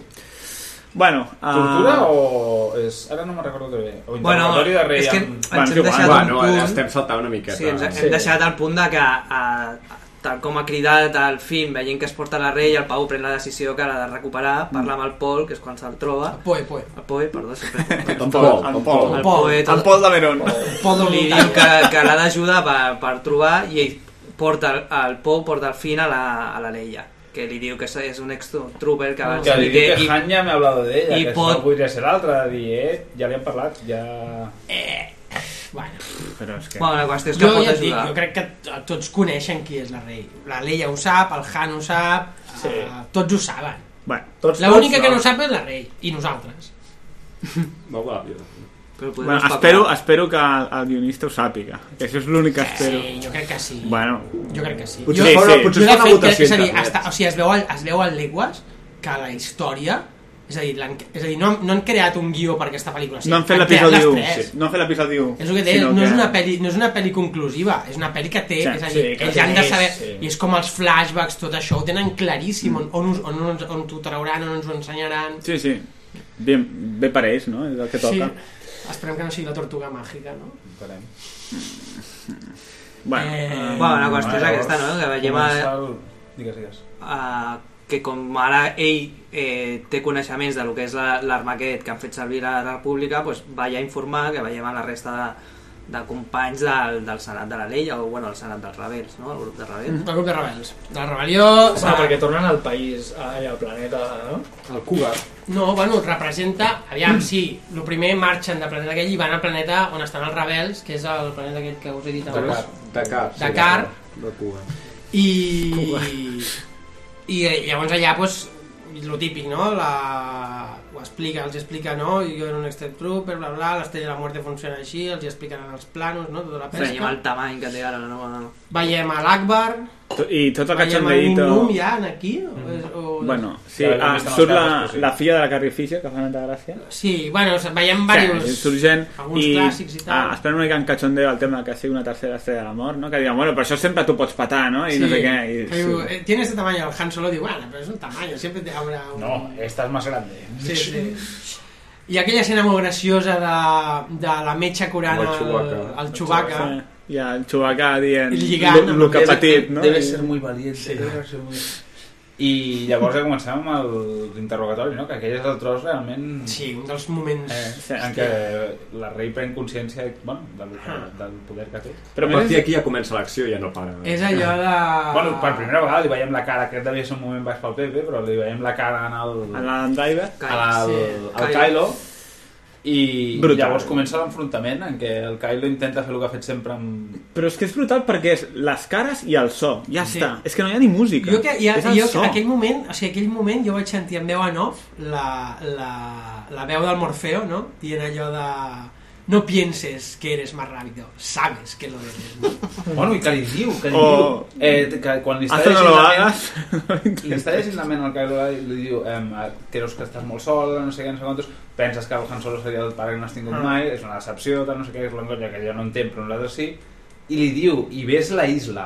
S9: Bueno, ah,
S6: Tortura o... És... Ara no me'n recordo que bé. O
S13: Bueno,
S6: interrogatori de rei
S13: és que
S6: amb-
S13: ens hem deixat un
S12: eh,
S13: punt... Sí, ens hem
S6: Sí.
S13: deixat el punt de que, a, a, tal com ha cridat el film, veient que es porta la rei, el Pau pren la decisió que l'ha de recuperar, parla amb el Pol, que és quan se'l troba. Mm. El
S7: Poe, Poe.
S13: El Poe, perdó, sempre.
S12: En Pol, en Pol.
S13: El Poe,
S12: En Pol de Verón.
S7: Pol
S13: Li diu que, que l'ha d'ajudar per, per trobar i ell porta el, el Pou, porta el fin a la, a la Leia que li diu que és- és un ex-trooper que, abans-
S6: Que li
S13: i
S6: diu
S13: i-
S6: que Han ja m'ha hablado d'ella,
S13: i
S6: que pot...
S13: pot-
S6: això podria ser l'altre, de dir, eh, ja li hem parlat, ja...
S7: Eh, bueno.
S9: Però és que...
S13: Bueno, la qüestió és que
S7: jo
S13: pot
S7: ja et dic,
S13: ajudar.
S7: jo crec que t- tots coneixen qui és la rei. La Leia ho sap, el Han ho sap, sí. eh, tots ho saben.
S9: Bueno,
S7: L'única que no ho sap és la rei, i nosaltres.
S12: No, va, jo.
S7: Però podem
S9: Bueno,
S7: espavilar.
S9: espero, espero que el, el guionista ho sàpiga. Que això és l'únic que espero.
S1: Sí, jo crec que sí.
S9: Bueno.
S1: Jo crec que sí. jo,
S9: Potser sí,
S1: jo, jo
S9: sí. potser és
S1: de
S9: una
S1: fet, crec,
S9: votació
S1: és a dir,
S9: entre
S1: hasta, o sigui, es veu, al, es veu al Leguas que la història és a dir, l'han- és a dir no, han- no han creat un guió per aquesta pel·lícula. o sigui,
S9: no han fet
S1: han creat
S9: l'episodi
S1: les
S9: 1.
S1: tres.
S9: Sí. No han fet l'episodi 1.
S1: És el que deia, no, és una peli, no és una pel·li conclusiva, és una pel·li que té,
S9: Sí,
S1: és a
S9: sí,
S1: dir,
S9: que
S1: ells han de
S9: té,
S1: saber,
S9: sí.
S1: i és com els flashbacks, tot això, ho tenen claríssim, mm. on, on, us- on, on, on t'ho trauran, on ens ho ensenyaran...
S9: Sí, sí. Bé, bé per ells, no? És el que toca.
S1: Esperem que no sigui la tortuga màgica, no?
S19: Esperem.
S9: Bueno, ah,
S7: Eh, bueno, la qüestió és aquesta, no? Que veiem a,
S19: comença el- Digues, digues.
S7: a, Eh, que com ara ell eh, té coneixements del que és la- l'arma aquest que han fet servir a la república, doncs va ja informar que veiem a la resta de, de companys del, del Senat de la Llei, o bueno, el Senat dels Rebels, no? El grup de Rebels.
S19: Mm.
S1: El grup de rebels. De la rebel·lió...
S9: Ah,
S7: Clar,
S19: Ah,
S7: perquè
S1: tornen al país, al planeta, no?
S30: El Cougar.
S1: No, bueno, representa... Aviam, sí, el primer marxen del planeta aquell i van al planeta on estan els rebels, que és el planeta aquell que us he dit abans.
S30: Dakar. sí,
S1: Dakar.
S30: De Cuba.
S1: I, i llavors allà, pues, lo típic, no? La, ho explica, els explica, no? Jo era un extret trooper, bla, bla, l'estella de la muerte funciona així, els hi expliquen els planos, no? Tota la pesca.
S7: Veiem el tamany que té ara la nova...
S1: Veiem a l'Akbar,
S9: I tot
S1: veiem a
S9: el
S1: un
S9: cachondeito...
S1: Num ja, en aquí, o, és- o,
S9: Bueno, sí,
S1: Ja veiem
S9: ah,
S1: que estan
S9: surt
S1: els
S9: la,
S1: cames,
S9: la filla de la Carrie Fisher, que fa tanta gràcia.
S1: Sí, bueno, o sigui, veiem diversos...
S9: Sí, surgent,
S1: alguns
S9: i,
S1: clàssics i tal.
S9: Ah, espera una mica en cachondeo el tema que sigui una tercera estrella de l'amor, no? Que diuen, bueno, però això sempre t'ho pots patar, no? I no sé què. I,
S1: que diu, eh, tiene este tamaño, el Han Solo diu, bueno, pero es un tamaño, siempre te habrá un...
S19: No, esta es más grande.
S1: Sí, sí. I aquella escena molt graciosa de, de la metxa curant
S9: Amb el
S1: el,
S9: Chewbacca.
S1: el Chewbacca.
S9: I el Chewbacca dient...
S1: I lligant
S9: lo-
S1: amb
S9: lo que
S1: el-
S9: ha patit, no?
S19: Debe
S9: I-
S19: ser muy valiente. debe ser muy- I llavors ja començàvem amb l'interrogatori, no? Que aquell és el tros realment...
S1: Sí, un dels moments...
S19: Eh, en què la rei pren consciència bueno, del, del poder que té.
S12: Però a partir d'aquí ja comença l'acció i ja no para.
S1: És allò de...
S19: Eh.
S7: Ah.
S19: Bueno, per primera vegada li veiem la cara, aquest devia ser un moment baix pel Pepe, però li veiem la cara en el...
S9: En l'Andriver?
S19: Al,
S9: Sí.
S19: al
S9: Kylo.
S19: Kylo. I
S9: Brutal.
S19: llavors comença l'enfrontament en què el Kylo intenta fer el que ha fet sempre amb...
S9: Però és que és brutal perquè és les cares i el so. Ja
S1: Sí.
S9: està. És que no hi ha ni música.
S1: Jo, que, ja,
S9: és el
S1: jo
S9: so.
S1: aquell moment, o sigui, aquell moment jo vaig sentir en veu en off la, la, la veu del Morfeo, no? Dient allò de... No pienses que eres más rápido, sabes que lo eres. No?
S19: Bueno, i que li diu, que li
S12: Oh.
S9: O-
S19: diu... Eh, que quan li està
S9: Hazlo, no lo
S19: la ment-
S9: hagas.
S19: li està llegint la ment al Kylo Ren i li diu em, eh, creus que estàs molt sol, no sé què, no sé quantos, penses que el Han Solo seria el pare que no has tingut
S1: Ah.
S19: mai, és una decepció, tal, no sé què, és l'engonya que jo no entenc, però nosaltres sí, i li diu, i ves la isla,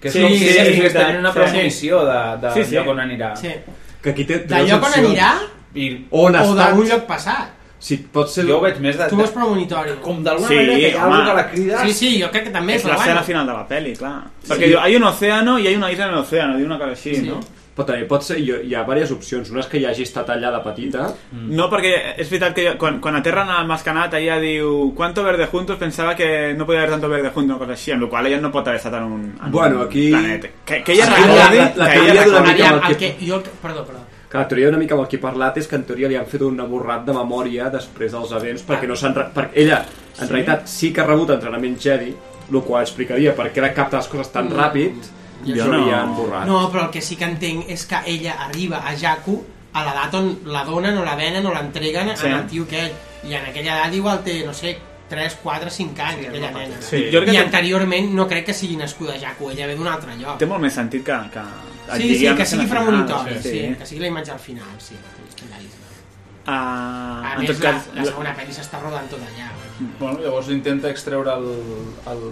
S19: que és
S12: Sí,
S19: com si
S12: sí,
S19: ella estigués
S12: exacte.
S19: tenint una
S12: Sí.
S19: premonició de, de
S12: Sí, sí.
S19: lloc on anirà.
S1: Sí.
S12: Que aquí té
S1: D'allò on anirà
S19: I
S12: on
S1: o
S12: estàs?
S1: d'un lloc passat.
S12: Si pot ser...
S19: Jo ho veig més de...
S1: Tu vols premonitori.
S19: Com
S9: d'alguna Sí, manera que hi ha home. algú que la crida.
S1: Sí, sí, jo crec que també,
S9: és
S1: però
S9: l'escena
S1: bueno.
S9: final de la pel·li, clar.
S12: Sí.
S9: Perquè diu, hay un océano i hay una isla en el océano, diu una cosa així,
S12: Sí.
S9: no?
S12: Però també pot ser... Hi, hi ha diverses opcions. Una és que hi hagi estat allà de petita.
S1: Mm.
S9: No, perquè és veritat que quan, quan aterren al Mascanat ella diu ¿Cuánto verde juntos? Pensava que no podia haver tanto verde juntos, una cosa així, amb la qual cosa ella no pot haver estat en un, en
S12: Bueno,
S9: un
S12: aquí-
S9: planeta. Que, que ella
S12: Aquí
S9: recordi...
S12: la- la- la
S9: que
S12: teoria
S9: ella
S12: d'una
S9: recordi...
S12: mica amb
S1: Aviam,
S12: el
S1: el
S12: que-
S1: que... Jo, el que- perdó, perdó.
S12: Que la teoria una mica amb el que he parlat és que en teoria li han fet un avorrat de memòria després dels events
S31: Ah.
S12: perquè no s'han... re- Perquè ella,
S1: Sí.
S12: en realitat, sí que ha rebut entrenament Jedi, el qual explicaria per què era cap de les coses tan
S1: Mm.
S12: ràpid i
S1: Jo
S12: això
S1: no.
S12: li han borrat.
S1: No, però el que sí que entenc és que ella arriba a Jakku a l'edat on la donen o la venen o l'entreguen
S9: Sí.
S1: sí. al tio aquell. I en aquella edat igual té, no sé, 3, 4, 5 anys, sí, aquella nena.
S9: Sí. Jo crec que
S1: I
S9: té-
S1: anteriorment no crec que sigui nascuda a Jakku, ella ve d'un altre lloc.
S9: Té molt més sentit que... que et
S1: Sí,
S9: digui
S1: sí,
S9: amb
S1: que
S9: l'escena
S1: sigui
S9: final,
S19: Ah,
S1: premonitori, sí, sí. que sigui la imatge al final, sí. la isla.
S9: Ah,
S1: A
S9: en
S1: més,
S9: tot
S1: la,
S9: cas...
S1: la segona pel·li s'està rodant tot allà.
S19: Bueno, llavors intenta extreure el, el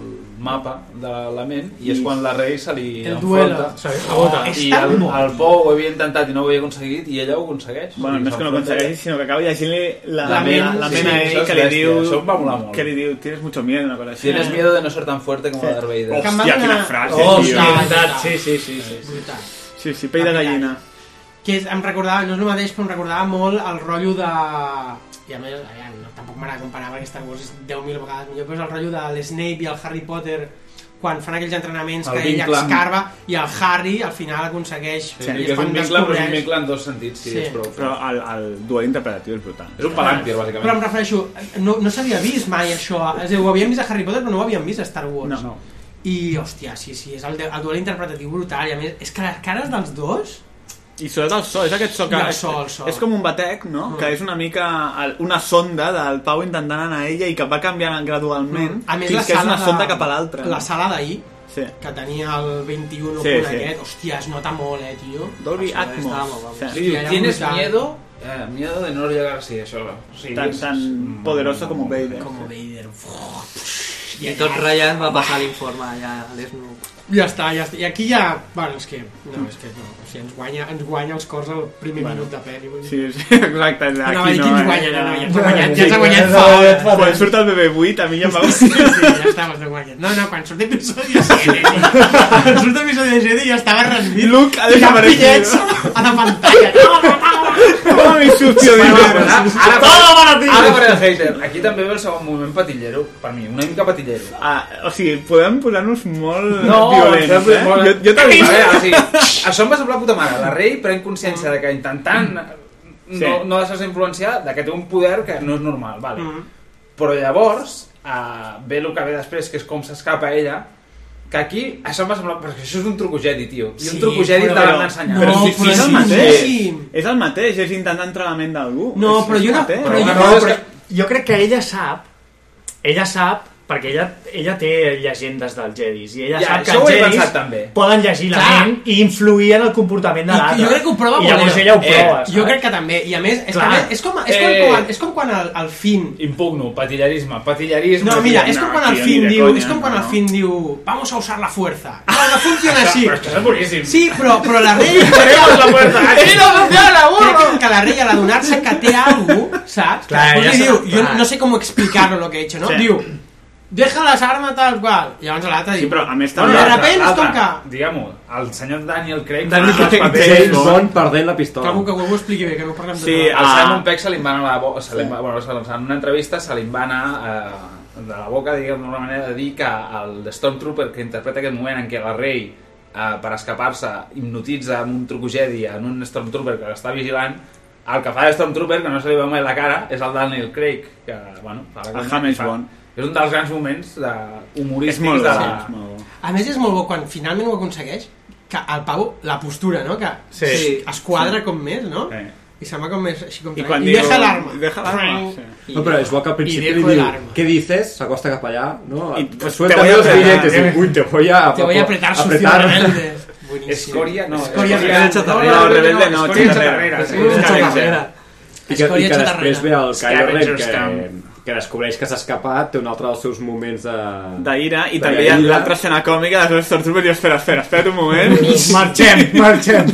S19: mapa de la ment i és
S1: I-
S19: quan la rei se li
S1: El
S19: enfronta.
S1: duelo.
S19: Ah,
S1: Se li rebota.
S19: I
S1: És tan
S19: el,
S1: bo.
S19: el Pou ho havia intentat i no ho havia aconseguit i ella ho aconsegueix.
S9: Bueno,
S19: I
S9: no és que no
S19: s'enfronta
S9: aconsegueixi, sinó que acaba llegint-li la,
S19: La
S9: la,
S19: ment,
S9: mena, la
S19: sí, sí,
S9: mena a
S19: això
S9: ell
S19: és
S9: que li
S19: bèstia,
S9: diu...
S19: això em va molar molt.
S9: Que li diu, tienes mucho miedo, una cosa així.
S19: Tienes miedo de no ser tan fuerte como Darth Vader. Que em va
S9: Hòstia,
S19: donar-
S9: quina frase,
S19: Oh,
S9: tio.
S19: sí, veritat,
S1: sí,
S9: sí, sí. sí,
S1: Brutal.
S9: Sí, sí, pell de gallina.
S1: que és, em recordava, no és el mateix, però em recordava molt el rotllo de... I a més, aviam, no, tampoc m'agrada comparar perquè Star Wars és 10.000 vegades millor, però és el rotllo de l'Snape i el Harry Potter quan fan aquells entrenaments
S19: El
S1: que ell
S19: vincle amb-
S1: escarba i el Harry al final aconsegueix
S19: Sí, que és un vincle, però és un vincle en dos sentits, sí,
S1: Sí.
S19: és prou.
S9: Però el, el duel interpretatiu és brutal.
S19: És un palàntir, bàsicament.
S1: però em refereixo, no, no s'havia vist mai això, és a dir, ho havíem vist a Harry Potter però no ho havíem vist a Star Wars no, i hòstia, sí, sí, és el, de- el duel interpretatiu brutal i a més, és que les cares dels dos
S9: I sobretot el so, és aquest so que...
S1: I el so, el so.
S9: És com un batec, no?
S1: Mm.
S9: Que és una mica el- una sonda del Pau intentant anar a ella i que va canviant gradualment.
S1: Mm. A més,
S9: fins
S1: la
S9: que és
S1: sala
S9: una sonda
S1: de-
S9: cap a l'altra.
S1: La sala d'ahir,
S9: sí.
S1: que tenia el 21
S9: Sí,
S1: sí, con
S9: sí.
S1: aquest, hòstia, es nota molt, eh, tio.
S9: Dolby
S1: Això
S9: Atmos.
S1: estava molt guapo.
S9: Sí.
S1: Hòstia,
S9: I
S1: era
S19: Tienes
S1: brutal.
S19: miedo, eh, miedo de no llegar así, això. Sí,
S9: Tan-
S19: és-
S9: tan
S19: mm,
S9: poderoso
S19: mm,
S9: como
S19: mm,
S9: Vader.
S1: Com Vader.
S7: I tot ratllat va passar l'informe allà a l'Snoop.
S1: Ja està, ja està. I aquí ja... Bueno, és que... No, és que no. O sigui, ens guanya, ens guanya els cors el primer
S9: Bueno.
S1: minut de pel·li. vull dir.
S9: Sí, sí, exacte. Aquí
S1: Anava a dir, qui ens
S9: eh?
S1: guanya? No, no, ja ens ha
S9: Sí,
S1: guanyat, ja ens ha
S9: sí,
S1: guanyat
S9: sí,
S1: fa
S9: sí,
S1: hores.
S9: Quan surt el BB-8, a mi ja em va...
S1: Sí, sí, ja estava de guanyat. No, no, quan surt l'episodi 7, quan surt l'episodi 7 ja estava resumit.
S9: Luke ha
S1: Tirant
S9: desaparegut.
S1: bitllets a la pantalla.
S9: Toma mi sucio dinero.
S19: Ara,
S9: Todo para ti.
S19: Ara parla de Ah, hater. Aquí també ve el segon moment patillero, per mi, una mica patillero.
S9: Ah, o sigui, podem posar-nos molt
S19: No, pues,
S9: violents,
S19: ens
S9: eh?
S19: fem molt-
S9: Jo, jo també.
S19: A veure, o sigui, això em va semblar puta mare. La rei pren consciència de que intentant
S9: Mm. Sí.
S19: no, no deixar-se influenciar, de que té un poder que no és normal, vale.
S9: Mm.
S19: Però llavors, eh, ve el que ve després, que és com s'escapa ella, que aquí, això em va semblar... Perquè això és un truco Jedi, tio. I un
S1: Sí,
S19: truco Jedi
S1: però-
S19: te l'han d'ensenyar.
S9: però si, si és el mateix,
S1: sí.
S9: és el mateix, és intentar entrar a la ment d'algú.
S7: No,
S9: és, eh?
S7: però
S9: és
S7: jo
S9: el
S7: no-
S9: mateix.
S7: però jo-
S9: Una
S7: no,
S9: cosa és
S7: però-
S9: que-
S31: Jo crec que ella sap, ella sap, perquè ella, ella té llegendes dels Jedis, i ella
S19: Ja,
S31: sap que
S19: això ho
S31: els
S19: he
S31: Jedis
S19: pensat també.
S31: poden llegir la
S1: Clar.
S31: ment i influir en el comportament de
S1: I
S31: l'altre.
S1: jo crec que ho prova
S31: I llavors
S1: Bolero.
S31: ella ho
S12: Eh,
S31: prova,
S1: jo crec que també. I a més, és, que a
S31: Clar.
S1: més, és, com, és, com,
S19: Eh.
S1: quan, és com quan el, el Finn...
S19: Impugno, patillarisme, patillarisme...
S1: No, mira, és
S19: No,
S1: com quan el
S19: tio,
S1: Finn
S19: ni de
S1: diu...
S19: conya,
S1: És com quan
S19: no,
S1: el
S19: no.
S1: Finn diu... Vamos a usar la fuerza. No, no funciona així.
S19: Però és que és boníssim.
S1: Sí, però, però la rei...
S19: Tenemos la fuerza.
S1: Crec
S19: Aquí no funciona, burro.
S1: que- que la rei, a l'adonar-se que té algú, saps?
S31: Clar,
S1: Perquè
S31: ja s'ha-
S1: diu, jo
S31: clar.
S1: no sé com explicar-ho, lo que he hecho, no?
S9: Sí.
S1: Diu, deja les armes tal qual. I llavors l'altre diu...
S9: Sí, però a més
S1: Bueno,
S9: també...
S1: de repente es com que...
S19: Diguem-ho, el senyor Daniel Craig...
S12: Daniel
S19: fa els
S12: Craig,
S19: papers,
S12: James
S19: no?
S12: Bond perdent la pistola.
S1: Trobo que ho expliqui bé, que no parlem de
S19: Sí,
S1: tot.
S19: al
S9: ah.
S19: Simon Peck se li va anar a la boca, se li va, bueno, se li va- en una entrevista se li va anar eh, de la boca, diguem, d'una manera de dir que el Stormtrooper que interpreta aquest moment en què la rei eh, per escapar-se hipnotitza amb un truco Jedi en un Stormtrooper que l'està vigilant el que fa de Stormtrooper, que no se li veu mai la cara, és el Daniel Craig, que, bueno... Fa la
S9: El
S19: conya,
S9: James
S19: fa-
S9: Bond.
S19: És un dels grans moments de
S9: És
S19: humorístics
S9: molt
S19: de
S9: bo,
S19: la...
S9: és molt bo.
S1: A més és molt bo quan finalment ho aconsegueix que el Pau, la postura, no? Que
S9: Sí.
S1: sí. es quadra com més, no?
S9: Sí.
S1: I sembla com més així com...
S9: I quan
S1: I
S9: diu-
S1: deja l'arma.
S9: Deja l'arma, sí.
S12: No, però és bo que al principi
S1: I
S12: li
S1: dejo el
S12: diu
S1: arma.
S12: què dices, s'acosta cap allà, no?
S9: I,
S12: I,
S9: pues,
S12: pues,
S9: te voy a
S12: Suéltame los
S9: apretar,
S12: billetes,
S9: eh?
S12: i, uy, te voy a...
S1: Te voy a apretar, sucio
S7: ¿eh?
S1: rebelde. Buenísimo.
S19: Escòria, no,
S1: Escòria
S19: escòria,
S1: chatarrera.
S9: No, rebelde no,
S19: escòria
S9: chatarrera.
S19: Sí, és chatarrera.
S12: I que, i
S1: Escòria
S12: que després ve
S1: chatarrera.
S12: el Kylo Ren
S9: Scavengers
S12: que,
S9: Camp.
S12: que descobreix que s'ha escapat, té un altre dels seus moments de...
S9: D'ira, i
S12: de
S9: també hi ha
S12: ira.
S9: l'altra escena còmica de les Stormtroopers, i espera, espera, espera't un moment.
S12: Marxem, marxem,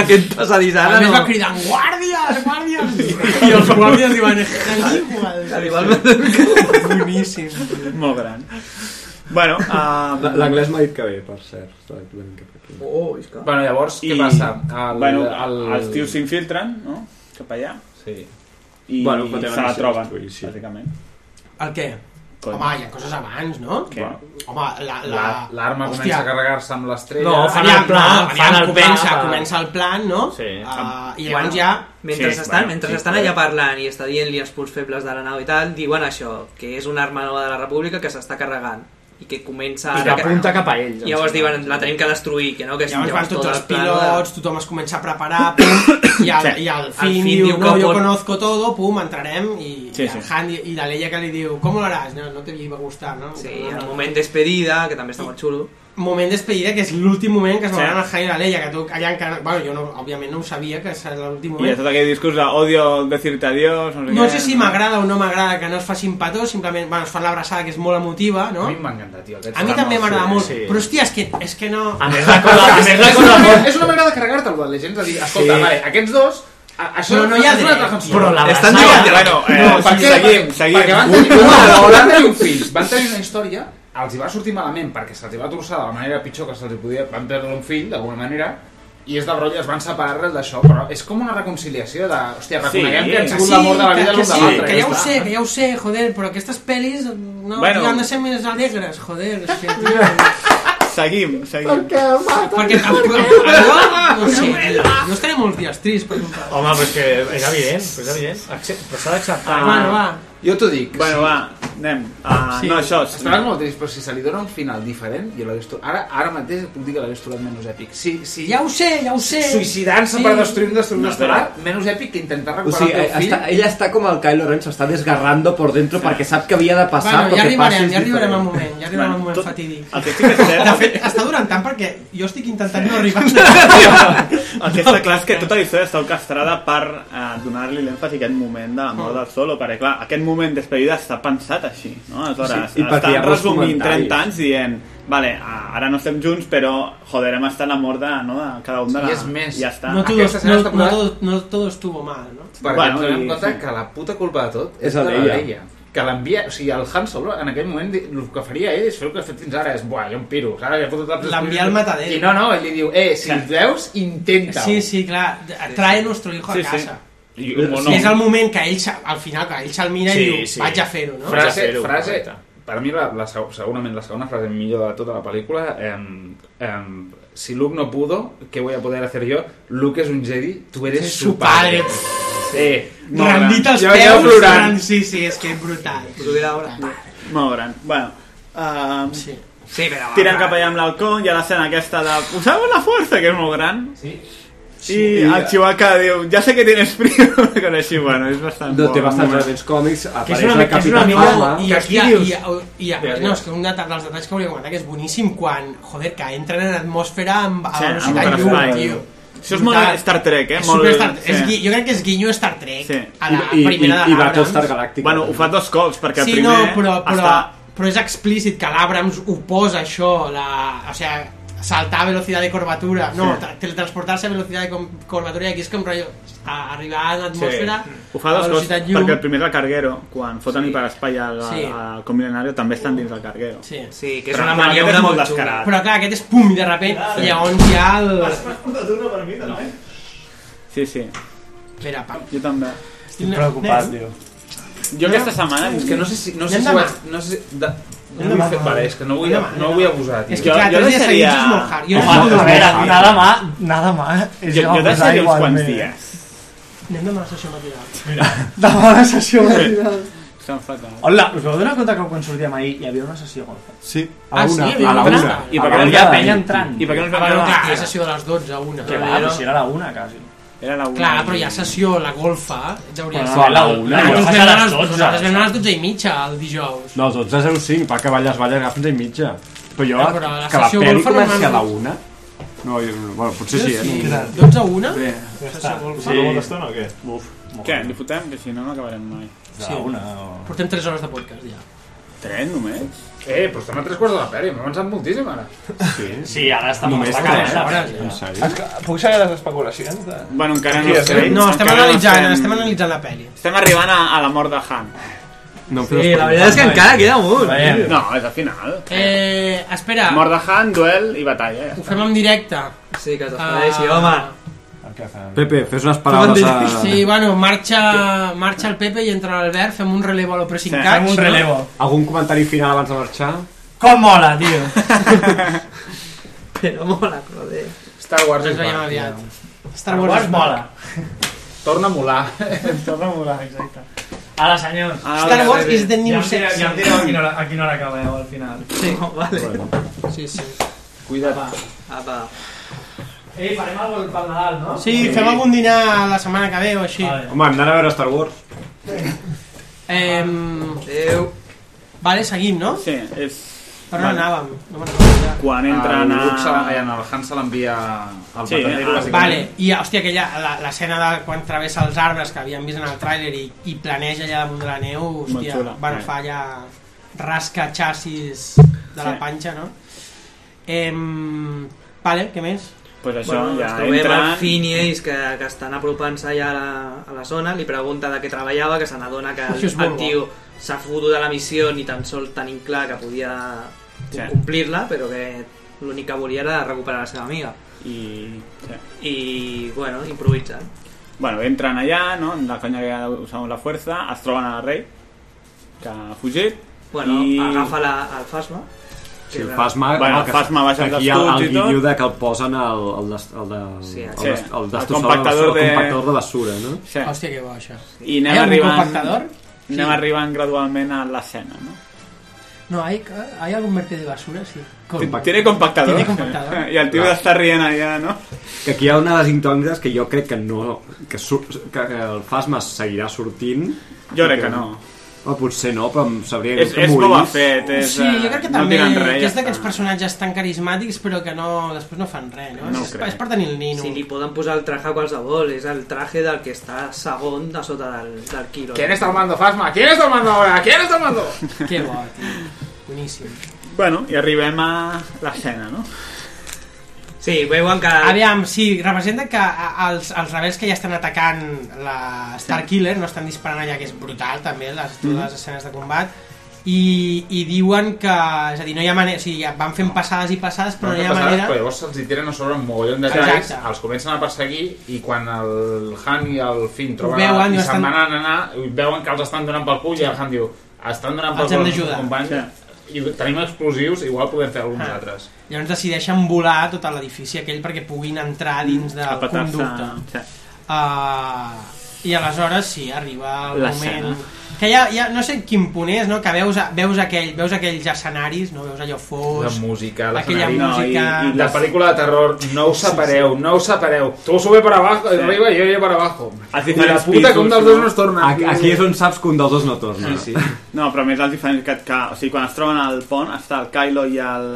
S7: Aquest passadís
S1: A
S7: ara
S1: més
S7: no.
S1: va cridant, guàrdies, guàrdies! I els guàrdies li van... "Caníbal". Boníssim.
S9: Molt gran. Bueno, um...
S12: L- L'anglès m'ha dit que bé, per cert. Està una mica aquí.
S7: Oh, és que...
S19: Bueno, llavors, què
S9: I-
S19: passa? El,
S9: bueno,
S19: el-
S9: els tios s'infiltren, no? Cap allà.
S19: Sí.
S9: I
S12: Bueno,
S9: se
S12: però tenen
S9: la
S12: missions,
S9: troben,
S12: vull dir, sí.
S9: bàsicament.
S1: El què?
S9: Coi.
S1: Home, hi ha coses abans, no?
S9: Què?
S1: Home, la... la...
S19: La- L'arma
S1: Hòstia.
S19: comença a carregar-se amb l'estrella.
S7: No, fan
S1: Aviam,
S7: el plan,
S1: no,
S7: fan
S1: aviam,
S7: el plan.
S1: comença,
S7: va.
S1: comença el plan, no?
S9: Sí.
S1: Ah, I llavors ja
S7: Mentre
S9: Sí,
S7: sí, estan,
S9: bueno,
S7: mentre
S9: sí,
S7: sí, estan
S9: però-
S7: allà parlant i està dient-li els punts febles de la nau i tal, diuen això, que és una arma nova de la república que s'està carregant i que comença...
S31: I que
S7: ara
S31: apunta cap a ells.
S7: I llavors diuen, la tenim que destruir, que no? Que és
S1: Llavors van tots
S7: tot
S1: els
S7: el plan
S1: pilots, tothom es comença a preparar, pum, i el,
S9: Sí.
S1: i el
S7: Al
S1: Finn
S7: fin
S1: diu, no,
S7: diu que
S1: jo
S7: pot-
S1: conozco todo, pum, entrarem, i, i,
S9: Sí,
S1: el
S9: sí.
S1: Han, i, i la Leia que li diu, com ho haràs? No, no te iba a gustar, no?
S7: Sí,
S1: no,
S7: el
S1: no.
S7: moment despedida, que també està molt xulo.
S1: Moment despedida, que és l'últim moment que es
S9: Sí.
S1: veuran el Han i la Leia, que tu allà encara... Bueno, jo no, òbviament no ho sabia, que serà l'últim
S9: I hi ha
S1: moment.
S9: tot aquell discurs de odio decirte adiós, no sé
S1: No
S9: què.
S1: sé si m'agrada o no m'agrada que no es facin petó, simplement, bueno, es fan l'abraçada, que és molt emotiva, no?
S19: A mi m'encanta, tio. aquest
S1: A mi
S19: programa.
S1: també m'agrada molt,
S31: sí.
S1: però hòstia, és que, és que no...
S31: A més, la cosa, a més, la
S19: És una,
S31: cosa
S19: manera,
S31: molt...
S19: és una manera de carregar-te-lo, la gent, de dir, escolta,
S31: Sí.
S19: vale, aquests dos, a- això
S1: Però no hi ha
S19: és una
S1: dret.
S19: altra cançó.
S31: Però la
S7: Estan
S31: abraçada-
S7: jugant
S9: Bueno, eh,
S19: No, per què?
S9: seguim,
S19: perquè,
S9: seguim.
S19: Perquè van tenir, no, van tenir un fill, van tenir una història, els hi va sortir malament perquè se'ls hi va torçar de la manera pitjor que se'ls hi podia... Van perdre un fill, d'alguna manera, i és del rotllo, es van separar arrel d'això, però és com una reconciliació de... Hòstia, reconeguem
S9: Sí,
S19: que hem
S1: Que
S19: sigut l'amor de la
S1: que,
S19: vida
S1: que,
S19: l'un de
S1: sí,
S19: l'altre.
S1: que ja ho
S19: està.
S1: sé, que ja ho sé, joder, però aquestes pelis no,
S9: Bueno.
S1: bueno. han de ser més alegres, joder. És que, tio,
S9: Seguim, seguim.
S1: perquè tampoc... No sé, tio, no estaré molts dies trist per culpa.
S31: Home, però és que és evident, però és evident. Accep- Però s'ha d'acceptar.
S1: Bueno, va.
S19: Jo t'ho dic.
S9: Bueno, va, anem. Ah, sí. No, això...
S19: És... Estava molt trist, però si se li dona un final diferent, jo l'hagués trobat... Ara, ara mateix et puc dir que l'hagués trobat menys èpic. Si, si
S1: Ja ho sé, ja ho sé.
S19: Suïcidant-se
S1: Sí.
S19: per destruir un destructor
S1: No,
S19: no, estel·lar, menys èpic que intentar
S12: O
S19: recuperar
S12: sigui, eh,
S19: el teu fill.
S12: està, ella està com el Kylo Ren, s'està desgarrando por dentro perquè sap que havia de passar,
S1: bueno, ja
S12: però que
S1: arribarem,
S12: passi és
S1: ja arribarem al
S12: diferent.
S1: moment, ja arribarem al moment fatídic.
S9: El que sí que és cert...
S32: De fet, està durant tant perquè jo estic intentant no arribar.
S9: El que està clar és que tota la història està orquestrada per eh, donar-li l'èmfasi a aquest moment de la
S12: Mm.
S9: mort del Solo, perquè clar, aquest moment d'espedida està pensat així, no? Aleshores,
S12: Sí,
S9: sí,
S12: i perquè hi ha
S9: estan
S12: molts
S9: resumint
S12: comentaris.
S9: 30 anys dient vale, a- ara no estem junts, però joder, hem estat la mort de, no, de cada un de la...
S19: Sí, és més,
S9: ja està.
S1: No, todo, no, no, todo, no todo estuvo mal, no?
S19: Perquè
S9: Bueno,
S19: bueno, ens donem
S9: i-
S19: compte
S9: sí.
S19: que la puta culpa de tot
S9: És
S19: de la
S9: la d'ella.
S19: Leia. Que l'envia... O sigui, el Han Solo en aquell moment di- el que faria ell és fer el que ha fet fins ara. És, buah, jo em piro. Ara ja he fotut la
S32: L'envia al matadero.
S19: I no, no, ell li diu, eh, si
S32: Clar.
S19: el veus, intenta-ho.
S1: Sí, sí, clar, trae nuestro hijo a
S19: Sí, sí.
S1: casa.
S19: I-
S1: O no. És el moment que ell, se- al final, que ell se'l mira sí, i diu, sí. vaig a fer-ho, no?
S19: Frase, frase, per mi, la, la, seg- segurament la segona frase millor de tota la pel·lícula, em, em, si Luke no pudo, ¿qué voy a poder hacer yo? Luke es un Jedi, tú eres
S1: Sí,
S19: su
S1: su padre.
S19: padre. Sí. molt gran.
S1: Rendit als
S19: Jo- jo
S1: peus,
S19: plorant.
S1: ran- sí, sí, és que és brutal.
S9: Molt gran. Bueno, um,
S1: sí. Sí, però...
S9: Tiren cap allà amb l'halcón, hi ha l'escena aquesta de... Usava la força, que és molt gran.
S19: Sí.
S9: Sí, I el Chihuahua diu, ja sé que tienes frío, però així, bueno, és bastant
S12: No,
S9: bo.
S12: té bastants
S9: Molt bé.
S12: elements còmics,
S1: Que és
S12: apareix
S1: una,
S12: la
S1: que és una
S12: Capità
S1: mica...
S7: Ah,
S12: Fama...
S1: I, aquí, i, i, i, i,
S12: Digues,
S1: no,
S12: digues.
S1: és que un de- dels detalls que volia comentar que és boníssim quan, joder, que entren en atmosfera amb a
S9: Sí,
S1: velocitat
S9: amb
S1: llum,
S9: Firefly.
S1: tio.
S9: Això és molt
S1: Brutal.
S9: Star Trek, eh?
S1: És
S9: Molt-
S1: super Star Trek.
S9: sí.
S1: És gui- jo crec que és guinyo Star Trek
S9: Sí.
S1: a la primera de doncs. l'Abrams.
S9: Galàctic. Bueno, ho fa dos cops, perquè
S1: sí,
S9: el primer
S1: no, però, però,
S9: està...
S1: però és explícit que l'Abrams oposa això, la, o sea, saltar a velocitat de curvatura, no,
S9: Sí.
S1: sí. teletransportar-se a velocitat de com- curvatura i aquí és com rotllo, a, arribar a l'atmosfera,
S9: Sí. Ho fa
S1: a
S9: dos cops,
S1: velocitat llum,
S9: perquè el primer és el carguero, quan foten sí. hiperespai al,
S1: Sí.
S9: sí. al combinari, també estan dins del carguero.
S1: Sí,
S7: sí
S1: que és
S7: una
S9: maniobra
S7: maniobra
S9: és molt
S7: molt xula.
S9: descarat.
S1: però clar, aquest és pum, de repent,
S9: Sí.
S1: sí. llavors hi ha el...
S9: Sí, sí.
S1: Mira, pam.
S9: Jo també.
S1: Estic preocupat,
S9: tio. Jo aquesta setmana...
S19: És que no sé si... No sé
S1: Anem
S19: si ho
S1: demà.
S19: vaig... No sé si... De... No
S1: Anem
S19: vull
S1: demà.
S19: fer... Vale, és que no vull, no vull abusar, tio.
S1: És que clar, tres dies seguits és molt hard. Jo no
S19: Home,
S1: puc
S19: és
S1: dormir.
S19: veritat.
S1: Nada
S33: Nada más, nada más. És
S9: Jo,
S33: que
S9: jo
S33: va passar
S9: deixaré uns
S33: igualment.
S9: quants dies.
S1: Anem demà a la sessió matinal.
S33: Demà la sessió matinal.
S9: Estan fatal.
S33: Hola, us vau donar compte que quan sortíem ahir hi havia una sessió golfa?
S12: Sí,
S19: Ah, sí? A la una. I per què no hi ha penya entrant?
S9: I per què no es
S1: Ah,
S9: va
S1: bueno,
S9: quedar?
S1: clar, hi ha sessió de les 12 a 1.
S33: Que va, però si era la una, quasi.
S9: Era la una.
S1: Clar, però hi ha sessió, la golfa, hauria
S12: Però a la una, jo
S1: Nosaltres
S12: vaig
S1: vam
S12: a les
S1: anar a les
S12: 12.
S1: nosaltres vam anar a les 12 i mitja el dijous.
S12: No, 12.05, va que balles, balles, agafes i mitja. Però jo,
S1: Ah, però la
S12: que la
S1: sessió
S12: pel·li
S1: golfa
S12: comenci a
S1: normalment-
S12: la una... No, jo, no, bueno, potser sí, eh?
S1: Sí,
S12: No.
S1: 12 a 1?
S12: Bé.
S1: Sessió golfa.
S9: Sí.
S1: Molta
S9: estona o què? Buf. Què? Li fotem? Que si no, no acabarem mai.
S1: Sí. Portem 3 hores de podcast, ja.
S9: Tres només?
S19: Eh, però estem a tres quarts de la pel·li, m'ha avançat moltíssim, ara.
S9: Sí.
S33: Sí, ara està
S9: Només
S33: molt
S9: tres hores,
S33: eh?
S9: ja. En sèrio?
S33: Esca- Puc saber les especulacions? De...
S9: Bueno, encara
S33: Aquí
S9: no
S33: ja
S9: sé.
S33: sabem.
S1: No, estem
S9: Encara
S1: analitzant, estem analitzant la pel·li.
S9: Estem arribant a, a la mort de Han.
S12: No,
S7: Sí, la veritat és que encara queda
S12: pues,
S7: molt.
S9: No, és al final.
S1: Eh, espera,
S9: Mort de Han, duel i batalla. eh? Ja
S1: ho fem en directe.
S12: Ah,
S7: Sí, que
S1: t'espereixi,
S12: Pepe, fes unes paraules a...
S1: Sí, bueno, marxa, marxa el Pepe i entra l'Albert, fem un relevo a lo pressing catch. no?
S12: Algun comentari final abans de marxar?
S33: Com mola, tio!
S7: Però mola, joder.
S19: Star Wars
S1: Ens
S19: és
S1: veiem
S19: back,
S1: aviat.
S19: tio.
S1: Star Wars Wars mola.
S19: Torna a molar.
S33: Torna a molar, exacte. Ara, senyor.
S9: Ah,
S1: Star Wars is the new
S33: ja em direu-
S1: sex.
S33: Ja em direu a quina hora, a quina hora acabeu al final.
S7: Sí, vale.
S1: Sí, sí.
S19: Cuida't.
S7: Apa.
S33: Ei, farem alguna cosa pel Nadal, no?
S1: Sí, fem algun dinar la setmana que ve o així.
S12: Home, hem d'anar a veure Star Wars.
S1: Eh,
S7: Adéu.
S1: Vale, seguim, no?
S9: Sí, és...
S1: Per on
S9: Vale.
S1: anàvem? No me'n recordo ja.
S9: Quan
S19: el
S9: entren a...
S19: Ah, Luke se la- ai, en el Han se l'envia al
S9: Sí,
S19: matadero,
S9: ah,
S1: Vale,
S19: bàsicament.
S1: i hòstia, aquella, la- l'escena de quan travessa els arbres que havíem vist en el tràiler i, i planeja allà damunt de la neu, hòstia,
S9: xula,
S1: van
S9: sí.
S1: fa allà rasca xassis de la
S9: Sí.
S1: panxa, no? Em... Vale, què més?
S9: Pues això,
S7: Bueno,
S9: ja
S7: ens trobem
S9: entren...
S7: al Finn i ells que, que estan apropant-se ja a la, a la zona, li pregunta de què treballava, que se n'adona que el,
S1: Això és molt
S7: el tio s'ha fotut de la missió ni tan sols tenint clar que podia
S9: Sí.
S7: complir-la, però que l'únic que volia era recuperar la seva amiga.
S9: I... Sí.
S7: I, bueno, eh? improvisant.
S9: Bueno, entren allà, no? En la conya que usava la fuerza, es troben al rei, que ha fugit.
S7: Bueno,
S9: i...
S7: agafa la, el Fasma.
S12: Sí, el Fasma...
S9: Bueno, el
S12: que-
S9: Phasma baixa
S12: que
S9: els
S12: Aquí hi ha el,
S9: escuts i
S12: el guinyó
S9: tot.
S12: de que el posen al... al, des- al, de,
S7: Sí,
S12: al,
S7: sí.
S12: des- al,
S9: El
S12: destrossar-
S9: compactador
S12: el
S9: de-
S12: compactador de basura, no?
S9: Sí.
S1: Hòstia, que bo, això.
S9: I
S1: Hi
S9: anem
S1: ha algun
S9: arribant...
S1: compactador?
S9: sí. anem arribant gradualment a l'escena, no?
S7: No, hay, hay algún vertedero de basura, sí.
S9: Compact. Tiene compactador.
S7: Tiene compactador.
S9: I el tio
S12: Clar.
S9: està rient allà, no?
S12: Que aquí hi ha una de les incògnites que jo crec que no... Que, sur, que el Fasma seguirà sortint.
S9: Jo crec que no.
S12: O potser no, però em sabria
S9: És-
S12: greu que
S9: és
S12: morís.
S9: Boba Fett, és,
S7: Sí, jo crec que també
S9: diran res,
S7: que
S9: ja
S7: és d'aquests
S9: està.
S7: personatges tan carismàtics però que no, després no fan res, no?
S34: No ho
S7: és,
S34: crec.
S7: és per tenir el nino.
S34: Si li poden posar el traje a qualsevol, és el traje del que està segon de sota del, del Quiro.
S19: ¿Quién está al mando, Fasma? ¿Quién está al mando ahora? ¿Quién está al mando?
S7: Qué bo, tio. Boníssim.
S9: Bueno, i arribem a l'escena, no?
S34: Sí, veuen que...
S7: Aviam, sí, representa que a- els, els rebels que ja estan atacant la Starkiller, no estan disparant allà, que és brutal també, les, totes les escenes de combat, i, i diuen que, és a dir, no hi ha manera, o sigui, ja van fent passades i passades, però no hi ha
S19: passades,
S7: manera...
S19: però llavors se'ls hi tiren a sobre un mogollon de talls,
S7: Exacte.
S19: els comencen a perseguir i quan el Han i el Finn troben
S7: veuen,
S19: i
S7: diu,
S19: se'n
S7: estan-
S19: van anar, i veuen que els estan donant pel cul i el Han diu, estan donant pel
S7: Els hem
S19: cul
S7: d'ajudar." Ah.
S19: companys i tenim explosius, igual podem fer alguns altres.
S7: Llavors decideixen volar tot l'edifici aquell perquè puguin entrar dins del
S9: petar-se,
S7: conducte.
S9: Sí.
S7: Uh, I aleshores sí, arriba el
S9: L'escena.
S7: moment... Que ja, ja no sé quin punt és, no? que veus, veus, aquell, veus aquells escenaris, no? veus allò
S19: La
S7: fos...
S19: música,
S7: aquella
S19: l'escenari...
S7: música...
S19: i, i la pel·lícula de terror, no us separeu, no us separeu. Tu sube per abajo,
S12: Sí.
S19: arriba i jo jo per abajo.
S9: Els
S19: I la
S9: diferents
S19: puta, com
S9: pisos,
S19: dels dos no es torna.
S12: Aquí, aquí és on saps que un dels dos no torna.
S9: Sí, sí. No, però a més els diferents que, que... O sigui, quan es troben al pont està el Kylo i el...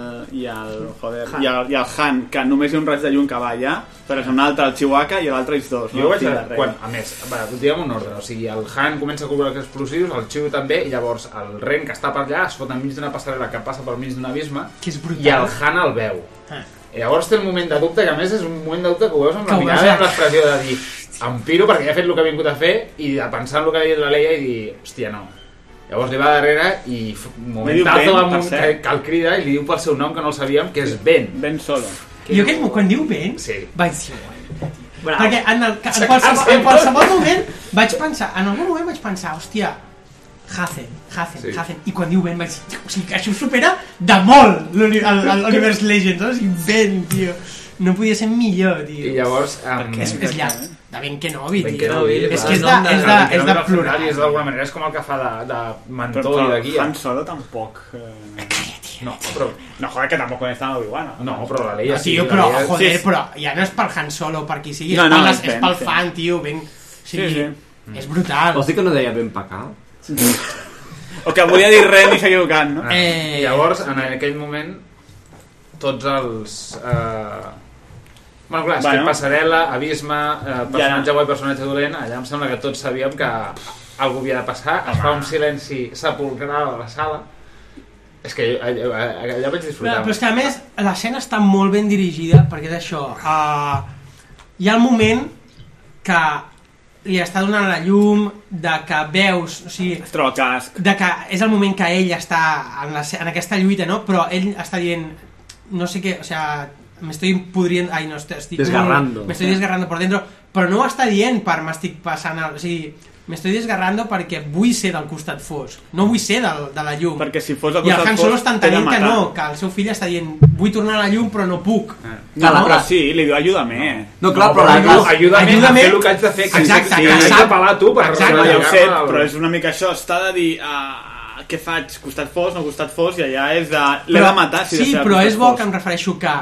S9: I el, joder,
S19: Han.
S9: i el, i el Han, que només hi ha un raig de llum que va allà, però és un altre, el Chihuahua, i l'altre ells dos.
S19: Jo
S9: no?
S19: vaig
S9: Sí,
S19: a...
S9: darrere.
S19: Quan, a més, va, diguem un ordre. O sigui, el Han comença a cobrar els explosius, el Chiu també, i llavors el Ren, que està per allà, es fot enmig d'una passarel·la que passa pel mig d'un abisme,
S7: que és brutal.
S19: i el Han el veu.
S7: Ah.
S19: I llavors té el moment de dubte, que a més és un moment de dubte que ho veus amb
S7: Que
S19: la
S7: ho
S19: mirada
S7: veus,
S19: i amb
S7: eh?
S19: l'expressió de dir em piro perquè ja ha fet el que ha vingut a fer i de pensar en el que ha dit la Leia i dir, hòstia, no. Llavors li va darrere i f-
S9: Ben,
S19: momentazo
S9: per
S19: amb un que,
S9: cert.
S19: que el crida i li diu pel seu nom que no el sabíem, que és Ben.
S9: Ben Solo.
S7: Jo aquest, quan diu Ben,
S19: sí.
S7: vaig dir... Bravo. Perquè en, el, en,
S19: Se
S7: qualsevol,
S19: cansa.
S7: en qualsevol moment vaig pensar, en algun moment vaig pensar, hòstia, Hazen, Hazen,
S19: Sí.
S7: sí. Hazen. I quan diu Ben vaig dir, o sigui, que això supera de molt l'uni- el- el- l'univers Legends, no? O sigui, Ben, tio. No podia ser millor, tio.
S19: I llavors... Um,
S7: Perquè és, és llarg.
S9: Eh?
S7: De Ben Kenobi, tio.
S19: Ben Kenobi,
S7: és
S19: clar.
S7: que és de, és
S19: Ben
S7: de,
S19: Kenobi
S7: és
S19: del
S7: de plorar.
S19: funerari, És d'alguna manera, és com el que fa de, de mentor
S9: Però
S19: i de guia.
S9: Han Solo tampoc... Eh...
S19: No, però...
S9: No, joder, que tampoc està en Obi-Wan.
S19: No, però la Leia
S7: Ah, tio,
S19: la
S7: però,
S19: Leia-
S7: joder,
S19: Sí, sí.
S7: però ja no és pel Han Solo o per qui sigui, és,
S19: No, no,
S7: pel,
S19: és
S7: és
S19: Ben,
S7: pel
S19: sí.
S7: fan, tio, ben... O sigui,
S9: Sí,
S7: és brutal.
S12: Vols dir que no deia ben pecar?
S9: O que volia dir res i s'ha equivocat, no?
S19: Eh... Llavors, en aquell moment, tots els... Eh... Bueno, clar, és
S9: Bueno.
S19: que passarel·la, abisme, eh, personatge
S9: Ja.
S19: bo i personatge dolent, allà em sembla que tots sabíem que algú havia de passar, es fa un silenci sepulcral a la sala, és que jo- allò, allò vaig
S7: Però,
S19: disfrutar.
S7: però és que a més l'escena està molt ben dirigida perquè és això uh, hi ha el moment que li està donant la llum de que veus o sigui, es
S9: troba el casc
S7: de que és el moment que ell està en, la, se- en aquesta lluita no? però ell està dient no sé què, o sea, me estoy pudriendo ai, no, estic, estic
S12: Desgarrando.
S7: molt- me estoy desgarrando por dentro però no ho està dient per m'estic passant el, o sigui, me estoy desgarrando perquè vull ser del costat fosc no vull ser del, de la llum
S9: Perquè si fos el
S7: i el
S9: costat
S7: Han Solo
S9: fosc,
S7: està
S9: t'he de
S7: entenent que
S9: matar.
S7: no, que el seu fill està dient vull tornar a la llum però no puc.
S9: No, no, però sí, li diu ajuda-me.
S12: No, clar, però la-
S9: ajuda-
S12: ajuda-me
S19: a fer el que haig de fer, que
S9: Exacte,
S19: sí,
S9: que
S19: que
S9: sap-
S19: haig de pelar tu per
S9: Exacte,
S19: resoldre
S9: ja ho
S19: el
S9: sé,
S19: drama del-
S9: però és una mica això, està de dir uh, què faig, costat fos, no costat fos, i allà és de... L'he
S7: Però-
S9: de matar si de
S7: sí,
S9: ser
S7: però
S9: costat
S7: és bo
S9: fos.
S7: que em refereixo que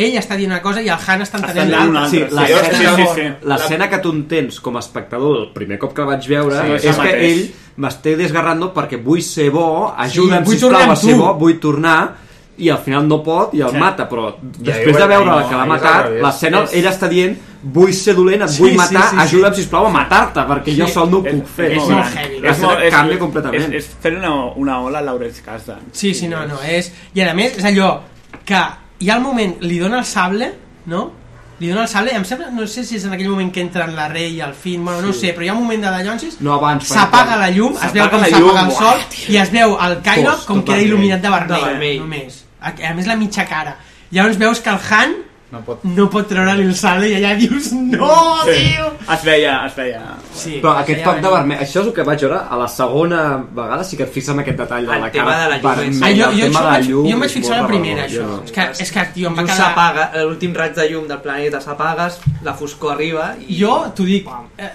S7: ell està dient una cosa i el Han està entenent
S9: entenent
S7: l'altra.
S12: Sí,
S7: la
S12: l'escena
S7: escena-
S12: sí, sí, sí. l'escena que tu entens com a espectador el primer cop que la vaig veure
S9: Sí,
S12: sí,
S9: és
S12: és
S9: el
S12: que
S9: mateix.
S12: ell m'està desgarrant perquè vull ser bo, ajuda'm
S7: vull
S12: sí, sisplau
S7: tornar
S12: a
S7: amb
S12: ser
S7: tu.
S12: bo, vull tornar i al final no pot i el
S7: Sí.
S12: mata però
S7: ahí
S12: després
S7: va-
S12: de veure
S7: ahí
S12: la
S7: no,
S12: que l'ha
S7: ahí és al
S12: matat
S7: revés.
S12: l'escena
S7: És-
S12: ell està dient vull ser dolent, et
S7: Sí,
S12: vull
S7: sí,
S12: matar
S7: sí, sí.
S12: ajuda'm sisplau a matar-te perquè jo
S9: Sí.
S12: sol no ho puc fer
S9: És, molt heavy. És, molt, és,
S12: canvia completament
S9: És, és fer una, una ola a Lawrence Kasdan.
S7: Sí, sí, no, no, és... I a més, és allò que hi ha el moment, li dona el sable, no? Li dona el sable, em sembla, no sé si és en aquell moment que entren la rei i el fin, bueno, no ho sé, però hi ha un moment de dallonsis
S12: No, abans, quan-
S7: s'apaga la llum, es veu
S12: S'apaga
S7: com
S12: la
S7: s'apaga
S12: llum,
S7: el
S12: uah,
S7: sol i es veu el Kylo
S12: Fos,
S7: com queda
S12: totalment.
S7: il·luminat de
S12: De
S7: vermell,
S12: vermell.
S7: només. A, a més, la mitja cara. Llavors veus que el Han
S19: no pot,
S7: no pot treure-li el sable i allà dius, no, Oh, tio!
S9: Es veia, es veia...
S7: Sí,
S12: però aquest toc de vermell, això és el que vaig veure a la segona vegada, sí que et fixes en aquest detall de
S34: El
S12: la
S34: tema
S12: cara
S34: de la llum,
S12: vermella,
S7: Ai, jo,
S12: el
S7: jo,
S12: tema
S7: això
S12: de
S7: vaig, jo
S12: llum
S7: em vaig
S12: és
S7: fixar
S12: molt
S7: la primera,
S12: revelador,
S7: això.
S12: jo no.
S7: És que, és que, tio, em va
S34: Llum
S7: quedar...
S34: s'apaga, l'últim raig de llum del planeta s'apaga, la foscor arriba i...
S7: Jo t'ho dic, eh,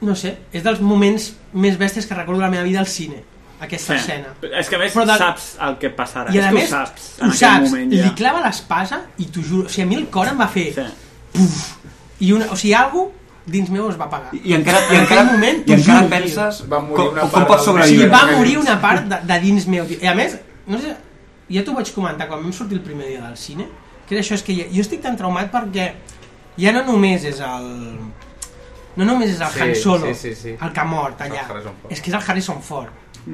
S7: no sé, és dels moments més bèsties que recordo de la meva vida al cine, aquesta sí. escena.
S9: És que a més del... saps el que passarà.
S7: I a
S9: és
S7: més,
S9: que ho saps.
S7: ho
S9: en aquell
S7: saps,
S9: moment,
S7: i
S9: ja.
S7: li clava l'espasa i t'ho juro, o sigui, a mi el cor em va fer sí. puf, i una, o sigui, algú dins meu es va apagar.
S12: I encara, i
S7: en
S12: encara,
S7: aquell moment,
S12: i
S7: t'ho
S12: encara
S7: juro,
S12: penses
S7: tio.
S12: va
S35: morir
S12: com,
S35: una
S12: com
S35: part
S12: pots
S35: del
S7: O sigui,
S12: sobreviure.
S7: va morir una part de, de dins meu. tio. I a més, no sé, ja t'ho vaig comentar quan vam sortir el primer dia del cine, que era això, és que ja- jo estic tan traumat perquè ja no només és el... No només és el
S19: Sí,
S7: Han Solo,
S19: sí, sí, sí.
S7: el que ha mort allà.
S19: És el Harrison Ford.
S7: És que és el Harrison Ford.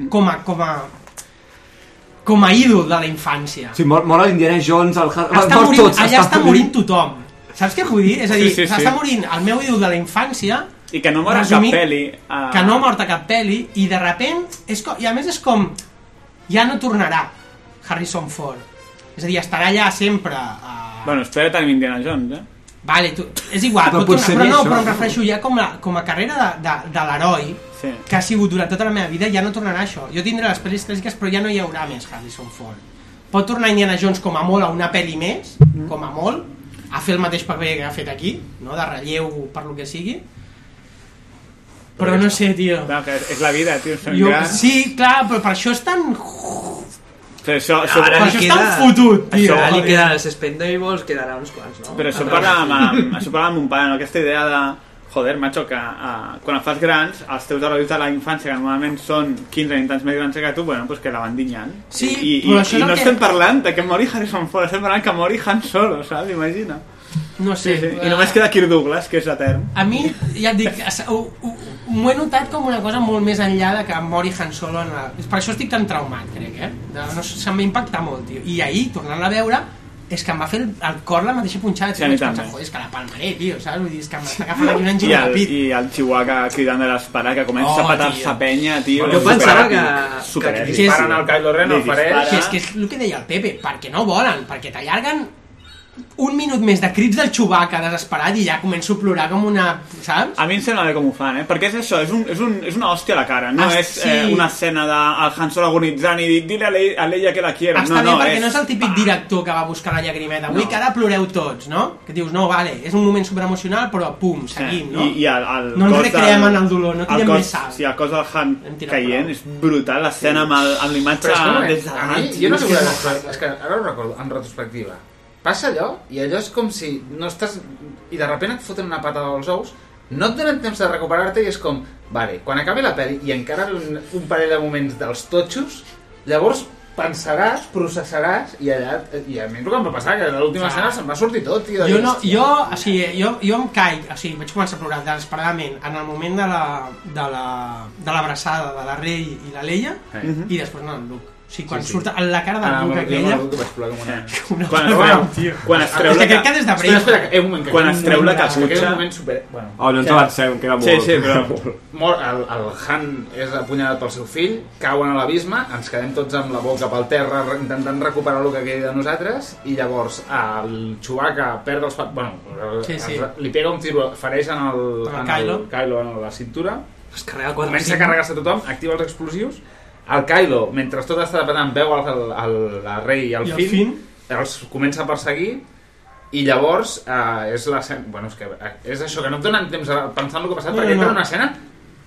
S7: Com a, com a, com a ídol de la infància.
S12: Sí, mor, mor l'Indiana Jones, el... Har-
S7: Està
S12: mor
S7: morint,
S12: tots,
S7: allà està morint tothom. Saps què vull dir? És a dir,
S9: Sí, sí, sí.
S7: s'està morint el meu ídol de la infància
S9: I que no mor a cap
S7: Resumint,
S9: peli. eh, A...
S7: que no ha mort a cap peli i de repent, és com, i a més és com ja no tornarà Harrison Ford és a dir, estarà allà sempre a...
S9: Bueno, espera tant Indiana Jones, eh?
S7: vale, tu, és igual, però,
S9: Però
S7: pot
S9: potser
S7: tornar, però
S9: ni
S7: no,
S9: això.
S7: però em refereixo ja com, la, com a carrera de, de, de l'heroi
S9: Sí.
S7: que ha sigut durant tota la meva vida ja no tornarà a això jo tindré les pel·lis clàssiques però ja no hi haurà més Harrison Ford pot tornar Indiana Jones com a molt a una pel·li més
S9: Mm.
S7: com a molt a fer el mateix paper que ha fet aquí no? de relleu per lo que sigui però no sé, tio.
S9: No, que és la vida, tio. Som
S7: jo,
S9: grans.
S7: sí, clar, però per això és tan
S9: Però això, això,
S7: Ara li queda-
S9: Això-
S36: Ara li queden els Spendables, quedarà uns quants, no?
S9: Però això parlàvem, amb, això parlàvem amb mon pare, no? aquesta idea de joder, macho, que uh, quan et fas grans, els teus herois de la infància, que normalment són 15 anys més grans que tu, bueno, pues que la van dinyant.
S7: Sí,
S9: I, i,
S7: però això és el
S9: i no
S7: que-
S9: estem parlant de que mori Harrison Ford, estem parlant que mori Han Solo, saps? Imagina.
S7: No sé.
S9: Sí, sí. I només queda Kirk Douglas, que és etern.
S7: A mi, ja et dic, es- ho, ho, m'ho he notat com una cosa molt més enllà de que mori Han Solo. En la... És Per això estic tan traumat, crec, eh? De, no, sé, se'm va impactar molt, tio. I ahir, tornant a veure, és que em va fer el, el cor la mateixa punxada.
S9: Sí,
S7: Tio,
S9: a mi
S7: vaig pensar,
S9: també.
S7: joder, és que la palmaré, tio, saps? Vull dir, és que m'està agafant aquí un
S9: I
S7: enginy de
S9: el,
S7: pit.
S9: i el Chihuahua cridant de l'esperar que comença
S7: Oh,
S9: a petar-se
S7: tio.
S9: a penya, tio.
S7: Jo pensava que-
S9: Super
S7: que-
S9: èpic.
S7: que disparen al
S9: Kylo
S7: Li dispara. Que és, que és el que deia el Pepe, perquè no volen, perquè t'allarguen un minut més de crits del Chewbacca desesperat i ja començo a plorar com una... Saps?
S9: A mi em sembla bé com ho fan, eh? Perquè és això, és, un, és, un, és una hòstia a la cara, no
S7: Ah,
S9: és
S7: sí.
S9: eh, una escena de el Han Solo agonitzant i dir, dile a l'e- a l'ella que la quiero.
S7: Està
S9: no,
S7: bé
S9: no,
S7: perquè
S9: és... eh,
S7: no és el típic director que va buscar la llagrimeta. Vull
S9: No.
S7: que ara ploreu tots, no? Que dius, no, vale, és un moment superemocional, però pum, seguim, no?
S9: I, i el, el
S7: no ens
S9: cos
S7: recreem
S9: del-
S7: en el dolor, no tirem
S9: cos,
S7: més sal.
S9: Sí, el cos del Han caient és brutal, l'escena amb, el- amb l'imatge
S19: Però és que,
S9: des de
S7: eh?
S19: a mi,
S9: dalt.
S19: jo no sé
S9: tio,
S19: què
S9: és
S19: és, és que ara ho recordo, en retrospectiva. Passa allò, i allò és com si no estàs... I de repente et foten una patada als ous, no et donen temps de recuperar-te i és com, vale, quan acabi la pel·li i encara ve un, un parell de moments dels totxos, llavors pensaràs, processaràs i allà... I a mi és el que em va passar, que a l'última escena se'm va sortir tot. I
S7: Jo, no, jo, o sigui, jo, jo em caic, o sigui, vaig començar a plorar desesperadament en el moment de la, de la, de l'abraçada de la Rei i la Leia
S19: Sí.
S7: i després en el Luke. O sigui, quan
S19: Sí,
S7: sí,
S19: sí.
S7: surt en la
S9: Ah,
S7: cara del Luke aquella...
S9: Eh, Quan es treu, quan es treu
S7: Ah, és
S9: la
S7: que crec
S9: ca-
S7: que des de
S9: Espera, espera,
S7: Brave-
S9: que- eh, un moment, que Quan es treu la caputxa-
S19: Que és un moment super... Bueno,
S12: Oh, no ens
S19: ja.
S12: avancem, queda molt.
S9: Sí, sí, però-
S19: Mor, el, el Han és apunyalat pel seu fill, cauen a l'abisme, ens quedem tots amb la boca pel terra re- intentant recuperar el que quedi de nosaltres i lllavors el Chewbacca perd els... pa- Bueno,
S7: Sí, sí.
S19: es- li pega un tiro, fareix en el,
S7: En el
S19: en
S7: Kylo.
S19: el Kylo en la cintura,
S36: es carrega quatre
S19: comença a carregar-se tothom, activa els explosius, el Kylo, mentre tot està petant, veu el, el, el, la Rey i el,
S7: I el
S19: Finn,
S7: Finn.
S19: els comença a perseguir, i llavors eh, és l'escena... Bueno, és, que, eh, és això, que no et donen temps a pensar en el que ha passat,
S7: No,
S19: no, perquè
S7: no,
S19: no,
S7: no.
S19: no. una escena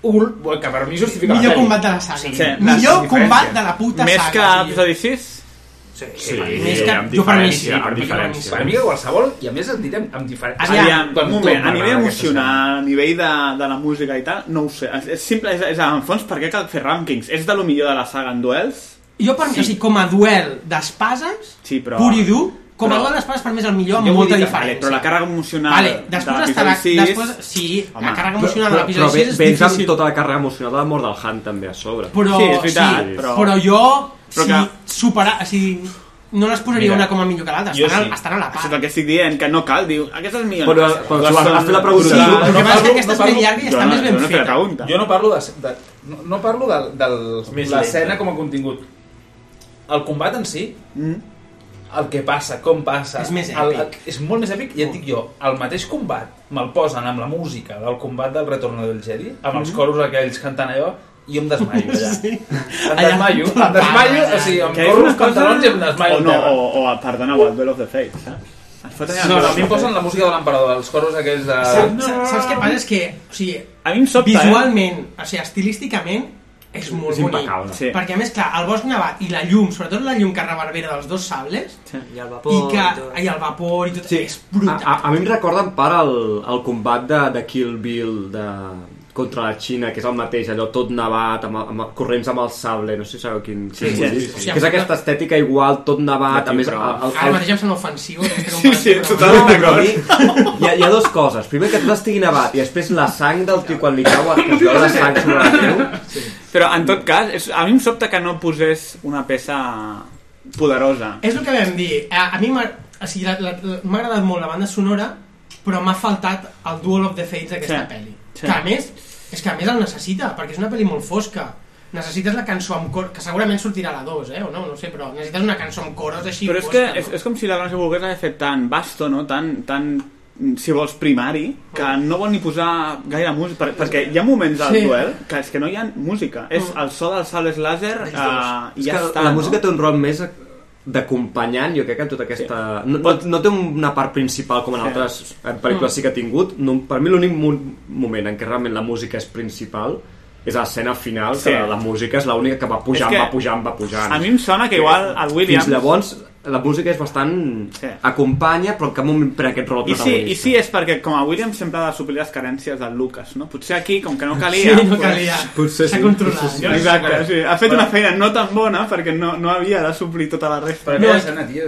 S19: ul, que per mi justifica
S7: Millor
S19: la peli.
S7: combat de la saga.
S19: Sí,
S7: Sí,
S19: les
S7: Millor
S19: diferències.
S7: combat de la puta
S9: Més
S7: saga.
S9: que
S7: tio.
S9: episodi 6?
S36: Sí,
S19: Sí,
S7: Més que-
S9: amb
S7: jo per mi sí,
S9: diferència,
S7: per
S9: amb
S7: mi que per mi sí.
S9: diferència.
S19: Per mi que qualsevol, i a més et direm amb diferència.
S9: Aviam, un moment, a nivell emocional, a nivell de, de la música i tal, no ho sé. És, és simple, és, és en fons, per què cal fer rànquings? És de lo millor de la saga en duels?
S7: Jo per mi, o sigui, com a duel d'espases,
S9: Sí, però...
S7: pur i dur, com a
S9: però-
S7: duel d'espases per mi és el millor,
S9: Jo
S7: amb
S9: vull
S7: molta
S9: dir que,
S7: diferència.
S9: Vale, però la càrrega emocional
S7: Vale,
S9: de
S7: després
S9: l'episodi
S7: estarà...
S9: 6...
S7: Després, sí, la càrrega emocional de
S12: però,
S7: l'episodi 6 és
S12: vens
S7: difícil.
S12: amb tota la càrrega emocional de la mort del Han també a sobre.
S7: però, sí, sí, però... però jo
S9: Però
S7: si superar, o sigui, no les posaria
S9: Mira,
S7: una com a millor que l'altra,
S9: jo
S7: estan,
S9: sí.
S7: sí. estan a la
S9: Això
S7: part.
S9: és el que estic dient, que no cal, diu, aquesta és millor.
S12: Però- però tu has- has fet la pregunta.
S19: Sí,
S9: No,
S19: el que
S9: no
S19: passa és
S9: parlo-
S19: que aquesta és
S9: no
S19: més
S9: parlo-
S19: llarga i
S9: Jo
S19: està
S9: no-
S19: més ben
S9: Jo no he fet la
S19: feta.
S9: pregunta.
S19: Jo no parlo de, de no, no parlo de, de
S9: Més
S19: l'escena
S9: lenta.
S19: com a contingut. El combat en si,
S9: Mm.
S19: el que passa, com passa...
S7: És més
S19: el-
S7: èpic.
S19: és molt més èpic, i et dic jo, el mateix combat me'l posen amb la música del combat del Retorn del Jedi, amb els
S9: Mm.
S7: Mhm.
S19: coros aquells cantant allò, i jo em desmaio allà.
S7: Sí.
S19: Em desmaio, em desmaio, o sigui, em
S9: Que és
S19: corro
S9: una
S19: els pantalons i em desmaio
S9: O
S19: al
S9: no,
S19: terra.
S9: o, o, perdona, o el Duel of the Fates, saps?
S19: No, no, a mi em posen la música de l'emperador, els coros aquells de...
S7: Saps, saps què passa? És que, o sigui,
S19: A mi em
S9: eh?
S19: sobta,
S7: visualment, o sigui, estilísticament, és molt
S19: És
S7: bonic.
S19: impecable. Sí.
S7: Perquè, a més, clar, el bosc nevat i la llum, sobretot la llum que reverbera dels dos sables,
S37: sí.
S38: i el
S7: vapor i, que, i el vapor i tot, sí. és brutal.
S12: A, a mi em recorda en part el, el combat de, de Kill Bill de, contra la Xina, que és el mateix, allò tot nevat, amb, amb, corrents amb el sable, no sé si sabeu quin...
S7: Sí,
S12: quin
S7: sí,
S12: vull dir.
S7: sí, sí.
S12: Que és aquesta estètica igual, tot nevat, a més... El, ah, el,
S7: Ara Ah, mateix em sembla ofensiu.
S12: Sí, sí, totalment d'acord. Hi, ha- hi ha dues coses. Primer, que tot estigui nevat, i després la sang del tio quan li cau, que es veu la sang sobre la creu.
S9: Però en tot cas, és, a mi em sobta que no posés una peça poderosa.
S7: És el que vam dir. A, a mi m'ha o sigui, la- la- la- m'ha agradat molt la banda sonora, però m'ha faltat el Duel of the Fates d'aquesta
S9: Sí,
S7: pel·li.
S9: sí.
S7: Que a més, és que a més el necessita, perquè és una pel·li molt fosca. Necessites la cançó amb cor, que segurament sortirà a la 2, eh? O no, no ho sé, però necessites una cançó amb coros
S12: Eh,
S7: així
S9: Però és que
S7: fosca.
S9: és, és com si la granja volgués haver fet tan vasto, no? tan, tan si vols primari, que no vol ni posar gaire música, per, perquè hi ha moments del
S12: Sí. Mm.
S9: duel que és que no hi ha música, és el so dels sables làser eh, i
S12: és
S9: ja
S12: que
S9: està.
S12: la
S9: no?
S12: música té un rol més d'acompanyant, jo crec que en tota aquesta... No, no, no té una part principal com en
S9: Sí. Mm.
S12: altres en pel·lícules sí que ha tingut. No, per mi l'únic mo- moment en què realment la música és principal és a l'escena final,
S9: Sí.
S12: que la, la música és l'única que va
S9: És
S12: pujant,
S9: que
S12: que va pujant, va pujant.
S9: a mi em sona que igual el Williams-
S12: Fins llavors la música és bastant... Sí. acompanya, però en cap moment pren aquest rol
S9: I sí,
S12: protagonista.
S9: I sí, és perquè com a Williams sempre ha de suplir les carències del Lucas, no? Potser aquí, com que no calia...
S7: Sí, no calia. Potser S'ha sí. controlat. Potser sí.
S9: Exacte, sí. Ha fet una feina no tan bona perquè no, no havia de suplir tota la resta.
S19: Però aquella escena, tio,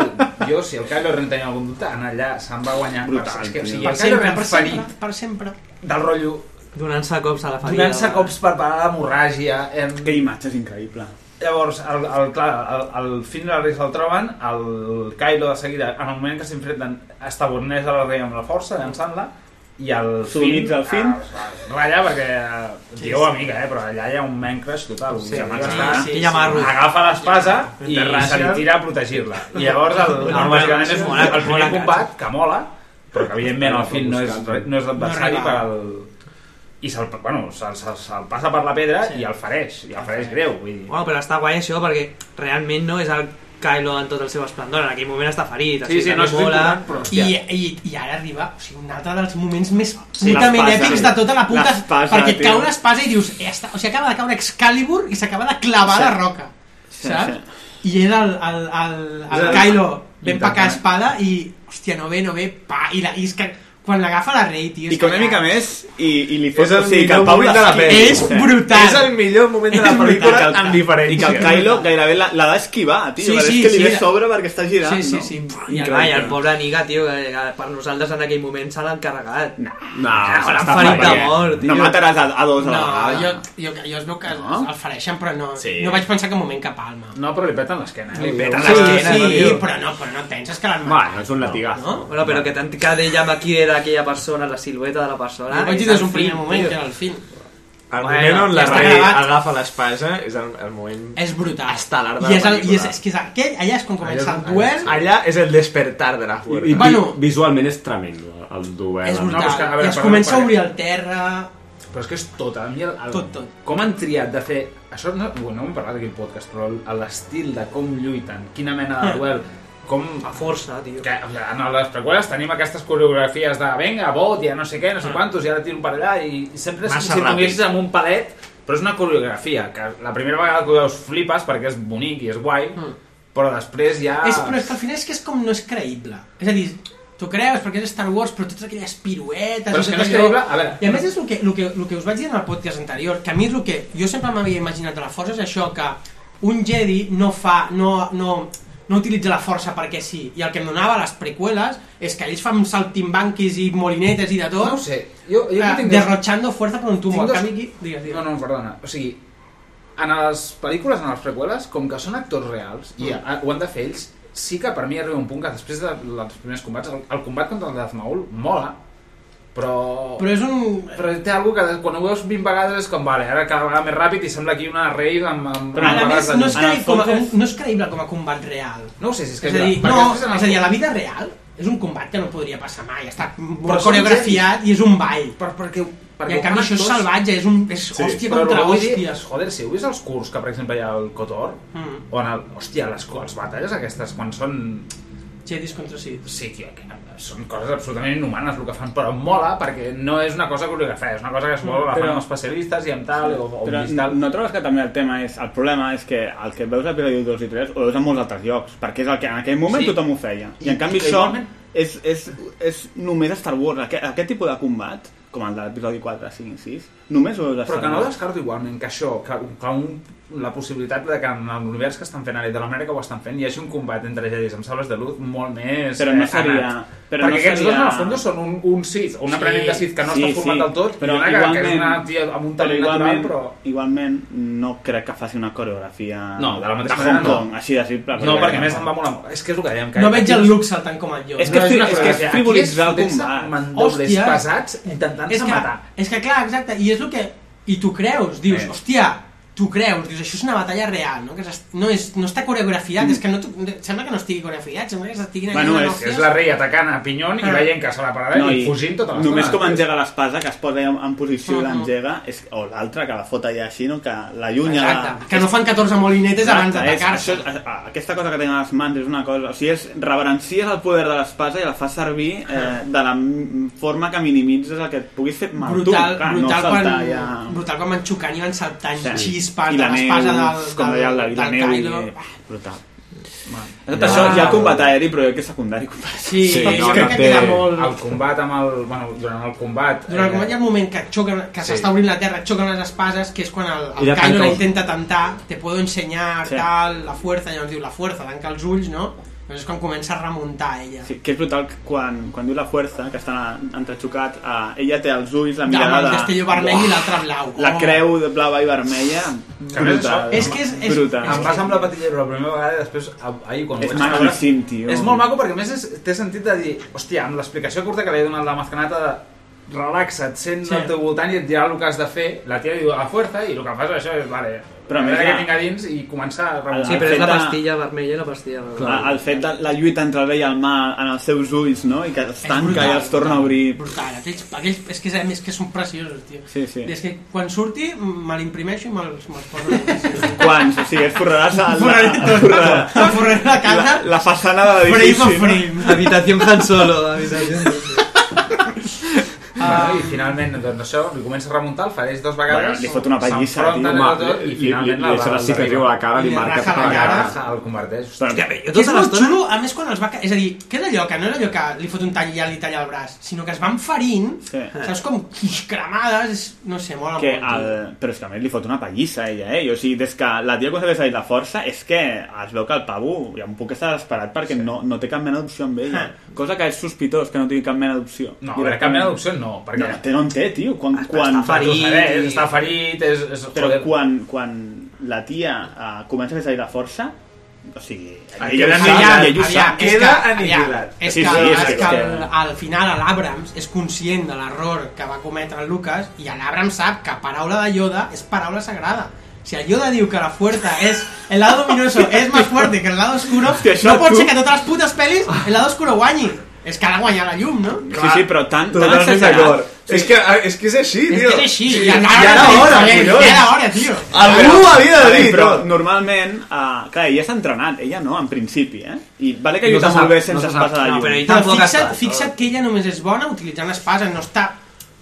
S19: jo, si el Kylo Ren tenia algun dubte, anar allà se'n va guanyar.
S9: Brutal,
S19: Brutal, és que, o
S9: tio.
S19: sigui,
S9: Per
S19: el Kylo Ren
S7: per sempre,
S19: ferit
S7: per sempre.
S19: del rotllo
S38: Donant-se cops a la ferida.
S19: donant-se cops per parar l'hemorràgia. Em...
S9: Que imatge és increïble.
S19: Llavors, el, el, clar, el, el Finn i la Rey se'l troben, el Kylo de seguida, en el moment que s'enfrenten, estaborneix a la Rey amb la força, llançant-la, i el Ah,
S9: S'unitza el Finn.
S19: ratlla perquè sí, dieu amiga, eh, però allà hi ha un man crush total.
S9: Sí,
S19: un
S9: sí,
S19: està,
S9: sí, sí. Llamarro.
S19: agafa l'espasa i
S9: Enterrassa.
S19: se li tira a protegir-la. I llavors el, el,
S9: Una
S19: bàsicament és
S9: mola,
S19: el
S9: mola
S19: primer combat, que mola, però que evidentment el Finn no és, no és l'adversari
S9: No
S19: per
S9: arriba.
S19: al... I se'l bueno, se, se, se'l passa per la pedra
S38: Sí.
S19: i el fareix, i el fareix greu. Vull dir.
S38: Bueno, però està guai això perquè realment no és el Kylo en tot el seu esplendor, en aquell moment està ferit,
S19: Sí, sí, no és
S38: mola...
S19: important, però,
S7: I,
S19: hòstia.
S7: i, I ara arriba o sigui, un altre dels moments més
S38: Sí,
S7: putament
S38: l'espasa,
S7: èpics
S38: sí.
S7: de tota la puta
S38: L'espasa,
S7: perquè et cau
S38: tio.
S7: una espasa i dius ja està, o sigui, acaba de caure Excalibur i s'acaba de clavar
S38: Sí.
S7: la roca
S38: Sí,
S7: saps? i era el, el, el, el,
S38: Sí.
S7: Kylo ben
S9: Intentant.
S7: pacar espada i hòstia, no ve, no ve pa, i, la, i és que quan l'agafa la rei tio, és
S9: I que
S7: que
S9: una
S7: ja-
S9: mica més i, i li fot...
S7: És el millor moment de la
S9: l'esquiva.
S7: pel·li. És brutal. És el
S9: millor moment
S7: de la pel·lícula
S9: en diferència. I que el Kylo gairebé la- l'ha d'esquivar, tio.
S38: Sí,
S9: perquè
S38: sí,
S9: és que li
S38: sí,
S9: ve
S38: la-
S9: sobre perquè està girant,
S38: Sí, sí,
S9: no?
S38: sí.
S9: Pff,
S38: I, clar,
S9: increïble.
S38: I el pobre Niga, tio, que que per nosaltres en aquell moment se l'ha encarregat. No,
S9: s'està
S38: l'han ferit de
S9: perquè
S38: mort, tio.
S9: no mataràs a- a dos a la
S7: no,
S9: vegada.
S7: jo, jo, jo es veu que no? el fareixen però no, sí. no vaig pensar que moment que palma
S19: no, però li peten l'esquena eh?
S7: li
S38: peten
S7: sí,
S38: l'esquena,
S7: sí,
S38: tio.
S7: però no, però no et penses que l'han
S12: Va, no és un latigazo.
S7: No?
S38: Bueno, però que tant que dèiem aquí era aquella persona, la silueta de la persona...
S7: Jo vaig dir
S38: és
S7: des d'un
S38: el
S7: primer
S38: Finn,
S7: moment
S38: tio.
S7: que era el Finn.
S39: El
S38: Bueno,
S39: moment on
S38: ja
S39: la
S38: està
S39: Rey
S38: gravat.
S39: agafa l'espasa és el, el moment...
S7: És brutal.
S39: Estel·lar de
S7: I
S39: la
S7: és, el, i és,
S39: pel·lícula.
S7: és, que és aquell, allà és quan comença el
S39: allà,
S7: duel.
S39: allà és el despertar de la fuerza.
S12: I, bueno,
S7: Bueno.
S12: visualment és tremendo el duel.
S7: És brutal.
S12: No,
S7: que, a veure, I es comença a obrir el terra...
S19: Però és que és tot, a mi el, el,
S7: Tot, tot.
S19: com han triat de fer... Això no, bueno, no hem parlat aquí al podcast, però el- l'estil de com lluiten, quina mena de duel, com... A
S38: força, tio.
S19: Que, o sigui, en les preqüeles tenim aquestes coreografies de venga, bot, ja no sé què, no
S7: Mm.
S19: sé quantos, i ara tiro per allà, i, i sempre és
S38: Massa
S19: com si
S38: ràpid.
S19: t'haguessis amb un palet, però és una coreografia, que la primera vegada que ho veus flipes perquè és bonic i és guai, però després ja...
S7: Mm. És, però és que al final és que és com no és creïble. És a dir, tu creus perquè és Star Wars, però totes aquelles piruetes...
S19: Però és
S7: tot
S19: que no és
S7: allò-
S19: creïble, a veure.
S7: I a més és el que, el, que, el que us vaig dir en el podcast anterior, que a mi és el que jo sempre m'havia imaginat de la força, és això que un Jedi no fa... No, no, no utilitza la força perquè sí. I el que em donava les preqüeles és que ells fan saltimbanquis i molinetes i de tot.
S19: No ho sé. Jo- jo
S7: eh,
S19: tinc-
S7: derrochando fuerza por un tubo.
S19: Tinc
S7: Dos...
S19: dos-
S7: Canvi, aquí- digues, digues.
S19: No, no, perdona. O sigui, en les pel·lícules, en les preqüeles, com que són actors reals i
S7: Mm.
S19: a, ho han de fer ells, sí que per mi arriba un punt que després de- dels primers combats, el, el combat contra el Darth Maul mola, però...
S7: Però és un...
S19: Però té algo que quan ho veus 20 vegades és com, vale, ara cada vegada més ràpid i sembla aquí una raid amb... amb
S7: Però a
S19: amb
S7: més,
S19: barres de
S7: no és,
S19: llum.
S7: creïble, com a, no és creïble com a combat real.
S19: No ho sé si és
S7: És a
S19: creïble,
S7: dir,
S19: perquè
S7: no,
S19: després en el-
S7: és a dir, a la vida real és un combat que no podria passar mai. Està molt
S19: són
S7: coreografiat i és un ball.
S19: Per, perquè, perquè
S7: I en
S19: ho
S7: canvi
S19: fan
S7: això és
S19: actors.
S7: salvatge, és, un, és sí, hòstia
S19: però
S7: contra
S19: el que vull dir
S7: hòstia.
S19: és, Joder, si heu vist els curs que, per exemple, hi ha el Cotor,
S7: Mm.
S19: on el, hòstia, les, les batalles aquestes, quan són...
S7: Jedis contra Sith.
S19: Sí, tio, que són coses absolutament inhumanes el que fan, però em mola perquè no és una cosa coreografada, és una cosa que es
S7: Mm,
S19: vol, la fan
S9: Però-
S19: amb especialistes i amb tal, o, o
S9: Però
S19: amb
S9: no, no trobes que també el tema és... El problema és que el que veus a Episodi 2 i 3 ho veus en molts altres llocs, perquè és el que en aquell moment
S19: Sí.
S9: sí. tothom ho feia. I,
S19: I-
S9: en canvi
S19: i
S9: això
S19: igualment-
S9: és, és, és només Star Wars. Aquest, aquest tipus de combat, com el de l'episodi 4, 5 i 6, només ho veus a
S19: Però
S9: Star
S19: que no
S9: Wars.
S19: descarto igualment que això, que, que un, la possibilitat de que en l'univers que estan fent ara i de la manera que ho estan fent hi hagi un combat entre jedis amb sables de luz molt més
S9: Però no
S19: eh,
S9: seria-
S19: anat.
S9: però
S19: perquè
S9: no
S19: aquests
S9: seria-
S19: dos en el fons són un, un Sith, un
S9: Sí,
S19: aprenent de Sith que no
S9: sí,
S19: està format
S9: sí.
S19: del tot,
S9: Però
S19: però i una que, que és una
S9: igualment-
S19: tia amb un talent natural,
S9: igualment,
S19: però...
S9: Igualment, no crec que faci una coreografia
S19: No, de la mateixa
S9: de Hong
S19: manera no.
S9: Kong, així de simple.
S19: No, perquè a més em va molt... amb- És que és el que dèiem. Que
S7: No veig el
S19: look
S7: Luke saltant com el Yoda.
S19: És que
S7: no,
S19: és, és,
S7: una
S19: que és
S7: coreografia.
S19: frivolitzar
S7: Aquí
S19: el
S7: és fotre-se
S19: combat. Mandobles
S7: Hòstia.
S19: pesats intentant-se
S7: que,
S19: matar.
S7: És que clar, exacte, i és el que... I tu creus, dius,
S19: Eh.
S7: hòstia, tu creus, dius, això és una batalla real, no? Que és, no, és, no està coreografiat, és que no, t'ho- sembla que no estigui coreografiat, sembla que estiguin allà donant hòsties.
S19: és la rei atacant a Pinyon i
S7: Ah.
S19: veient que se la pararà i fugint tota l'estona.
S9: Només com engega l'espasa, que es posa en, en posició
S7: Mhm.
S9: d'engega, és, o l'altra, que la fot allà així, no? que la llunya...
S7: Exacte, que no fan 14 molinetes abans d'atacar-se.
S9: Aquesta cosa que tenen les mans és una cosa... O sigui, és, reverencies el poder de l'espasa i la fas servir eh, de la m- forma que minimitzes el que et puguis fer mal tu.
S7: brutal,
S9: Clar,
S7: brutal,
S9: no
S7: quan,
S9: saltar ja...
S7: brutal quan van xocant i van saltant
S9: Sí.
S7: xispes
S9: I
S7: de
S9: la
S7: l'espasa
S9: neu,
S7: del,
S9: com deia el
S7: del,
S9: David, la
S7: del
S9: neu i-
S7: Kylo.
S9: Brutal. Tot això,
S19: Ah.
S9: hi ha combat aeri, però jo crec que és secundari combat.
S7: Sí, Sí, jo no, crec no que té- queda molt-
S19: El combat amb el... Bueno, durant el combat... eh,
S7: Durant el moment hi ha un moment que xoquen, que
S19: Sí.
S7: s'està obrint la terra, xoquen les espases, que és quan el,
S19: I
S7: el
S19: la tanca
S7: Kylo la
S19: els-
S7: intenta tentar, te puedo ensenyar,
S9: Sí.
S7: tal, la fuerza, llavors diu la fuerza, tanca els ulls, no? Llavors és quan comença a remuntar ella.
S9: Sí, que és brutal que quan, quan diu la fuerza, que estan a- entrexocats, eh, ella té els ulls, la
S7: Amb
S9: mirada
S7: el castelló vermell i l'altre blau.
S9: La
S7: Oh.
S9: creu de blava i vermella,
S19: Que a més,
S9: brutal.
S19: és que és- és-
S9: brutal.
S19: Em va semblar patilla la primera vegada i després a- ahir quan ho
S9: És
S19: vaig veure-
S9: maquíssim, tio.
S19: És molt maco perquè a més és, té sentit de dir, hòstia, amb l'explicació curta que li he donat la mascanata de relaxa't, sent
S9: Sí.
S19: sí. al teu voltant i et dirà el que has de fer, la tia diu a la fuerza i el que fas és això és, vale,
S9: Però a
S19: però
S9: més,
S19: més
S9: la-
S19: que tinc a dins i començar a remuntar.
S9: Sí, però és la
S40: La
S9: Ah.
S40: pastilla vermella i la pastilla
S9: Clar,
S40: vermella.
S9: el fet de la lluita entre el rei i el mal en els seus ulls, no? I que els tanca
S7: brutal,
S9: i els torna a obrir.
S7: Brutal, aquells, aquells, és que, a més, que són preciosos, tio.
S9: Sí, sí.
S7: Des que quan surti, me l'imprimeixo i me'ls me poso.
S9: Quants? O sigui, es forraràs a la,
S7: Forraré tot.
S9: forrarà-
S7: Forraré la casa.
S9: la, la façana de l'edifici.
S7: Frame a frame.
S40: Habitación Han Solo, habitación
S19: Ah. I finalment, doncs això, li comença a remuntar, el fareix dos vegades.
S9: Bueno, li fot una pallissa,
S19: s'enfronten
S9: tio.
S19: entre
S9: Home,
S19: tot,
S9: li-
S19: I finalment
S9: li- li deixa la cicatriu a la cara, li marca
S19: raja
S9: tota
S19: la
S9: la
S19: cara,
S9: cara.
S19: el converteix.
S9: tota
S7: Jo és molt xulo, a més quan els va... ca- És a dir, que és allò que no era allò que li fot un tall i ja li talla el braç, sinó que es van ferint,
S9: Sí.
S7: saps com quix cremades, és- no sé, mola
S9: que
S7: molt.
S9: el... Però és que a més li fot una pallissa a ella, eh? I, O sigui, des que la tia aconsegueix salir la força, és que es veu que el pavo ja un puc estar desesperat perquè no, no té cap mena d'opció amb ella. Cosa que és sospitós, que no tingui cap mena d'opció.
S19: No, a veure, cap mena d'opció no, perquè-
S9: No, no, té, no en té, tio. Quan, quan...
S19: està ferit i- Està ferit, és... és
S9: Però
S19: joder.
S9: quan, quan la tia eh, comença a fer salir la força, o sigui,
S19: Ah,
S9: ella
S19: queda
S9: ho sap,
S19: aniquilat,
S9: ella ho
S19: aviam,
S9: sap.
S19: queda
S7: Aviam,
S19: aniquilat.
S7: És
S9: Sí,
S7: que,
S9: sí,
S7: és que
S9: que-
S7: al, al final l'Abrams és conscient de l'error que va cometre el Lucas i l'Abrams sap que paraula de Yoda és paraula sagrada. Si el Yoda diu que la fuerza és... El lado luminoso és més fuerte que el lado oscuro,
S9: això
S7: no pot
S9: tu-
S7: ser que totes les putes pel·lis el lado oscuro guanyi. És que ha de guanyar la llum, no?
S9: Sí, sí, però tant... tan
S41: Totalment
S9: exagerat.
S41: d'acord. És que, és que és així,
S7: És
S41: tio.
S7: que és així,
S41: Sí,
S7: i encara
S41: ja
S7: no
S41: era
S7: tenim
S41: hora,
S7: talent,
S41: collons.
S7: ja era hora, tio.
S41: Algú ho havia de
S9: Vale,
S41: dir,
S9: però
S41: tio.
S9: normalment, uh, clar, ella s'ha entrenat, ella no, en principi, eh? I vale que
S40: No
S9: lluita
S40: se sap,
S9: molt bé
S40: no
S9: sense
S40: se sap.
S9: espasa de
S40: No,
S9: llum.
S40: però ell
S7: Però fixa't, fixa't que ella només és bona utilitzant espases, no està...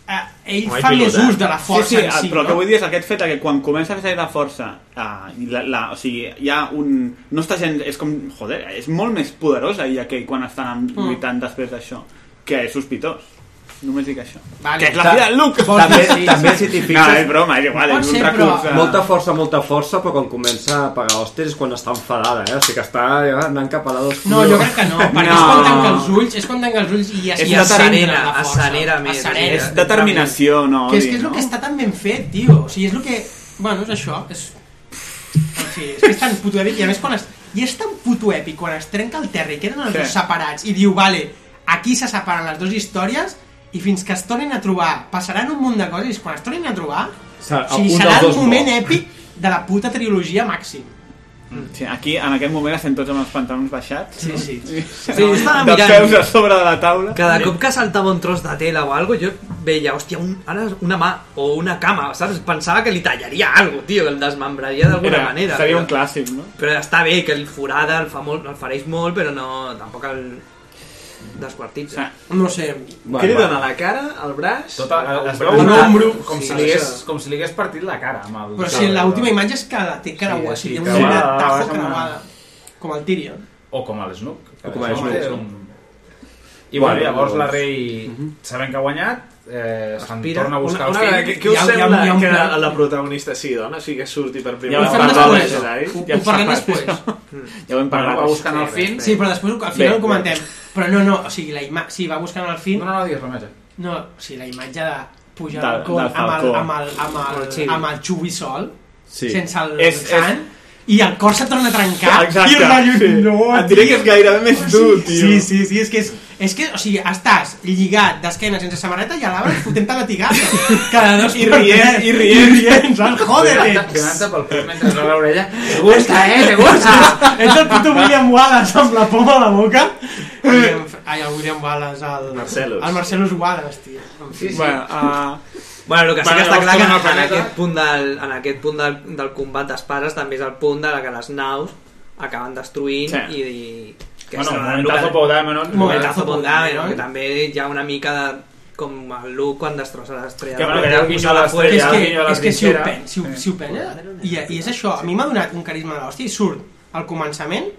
S7: Eh, ell fa més ús de la força
S9: sí, sí,
S7: en si,
S9: però el
S7: no?
S9: que vull dir és aquest fet de que quan comença a fer salir la força eh, i la, la, o sigui, hi ha un... no està gent, és com, joder, és molt més poderosa ella que quan estan
S7: Mm.
S9: lluitant després d'això, que és sospitós només dic això
S7: Vale.
S9: que és la filla del Luke
S12: També, també si t'hi fixes...
S9: no, és broma, és igual, és un recurs eh.
S12: Molta força, molta força, però quan comença a pagar hòsties és quan està enfadada, eh? O sigui que està ja, anant cap a la dos...
S7: No, jo crec que no, perquè és quan tanca els ulls, és quan tanca els ulls i es,
S12: És
S7: i es
S12: determina,
S7: centra en la força.
S40: assenera més,
S7: Assenera.
S9: és determinació, no
S7: Que és que
S9: odi,
S7: és el
S9: no?
S7: que està tan ben fet, tio. O sigui, és el que... Bueno, és això, és... O sigui, és que és tan puto èpic i a més quan es... I és tan puto èpic quan es trenca el terra i queden els
S9: Sí.
S7: dos separats i diu, vale, aquí se separen les dues històries i fins que es tornin a trobar passaran un munt de coses i quan es tornin a trobar
S12: Serà- eh?
S7: o sigui,
S12: un
S7: serà
S12: dels
S7: el
S12: dos
S7: moment
S12: morts.
S7: èpic de la puta trilogia màxim
S9: Sí, aquí, en aquest moment, estem tots amb els pantalons baixats.
S12: Sí, sí.
S9: sí no, de peus a sobre de la taula.
S12: Cada cop que saltava un tros de tela o algo, jo veia, hòstia, un, ara una mà o una cama, saps? Pensava que li tallaria algo, tio, que el desmembraria d'alguna
S9: Era-
S12: manera.
S9: seria
S12: però-
S9: un clàssic, no?
S12: Però està bé, que el forada el, fa molt, el fareix molt, però no, tampoc el desquartitza.
S7: No sé.
S12: Bueno,
S42: Ah, Què li
S12: va.
S42: dona, la cara, el braç?
S19: Tot el, el, tota, es veu
S42: braç?
S19: una-
S42: L'ombro.
S19: com, si
S42: Sí,
S19: li hagués,
S42: això.
S19: com si li hagués partit la cara. Amb el...
S7: Però si l'última imatge és que la té creuada,
S19: Sí,
S7: sí, sí,
S19: sí,
S7: té una
S19: creuada,
S7: tajo
S19: vas amb-
S7: creuada. Com el Tyrion.
S19: O com el Snook.
S7: O com el
S19: Això
S7: Snook.
S19: és un- I bueno,
S7: Bueno,
S19: llavors la
S7: doncs.
S19: rei, sabent que ha guanyat, eh, se'n
S42: Aspira.
S19: torna a buscar
S42: Una-
S19: el
S42: una-
S19: fill.
S42: Què, què us sembla que la, la protagonista sigui dona? O sigui, que surti per primer
S19: Ja ho
S42: cop?
S19: parlem després. Ho- ho parlem
S42: després.
S9: Ja ho hem
S19: parlat. Va buscant el fin.
S7: Sí, però després al final ho comentem. Però no, no, o sigui, la imatge... Sí, va buscant el fin... No,
S19: no, no, digues eh. res,
S7: No, o sigui, la imatge de pujar
S9: Del-
S7: al cor
S9: del
S7: amb el,
S9: falcó.
S7: amb el, amb el,
S9: El
S7: amb
S9: chibi.
S7: el, xubi sol,
S9: Sí.
S7: sense el
S9: És-
S7: és,
S9: és-
S7: sant, i el cor se torna a trencar.
S9: Exacte,
S7: I el rotllo,
S9: sí.
S7: no,
S9: Et diré que és gairebé més dur, tio.
S7: Sí, sí, sí, és que és... És que, o sigui, estàs lligat d'esquena sense samarreta i a l'arbre et fotent-te la tigada. Cada dos
S9: I
S7: per
S9: rient,
S7: tres.
S9: i
S7: I
S9: rient.
S7: rient, saps? Jódete.
S19: Quedant-se pel cul mentre no l'orella. Te gusta, eh? Te gusta.
S7: Ets el puto William Wallace amb la poma a la boca. William, ai, el William Wallace, el...
S12: Marcellus.
S7: El Marcellus Wallace, tio. En fi.
S9: ah,
S12: Bueno, el
S7: Bueno,
S12: que sí que està
S7: llavors
S12: clar que en,
S7: torna al
S12: en
S7: planeta.
S12: aquest punt, del, en aquest punt del, del combat d'espases també és el punt de la que les naus acaben destruint
S19: Sí.
S12: i... i que
S19: Bueno,
S12: és el
S19: momentazo
S12: que-
S19: Podamenon.
S12: Momentazo Podamenon,
S7: Ah,
S19: Podamenon.
S12: que també hi ha una mica de com el Luke quan destrossa l'estrella.
S19: Que, bueno,
S12: Damm,
S19: que hi ha el
S12: puja
S19: guiño a
S12: la
S19: l'estrella,
S12: fuerza.
S19: el guiño a la
S7: és que si ho,
S19: trinxera.
S7: pen, si ho, si ho penses, i, i és això, a mi m'ha donat un carisma de l'hòstia i surt al començament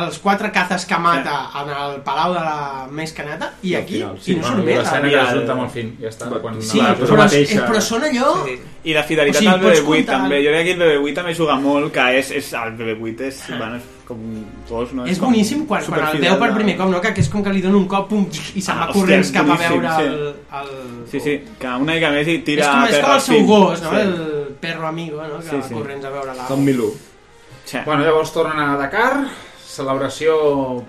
S7: els quatre cazes que mata en el palau de la més canata i
S19: al
S7: aquí,
S19: final,
S7: i no surt més.
S19: l'escena que
S7: el-
S19: es junta amb el fin, ja està. Quan
S7: Sí,
S19: la-
S7: però, és, però són
S42: Oh!
S7: allò...
S9: I la
S7: O
S9: fidelitat
S7: sigui,
S9: al
S7: pots
S9: BB8
S7: comptar-
S9: també. Jo crec que el BB8 també juga molt, que és, és el BB8 és, bueno, és com dos, no?
S7: Ah. És
S9: com
S7: boníssim quan, quan el
S9: superfidel
S7: veu per
S9: de-
S7: primer cop, no? Que, que és com que li dona un cop pum, i se'n va
S9: hòstia,
S7: corrents cap a
S9: boníssim,
S7: veure
S9: sí.
S7: el... el...
S9: Sí, sí, que una mica més i
S7: És
S9: tira...
S7: com, és
S9: terra
S7: com el
S9: al
S7: seu
S9: fin.
S7: gos, no?
S9: Sí.
S7: El perro amigo, no? Que
S9: Sí,
S7: sí,
S9: sí.
S7: sí. corrents a veure la...
S19: Bueno, llavors tornen a Dakar, celebració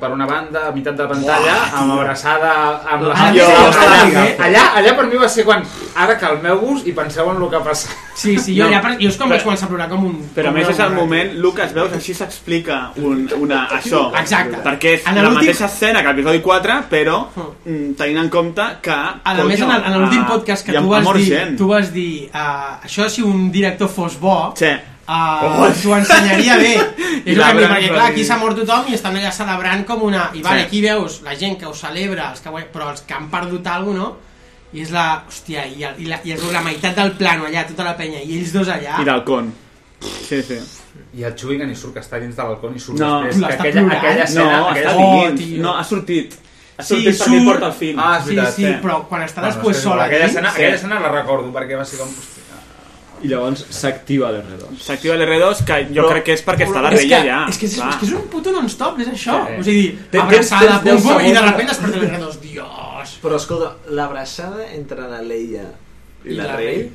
S19: per una banda, a meitat de pantalla,
S9: Uah,
S19: amb
S9: tio.
S19: abraçada amb la...
S9: Ah, jo,
S19: allà,
S9: hòstia.
S19: allà, allà per mi va ser quan... Ara calmeu-vos i penseu en el que ha passat.
S7: Sí, sí, jo, no. ja, jo és com vaig començar a plorar com un...
S9: Però a
S7: com
S9: més
S7: una
S9: és el
S7: mona.
S9: moment, Lucas, veus, així s'explica un, una, això.
S7: Exacte.
S9: Perquè és
S7: En
S9: la
S7: l'últim- Hm.
S9: mateixa escena que l'episodi 4, però mm, tenint en compte que... ah,
S7: A la més, en el- en l'últim podcast que tu vas dir, tu vas dir uh, això si un director fos bo,
S9: sí.
S7: uh,
S9: Oh.
S7: t'ho ensenyaria bé.
S9: I
S7: És el que em diu,
S9: l'Abrams
S7: perquè
S9: va
S7: clar,
S9: dir-
S7: aquí s'ha mort tothom i estan allà celebrant com una... I vale,
S9: Sí.
S7: aquí veus la gent que ho celebra, els que, guany- però els que han perdut alguna cosa, no? I és la... Hòstia, i, el- i, la, i es veu la meitat del plano allà, tota la penya, i ells dos allà...
S9: I del con. Sí, sí.
S19: I el Chubigan hi surt, que està dins de balcó, i surt
S9: No,
S19: després. Que
S9: l'està
S19: aquella,
S9: plorant.
S19: aquella escena...
S9: No,
S19: aquella...
S9: està dient. No, ha sortit. Oh, Ha sortit perquè porta el film.
S19: Ah, és
S7: sí,
S19: veritat,
S7: sí,
S9: eh.
S19: sí.
S7: però quan està
S19: Bueno,
S7: després
S19: és que
S7: sola...
S19: Aquella
S7: aquí-
S19: escena,
S7: Sí.
S19: aquella escena la recordo, perquè va ser com...
S43: I llavors s'activa l'R2.
S9: S'activa l'R2, que jo crec que és perquè està la
S7: És
S9: reia
S7: que-
S9: ja.
S7: És que és,
S9: Clar.
S7: és, que és un puto non-stop, és això.
S9: Sí.
S7: O sigui,
S9: Tens-
S7: abraçada,
S9: tens-
S7: pum,
S9: tens
S7: pum,
S9: deu
S7: i de
S9: segons.
S7: repente es perd l'R2. Dios.
S42: Però escolta, l'abraçada entre la Leia i,
S7: I
S42: la,
S7: la
S42: Rey,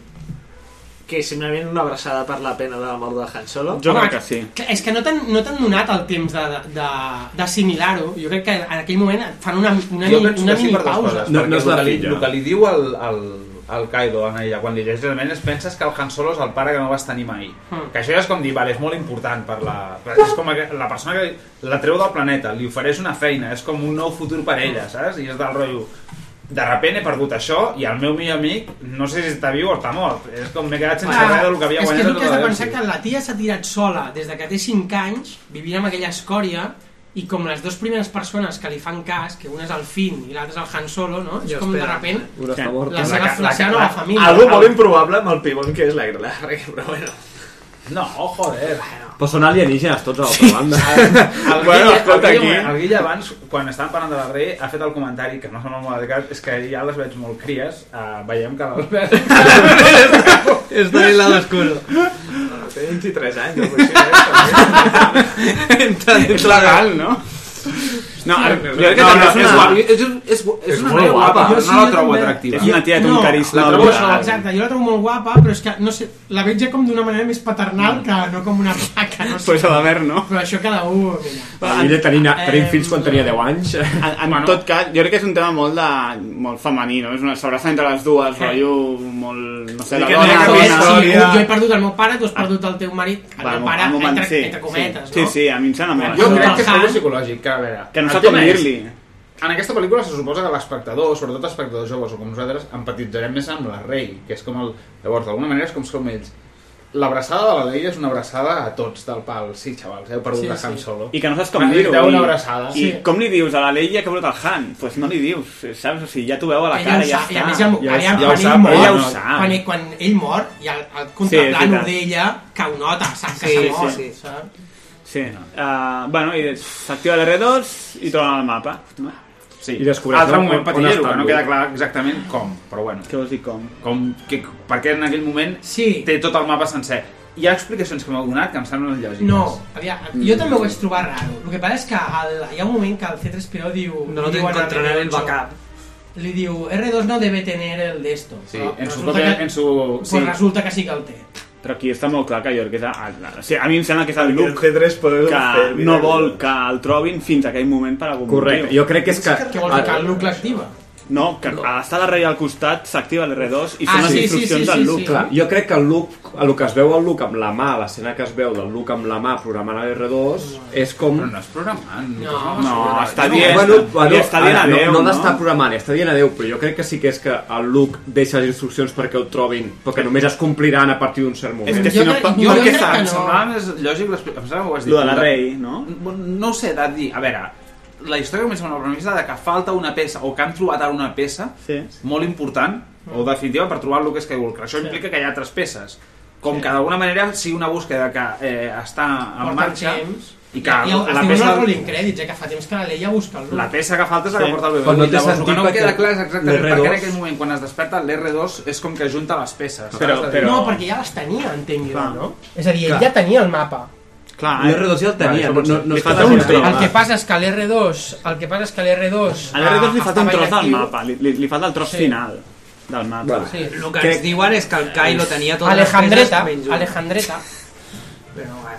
S42: que és simplement una abraçada per la pena de la mort de Han Solo.
S7: Home, clar, És que no t'han no t'han donat el temps de- de- d'assimilar-ho. Jo crec que en aquell moment et fan una, una,
S19: jo
S7: mi-
S19: penso
S7: una
S19: que sí
S7: mini
S19: per dues
S7: pausa.
S19: coses. perquè el que li- El que li diu el, el, el Kaido a ella, quan li llegeix les menes, penses que el Han Solo és el pare que no vas tenir mai.
S7: Mm.
S19: Que això ja és com dir, vale, és molt important per la... És com que la persona que la treu del planeta, li ofereix una feina, és com un nou futur per
S7: Hmm.
S19: ella, saps? I és del rotllo... De repente he perdut això i el meu millor amic no sé si està viu o està mort. És com m'he quedat sense
S7: Ah,
S19: res del que havia
S7: és que
S19: guanyat.
S7: és el
S19: tota
S7: que has
S19: la
S7: de
S19: vida.
S7: pensar que la tia s'ha tirat sola des de que té 5 anys, vivint amb aquella escòria, i com les dues primeres persones que li fan cas, que una és el Finn i l'altra és el Han Solo, no? És
S42: Jo
S7: com de
S42: espero.
S7: repent
S42: Una està morta.
S7: la seva, la seva nova família.
S42: Algo molt improbable amb el pivot que és la Grela, però bueno.
S19: No, joder.
S43: Però són alienígenes tots a l'altra banda.
S19: El
S43: Bueno,
S19: Guille,
S43: escolta,
S19: el Guille,
S43: aquí-
S19: El Guille abans, quan estàvem parlant de la Rey, ha fet el comentari, que no sembla molt adequat, és que ja les veig molt cries, uh, veiem que l'Albert...
S12: Està en lado oscuro.
S42: Té 23 anys, no? Potser, eh?
S12: Entra
S9: És legal, no? No,
S19: Hòstia,
S9: jo crec que
S19: no, no,
S9: també
S19: és
S9: és
S19: guapa.
S9: guapa.
S19: És, és, és,
S9: És
S19: una
S9: molt
S19: noia guapa,
S9: guapa.
S19: però
S9: Jo
S19: no la
S9: sí,
S19: trobo
S9: també.
S19: atractiva.
S9: És una tia d'un carisma
S19: La trobo
S9: brutal.
S19: això.
S7: Exacte, jo la trobo molt guapa, però és que, no sé, la veig ja com d'una manera més paternal que no com una placa, no sé.
S9: Pues a la ver, no?
S7: Però això cada un... Eh, Mira.
S9: Mira, tenint,
S7: tenint
S9: fills quan tenia 10 anys. En, en
S7: Bueno.
S9: bueno. tot cas, jo crec que és un tema molt, de, molt femení, no? És una sobraça entre les dues, rotllo molt... No sé,
S7: Sí,
S9: la
S7: que
S9: dona...
S7: no,
S9: la
S7: és, sí,
S9: història.
S7: jo he perdut el meu pare, tu has perdut el teu marit, el
S9: Bueno,
S7: teu pare,
S9: un moment,
S7: entre,
S9: sí,
S7: entre cometes,
S9: sí,
S7: no?
S9: Sí, sí, a mi em sembla molt.
S19: Jo
S9: això.
S19: crec que és algo psicològic, que a veure...
S9: Que no
S19: el
S9: sap
S19: tema
S9: com
S19: és,
S9: dir-li.
S19: En aquesta pel·lícula se suposa que l'espectador, sobretot espectadors joves o com nosaltres, empatitzarem més amb la rei, que és com el... Llavors, d'alguna manera és com som ells. L'abraçada de la Leia és una abraçada a tots del pal. Sí, xavals, heu perdut
S9: Sí,
S19: sí, la
S9: sí.
S19: Han Solo.
S9: I que no saps com dir-ho.
S19: Necessiteu una
S9: i-
S19: abraçada.
S9: I com li dius a la Leia que ha votat el Han? Doncs pues no li dius, saps? O sigui, ja t'ho veu a la
S7: Ella
S9: cara,
S7: ho
S9: ja
S7: sap,
S9: està.
S7: I a més ja, ja, ja,
S9: ja
S7: quan,
S9: ho sap,
S7: ell mor,
S9: però ja ho sap.
S7: quan, ell, quan ell mor, i el, el
S9: Sí,
S7: contemplant-ho
S9: és veritat.
S7: d'ella, que ho nota, sap que
S9: Sí,
S7: s'ha mort,
S9: sí.
S7: saps?
S9: Sí. Uh, bueno, i des- s'activa l'R2 i torna al mapa.
S19: Sí.
S9: I descobreix
S19: Altre
S9: on-
S19: moment
S9: on
S19: patillero,
S9: estan,
S19: que no
S9: vull
S19: queda
S9: dir.
S19: clar exactament com, però bueno.
S9: Què vols dir com?
S19: Com, que, perquè en aquell moment
S7: sí.
S19: té tot el mapa sencer. Hi ha explicacions que m'heu donat que em semblen lògiques.
S7: No, aviam, jo
S19: Mm.
S7: també ho vaig trobar raro. El que passa és que el, hi ha un moment que el C3PO diu...
S44: No, no
S7: li diuen al
S44: t'encontraré el
S7: R2,
S44: backup.
S7: Li diu, R2 no debe tener el de esto.
S9: Sí,
S7: Però
S9: en su
S7: resulta
S9: còpia-
S7: que-
S9: en su-
S7: Pues
S9: sí.
S7: resulta que sí que el té.
S9: Però aquí està molt clar que jo crec que és... el- el- O sigui, a mi em sembla que és eh? el Luke
S45: un fer, mira,
S9: que no vol que el trobin fins a aquell moment per algun
S12: Correcte,
S9: motiu.
S12: jo crec que és
S7: Què
S12: que-
S19: Ah,
S7: vols dir, que el Luke l'activa?
S9: No, que a l'estar la rei al costat s'activa l'R2 i
S7: Ah,
S9: són les
S7: sí, sí, sí,
S9: instruccions
S7: sí,
S9: del
S7: sí.
S9: Luke.
S12: Clar, jo crec que el look, el que es veu al look amb la mà, l'escena que es veu del look amb la mà programant a R2, és com...
S19: No és programant.
S7: No,
S12: No,
S9: està dient- li està dient
S12: ara,
S9: adéu, no?
S12: no, no l'està programant, li està dient adeu, però jo crec que sí que és que el Luke deixa les instruccions perquè ho trobin, però que només es compliran a partir d'un cert moment.
S19: És que si no, crec, jo perquè crec que no. semblava més lògic, les- em sembla que ho vas dir.
S12: Lo de la
S19: tu,
S12: Rey, no?
S19: No ho sé, de dir, a veure, la història comença amb la premissa de que falta una peça, o que han trobat ara una peça
S9: sí.
S19: molt important, o
S7: Mm.
S19: definitiva, per trobar Luke Skywalker. Això implica que hi ha altres peces. Com que d'alguna manera sigui una búsqueda que eh, està en
S7: Porta
S19: marxa...
S7: temps.
S19: I que
S7: Ja, ja,
S19: la
S7: estem en
S19: peça...
S7: els rolling credits, eh, que fa temps que la Leia busca el Luke.
S19: La peça que falta és la que
S7: Sí.
S19: porta el bebè.
S7: Però no té
S19: Llavors, el
S7: sentit
S19: que no
S7: perquè
S19: queda clar és exactament
S7: l'R2
S19: perquè en aquell moment, quan es desperta, l'R2 és com que junta les peces.
S7: Però,
S19: saps?
S7: però... No, perquè ja les tenia, entenc jo,
S19: Clar.
S7: no? És a dir, ell
S19: Clar.
S7: ja tenia el mapa.
S9: Clar,
S7: eh.
S12: L'R2 ja el tenia, no, no, no
S9: Li
S12: està
S9: falta un tros.
S7: El que passa és que l'R2... El que passa és que l'R2...
S9: A l'R2 li
S7: ah,
S9: falta un
S7: estava
S9: tros del
S7: inactiu.
S9: mapa, li, li, li falta el tros
S7: Sí.
S9: final del mapa.
S7: Bueno, Sí.
S44: El que ens diuen és que el Kylo tenia totes
S7: Alejandreta,
S44: les peces menys una.
S7: Alejandreta.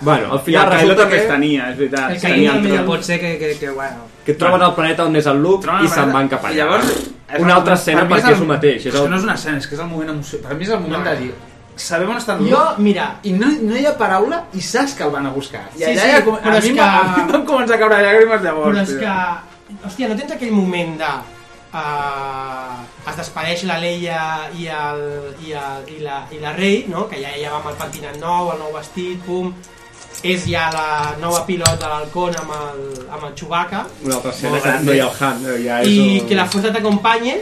S12: Bueno, al
S9: I
S12: final
S9: el Kylo
S12: resulta
S9: també
S12: que-
S9: es tenia, és veritat.
S44: El
S9: Es
S44: que,
S9: tenia
S44: que,
S9: el tros.
S44: pot ser que, que, que bueno...
S12: que troben el planeta on és el Luke i se'n van cap allà.
S19: I llavors,
S12: una altra escena
S19: mi
S12: perquè
S19: el-
S12: és el mateix.
S19: És
S12: És
S19: que no
S12: el...
S19: és una escena, és que és el moment emoció. Per mi és el moment de dir, sabem on està el
S7: Jo, mira...
S19: I no, no hi ha paraula i saps que el van a buscar. I
S7: Sí,
S19: allà
S7: sí,
S19: ja com,
S7: però
S19: a,
S7: és
S19: mi
S7: que-
S19: que... a mi em comença a caure llàgrimes llavors.
S7: Però és
S19: tio.
S7: que... Hòstia, no tens aquell moment de... Uh, es despedeix la Leia i, el, i, el, i, la, i la Rei, no? que ja, ja va amb el pentinat nou, el nou vestit, pum, és ja la nova pilot de l'Halcón amb el, amb el Chewbacca
S12: Una altra escena
S7: Molt
S12: que
S7: gran.
S12: no hi ha el Han. no, Ja és
S7: i
S12: un-
S7: que la fuerza t'acompanye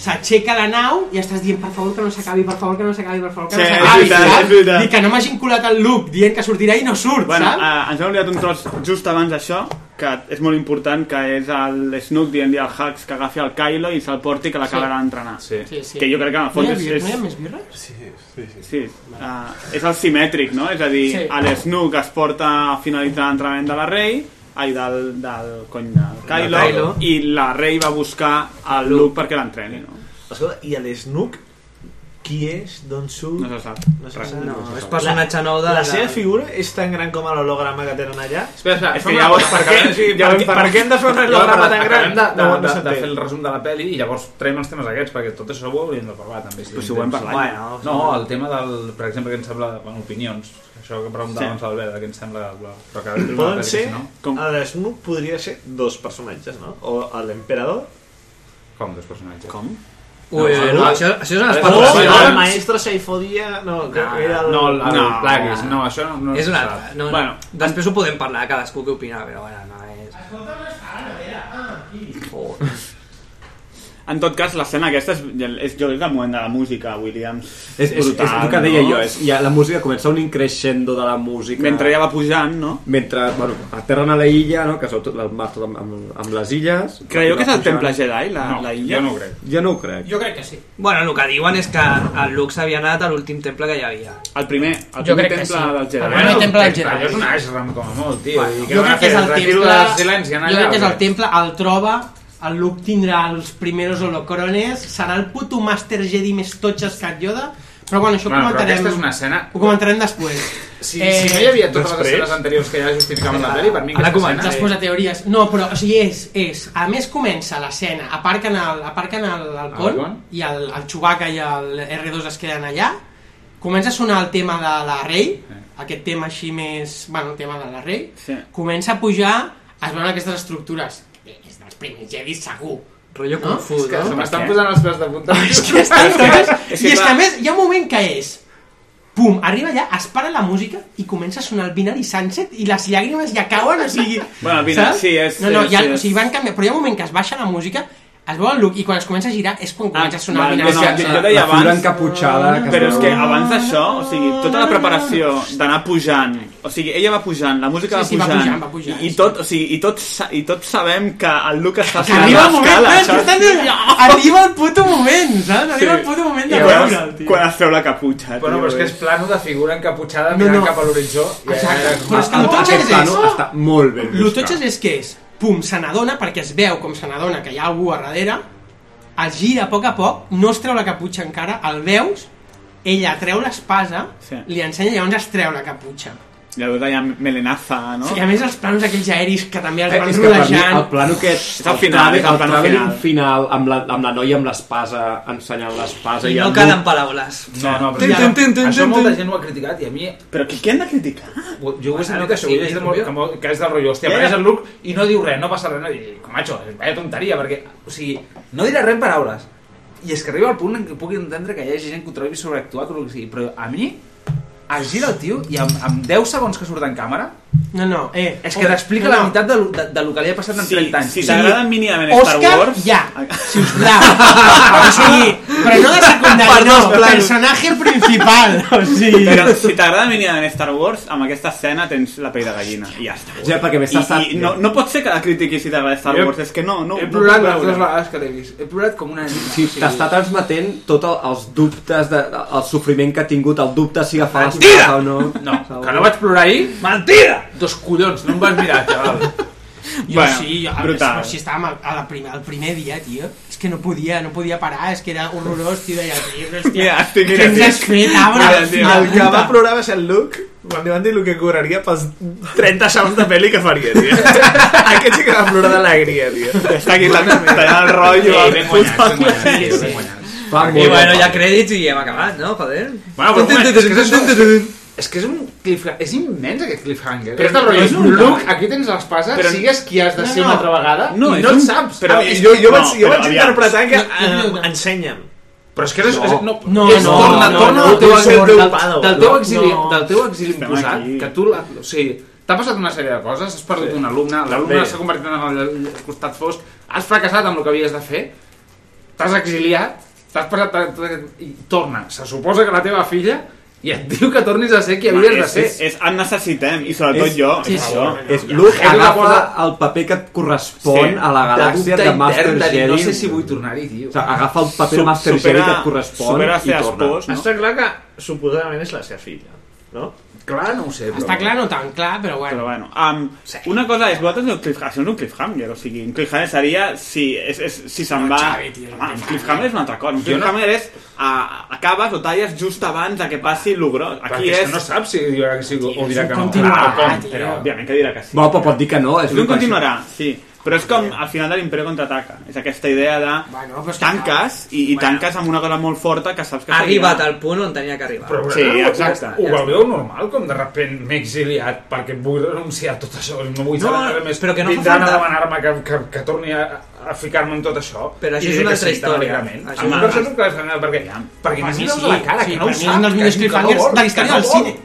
S7: s'aixeca la nau i estàs dient per favor que no s'acabi, per favor que no s'acabi, per favor que
S9: Sí,
S7: no
S9: és
S7: s'acabi
S9: veritat,
S7: saps?
S9: és veritat.
S7: i que no m'hagin colat el loop dient que sortirà i no surt
S9: Bueno,
S7: saps?
S9: eh, ens hem oblidat un tros just abans d'això, que és molt important, que és el Snook dient al Hux que agafi el Kylo i se'l porti que l'acabarà
S7: Sí.
S9: d'entrenar.
S7: Sí, sí.
S9: Que jo crec que en el fons
S7: no hi ha,
S9: és...
S7: birra-
S9: és...
S7: no hi ha més birra?
S45: Sí, sí, sí.
S9: Sí, uh, és el simètric, no? És a dir,
S7: Sí.
S9: sí. l'Snook es porta a finalitzar l'entrenament de la Rey, ai, del, del cony del Kylo,
S45: Kylo.
S9: i la Rey va buscar el Luke perquè l'entreni, no?
S45: Escolta, i a l'Snook, qui és, d'on surt...
S9: No se sap.
S45: No se sap.
S9: No, és
S44: personatge nou de-
S45: La seva figura és tan gran com l'holograma que tenen allà?
S19: Espera, espera,
S45: és que ja
S19: vols
S45: per què, ja per, per, què hem de fer un holograma tan gran?
S19: De, de, de, de,
S45: s'entén.
S19: fer el resum de la pel·li i llavors traiem els temes aquests, perquè tot això ho hauríem de parlar també. Si
S9: Però si
S19: tenim
S9: ho hem
S19: temps.
S9: parlat.
S19: Bueno,
S9: Bueno,
S19: no, el tema del, per exemple, que ens sembla, bueno, opinions, això que preguntava
S45: Sí.
S19: abans l'Albert, de què ens sembla, bla, però que una
S45: Poden
S19: pel·li,
S45: ser...
S19: si no.
S45: Com... A l'Snook podria ser dos personatges, no? O l'emperador...
S19: Com dos personatges?
S45: Com?
S44: Ui, ui, ui, això- això és una
S45: especulació.
S44: especulació.
S45: El
S12: eh.
S45: maestro Seifodia... No, crec que
S9: Ah,
S45: era el...
S19: no, el- el Plagueis, no, això no- no
S44: és
S19: se
S44: una
S19: sap.
S44: altra. No, no.
S19: Bueno.
S44: Bueno, després ho podem parlar, cadascú que opina, però bueno, no és...
S7: Escolta, on està? Ah, aquí.
S44: Joder.
S9: En tot cas, l'escena aquesta és, és, jo crec que el moment de la música, Williams.
S12: És, és, és el que deia no? jo, és, ja, la música comença un increixendo de la música...
S9: Mentre ja va pujant, no?
S12: Mentre, bueno, aterren a la illa, no?, que sou tot el mar tot amb, amb, amb les illes...
S9: Creieu que és el temple Jedi, la, no, la illa?
S19: Jo no ho crec.
S12: Jo no ho crec.
S7: Jo crec que sí.
S46: Bueno, el que diuen és que el Luke s'havia anat a l'últim temple que hi havia.
S9: El primer, el primer temple sí. del Jedi.
S7: El primer temple del Jedi.
S19: Allò és un ashram, com a molt, tio. Bueno,
S7: jo crec que és el temple...
S19: Silenci,
S7: jo crec que és el temple, el troba el Luke tindrà els primers holocrones, serà el puto Master Jedi més totxa escat Yoda, però bueno, això
S19: Bueno, però
S7: ho comentarem,
S19: aquesta és una escena...
S7: ho comentarem després.
S19: Si, eh, si no hi havia totes després... les escenes anteriors que ja justificaven la pel·li, per mi
S46: Ara
S19: aquesta escena...
S46: comença.
S7: Després de teories. No, però o sigui, és, és. A més comença l'escena, aparquen el, aparquen el, el pont
S19: Algon?
S7: i el, el Chewbacca i el R2 es queden allà. Comença a sonar el tema de la Rey, aquest tema així més... Bueno, el tema de la Rey.
S9: Sí.
S7: Comença a pujar, es veuen aquestes estructures. Bé, és dels primers Jedi segur.
S46: Rotllo
S7: no?
S46: confús,
S19: Que se
S46: no?
S9: eh?
S19: m'estan posant els peus de punta.
S7: És que està és que, I és que a més hi ha un moment que és Pum, arriba allà, es para la música i comença a sonar el Binary Sunset i les llàgrimes ja cauen, o sigui...
S9: Bueno, el Binary, sí, és-
S7: No, no,
S9: és-
S7: ja, o
S9: és-
S7: sigui, van canviar, però hi ha un moment que es baixa la música, es veu el look i quan es comença a girar és
S9: Ah,
S7: quan comença a sonar
S9: Val,
S7: el
S9: no,
S7: Binary
S9: no, jo,
S7: Sunset.
S9: jo deia
S12: La figura
S9: abans...
S12: encaputxada... Que
S9: Però és que
S12: es veu-
S9: abans d'això, o sigui, tota la preparació d'anar pujant, o sigui, ella va pujant, la música
S7: Sí, sí, va
S9: va pujant,
S7: pujant, va pujant,
S9: i, i tot, o sigui, i tot, sa- i tot sabem que el Luke està
S7: Que arriba el moment,
S9: l'escala,
S7: no, és
S9: saps?
S7: que està- arriba el puto moment, saps? Arriba el puto moment de
S9: I quan,
S7: veure'l, tio.
S9: quan es treu la caputxa, tio.
S19: Bueno, però és que és plano de figura encaputxada
S7: No,
S19: mirant
S7: no.
S19: cap a l'horitzó. i
S9: Eh,
S7: Exacte.
S19: ara-
S7: Però és que el totxes
S12: Aquest
S7: és-
S12: plano està molt ben
S7: Lo
S12: buscat.
S7: totxes és que és, pum, se n'adona, perquè es veu com se n'adona que hi ha algú a darrere, es gira a poc a poc, no es treu la caputxa encara, el veus, ella treu l'espasa,
S9: Sí.
S7: li ensenya i llavors es treu la caputxa.
S9: Llavors allà melenaza, no?
S7: No? I a més els plans aquells aeris que també els
S12: Eh,
S7: van
S12: és que per mi
S7: rodejant...
S12: el plano aquest
S9: És el final,
S12: travi-
S9: és el
S12: el
S9: plano
S12: travelling
S9: final.
S12: final amb la, amb la noia amb l'espasa ensenyant l'espasa
S46: I
S12: i
S46: no
S12: el
S46: calen paraules.
S19: No, no, però
S46: Tin,
S19: ja,
S46: tin, tin, tin,
S19: això
S46: tin,
S19: molta
S46: tin.
S19: gent ho ha criticat i a mi
S9: Però qui, qui hem de criticar?
S19: jo ho he sentit això, ho he
S46: sí,
S19: llegit molt, que, molt, que és del rotllo, hòstia,
S9: Ja,
S19: apareix
S9: ja.
S19: el Luke i no diu res, no passa res, no diu, comacho, vaya tonteria, perquè, o sigui, no dirà res en paraules. I és que arriba el punt en què puc entendre que hi hagi gent que ho trobi sobreactuat o el que sigui, però a mi es gira el tio i amb, amb 10 segons que surt en càmera
S7: No, no, eh...
S19: és que t'explica la meitat de, lo- de, de lo que li ha passat en
S9: Sí,
S19: 30 anys.
S9: sí, t'agrada mínimament Star
S7: Òscar,
S9: Wars...
S7: ja, sisplau. o sigui, però no de secundari, no, personatge principal. O sigui...
S9: Però si t'agrada mínimament Star Wars, amb aquesta escena tens la pell de gallina, i ja està.
S12: Ja, perquè més
S9: I,
S12: t'ha estat...
S9: i no, no pot ser que la critiquis si t'agrada Star Wars, és que no, no,
S19: He
S9: no
S19: plorat
S9: puc
S19: les
S9: veure.
S19: dues vegades que l'he vist. He plorat com una nena.
S12: Sí, t'està transmetent tot el, els dubtes, de, el sofriment que ha tingut, el dubte si agafar les
S19: Mentida!
S12: o no.
S19: No, que no vaig plorar ahir? Mentida! Dos collons, no em vas mirar, xaval.
S7: Jo
S9: Bueno,
S7: sí, jo,
S9: brutal.
S7: brutal. si estàvem al- a la primer, al primer dia, tio, és que no podia, no podia parar, és que era horrorós, tio, deia, tio, hòstia,
S9: Mira, estic
S7: què ens
S9: aquí.
S7: has fet, ara?
S9: Mira, tio,
S7: Mira,
S47: El que
S7: puta.
S47: va plorar va ser el Luke quan li van dir el que cobraria pels 30 segons de pel·li que faria, tio. Aquest sí que va plorar d'alegria, tio.
S9: Està aquí tant tallant el rotllo.
S19: Sí,
S9: al
S19: ben
S9: puto
S19: guanyats, ben guanyats,
S9: Atlético.
S19: tio, ben guanyats.
S12: Va,
S46: I
S12: molt
S46: bueno,
S12: bé.
S46: ja crèdits i hem acabat, no? Joder.
S19: Bueno, però un moment, és que és un-
S46: Tun-tun-tun-tun.
S19: És que és un cliffhanger, és immens aquest cliffhanger.
S9: Però
S19: és del
S9: no
S19: rotllo,
S9: és un-
S19: Luke, aquí tens l'espasa,
S9: Però-
S19: sigues qui has de
S7: No,
S19: ser
S7: no.
S19: una altra vegada
S9: No,
S19: i
S9: és
S19: no
S9: un-
S19: et saps. Ah,
S9: però-
S19: Però,
S9: és-
S47: Jo, jo
S9: no,
S47: vaig, jo
S9: però
S47: vaig
S9: aviam.
S47: interpretar que...
S7: No, no.
S47: eh, Ensenya'm.
S19: però és que és... és no,
S7: No,
S19: és,
S7: no,
S19: torna,
S7: no,
S19: torna
S7: no,
S19: del, teu, del,
S7: no,
S47: no,
S19: del, del teu
S7: no.
S19: exili,
S7: No.
S19: del teu exili imposat,
S9: aquí.
S19: que tu... La, o sigui, t'ha passat una sèrie de coses, has perdut un alumne, l'alumne
S9: També.
S19: s'ha convertit en el, el costat fosc, has fracassat amb el que havies de fer, t'has exiliat, t'has passat... t'ha- t'ha- I torna. Se suposa que la teva filla i et diu que tornis a ser qui havies de
S9: És,
S19: ser.
S9: és, és, en necessitem, i sobretot
S12: És-
S9: jo.
S7: sí,
S9: per
S7: sí.
S9: favor.
S12: És Luke
S19: Hem de
S12: agafa
S19: posar-
S12: el paper que et correspon
S9: Sí.
S12: a la galàxia de,
S19: dubte
S12: Master
S19: intern de dir,
S12: Jedi.
S19: No sé si vull tornar-hi, tio.
S12: O sigui, agafa el paper
S9: Sup-
S12: de Master Jedi que et correspon
S9: supera
S12: i
S9: ser
S12: torna.
S9: espòs, no?
S47: Està clar que suposadament és la seva filla, no?
S19: Clar, no ho sé, però...
S7: Està clar, no tan clar, però
S9: Però
S7: bueno.
S9: bueno, um, una cosa és, vosaltres no cliffhanger, això no és un cliffhanger, o sigui, un cliffhanger seria si, és, és, si se'n va...
S7: Xavi, tio,
S9: Home, un cliffhanger és una altra cosa, un cliffhanger és uh, acabes o talles just abans de que passi el gros. Aquí
S19: Perquè és
S9: és... Ah,
S19: que no saps si dirà que sí o dirà que no. Clar,
S7: continuarà,
S19: com,
S7: tio.
S19: però...
S9: Òbviament que dirà que sí.
S12: Va, però pot dir que no. És
S9: És un
S12: que-
S9: continuarà, sí. Però és com al final de l'Imperi contraataca. És aquesta idea de
S7: Bueno, però és que-
S9: tanques i, i tanques amb una cosa molt forta que saps que...
S46: Ha arribat
S9: seguirà.
S46: al punt on tenia que arribar.
S19: Però,
S9: Sí,
S19: bueno,
S9: exacte.
S19: Ho, ho veieu normal, com de repent m'he exiliat perquè vull renunciar a tot això i no vull saber
S46: No,
S19: res més.
S46: però que no fa
S19: Vindran
S46: falta.
S19: a demanar-me que, que, que torni a, a ficar-me en tot això.
S46: Però això
S19: I
S46: és
S19: diré
S46: una
S19: que
S46: altra
S19: tan
S46: història.
S19: alegrement.
S46: Això
S19: A mi
S46: és
S19: em
S46: una-
S19: resulta un cliffhanger perquè, perquè
S7: Home,
S19: més
S7: sí,
S19: veus
S7: sí,
S19: a la cara,
S7: sí,
S19: que no
S7: per
S19: ho sap.
S7: mi és un dels millors
S19: que diu que no
S7: cliffhangers
S19: vol,
S7: de la
S19: que
S7: història
S19: no
S7: del
S19: vol.
S7: cine.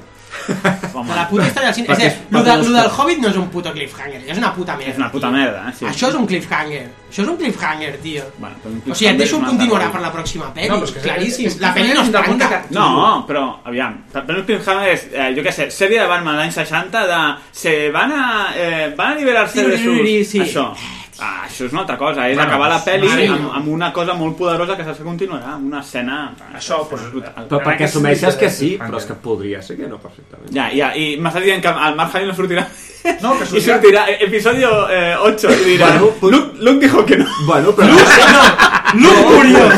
S7: Home. De la puta història del cine. És a dir, lo, de, lo del Hobbit no és un puto cliffhanger, és una puta merda.
S9: És una puta
S7: tio.
S9: merda, eh, sí.
S7: Això és un cliffhanger. Això és un cliffhanger, tio.
S9: Bueno, però un
S7: O sigui, et
S9: cliffhanger
S7: deixo
S9: mata
S7: continuarà
S9: la
S7: per la pròxima pel·li.
S9: No,
S7: No,
S9: però és que-
S7: Claríssim.
S9: és que-
S7: La pel·li no es tanca.
S9: No, però, aviam, però el Cliffhanger és, eh, jo què sé, sèrie de Batman l'any 60 de... Se van a... Eh, van a liberar-se de sus...
S7: Sí.
S9: Això. Ah, això és una altra cosa, és
S24: Bueno,
S9: acabar la pel·li
S24: sí.
S9: amb, amb una cosa molt poderosa que saps que continuarà, amb una escena... Això, però...
S12: Però perquè assumeixes que sí, però és que podria ser que no perfectament.
S9: Ja, ja, i m'estàs dient que el Mark Hamill no sortirà... No, que I
S12: sortirà.
S9: sortirà eh, episodio eh, 8 i dirà... Bueno, Luke, Luke dijo que no.
S12: Bueno, però...
S9: Luke murió!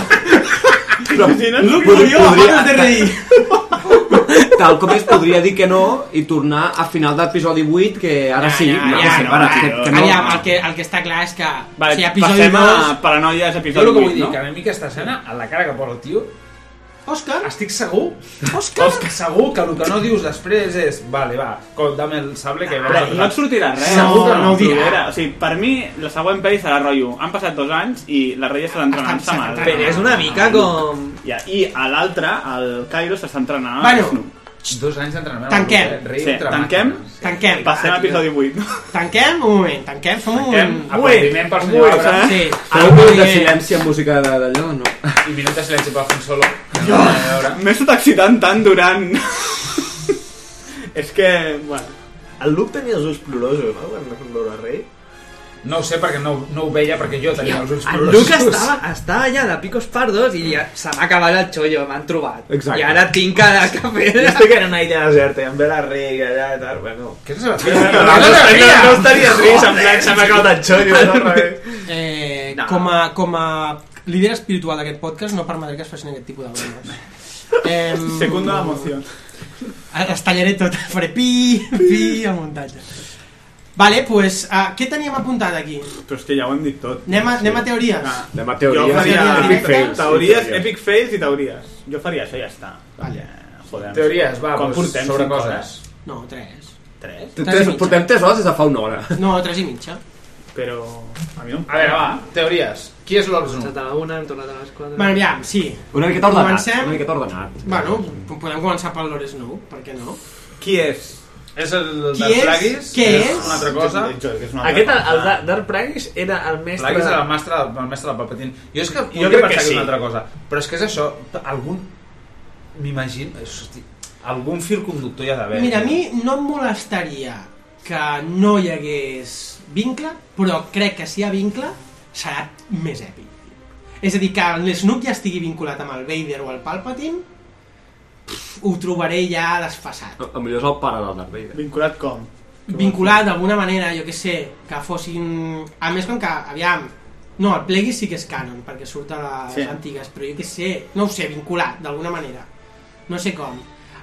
S12: Luke
S9: murió,
S12: de reír. Tal com és, podria dir que no i tornar a final d'episodi 8, que ara sí,
S7: ja,
S12: no,
S7: ja,
S12: sí,
S7: no,
S12: para,
S7: va,
S12: que, que no...
S7: Aviam, el que, el que està clar és que...
S9: Vale,
S7: o sigui, episodi
S9: passem a
S7: 2...
S9: Paranoies,
S6: Jo el
S9: episodi
S6: que vull
S9: 8,
S6: dir,
S9: no?
S6: que a mi aquesta escena, a la cara que posa el tio,
S7: Òscar?
S6: Estic segur, Òscar? Òscar? segur que el que no dius després és vale, va, com, dame el sable
S19: Ah,
S6: que...
S9: Però no et sortirà res.
S6: Segur que
S9: no,
S6: no ho dirà.
S9: O sigui, per mi, la següent pel·li serà rotllo. Han passat dos anys i la Reyes s'ha d'entrenar amb Samal.
S13: Però és una mica com...
S9: Ja, I a l'altre, el Cairo, s'està entrenant
S7: Bueno,
S6: Dos anys d'entrenament.
S7: Tanquem.
S9: Sí, tanquem.
S7: Tanquem.
S9: Passem a episodi 8.
S7: Tanquem un moment, tanquem, som
S9: Tanquem.
S7: un...
S6: Aplaudiment per senyor Abra.
S19: eh?
S9: eh?
S7: Sí.
S12: Feu un minut de silenci amb música de- d'allò, no?
S6: I minut de silenci per Alfonso Solo.
S9: M'he estat excitant tant durant... És que, bueno...
S48: El Luke tenia els ulls plorosos, no? Quan veure el rei.
S6: No ho sé perquè no, no ho veia, perquè jo tenia els ulls
S13: El Luke estava, estava allà de picos pardos i ja se m'ha acabat el xollo, m'han trobat.
S48: Exacte.
S13: I ara tinc que anar a fer...
S48: Jo estic en una illa deserta i em ve la rei allà i tal, bueno...
S6: Què és
S48: la No, no, no, no estaria trist, en plan, se m'ha acabat el xollo, no, res.
S7: Eh, com, a, com a líder espiritual d'aquest podcast no permetré que es facin aquest tipus de bromes. Eh,
S9: Segunda emoció.
S7: Ara es tallaré tot, faré pi, pi, el muntatge. Vale, pues, uh, què teníem apuntat aquí?
S9: Però és que ja ho hem dit tot.
S7: Anem a, anem a teories.
S12: Anem a
S9: Jo
S12: teories.
S9: faria
S12: Epic fails.
S9: teories,
S12: Sí, teories.
S9: epic fails i teories. Jo faria això i ja està. Vale. Joder,
S6: Teories, va,
S9: Com
S6: doncs,
S9: portem
S6: sobre
S9: cinc
S6: coses.
S9: hores?
S7: No, tres.
S9: Tres?
S12: Tu- tres- Portem 3 hores des de fa una hora.
S7: No, tres i mitja.
S9: Però... A mi no
S6: A veure, va, teories. Qui és l'Obsnum?
S13: Hem passat a la una, hem tornat a les quatre...
S7: Bueno, aviam, sí.
S12: Una miqueta ordenat.
S7: Comencem.
S12: Una miqueta ordenat.
S7: Bueno, podem començar pel Lores Nou, per què no?
S9: Qui és?
S6: És el
S7: Qui és? Què és?
S6: Aquest,
S19: Aquest, el Dark- Dark Price, era el mestre...
S6: Plagueis era el mestre, el mestre del Palpatine. Jo és que podria
S19: crec
S6: pensar que,
S19: que
S6: és
S19: sí.
S6: una altra cosa. Però és que és això, algun... M'imagino... hosti, Algun fil conductor hi ha d'haver.
S7: Mira, a mi no em molestaria que no hi hagués vincle, però crec que si hi ha vincle serà més èpic. És a dir, que l'Snoop ja estigui vinculat amb el Vader o el Palpatine, pff, ho trobaré ja desfassat.
S12: El millor és el pare del Darth Vader.
S9: Vinculat com?
S7: Vinculat d'alguna manera, jo que sé, que fossin... A més, com que, aviam, no, el Plagueis sí que és canon, perquè surt a les
S9: Sí.
S7: sí. antigues, però jo que sé, no ho sé, vinculat, d'alguna manera. No sé com.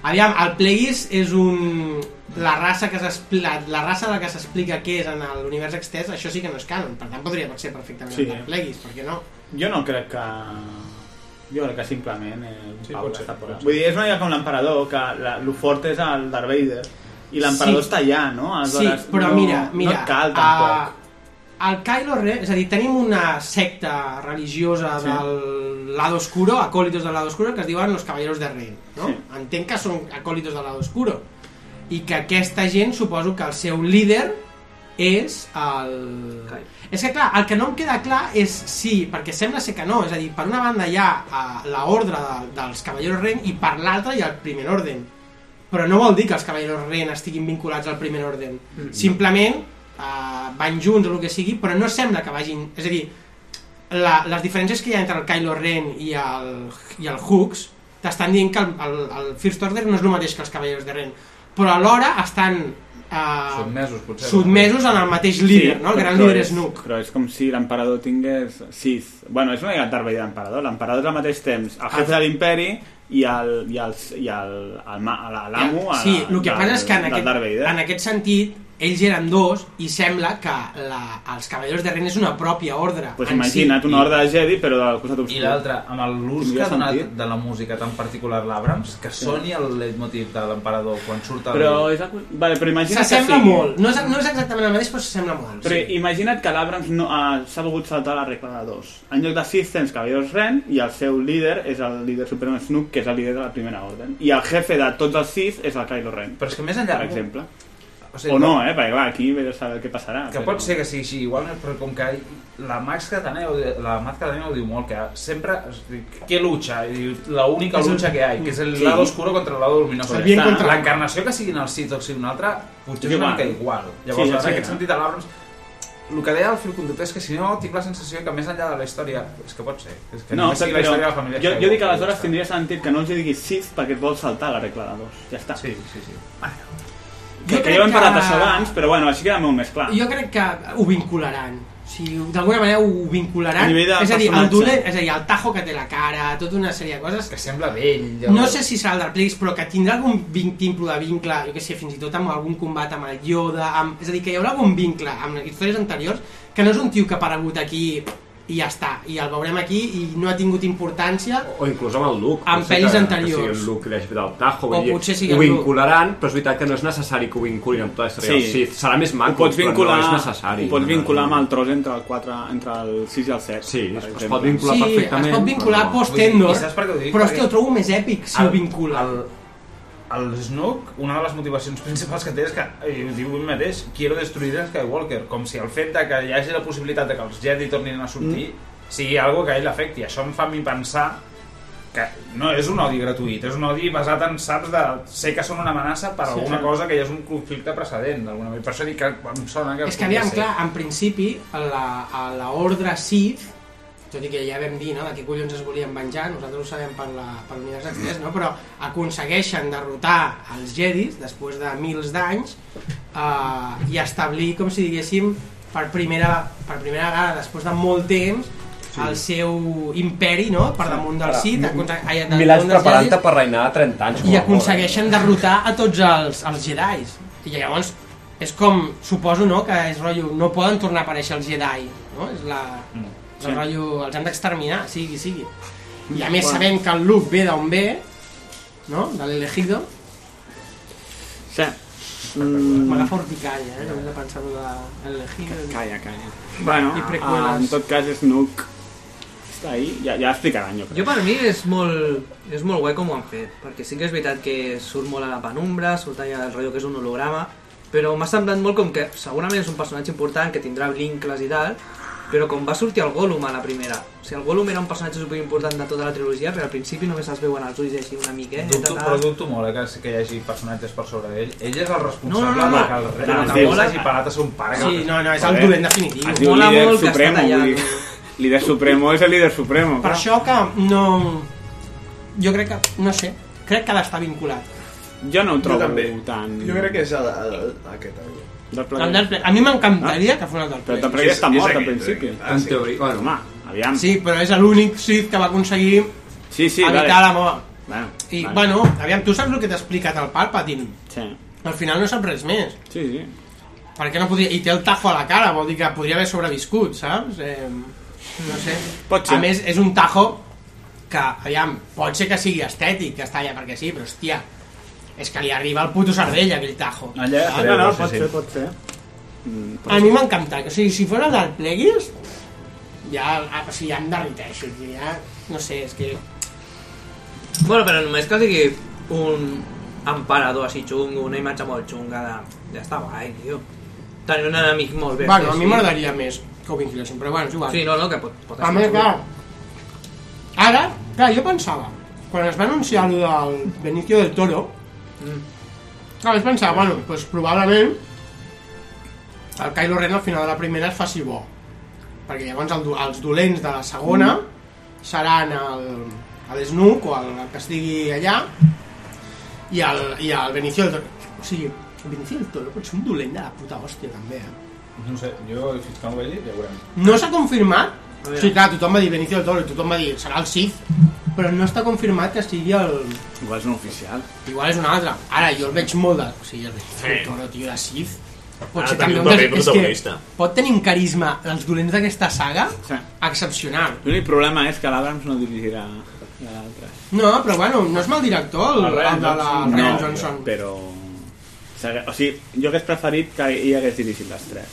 S7: Aviam, el Plagueis és un... La raça, que s'expli- la, la raça de la que s'explica què és en l'univers extès, això sí que no és canon, per tant podria ser perfectament
S9: Sí.
S7: sí. el Plagueis, per què no?
S9: Jo no crec que... Jo crec que simplement... Eh, un pau
S6: pot
S9: que
S6: ser,
S9: està
S6: pot
S9: por allà.
S6: ser.
S9: Vull dir, és una mica com l'emperador, que la, lo fort és el Darth Vader. I l'emperador
S7: Sí.
S9: està allà, no?
S7: sí, però
S9: no,
S7: mira, mira,
S9: No et cal, tampoc.
S7: A, el Kylo Ren, és a dir, tenim una secta religiosa
S9: Sí.
S7: sí. del lado oscuro, acólitos del lado oscuro, que es diuen los caballeros de Ren, no?
S9: Sí.
S7: Sí. Entenc que són acólitos del lado oscuro. I que aquesta gent, suposo que el seu líder és el... És que clar, el que no em queda clar és si, perquè sembla ser que no, és a dir, per una banda hi ha eh, la ordre de, dels Caballeros Ren i per l'altra hi ha el primer orden. Però no vol dir que els Caballeros Ren estiguin vinculats al primer orden.
S13: Mm.
S9: Mm-hmm.
S7: Simplement eh, van junts o el que sigui, però no sembla que vagin... És a dir, la, les diferències que hi ha entre el Kylo Ren i el, i el Hooks t'estan dient que el, el, el First Order no és el mateix que els Caballeros de Ren, però alhora estan... Eh,
S6: Sotmesos, potser.
S7: sotmesos en el mateix líder, no? El gran
S9: però
S7: líder és
S9: és-
S7: Snoke.
S9: Però és com si l'emperador tingués sis... Bueno, és una mica Darth Vader l'emperador. L'emperador és al mateix temps
S7: Ah,
S9: el jefe de l'imperi i el, i el, i el, el, ma- l'amo
S7: Sí,
S9: a la-
S7: el que
S9: del-
S7: passa és que en
S9: del
S7: aquest,
S9: Darth Vader.
S7: en aquest sentit ells eren dos i sembla que la, els Cavallers de Ren és una pròpia ordre.
S9: Pues
S7: en si.
S9: imagina't una horda de Jedi, però del costat obscur.
S19: I l'altre, amb l'ús que
S9: Tindria
S19: ha donat
S9: sentit.
S19: de la música tan particular l'Abrams, que soni el leitmotiv de l'emperador quan surt el...
S9: Però, és... acu- Vale, però imagina't que
S7: S'assembla
S9: sigui.
S7: molt. No és, no és exactament el mateix, però s'assembla molt.
S9: Però imagina't que l'Abrams no, eh, s'ha volgut saltar la regla de dos. En lloc de sis tens Cavallers Ren i el seu líder és el líder suprem Snook, que és el líder de la primera ordre. I el jefe de tots els sis és el Kylo Ren.
S19: Però és que més enllà-
S9: Per exemple.
S19: O
S9: O,
S19: sigui,
S9: o no,
S19: pot-
S9: eh? Perquè clar, aquí ve a saber què passarà.
S19: Que pot ser que sigui així, igual, però com que la Max Catania, ho di- la Max Catania ho diu molt, que sempre, què lucha? I diu, La única
S49: És el-
S19: lucha que hay, que és el
S49: Sí.
S19: lado oscuro contra el lado luminoso.
S49: El bien
S19: Ja està.
S49: contra-
S19: L'encarnació que siguin els Sith o que sigui una altra,
S49: És
S19: potser és una
S49: igual.
S19: mica igual.
S49: Sí,
S19: Llavors,
S49: ja
S19: en
S49: sé,
S19: aquest
S49: no?
S19: sentit, a l'Abrams, el que deia el fil conductor és que si no, tinc la sensació que més enllà de la història, és que pot ser, és que
S9: No,
S19: només sigui
S9: però,
S19: la història de la família
S9: jo, jo
S19: Skywalker,
S9: dic que
S19: ja
S9: aleshores
S19: està.
S9: tindria sentit que no els hi diguis sis perquè et vols saltar la regla de dos. Ja està. Sí,
S19: sí, sí.
S9: Que,
S7: Jo
S9: que
S7: crec
S9: ja ho hem parlat
S7: que-
S9: això abans, però bueno, així queda molt més clar.
S7: Jo crec que ho vincularan. O sigui, d'alguna manera ho
S9: A
S7: vincularan.
S9: nivell de
S7: És a dir, el
S9: personatge.
S7: dolent, és a dir, el tajo que té la cara, tota una sèrie de coses...
S19: Que sembla vell.
S7: Jo... No sé si serà el del Plix, però que tindrà algun vin- timbre de vincle, jo que sé, fins i tot amb algun combat amb el Yoda, amb... és a dir, que hi haurà algun vincle amb les històries anteriors, que no és un tio que ha aparegut aquí i ja està, i el veurem aquí i no ha tingut importància,
S50: O inclús amb el Luke.
S7: En
S50: pot ser
S7: pel·lis
S50: que-
S7: anteriors.
S50: Que sigui el Luke de- del Tajo.
S7: O
S50: vull dir,
S7: potser sigui
S50: ho
S7: el Luke.
S50: vincularan, però és veritat que no és necessari que ho vinculin amb tota la història. Sí. sí serà més maco,
S9: ho pots
S50: però
S9: vincular,
S50: no és necessari.
S9: Ho pots
S50: No,
S9: vincular amb el tros entre el, 4, entre el 6 i el 7. Sí,
S50: es pot vincular
S7: sí, es pot vincular post-Endor,
S19: I saps per què ho dic?
S7: però
S19: Perquè-
S7: hòstia, ho trobo més èpic si
S19: El-
S7: ho vincula.
S19: El, el Snook, una de les motivacions principals que té és que, i ho diu ell mateix, quiero destruir a Skywalker, com si el fet de que hi hagi la possibilitat de que els Jedi tornin a sortir mm. sigui algo que a ell l'afecti. Això em fa a mi pensar que no és un odi gratuït, és un odi basat en saps de sé que són una amenaça per
S7: Sí,
S19: alguna
S7: sí.
S19: cosa que ja és un conflicte precedent d'alguna manera. Per això dic que em sona que...
S7: És que aviam, clar, en principi, a la, a la ordre Sith, tot i que ja vam dir, no?, de què collons es volien venjar, nosaltres ho sabem per la, per l'univers express, no?, però aconsegueixen derrotar els Jedis després de mils d'anys eh, i establir, com si diguéssim, per primera, per primera vegada, després de molt temps, sí. el seu imperi, no?, per damunt del
S50: Ara,
S7: Sith,
S50: mi-
S7: aconse- ai, damunt
S50: Mil anys
S7: dels
S50: preparant-te
S7: Jedis,
S50: per reinar 30 anys. com
S7: i
S50: a molt.
S7: aconsegueixen derrotar a tots els, els Jedi. I llavors és com, suposo, no?, que és rotllo, no poden tornar a aparèixer els Jedi, no? És la... Sí. El rotllo, els han d'exterminar, sigui, sigui. I a més
S9: Bueno.
S7: sabem que el Luke ve d'on ve, no?, de l'elegido.
S9: Sí. Mm,
S7: M'agafa urticària, eh?, només de pensar-ho de l'elegido.
S9: calla, calla. Bueno,
S7: I
S9: ah, en
S7: preqüeles.
S9: tot cas, Snook està ahí, ja, ja explicaran, jo crec.
S12: Jo per mi és molt, és molt guai com ho han fet, perquè sí que és veritat que surt molt a la penombra, surt allà el rotllo que és un holograma, però m'ha semblat molt com que segurament és un personatge important que tindrà vincles i tal, però com va sortir el Gollum a la primera, o sigui, el Gollum era un personatge superimportant de tota la trilogia, però al principi només es veuen els ulls així una miqueta.
S19: Dubto,
S12: tal.
S19: però dubto molt eh, que, que hi hagi personatges per sobre d'ell. Ell és el responsable
S12: No, no, no, no.
S19: que el rei
S12: Clar,
S19: de
S12: es
S19: la
S12: diu-
S19: Bola hagi parat a ser un pare.
S7: Sí, no, no, és el
S9: Joder,
S7: dolent definitiu.
S9: eh, Es diu
S7: Mola
S9: líder
S7: molt que està
S9: supremo,
S7: tallat.
S9: vull dir, líder supremo és el líder supremo.
S7: Per això que no... Jo crec que, no sé, crec que ha d'estar vinculat.
S9: Jo no ho trobo
S7: també.
S9: tan...
S7: Jo crec
S51: que és el, el, el aquest any.
S9: Del
S7: El Darth Plagueis. A mi m'encantaria que fos el Darth
S9: Però
S7: Plagueis.
S9: el Plagueis està
S7: Sí, sí,
S9: mort
S7: sí,
S9: al
S7: sí,
S9: principi.
S7: sí. Ah, sí.
S9: Bueno, home, aviam.
S7: Sí, però és l'únic Sith que va aconseguir
S9: sí, sí,
S7: evitar
S9: vale.
S7: la mort.
S9: Bueno,
S7: I,
S9: vale.
S7: bueno, aviam, tu saps el que t'ha explicat el Palpatine.
S9: Sí.
S7: Al final no sap res més.
S9: Sí, sí.
S7: Per què no podria... I té el tajo a la cara, vol dir que podria haver sobreviscut, saps? Eh, no sé.
S9: Pot ser.
S7: A més, és un tajo que, aviam, pot ser que sigui estètic, que està allà perquè sí, però hòstia, és que li arriba el puto cervell aquell tajo.
S9: Allà,
S7: saps?
S9: Ah, no, no, pot ser, pot ser. Mm,
S7: A mi m'encanta, o sigui, si fos el del Pleguis, ja, ah, o sigui, ja em derriteixo, ja, no sé, és que...
S12: Bueno, però només que sigui un emperador així xungo, una imatge molt xunga de... Ja està guai, tio. Tenir un enemic molt bé.
S7: Bueno, a mi m'agradaria més que ho vinculessin, però bueno, és igual.
S12: Sí, no, no, que pot, pot
S7: A més, clar, ara, clar, jo pensava, quan es va anunciar allò del Benicio del Toro,
S12: Mm.
S7: clar, vaig pensar, bueno, doncs probablement el Kylo Ren al final de la primera es faci bo, perquè llavors el, do- els dolents de la segona
S12: Mm.
S7: seran el, el Snook o el, el que estigui allà i el, i el Benicio del Toro. O sigui, el Benicio del Toro pot ser un dolent de la puta hòstia, també, eh?
S19: No sé, jo fins que no ho vegi ja ho veurem.
S7: No s'ha confirmat
S19: A
S7: O
S19: veure.
S7: sigui, clar, tothom va dir Benicio del Toro i tothom va dir serà el Sith Però no està confirmat que sigui el...
S9: Igual és un oficial.
S7: Igual és un altre Ara, jo el veig molt de... O sigui, el Benicio del Toro, tio, de Sith Pot
S12: Ah,
S7: ser
S12: també
S7: també
S12: un
S7: un dels-
S12: paper
S7: és
S12: protagonista.
S7: Que pot tenir un carisma els dolents d'aquesta saga sí. excepcional.
S9: L'únic problema és que l'Abrams no dirigirà l'altre.
S7: No, però bueno, no és mal director el, el, el de la el Ryan Johnson.
S9: Però... s'hagué- O sigui, jo hagués preferit que hi hagués dirigit les tres.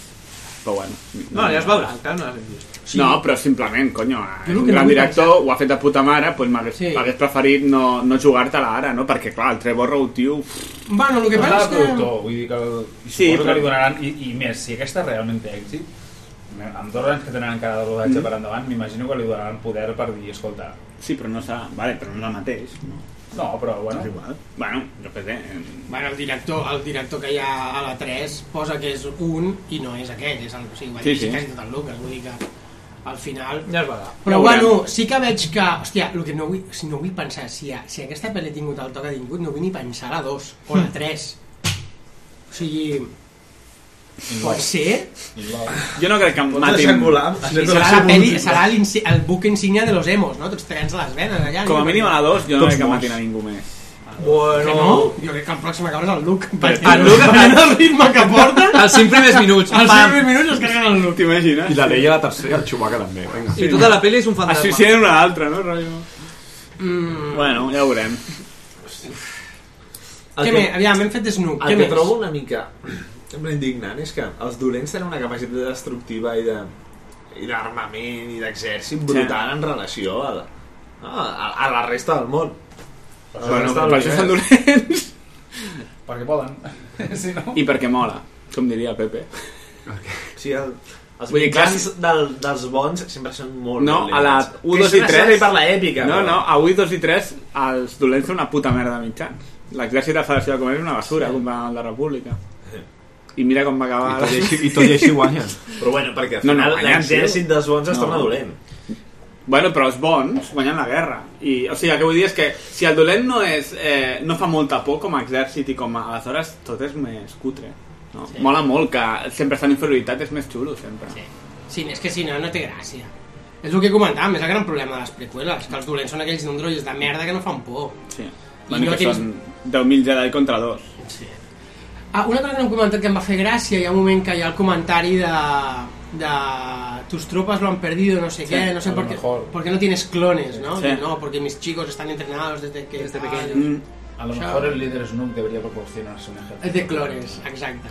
S9: Però bueno...
S52: No, ja es veurà, encara no l'has vist.
S9: Sí. No, però simplement, conyo, eh,
S52: Jo
S9: és
S52: lo
S9: un
S52: que
S9: gran
S52: no vull
S9: director, ho ha fet de puta mare, doncs m'hagués sí. preferit no, no jugar-te-la ara, no? Perquè, clar, el Trevor Rowe, tio... uf.
S7: Bueno, lo que
S19: No
S7: pasa
S19: de
S7: es que-
S19: productor, vull dir que... I
S9: Sí,
S19: sí, però...
S9: però-
S19: que li donaran... I, I més, si aquesta realment té èxit, amb dos anys que tenen encara de rodatge
S9: Mhm.
S19: per endavant, m'imagino que li donaran poder per dir, escolta...
S9: Sí, però no serà... Vale, però no és el mateix. No,
S19: no però bueno...
S9: És igual. Bueno, jo què sé... em-
S7: Bueno, el director, el director que hi ha a la 3 posa que és un i no és aquell, és el, o sigui, ho ha
S52: Sí,
S7: sí, sí.
S52: sí.
S7: quasi tot el Lucas, vull dir que al final...
S52: Ja es veurà.
S7: Però
S52: Ja veurem.
S7: bueno, sí que veig que... Hòstia, el que no vull, si no vull pensar, si, a, si aquesta pel·li ha tingut el toc que ha tingut, no vull ni pensar a la 2 o a la 3. O sigui... Pot ser?
S9: Jo no crec que em
S7: Pots
S9: matin...
S7: deixar Sí, serà la peli, serà l'insi- el buc insignia de los emos, no? Tots tenen les venes allà.
S9: Com a mínim a la 2 jo no
S7: Tots
S9: crec que
S7: morts.
S9: matin a ningú més.
S7: Bueno... Que no? Jo crec que el pròxim acaba és el Luke.
S9: El Luke-
S7: Veient el ritme que porta...
S52: Els cinc primers minuts,
S7: Els
S52: pam.
S7: 5 primers minuts es carreguen el Luke.
S9: T'imagines?
S53: I la Leia, la tercera, el Chewbacca també. Vinga.
S52: I tota la peli és un fantasma.
S9: Es suïciden una a l'altra, no? Rotllo.
S7: Mm.
S9: Bueno, ja ho veurem.
S7: Què més?
S12: El que-
S7: Aviam, hem fet Snoop. Què
S12: El que
S7: més?
S12: trobo una mica sembla indignant és que els dolents tenen una capacitat destructiva i de i d'armament i d'exèrcit brutal en relació a la, a, a, a la resta del món. A la
S9: Bueno,
S12: resta del
S9: per això són
S12: univers.
S9: dolents.
S19: Perquè poden. si no...
S9: I perquè mola, com diria el Pepe.
S12: Sí, el, els
S9: Vull dir,
S12: mitjans del, dels bons sempre són molt
S9: No,
S12: dolents.
S9: a la 1,
S12: Que
S9: 2 i
S12: això
S9: 3...
S12: serveix per l'èpica.
S9: No,
S12: però-
S9: no, a 1, 2 i 3 els dolents són una puta merda de mitjans. L'exèrcit de la Federació de Comerç és una basura, sí. com va la República. I mira com va acabar...
S53: I tot i així- i tot i així guanyen.
S12: Però bueno, perquè al final l'exèrcit dels bons es torna dolent.
S9: Bueno, però els bons guanyen la guerra. I, o sigui, el que vull dir és que si el dolent no, és, eh, no fa molta por com a exèrcit i com a... Aleshores tot és més cutre. No?
S7: Sí.
S9: Sí. Mola molt que sempre estan en inferioritat, és més xulo, sempre. Sí.
S7: Sí, és que si no, no té gràcia. És el que comentàvem, és el gran problema de les prequeles, que els dolents són aquells androides de merda que no fan por.
S9: sí.
S7: I no
S9: Bueno, que
S7: tens-
S9: són 10.000 Jedi contra 2.
S7: Sí. Ah, una cosa que no hem comentat que em va fer gràcia, hi ha un moment que hi ha el comentari de... de tus tropas lo han perdido, no sé
S52: Sí,
S7: qué, no sé
S52: a lo
S7: por qué,
S52: mejor.
S7: por qué no tienes clones, ¿no?
S52: Sí.
S7: Diu, No, porque mis chicos están entrenados desde que... Desde
S52: pequeños.
S19: A lo mejor el líder Snoop debería proporcionarse un ejército.
S7: De clones, exacte.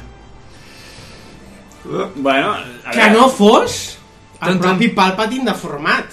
S9: Bueno, a
S7: Que
S9: veure.
S7: no fos el propi Palpatine deformat.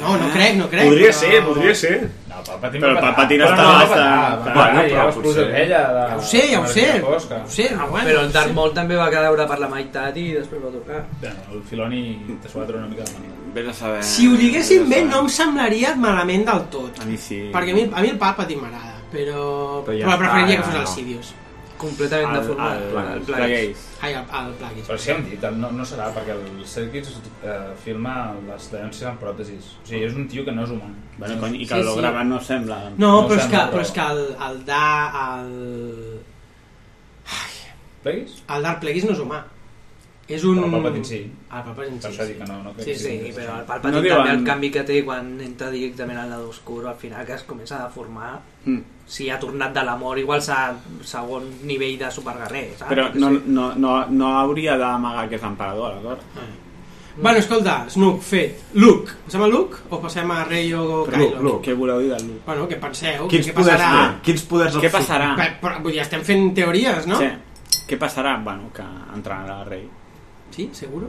S7: No, no crec, eh? no crec.
S12: Podria
S7: però-
S12: ser, podria ser.
S19: No, Palpatine va
S9: Però el
S19: petar.
S9: Palpatine
S19: Però
S9: està-
S19: no va
S9: està-
S19: petar, va
S9: Bueno,
S19: petar, i
S9: però
S19: ja va explotar
S9: potser-
S19: ella de-
S7: Ja ho sé, ja ho sé.
S19: de la fosca.
S7: Ho sé, però bueno.
S52: Però el Darth Maul també va quedar per la meitat i després va tornar.
S19: Bueno, el Filoni te s'ho va treure una mica de mania.
S9: Ves a saber...
S7: Si ho diguessin bé, no em semblaria malament del tot.
S9: A mi sí.
S7: Perquè a mi, a mi el Palpatine m'agrada, però...
S9: Però
S7: Però,
S9: ja
S7: ja però
S9: està,
S7: preferiria
S9: ja
S7: que fos el
S9: no.
S7: Sidious.
S52: Completament
S9: El- deformat. el- el- el Plagueis.
S7: Ai, el, el Plagueis.
S19: Però sí hem dit, no, no serà, perquè el Serkis eh, filma les denúncies amb pròtesis. O sigui, és un tio que no és humà.
S9: Bueno, cony, i que Sí, lo sí. graven no sembla.
S7: No, però, és que, però... és que el, el da... El...
S19: Plagueis?
S7: El Dark Plagueis no és humà. És un...
S19: Però el Palpatine sí.
S7: El Palpatine sí.
S19: Per això dic que no- no crec
S52: Sí,
S19: que
S52: sí,
S19: sigui
S52: però el
S19: interessant.
S52: Palpatine
S19: No
S52: no
S19: diuen-
S52: també el canvi que té quan entra directament al lado oscur, al final que es comença a deformar,
S9: Mm.
S52: si ha tornat de l'amor, igual s'ha segon nivell de superguerrer, saps?
S7: Ah,
S9: Però
S52: Jo què
S9: no,
S52: sé.
S9: no, no, no hauria d'amagar que és l'emperador, d'acord?
S7: Bueno, escolta, Snook, fet. Luke. Passem a Luke o passem a Rey o
S9: Però
S7: Kylo?
S9: Luke, Luke, què voleu dir del Luke?
S7: Bueno, què penseu?
S9: Quins
S7: què
S9: poders
S7: passarà?
S9: té? Quins poders Què absurds? passarà?
S7: Bé, Però, vull dir, estem fent teories, no?
S9: Sí. Què passarà? Bueno, que entrarà el rei.
S7: Sí, seguro?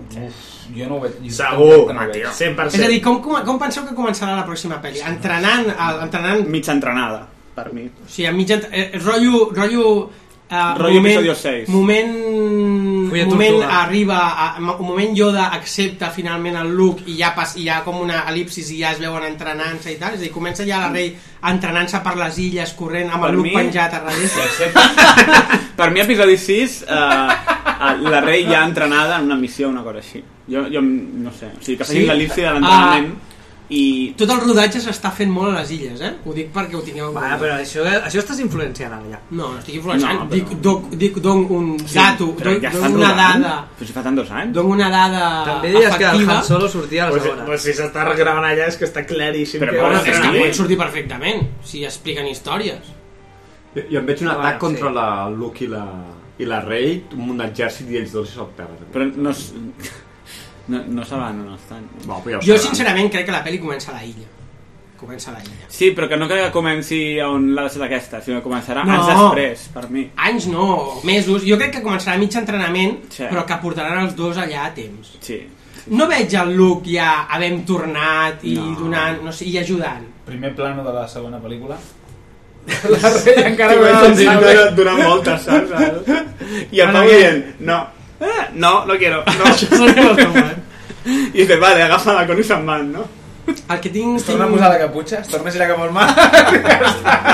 S19: Jo no ho veig.
S9: Segur, Mateo. 100%.
S7: És a dir, com, com, com penseu que començarà la pròxima pel·li? Entrenant, el, entrenant...
S9: Mitja entrenada, per mi.
S7: O sigui, amb mitja... ent- Eh, rotllo... rotllo eh,
S9: Rotllo episodio seis.
S7: moment,
S9: Fulla
S7: moment
S9: tortuga.
S7: arriba a, un moment Yoda accepta finalment el Luke i ja, pas, i ja com una elipsis i ja es veuen entrenant-se i tal, és a dir, comença ja la rei entrenant-se per les illes, corrent amb
S9: Per
S7: el Luke
S9: mi-
S7: penjat a darrere
S9: Per mi, episodi 6, eh, la rei ja entrenada en una missió, una cosa així. Jo, jo no sé, o sigui, que facin
S7: Sí? Ah.
S9: sí? l'elipsi de l'entrenament i...
S7: tot el rodatge s'està fent molt a les illes eh? ho dic perquè ho tingueu en
S52: Va, Ah, però això, això estàs influenciant allà.
S7: no, no estic influenciant,
S52: No,
S7: no,
S52: però-
S7: dic, doc, dic don un dato,
S9: però
S7: dono
S9: ja
S7: dono
S9: estan
S7: una
S9: rodant.
S7: dada
S9: Però si fa tant dos anys.
S7: dono una dada
S52: També deies que el
S7: Ah, efectiva.
S52: Han Solo sortia a la
S12: Pues,
S52: segona.
S12: pues si s'està gravant allà és que està claríssim.
S7: Però,
S12: que
S7: bueno,
S12: va
S7: és
S9: eh?
S7: que
S12: ser.
S7: pot sortir perfectament, si expliquen històries.
S53: Jo, jo em veig un
S7: Ah,
S53: atac
S7: bueno,
S53: contra la Luke i la,
S12: i la rei, un exèrcit i ells dos se'l perden.
S9: Però no... s- No, no saben on estan.
S12: Bueno, però ja ho
S7: Jo,
S9: saben.
S7: sincerament, crec que la pel·li comença a la illa. Comença a la illa.
S9: Sí, però que no crec que comenci on l'ha de ser aquesta, sinó que començarà
S7: No.
S9: anys després, per mi.
S7: Anys no, mesos. Jo crec que començarà mig entrenament,
S9: Sí.
S7: però que portaran els dos allà a temps.
S9: Sí.
S7: No veig el Luke ja havent tornat i
S19: No.
S7: donant, no sé, i ajudant.
S19: Primer plano de la segona pel·lícula.
S7: La rei
S9: encara no
S19: Doncs
S9: ha
S19: donant-
S9: pensat.
S19: donant voltes, saps?
S9: I el Pau dient, no, eh, no, no quiero, no. I dice, vale, agafa la con i se'n van, no?
S7: El que tinc... Es
S19: torna a posar la caputxa, es torna a girar cap al mar.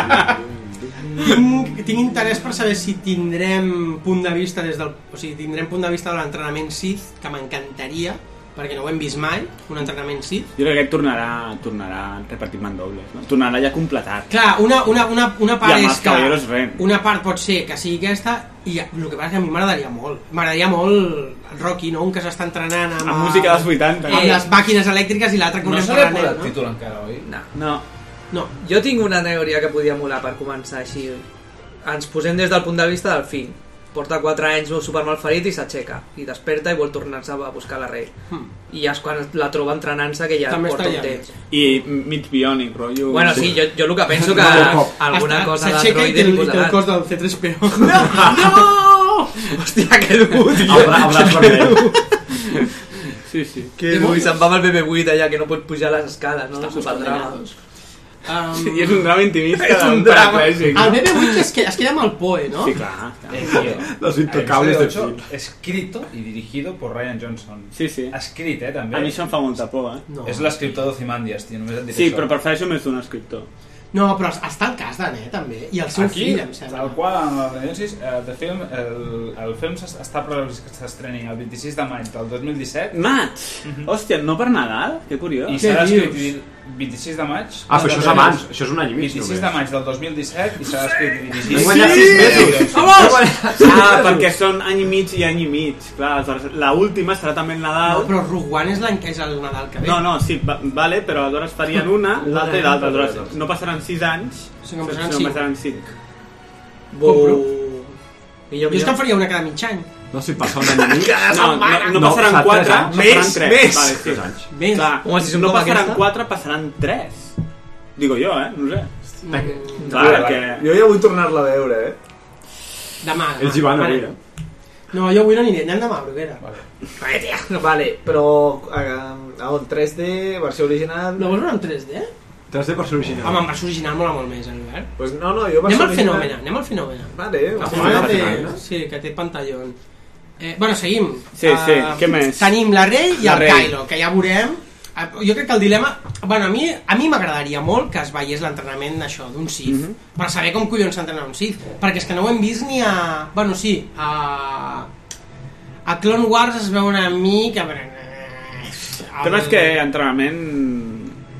S7: Tinc, tinc interès per saber si tindrem punt de vista des del... O sigui, tindrem punt de vista de l'entrenament Sith, que m'encantaria, perquè no ho hem vist mai, un entrenament Sith.
S9: Jo crec que aquest tornarà, tornarà repartit mandobles, no? Tornarà ja completat.
S7: Clar, una, una, una, una
S9: I
S7: part
S9: amb
S7: és
S9: els
S7: que...
S9: caballeros ven.
S7: Una part pot ser que sigui aquesta i el que passa és que a mi m'agradaria molt. M'agradaria molt el Rocky, no? Un que s'està entrenant amb...
S9: Amb música dels 80.
S7: Amb les màquines elèctriques i l'altre que
S19: No
S7: un
S19: se li ha
S7: emprenent,
S19: posat
S7: no?
S19: títol encara, oi?
S13: No.
S9: No.
S7: No.
S13: Jo tinc una teoria que podia molar per començar així. Ens posem des del punt de vista del fill. Porta 4 anys super malferit i s'aixeca. I desperta i vol tornar-se a buscar la rei.
S7: Hmm.
S13: I ja és quan la troba entrenant-se que ja
S7: També
S13: porta
S7: està
S13: un
S7: allà.
S13: temps.
S9: I mig biònic, rotllo...
S13: Bueno, sí, jo, jo el que penso que
S9: Robocop.
S13: alguna
S7: Està-
S13: cosa de
S7: S'aixeca i té,
S13: droide
S7: el-
S13: li
S7: i té el
S13: posaran.
S7: cos del C3PO. No!
S13: no! Hòstia, que dur, tio. El,
S12: bra- el braç
S13: vermell.
S9: Sí, sí.
S13: Que dur, i se'n va amb el BB-8 allà, que no pot pujar les escales, no? Està superdrama.
S7: Um,
S9: I és un drama intimista
S13: És un
S9: d'un
S13: drama.
S9: paraplègic.
S7: El BB-8 es, que, es queda amb el Poe, eh, no?
S9: Sí, clar.
S19: Los
S9: intocables de Phil.
S19: Escrito y dirigido por Ryan Johnson.
S9: Sí, sí.
S19: Escrit, eh, també.
S9: A mi això em fa molta por, eh?
S7: No.
S19: És l'escriptor d'Ocimandias, tio, només et diré
S9: Sí,
S19: això.
S9: però prefereixo més d'un escriptor.
S7: No, però està el cas d'Ané, també. I el seu
S19: Aquí,
S7: fill, em sembla.
S19: Tal qual, en les anuncis, eh, the film, el, el film s'es- està previst que s'estreni el 26 de maig del 2017.
S9: Maig! Hòstia, no per Nadal? Que curiós.
S19: I
S9: Què
S19: serà
S9: dius?
S19: escrit i- 26 de maig...
S9: Ah, però això és abans, això és un any i mig,
S19: 26
S9: només.
S19: de maig del 2017 i serà escrit i dirigit.
S9: Sí! Ah, perquè són any i mig i any i mig. Clar, aleshores, l'última serà també el Nadal.
S7: No, però Rogue One és l'any que és el Nadal que ve.
S9: No, no, sí, va, vale, però aleshores farien una, l'altra i l'altra. Aleshores, no passaran 6 anys,
S7: en
S9: sinó
S7: passaran
S9: que
S7: cinc.
S9: passaran 5.
S7: Compro.
S13: Millor,
S7: Jo és que
S9: millor.
S7: en faria una cada mig any.
S12: No, si passa un any i mig...
S9: No, no, no passaran
S12: serà
S9: 4,
S12: tres ¿eh? anys.
S9: passaran 3. Vale, sí.
S12: Tres anys.
S7: Més.
S9: Clar,
S12: Home, si som
S9: no
S12: com
S9: passaran
S12: aquesta.
S9: 4, passaran 3. Digo jo, eh? No ho sé. Clar,
S54: Clar,
S9: que...
S54: Jo ja vull tornar-la a veure, eh?
S7: Demà.
S54: Ells hi van avui,
S7: No, jo avui no aniré, anem demà, Bruguera.
S13: Vale,
S54: però a, a on 3D, versió original...
S7: No vols veure en 3D?
S12: 3D versió original.
S7: Home, em va original mola molt més, Albert.
S54: Pues no, no, jo
S7: anem
S54: versió
S7: al
S54: original-
S7: fenomen, anem al fenomen.
S54: Vale,
S12: eh,
S7: el
S54: versió
S7: fenomen
S54: original,
S7: té,
S54: no?
S7: sí, que té pantallón. Eh, bueno, seguim.
S9: Sí, sí,
S7: Eh,
S9: què més?
S7: Tenim la Rey i
S9: La
S7: el
S9: Rey.
S7: Kylo, que ja veurem. Eh, Jo crec que el dilema... Bueno, a mi a mi m'agradaria molt que es veiés l'entrenament d'això, d'un Sith,
S9: Mhm.
S7: per saber com collons s'entrena un Sith, perquè és que no ho hem vist ni a... Bueno, sí, a... A Clone Wars es veu una mica... però, eh,
S9: El tema és que entrenament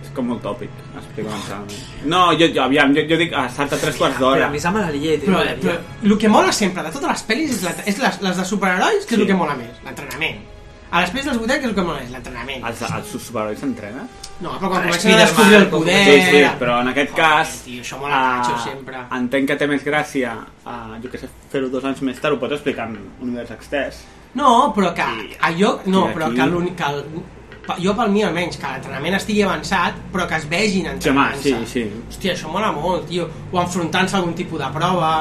S9: és com molt tòpic, explico l'entrenament. No, jo, jo, aviam, jo, jo dic, ah, salta tres quarts d'hora.
S13: Però a mi se m'agradaria, tio.
S7: Però, però el que mola sempre de totes les pel·lis és, la, és les, les de superherois, que és el que mola més, l'entrenament. A les pel·lis dels 80, que és el que mola més, l'entrenament.
S9: Els, els superherois s'entrenen?
S7: No, però quan comencen a descobrir el poder...
S9: Sí, sí, però en aquest cas... ah,
S7: tio, això mola cacho, sempre.
S9: Entenc que té més gràcia, uh, jo què sé, fer-ho dos anys més tard, ho pots explicar en un univers extès.
S7: No, però que allò... No,
S9: Aquí,
S7: però
S9: aquí.
S7: que l'únic... que el- pa- Jo pel mi almenys, que l'entrenament estigui avançat, però que es vegin
S9: Sí, home, sí,
S7: entrenant-se.
S9: sí.
S7: Hòstia, això mola molt, tio. O enfrontant-se a algun tipus de prova...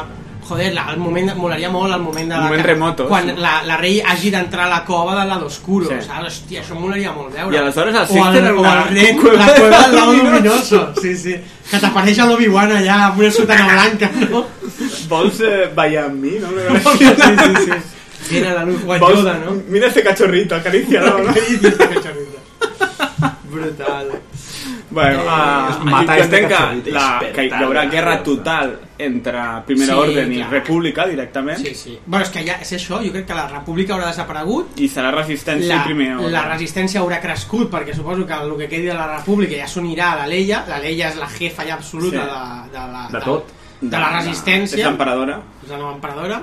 S7: Joder, la, el moment, molaria molt el moment de...
S9: Un
S7: la-
S9: moment
S7: que-
S9: remoto,
S7: Quan
S9: sí.
S7: la, la rei hagi d'entrar a la cova del lado oscuro,
S9: Sí.
S7: sí. saps? Hòstia, això molaria molt veure.
S9: I aleshores el
S7: o
S9: Sixten
S7: el,
S9: era
S7: o
S9: una
S7: el nen,
S9: cueva
S7: la cueva del lado
S9: luminoso.
S7: luminoso. Sí, sí. Que t'apareix a l'Obi-Wan allà amb una sotana blanca, no?
S9: Vols eh, ballar amb mi, no?
S7: Sí, sí, sí. Viene la luz, guai, Yoda, no?
S9: Mira este cachorrito, acariciado, no?
S7: Brutal.
S9: Bueno,
S7: Eh,
S9: eh,
S7: mata
S9: mata jo
S7: este
S9: entenc que,
S7: cachorrito,
S9: la, que hi haurà
S7: despertar,
S9: guerra
S7: despertar.
S9: total entre Primera
S7: Sí,
S9: Orden i
S7: clar.
S9: República directament
S7: sí, sí. Bueno, és que ja és això, jo crec que la república haurà desaparegut
S9: i serà Resistència
S7: la,
S9: i Primera Orden.
S7: la resistència haurà crescut perquè suposo que el que quedi de la república ja s'unirà a la Leia, la Leia és la jefa ja absoluta de,
S9: Sí.
S7: de, la,
S9: De tot.
S7: de, de la resistència
S9: És l'emperadora.
S7: és la nova emperadora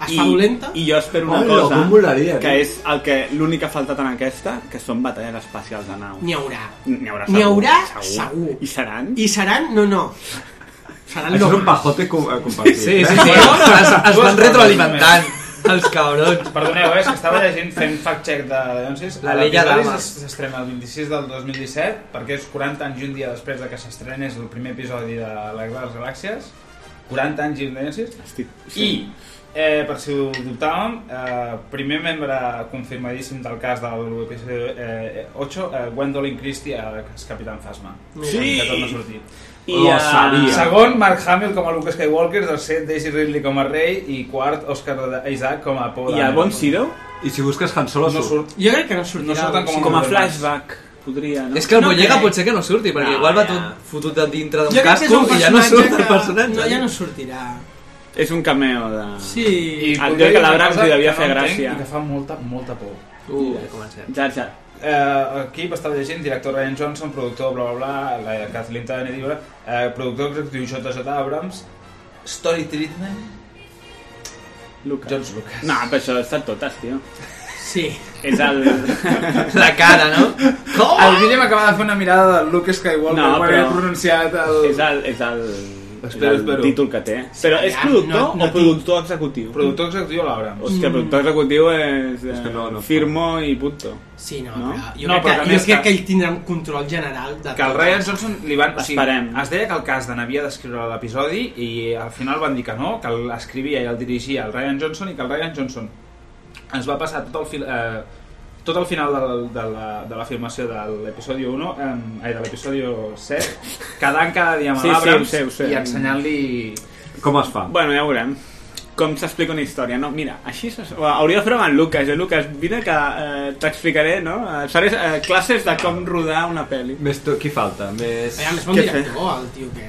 S7: es fa dolenta
S9: I jo espero una
S7: Hola,
S9: cosa,
S7: com molaria,
S9: que
S7: tio.
S9: és el que l'únic que ha faltat en aquesta, que són batalles espacials de nau.
S7: n'hi haurà
S9: N'hi haurà,
S7: n'hi haurà segur,
S9: segur. I seran?
S7: i seran, no, no seran
S9: Això és
S7: lo
S9: un
S7: más.
S12: Pajote com, eh, compartit.
S13: Sí, sí, sí. Es, es van retroalimentant.
S1: Els cabrons.
S19: Perdoneu, eh, és que estava llegint fent fact-check de denúncies.
S1: La Leia Damas.
S19: S'estrena el 26 del 2017, perquè és 40 anys i un dia després de que s'estrenés el primer episodi de la Guerra de les Galàxies. 40 anys i un denúncies. I, eh, per si ho dubtàvem, eh, primer membre confirmadíssim del cas de l'episodi eh, 8, eh, Gwendolyn Christie, eh, que és Capitán Phasma.
S9: Sí!
S19: Que torna a sortir.
S9: I, Lo eh, sabia.
S19: Segon, Mark Hamill com a Luke Skywalker, tercer, Daisy Ridley com a rei i quart, Oscar Isaac com a Poe
S9: I el bon Sido?
S12: I si busques Han Solo
S19: No surt.
S7: Jo crec que no sortirà.
S19: No surten com,
S9: Com a
S19: Google Maps.
S9: flashback. Podria, no?
S1: És que el
S9: no
S1: Bollega
S9: crec.
S1: potser que no surti, perquè
S9: No,
S1: igual va
S9: ja.
S1: tot fotut de dintre d'un
S7: Jo crec que és
S1: casco
S7: un
S1: i ja no surt
S7: personatge
S1: el
S7: que-
S1: personatge.
S7: No, ja no sortirà.
S9: És un cameo de...
S7: Sí.
S9: I el
S19: podria
S9: Joy
S19: dir una
S9: Calabrax
S19: cosa
S9: li devia
S19: que
S9: fer
S19: no entenc
S9: gràcia.
S19: I que fa molta, molta por.
S1: Uh, ja comencem.
S9: Jar Jar.
S19: Eh, aquí estava llegint director Ryan Johnson, productor bla bla bla, la Kathleen Turner llibre, eh, productor executiu JJ Abrams, Story Treatment,
S9: Lucas.
S19: George Lucas.
S9: No, però això està totes, tio.
S7: Sí.
S9: És el...
S1: La cara, no?
S9: Com?
S19: El Guillem acaba de fer una mirada de Luke Skywalker
S9: No,
S19: quan
S9: però-
S19: ha pronunciat el...
S9: És el... És el...
S19: Espero,
S9: és el
S19: espero.
S9: títol que té. Però és
S19: ja,
S9: productor
S19: no- no
S9: o productor executiu?
S19: Productor executiu a l'Abrams.
S9: Hòstia, productor executiu és... Eh,
S12: És que no- no-
S9: firmo i punto.
S7: Sí, no,
S9: No?
S7: no? jo,
S19: No,
S7: no,
S19: però
S7: crec
S19: també
S7: que, jo crec
S19: està-
S7: que ell tindrà un control general de
S19: que el
S7: tot.
S19: Ryan Johnson li van... O sigui,
S9: Esperem.
S19: Es deia que el cas de n'havia d'escriure l'episodi i al final van dir que no, que l'escrivia i el dirigia el Ryan Johnson i que el Ryan Johnson ens va passar tot el, fil, eh, tot el final de, de, la, de la filmació de l'episodi 1, eh, ai, de l'episodi 7, quedant cada dia amb
S9: Sí, sí, ho
S19: l'Abrams
S9: sé, ho sé.
S19: i ensenyant-li...
S12: Com es fa?
S9: Bueno, ja veurem. Com s'explica una història, no? Mira, així s'es- ho hauria de fer amb en Lucas. Eh? Lucas, vine que eh, t'explicaré, no? Eh, Faré eh, classes de com rodar una pel·li.
S12: Més to... Qui falta? Més...
S7: Aviam, és Eh, bon
S9: Què
S7: director, el tio que...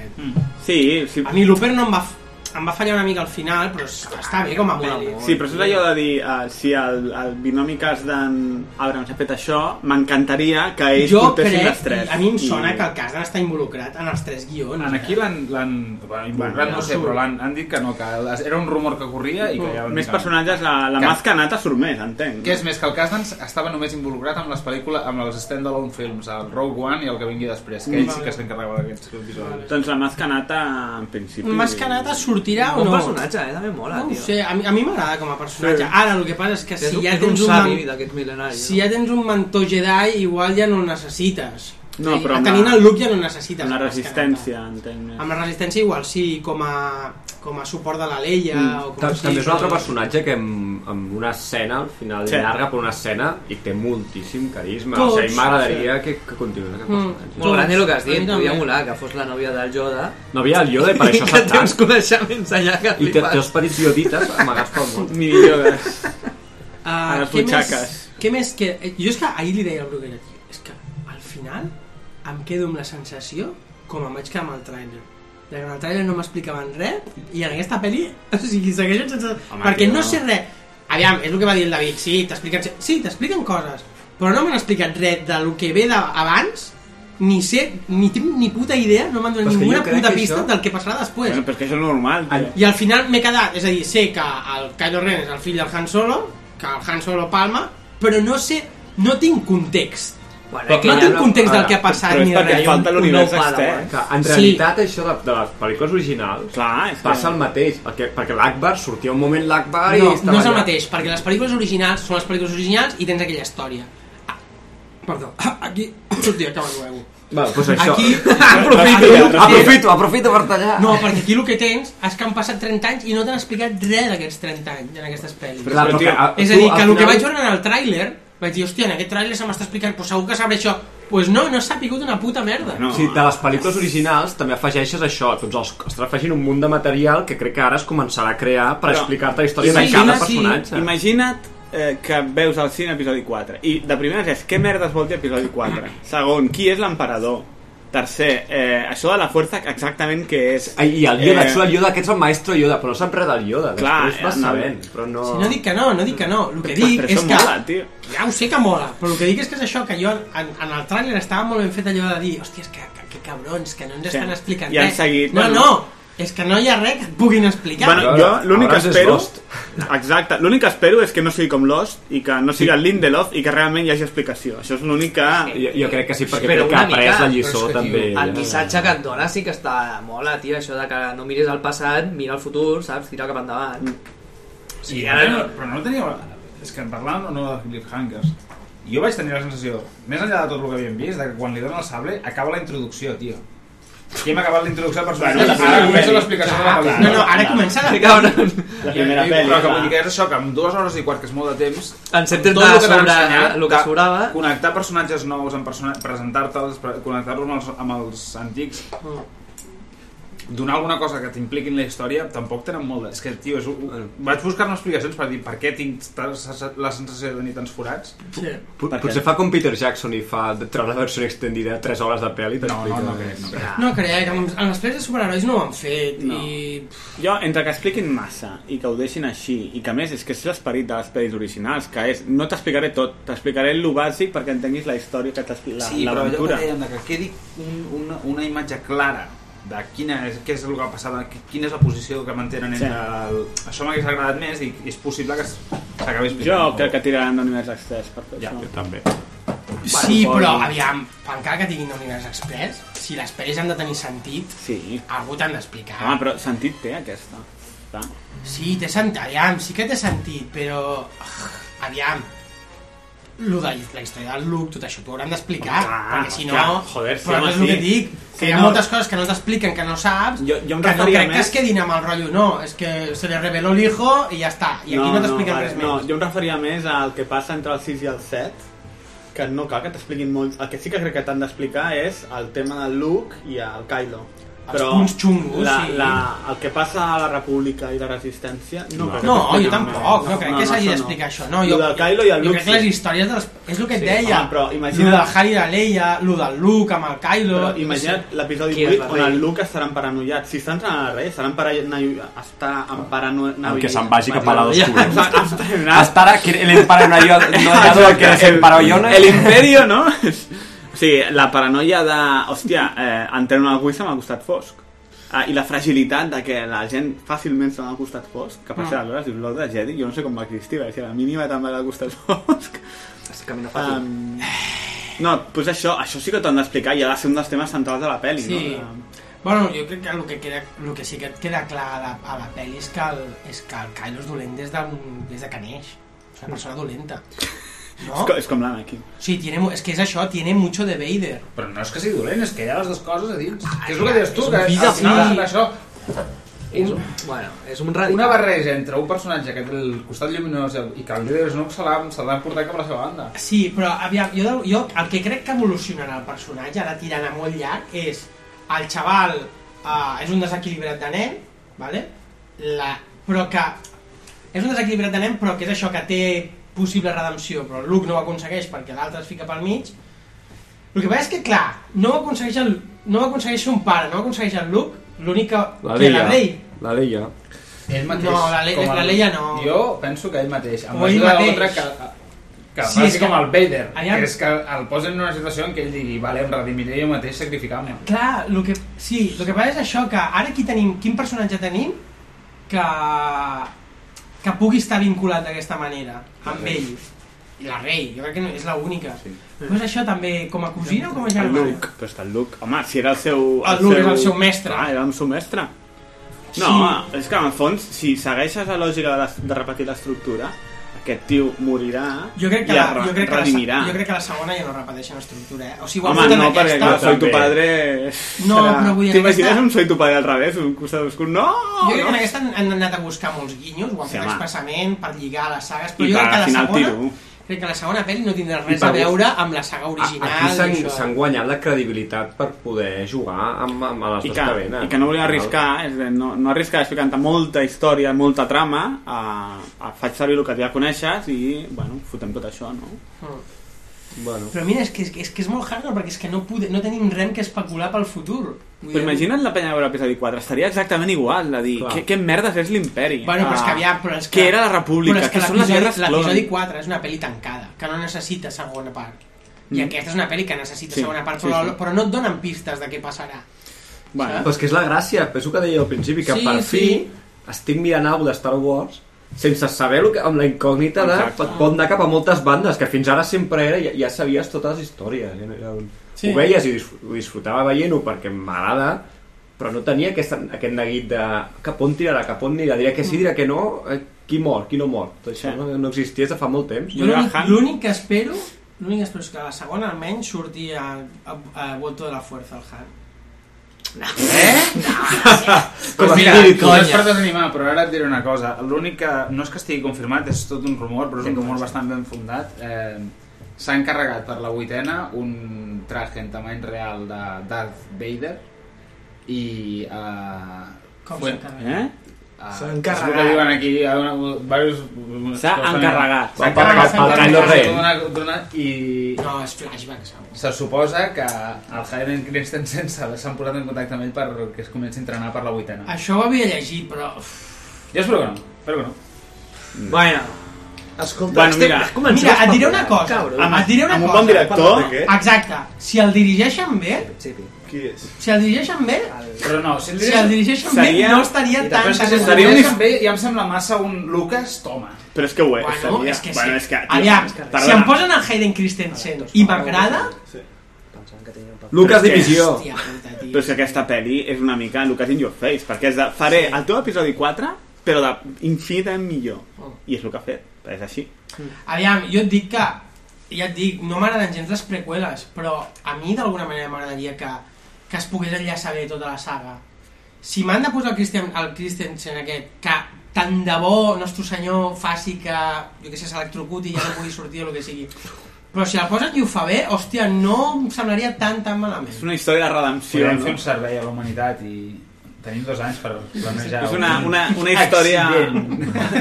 S9: Sí, sí.
S7: Mm. A mi Looper no em va, f- em va fallar una mica al final, però es- està bé com a pel·li.
S9: Sí, però això és allò de dir, uh, si el, el binomi cas d'en Abrams ha fet això, m'encantaria que ells
S7: jo
S9: portessin
S7: crec,
S9: les tres.
S7: a mi em sona que el cas d'estar involucrat en els tres guions.
S19: En aquí l'han... l'han- Bueno, involucrat
S9: Bueno,
S19: no sé,
S9: surt.
S19: però l'han han dit que no, que era un rumor que corria i que ja van dir
S9: Més
S19: que no.
S9: personatges, la, la
S19: Que-
S9: masca nata surt més, entenc.
S19: Que és més, que el Kasdans estava només involucrat amb les pel·lícules, amb els stand-alone films, el Rogue One i el que vingui després, que ell sí que s'encarregava d'aquests episodis.
S9: Doncs la masca nata, en principi...
S7: Mascanata sortirà o
S1: Bon
S7: no?
S1: personatge, eh? També mola,
S7: no ho
S1: tio.
S7: sé, a mi, a mi m'agrada com a personatge.
S1: Sí.
S7: Sí. Ara, el que passa és que
S1: És
S7: si
S1: un-
S7: ja
S1: és
S7: tens
S1: un
S7: un,
S1: savi
S7: man-
S1: d'aquest mil·lenari.
S7: si ja tens un mentor Jedi, igual ja no el necessites. Eh,
S9: No, però amb
S7: Tenint
S9: la-
S7: el Luke ja no necessites.
S9: Amb la
S7: el Mascanata.
S9: resistència, entenc.
S7: Amb la resistència igual sí, com a, com a suport de la Leia mm. o com
S12: Ta-
S7: sigui,
S12: També és un altre
S7: però-
S12: personatge que amb, amb una escena, al final
S9: Sí.
S12: sí. llarga, però una escena, i té moltíssim carisma.
S7: Tots,
S12: o sigui, m'agradaria que, que continués aquest
S7: Mm.
S12: personatge.
S1: Molt gran el que has
S7: A mi
S1: dit,
S7: també.
S1: podia molar que fos la nòvia del Yoda.
S12: No havia el Yoda i per això
S1: que
S12: se'n
S1: té uns
S12: tanc.
S1: coneixements allà que
S12: I té, té els
S1: flipes.
S12: petits iodites amagats pel món.
S9: Mini yogues.
S7: Ah,
S9: A les
S7: què
S9: butxaques.
S7: Més, què més que... eh, Jo és que ahir li deia al Bruguera, tio, és que al final em quedo amb la sensació com em vaig quedar amb el trailer. De que en el trailer no m'explicaven res i en aquesta pel·li, o sigui, segueixo sense...
S9: Home,
S7: perquè
S9: tio,
S7: no
S9: no.
S7: sé res. Aviam, és el que va dir el David, sí, t'expliquen... Sí, t'expliquen coses, però no m'han explicat res del que ve d'abans, ni sé, ni tinc ni puta idea, no m'han donat
S1: Però és que
S7: ninguna
S1: jo crec
S7: puta
S1: que
S7: pista
S1: això-
S7: del que passarà després.
S9: Bueno, però és que això és normal, tio.
S7: I al final m'he quedat, és a dir, sé que el Kylo Ren és el fill del Han Solo, que el Han Solo palma, però no sé, no tinc context.
S1: Bueno,
S7: no tinc context del que ha passat
S9: Però
S7: ni
S9: és
S7: de
S9: perquè
S7: res.
S9: falta
S7: Un-
S9: l'univers
S7: un nou Padawan.
S9: extern.
S12: Que en
S7: Sí.
S12: realitat sí. això de, de les pel·lícules originals
S9: Clar, és que-
S12: passa el mateix, perquè, perquè l'Akbar sortia un moment l'Akbar i
S7: No,
S12: estava
S7: no és el
S12: allà.
S7: mateix, perquè les pel·lícules originals són les pel·lícules originals i tens aquella història. Ah, perdó, ah, aquí... Hòstia, acaba el huevo.
S12: Va, doncs això.
S7: Aquí...
S12: aprofito, aprofito, aprofito per tallar.
S7: No, perquè aquí el que tens és que han passat 30 anys i no t'han explicat res d'aquests 30 anys en aquestes pel·lis.
S12: Clar, però que, a-
S7: És a
S12: tu,
S7: dir,
S12: al
S7: que el que
S12: final-
S7: vaig veure en el tràiler, vaig dir, hòstia, en aquest tràiler se m'està explicant, però segur que sabré això. Pues no, no s'ha picut una puta merda.
S12: No. Sí, de les pel·lícules originals també afegeixes això, tots els, estàs afegint un munt de material que crec que ara es començarà a crear per
S9: Però-
S12: explicar-te la història de
S9: Imagina't-
S12: cada personatge.
S9: Imagina't eh, que veus al cine episodi 4 i de primeres és què merdes vol dir episodi 4 segon, qui és l'emperador tercer, eh, això de la força exactament què és
S12: Ai, I el Yoda, eh... el Yoda, aquest és el maestro Yoda, però no sap res del Yoda.
S9: Clar,
S12: Després vas
S9: eh, no.
S12: sabent, però no...
S7: Si no dic que no, no dic que no. El que dic
S9: però
S7: és
S9: això
S7: que...
S9: mola, tio.
S7: Ja ho sé que mola, però el que dic és que és això, que jo en, en el tràiler estava molt ben fet allò de dir hòstia, és que, que, que cabrons, que no ens
S9: Sí.
S7: estan explicant
S9: I han
S7: res.
S9: seguit,
S7: no,
S9: bueno.
S7: no, és que no hi ha res que et puguin explicar.
S9: Bueno, jo l'únic que
S12: Abrams és
S9: espero...
S12: Lost.
S9: Exacte, l'únic que espero és que no sigui com Lost i que no sigui el Lindelof i que realment hi hagi explicació. Això és l'únic que...
S12: Jo, jo crec que sí, perquè
S1: Però
S12: crec que
S1: una
S12: ha pres
S1: mica,
S12: la
S1: però
S12: lliçó
S1: és que,
S12: també.
S1: Tio, el missatge que et dona sí que
S9: Mm.
S1: està mola, tio, això de que no miris al passat, mira el futur, saps? Tira cap endavant.
S19: Sí, ara no, però no teníeu... És que parlant o no de cliffhangers, jo vaig tenir la sensació, més enllà de tot el que havíem vist, de que quan li donen el sable acaba la introducció, tio. Aquí hem acabat la introducció del personatge,
S7: Bueno,
S19: bueno,
S7: sí,
S19: ara
S7: sí,
S19: comença
S7: sí.
S19: l'explicació de la
S7: Clar,
S19: pel·lícula.
S7: no, no, ara comença la-
S19: Cabrón.
S7: La primera
S19: I- i-
S7: pel·li,
S19: Però que
S7: clar.
S19: vull dir que és això, que amb dues hores i quart, que és molt de temps,
S1: Ens hem
S19: tot
S1: intentat
S19: el que t'han
S1: sobre
S19: ensenyat,
S1: el que
S19: de
S1: sobrava.
S19: Connectar personatges nous, en persona... presentar-te'ls, pre- connectar-los amb, els- amb els antics,
S9: Mm.
S19: donar alguna cosa que t'impliqui en la història tampoc tenen molt de... És que, tio, és... un- vaig buscar-me explicacions per dir per què tinc ta- la sensació de tenir tants forats.
S7: Sí.
S12: Pot- Potser fa com Peter Jackson i fa treure la versió extendida 3 hores de pel·li i t'explica...
S19: no, no crec, no crec.
S7: No crec, amb, amb les pel·lis de superherois no ho han fet. No. I...
S9: Jo, entre que expliquin massa i que ho deixin així, i que a més és que és l'esperit de les pel·lis originals, que és, no t'explicaré tot, t'explicaré el bàsic perquè entenguis la història que t'explica
S19: Sí, però allò que
S9: l'aventura.
S19: dèiem de que quedi un, una, una imatge clara de quina és, què és el que ha passat, qui- quina és la posició que mantenen
S9: Sí.
S19: entre... El... Això m'hagués agradat més i és possible que s- s'acabi
S9: Jo
S19: explicant.
S9: crec que tiraran d'univers extès per tot
S19: Ja,
S9: això.
S19: jo
S12: també.
S7: Sí, però aviam, encara que tinguin univers express, si les pel·lis han de tenir sentit,
S9: Sí.
S7: algú t'han d'explicar.
S9: Ah, però sentit té aquesta. Clar.
S7: Sí, té sentit, aviam, sí que té sentit, però... ah, Aviam, lo de la història del Luke, tot això t'ho hauran d'explicar,
S9: Clar,
S7: perquè si no...
S9: clar, joder, sí,
S7: però
S9: home,
S7: és el que
S9: sí.
S7: dic, que
S9: Sí,
S7: hi ha
S9: no.
S7: moltes coses que no t'expliquen, que no saps,
S9: Jo- jo em
S7: que no
S9: referia
S7: crec que
S9: més-
S7: es quedin amb el rotllo, no, és que se li reveló l'hijo i ja està, i aquí no, t'expliquen
S9: vale,
S7: res
S9: no,
S7: més.
S9: Jo em referia més al que passa entre el 6 i el 7, que no cal que t'expliquin molt. El que sí que crec que t'han d'explicar és el tema del Luke i el Kylo.
S7: Els punts xungos,
S9: la,
S7: sí.
S9: la, el que passa a la República i la Resistència... No, crec que
S7: No,
S9: t'expliquin
S7: jo tampoc, no, crec que s'hagi
S9: això
S7: d'explicar això, no,
S9: Lo
S7: jo-
S9: del Kylo i el
S7: jo
S9: Luke...
S7: crec que les històries dels... És el que et
S9: Sí,
S7: deia,
S9: home, però imagina't-
S7: lo del Harry i la Leia, lo del Luke amb el Kylo...
S9: Però imagina't l'episodi 8 on el Luke estarà emparanoiat. Si està entrant a la res, estarà emparanoiat. Està emparanoiat.
S12: El que se'n vagi cap a la d'oscura.
S9: Estarà...
S12: Estarà que el emparanoio no
S7: Ah,
S12: hi ha del que es emparanoia.
S9: El imperio, no? O sigui, la paranoia de... Hòstia, eh, entreno a Wissam al costat fosc. Ah, I la fragilitat de que la gent fàcilment se va al costat fosc, que per
S1: Mm.
S7: Ah.
S9: cert, aleshores dius l'ordre Jedi, jo no sé com va existir, perquè si a la mínima també va al costat fosc.
S1: Es camina fàcil.
S9: Um, no, doncs això, això sí que t'ho han d'explicar i ha de ser un dels temes centrals de la pel·li,
S7: Sí.
S9: no? Um,
S7: Bueno, jo crec que el que, queda, el que sí que et queda clar a la, a la pel·li és que el, és que el Kylo és dolent des, de, des de que neix. És una persona dolenta. No?
S9: és, com, és com l'Anakin.
S7: Sí, tiene, mu- és que és això, tiene mucho de Vader.
S19: Però no és que sigui dolent, és que hi ha les dues coses a dins. que és el
S7: clar,
S19: que dius tu,
S7: és un
S19: que
S7: fill de
S19: al final és
S7: fill.
S19: això...
S1: És un- bueno, és un radical.
S19: Una barreja entre un personatge que té el costat lluminós i que el líder és un se l'ha se l'ha portat cap a la seva banda.
S7: Sí, però aviam, jo, de- jo el que crec que evolucionarà el personatge, ara tirant a molt llarg, és el xaval eh, és un desequilibrat de nen, vale? La, però que és un desequilibrat de nen, però que és això que té possible redempció, però el Luke no ho aconsegueix perquè l'altre es fica pel mig. El que passa és que, clar, no ho aconsegueix, el, no ho aconsegueix un pare, no ho aconsegueix el Luke, l'únic que...
S12: La
S7: que la
S12: Leia.
S7: Rey.
S12: La Leia.
S19: Ell mateix.
S7: No, la Le-
S19: com
S7: la
S19: el-
S7: Leia no.
S19: Jo penso que ell mateix. Amb
S7: O ell
S19: l'ajuda de
S7: mateix.
S19: l'altre que, que sí,
S7: Sí, és
S19: faci
S7: que-
S19: com el Vader.
S7: Aviam.
S19: Que és que el posen en una situació en què ell digui vale, em redimiré jo mateix sacrificant-me.
S7: Clar, lo que, sí, el que passa és això, que ara qui tenim, quin personatge tenim que, que pugui estar vinculat d'aquesta manera, amb
S19: Rey.
S7: ell. I la rei, jo crec que no, és l'única. Sí. Però és això també, com a cosina o com a
S9: El
S7: germana?
S9: Luke, però està el Luke. Home, si era el seu...
S7: El Luke era el seu mestre.
S9: Ah, era el seu mestre. No,
S7: Sí.
S9: sí. és que en el fons, si segueixes la lògica de, de repetir l'estructura, aquest tio morirà
S7: Jo crec, que
S9: i
S7: la,
S9: es re-
S7: jo, crec que la,
S9: redimirà.
S7: se- jo crec que la segona ja no repeteixen estructura, eh? O sigui, ho han
S9: Home,
S7: fet en
S9: no, perquè
S7: aquesta...
S9: jo soy tu padre...
S7: No, però vull dir,
S9: T'imagines
S7: aquesta-
S9: un soy tu padre al revés, un costat obscur? No!
S7: Jo crec que en
S9: no.
S7: aquesta han- han anat a buscar molts guinyos, ho han
S9: Sí,
S7: fet
S9: home.
S7: expressament per lligar les sagues, però
S9: I
S7: jo crec
S9: per
S7: que
S9: al
S7: la
S9: final
S7: segona...
S9: tiro.
S7: Crec que la segona pel·li no tindrà
S12: I
S7: res
S12: per
S7: a
S12: gust-
S7: veure amb la saga original.
S12: Aquí s'han-
S7: i això.
S12: s'han guanyat la credibilitat per poder jugar amb, amb les
S9: I
S12: dues
S9: que,
S12: cadenes.
S9: I que no volia arriscar, és a dir, no, no arriscar explicant molta història, molta trama, a, a faig servir el que ja coneixes i, bueno, fotem tot això, no?
S7: Mm.
S12: Bueno.
S7: Però mira, és que, és, que és molt hardcore perquè és que no, pude, no tenim res que especular pel futur. Vull
S9: Però
S7: dir-
S9: imagina't la penya de veure l'episodi 4, estaria exactament igual, de dir,
S7: Clar.
S9: què, què merdes és l'imperi?
S7: Bueno, però és que
S9: Ah,
S7: aviam, però és que...
S9: Què era la república?
S7: Però és que
S9: Què són les
S7: l'episodi-
S9: guerres clon?
S7: L'episodi 4 és una pel·li tancada, que no necessita segona part. I
S12: Mm.
S7: aquesta és una pel·li que necessita
S12: Sí,
S7: segona part,
S12: sí,
S7: però,
S12: sí.
S7: però no et donen pistes de què passarà.
S12: Bueno. Però és que és la gràcia, és el que deia al principi, que
S7: Sí,
S12: sí, per
S7: sí.
S12: fi sí. estic mirant alguna de Star Wars sense saber el que, amb la incògnita de,
S9: Exacte.
S12: pot, pot anar cap a moltes bandes, que fins ara sempre era, ja, ja sabies totes les històries. Ja, no era un...
S9: Sí.
S12: sí. Ho veies i dis- ho disfrutava veient-ho perquè m'agrada, però no tenia aquest, aquest neguit de cap on tirarà, cap on anirà, dirà que sí, dirà que no, eh, qui mor, qui no mor. Tot això no, no existia des de fa molt temps.
S7: Jo l'únic- L'únic que espero l'únic que espero és que a la segona almenys surti a, a, a Vuelto de la Fuerza el Han.
S19: Pues
S9: Eh?
S7: Pues
S19: mira,
S7: mira,
S19: no és
S7: conya.
S19: per desanimar, però ara et diré una cosa. L'únic que no és que estigui confirmat, és tot un rumor, però és un rumor bastant ben fundat. Eh, S'ha encarregat per la vuitena un traje en tamany real de Darth Vader i... Eh,
S7: Com
S19: fue-
S7: s'ha encarregat?
S19: Eh?
S7: S'ha
S19: És el que
S7: encarregat.
S19: diuen aquí, eh, hi ha una, diversos...
S7: S'ha
S19: coses.
S7: encarregat.
S19: S'ha encarregat.
S7: Pel- pel Kylo Ren.
S19: D'una- d'una- I...
S7: No, és flashback, segur.
S19: Se suposa que el Hayden Christensen s'ha- s'han posat en contacte amb ell perquè es comenci a entrenar per la vuitena.
S7: Això ho havia llegit, però... uf,
S19: Jo espero que no, espero que no.
S55: Bueno,
S56: escolta,
S55: Bueno, mira.
S7: Mira, et diré una cosa.
S55: Amb-
S7: et diré una
S55: amb un
S7: cosa.
S55: bon director?
S9: eh?
S7: Exacte. Si el dirigeixen bé...
S55: Qui és?
S7: Si el dirigeixen bé...
S19: Però no, si el
S7: Si el dirigeixen bé,
S19: Seria-
S7: no estaria
S19: I
S7: tan...
S19: després
S7: tan
S19: que si el
S7: tan-
S19: dirigeixen bé, ja em sembla massa un Lucas, toma.
S9: Però és que ho és.
S7: Bueno,
S9: seria.
S7: és que sí.
S9: Bueno, és que, tio,
S7: Aviam,
S9: perdona.
S7: si em posen el Hayden Christensen i m'agrada...
S9: Lucas
S7: Divisió. Hòstia puta, tio.
S9: Però és que aquesta pel·li és una mica Lucas in your face, perquè és de, faré el teu episodi 4, però de infinitament millor.
S7: Oh.
S9: I és el que ha fet, però és així.
S7: Aviam, jo et dic que... Ja et dic, no m'agraden gens les preqüeles, però a mi d'alguna manera m'agradaria que, que es pogués enllaçar bé tota la saga. Si m'han de posar el, Christian, el Christensen aquest, que tant de bo nostre senyor faci que, jo què sé, s'electrocuti i ja no pugui sortir o el que sigui. Però si la posen i ho fa bé, hòstia, no em semblaria tan, tan malament.
S9: És una història de redempció.
S19: Podem fer un servei a la humanitat i tenim dos anys per planejar
S9: És una, una, una història...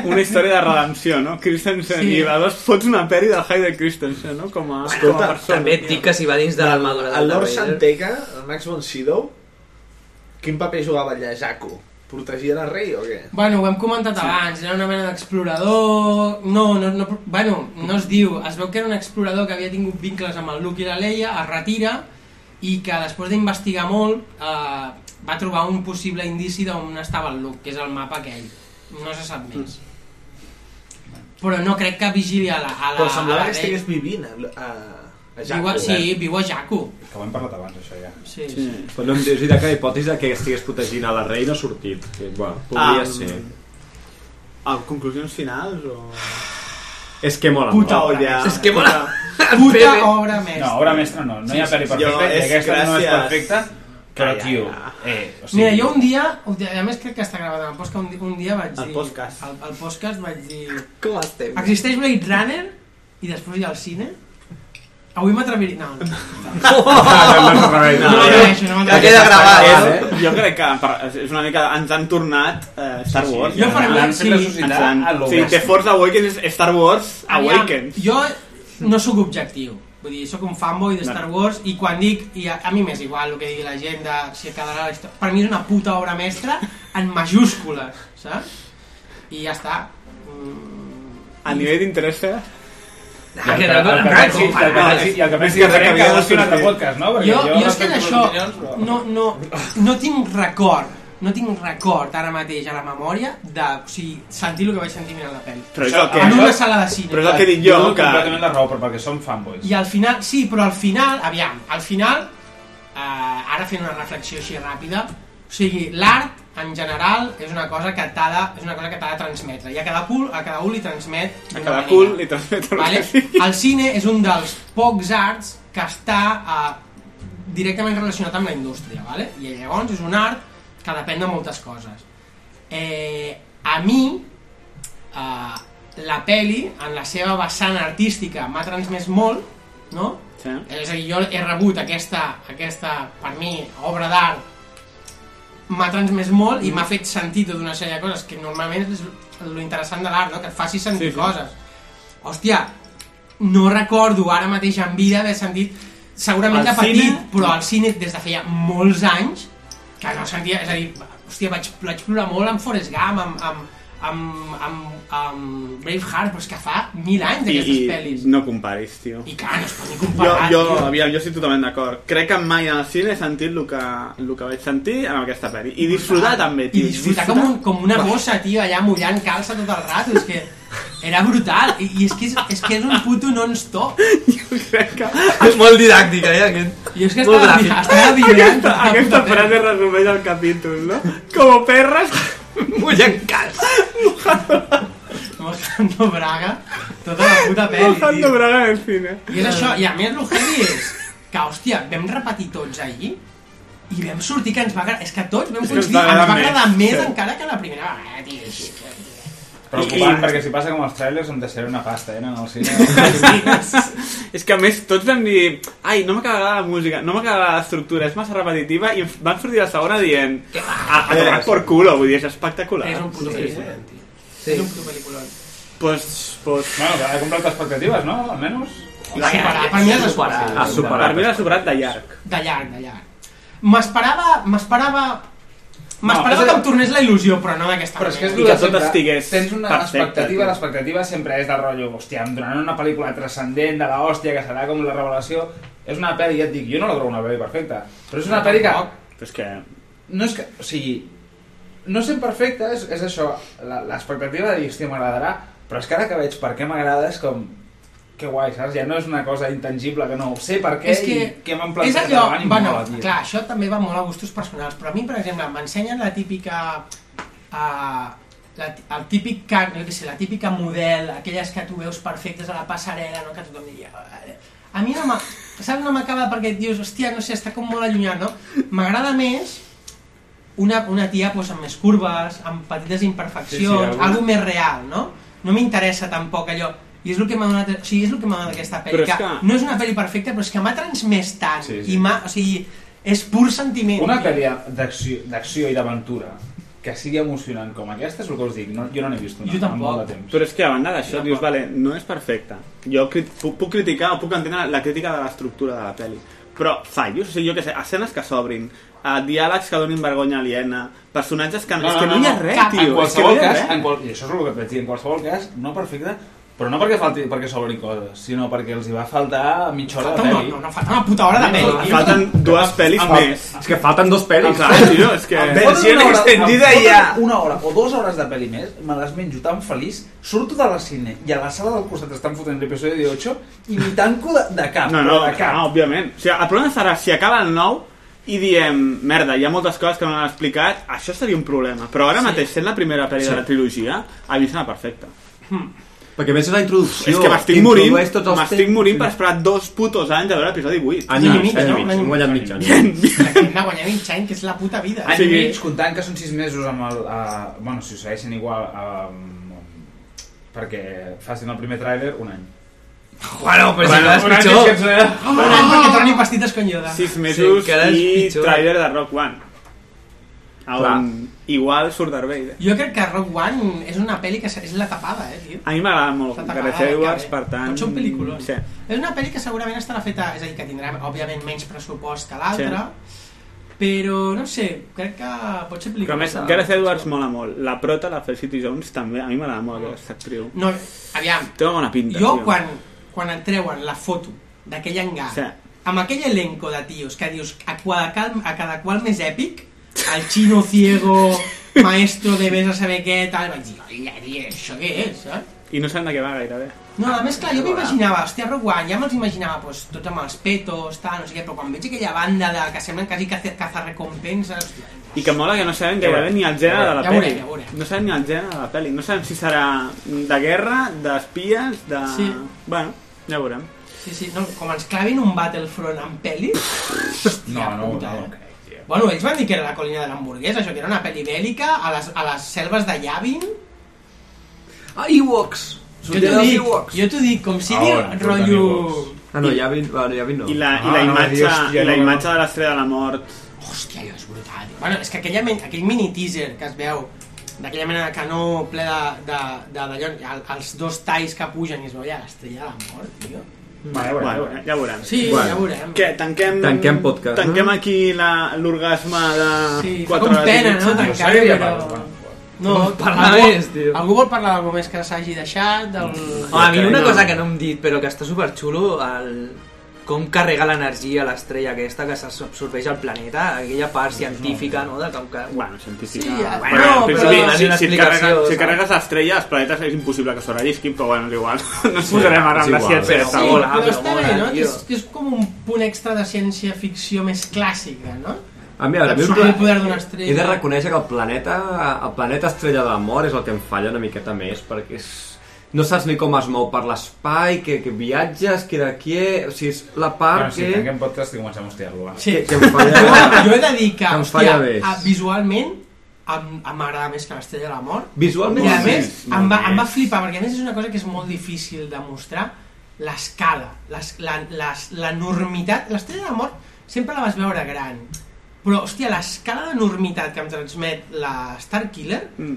S9: Una història de redempció, no? Christensen
S1: Sí.
S9: sí. i llavors fots una pel·li del Hayden Christensen, no? Com a, com a persona.
S1: també et dic que si va dins de l'armadura
S9: El
S1: del
S9: Lord
S1: Darth Vader.
S57: Santeca, el Max von Sydow, quin paper jugava allà Jaco? Protegia la rei o què?
S7: Bueno, ho hem comentat abans, era una mena d'explorador... No, no, no, bueno, no es diu, es veu que era un explorador que havia tingut vincles amb el Luke i la Leia, es retira i que després d'investigar molt eh, va trobar un possible indici d'on estava el Luke, que és el mapa aquell. No se sap més. Però no crec que vigili a la... A la
S57: Però semblava
S7: a Ah, la
S57: que
S7: Leia.
S57: estigués eh? vivint a, a, a
S7: Viu
S57: Jaco.
S7: a, sí, viu a Jakku.
S19: Que ho hem parlat abans, això ja.
S7: Sí, sí.
S12: Però no em dius idea que la hipòtesi de que estigués protegint a la rei no ha sortit. Que, bueno,
S9: Ah,
S12: podria ser.
S9: Amb conclusions finals o...
S12: És que mola
S9: Puta
S12: molt.
S9: olla.
S12: És que mola.
S7: Puta obra mestra.
S19: No, obra mestra no, no hi ha pel·li perfecta i aquesta no és perfecta, però tio, eh, o sigui...
S7: Mira, jo un dia, un dia- a més crec que està gravat en el podcast, un, di- un dia vaig
S19: Al
S7: dir...
S19: podcast.
S7: Al, al podcast vaig dir...
S55: Com estem?
S7: Existeix Blade Runner i després hi ha el cine? Avui m'atreviré... No, no.
S9: Ah,
S7: no, m'atreveixo, no, m'atreveixo.
S9: És, jo crec que per- és- és una mica... Ens han tornat eh, Star
S7: Sí, sí.
S9: Wars.
S7: Jo faré un-
S9: Ens han-
S7: sí.
S9: ens han-
S7: a lo
S9: Sí,
S7: bèstia.
S9: The Force Awakens és Star Wars
S7: Aviam,
S9: Awakens.
S7: Jo no sóc objectiu. Vull dir, sóc un fanboy de Star Wars i quan dic, i a, a mi m'és igual el que digui la gent de si quedarà la història, per mi és una puta obra mestra en majúscules, saps? I ja està. Mm.
S9: A nivell d'interès... eh?
S7: Ah, que no, no, no, no, no, no,
S19: I el que pensi
S9: És
S19: que farem cada
S9: acabia de
S19: dos un altre
S9: sortir.
S19: podcast, no? Perquè
S7: jo, jo és que
S19: respecto les
S7: d'això
S19: opinions, però-
S7: no, no, no tinc record no tinc record ara mateix a la memòria de o sigui, sentir el que vaig sentir mirant la pel·li
S9: Però és el que...
S7: en una sala de cine
S9: Però és el que dic jo,
S19: dono
S9: que...
S19: completament la raó, però perquè som fanboys.
S7: i al final, sí, però al final aviam, al final eh, ara fent una reflexió així ràpida o sigui, l'art en general és una cosa que t'ha de, és una cosa que t'ha de transmetre i a cada cul, a cada un li transmet
S9: A
S7: d'una
S9: cada
S7: manera.
S9: cul li transmeto el
S7: Vale?
S9: que sigui.
S7: El cine és un dels pocs arts que està eh, directament relacionat amb la indústria, vale? i llavors és un art que depèn de moltes coses. Eh, a mi, eh, la peli en la seva vessant artística, m'ha transmès molt, no?
S9: Sí.
S7: Eh, És a dir, jo he rebut aquesta, aquesta per mi, obra d'art m'ha transmès molt
S9: Mm.
S7: i m'ha fet sentir tota una sèrie de coses que normalment és l'interessant de l'art, no? que et faci sentir sí, sí. coses hòstia, no recordo ara mateix en vida haver sentit segurament
S9: Al
S7: de petit,
S9: cine?
S7: però al cine des de feia molts anys que no sentia, és a dir, hòstia, vaig, vaig plorar molt amb Forrest Gump, amb, amb, amb, amb, amb Braveheart, però és que fa mil anys d'aquestes pel·lis.
S9: no comparis, tio.
S7: I clar, no es pot ni
S9: Jo,
S7: comparar,
S9: jo,
S7: tio.
S9: aviam, jo estic totalment d'acord. Crec que mai en el cine he sentit el que, el que vaig sentir en aquesta pel·li. I disfrutar també, tio.
S7: I disfrutar com, un, com una bossa, tio, allà mullant calça tot el rato, és que... Era brutal, i, i és, que és, és que és un puto non-stop.
S58: És molt didàctic, eh, aquest.
S7: Jo és que
S58: Molt
S7: estava,
S58: gràfic.
S7: estava vibrant. tota
S9: Aquesta, aquesta frase resumeix el capítol, no? Como perras,
S58: mullen cas.
S7: Mojando Braga, tota la puta pel·li.
S9: mojando braga en el cine.
S7: I és això, i a més el heavy és que, hòstia, vam repetir tots allí i vam sortir que ens va agradar... És que tots vam
S19: És que ens
S7: coincidir,
S19: va
S7: ens va
S19: agradar
S7: agradar
S19: més,
S7: més
S19: sí.
S7: encara que la primera vegada, eh, tio.
S19: Preocupant,
S7: I- i-
S19: perquè si passa com els trailers em deixaré una pasta, eh, en el cine.
S9: És que a més tots vam dir Ai, no m'acaba d'agradar la música, no m'acaba d'agradar l'estructura, és massa repetitiva i van sortir a la segona dient a, a tomar por culo, vull dir, és espectacular.
S7: És un puto pel·lícula, tio. És un puto pel·lícula.
S9: Pues, pues...
S19: Bueno, que ha comprat expectatives, no? Almenys...
S7: La superat, per mi és la superat.
S9: Ha superat. Per mi l'ha superat de llarg.
S7: De llarg, de llarg. M'esperava... M'esperava... M'esperava
S19: és
S7: que
S19: que-
S7: em tornés la il·lusió, però no d'aquesta
S19: Però és que és
S7: manera.
S19: dur de sempre. Tens una
S7: perfecte,
S19: expectativa,
S7: tio.
S19: l'expectativa sempre és del rotllo, hòstia, em donaran una pel·lícula transcendent de la hòstia que serà com la revelació. És una pel·li, ja et dic, jo no la trobo una pel·li perfecta, però és una
S9: No,
S19: pel·li que...
S9: tampoc. Però és que...
S19: No és que... O sigui, no sent perfecta, és, és això, la- l'expectativa de dir, hòstia, m'agradarà, però és que ara que veig per què m'agrada és com... Que guai, saps? Ja no és una cosa intangible, que no ho sé per què
S7: És que
S19: i què m'han
S7: és
S19: plantat
S7: allò,
S19: davant i
S7: bueno,
S19: mola, tio.
S7: clar, això també va molt a gustos personals, però a mi, per exemple, m'ensenyen la típica... Uh, la, ti- el típic, ca- no sé, la típica model, aquelles que tu veus perfectes a la passarel·la, no? que tothom diria... "Ah, A mi no m'ha- saps, no m'acaba perquè dius, hòstia, no sé, està com molt allunyat, no? M'agrada més una, una tia pues, amb més curves, amb petites imperfeccions,
S9: Sí,
S7: sí,
S9: sí,
S7: sí,
S9: alguna-
S7: algo més real, no? No m'interessa tampoc allò. I és el que m'ha donat, o sigui, és el que m'ha donat aquesta pel·li,
S9: Però és
S7: que,
S9: que-
S7: no és una pel·li perfecta, però és que m'ha transmès tant, sí,
S19: Sí,
S7: sí.
S19: sí.
S7: i m'ha, o sigui, és pur sentiment.
S19: Una pel·li d'acció d'acció i d'aventura que sigui emocionant com aquesta és el que us dic, no, jo no n'he vist una,
S9: Jo
S19: en molt de temps.
S9: Però és que a banda d'això dius, vale, no és perfecta. Jo crit puc, puc criticar o puc entendre la crítica de l'estructura de la pel·li. Però fallos, o sigui, jo què sé, escenes que s'obrin, eh, diàlegs que donin vergonya aliena, personatges que... No, és que no, hi ha res,
S19: En
S9: tio. és que no
S19: qualsevol
S9: hi ha
S19: cas,
S9: res.
S19: en qual... i això és el que et vaig dir, en qualsevol cas, no perfecte, però no perquè falti, perquè s'obrin coses, sinó perquè els hi va faltar mitja hora de
S7: Falta una-
S19: pel·li.
S7: no, no, falta una puta hora de pel·li, tio. Falten
S9: dues pel·lis
S19: més.
S12: És que falten dos pel·lis.
S19: Clar,
S9: tio, és
S19: Em foten una hora- em foten Una hora o dues hores de pel·li més, me les menjo tan feliç, surto de la cine i a la sala del costat estan fotent l'episodi 8 i m'hi tanco de, de cap.
S9: No, no,
S19: però de cap.
S9: no, òbviament. O sigui, el problema serà si acaba el 9 i diem, merda, hi ha moltes coses que no han explicat, això seria un problema. Però ara
S12: Sí.
S9: sí. mateix, sent la primera pel·li sí.
S12: Sí.
S9: de la trilogia, a mi sembla perfecta.
S12: Perquè a més és la introducció.
S9: És que m'estic morint,
S12: Introdueix tots els
S9: m'estic morint per esperar dos putos anys a veure episodi 8.
S12: Any i mig, any i mig, un guanyat mitjà.
S7: Una guanyar mig any, que és la puta vida.
S19: Any i mig, comptant que són sis mesos amb el... Uh, bueno, si ho segueixen igual... Um, perquè facin el primer tràiler, un any.
S9: Bueno,
S19: pues
S9: Bueno,
S19: encara és un any pitjor. és que ens-
S7: Oh, un any perquè torni pastites con Yoda.
S9: Sis mesos
S7: encara és
S9: sí, i
S7: pitjor.
S9: tràiler de Rock One.
S7: Clar.
S9: On igual surt Darth Vader.
S7: Jo crec que Rogue One és una pel·li que és la tapada, eh, tio.
S9: A mi m'agrada molt
S7: Està
S9: Gareth
S7: tapada,
S9: Edwards,
S7: encara,
S9: per tant...
S7: Tots són pel·lícules.
S9: Sí.
S7: És una pel·li que segurament estarà feta, és a dir, que tindrà, òbviament, menys pressupost que l'altra, però, no sé, crec que pot ser
S9: Però
S7: pel·lícula.
S9: a més, Gareth Edwards mola molt. La prota, la Felicity Jones, també. A mi m'agrada molt aquesta actriu.
S7: No, aviam,
S9: Té una bona pinta,
S7: jo
S9: tio.
S7: quan, quan et treuen la foto d'aquell hangar,
S9: Sí.
S7: amb aquell elenco de tios que dius a cada, cal, a cada qual més èpic, el xino ciego, maestro de vés a saber què, tal, vaig dir, "Hola, tio, això què és, eh?
S9: I no saben de què va eh. gairebé.
S7: No, a més, clar, jo m'imaginava, hòstia, Rock One, ja me'ls imaginava doncs, tots amb els petos, tal, no sé què, però quan veig aquella banda de, que semblen quasi que caza recompenses...
S9: I que mola que no saben
S7: Ja
S9: gairebé
S7: veurem.
S9: ni el gènere de la
S7: Ja veurem,
S9: pel·li.
S7: ja veurem.
S9: No saben ni el gènere de la pel·li. No saben si serà de guerra, d'espies, de...
S7: Sí.
S9: Bueno, ja veurem.
S7: Sí, sí, no, com ens clavin un Battlefront amb pel·lis...
S19: No, no,
S7: puta,
S19: no.
S7: Bueno, ells van dir que era la colina de l'hamburguesa, això, que era una pel·li bèl·lica a les, a les selves de Yavin.
S58: Ah, Ewoks!
S7: Jo t'ho dic, jo t'ho dic, com si dir
S12: Ah, bueno,
S7: rotllo...
S12: Ah, no, ja vi, bueno, ja vi Ah, no.
S9: I la, i la imatge, i la imatge de l'estrella de la mort.
S7: Hòstia, allò és brutal. Bueno, és que aquella, men- aquell mini teaser que es veu d'aquella mena de canó ple de, de, de, d'allò, el, els dos talls que pugen i es veu ja l'estrella de la mort, tio.
S9: Bueno, ja veurem. Bueno, ja veurem.
S7: Sí,
S9: Bueno.
S7: ja veurem.
S9: Què, tanquem...
S12: Tanquem podcast, no?
S9: Tanquem aquí la- l'orgasme de...
S7: Sí, fa
S9: quatre
S7: com
S9: hores i
S7: pena,
S9: mitja.
S7: no? Tancar, però... No,
S59: Vol parlar
S7: algú,
S59: més, tio.
S7: Algú vol parlar d'algú més que s'hagi deixat? Del...
S59: Home, a mi una cosa que no hem dit, però que està superxulo, el...
S13: com carrega l'energia l'estrella aquesta que s'absorbeix al planeta, aquella part científica, no? De com que...
S9: Bueno, científica...
S7: Ah,
S13: Sí, ja.
S9: bueno,
S13: Bueno,
S9: en
S13: però
S9: principi,
S13: donen una
S9: si, si, et
S13: explicació,
S9: carregues, si
S13: saps?
S9: et carregues l'estrella, els planetes és impossible que sobrevisquin, però bueno, és igual. No ens posarem ara amb
S12: és
S9: la
S12: igual.
S9: ciència.
S12: Però
S9: està
S12: sí,
S9: molt alt,
S7: Però està
S9: molt
S7: bé,
S9: alt,
S7: no?
S9: tio.
S7: És, és com un punt extra de ciència-ficció més clàssica, no?
S12: A mi, a veure, a mi
S7: Absorbir el poder d'una estrella.
S12: he de reconèixer que el planeta, el planeta estrella de la mort és el que em falla una miqueta més, perquè és, no saps ni com es mou per l'espai, que, que viatges, que d'aquí... O sigui, és la part
S6: Bueno, si
S12: que...
S6: tanquem podcast i comencem a hostiar-lo. va.
S7: Sí.
S12: Que, que em falla...
S7: Jo- jo he de dir que,
S12: que em
S7: hòstia,
S12: falla més.
S7: a, visualment em, em m'agrada més que l'Estrella de la Mort.
S12: Visualment
S7: I a
S12: sí,
S7: més,
S12: molt
S7: em va,
S12: més.
S7: em va flipar, perquè a més és una cosa que és molt difícil de mostrar, l'escala, les- la- les- l'enormitat. L'Estrella de la Mort sempre la vas veure gran, però, hòstia, l'escala d'enormitat que em transmet la Starkiller,
S9: Mm.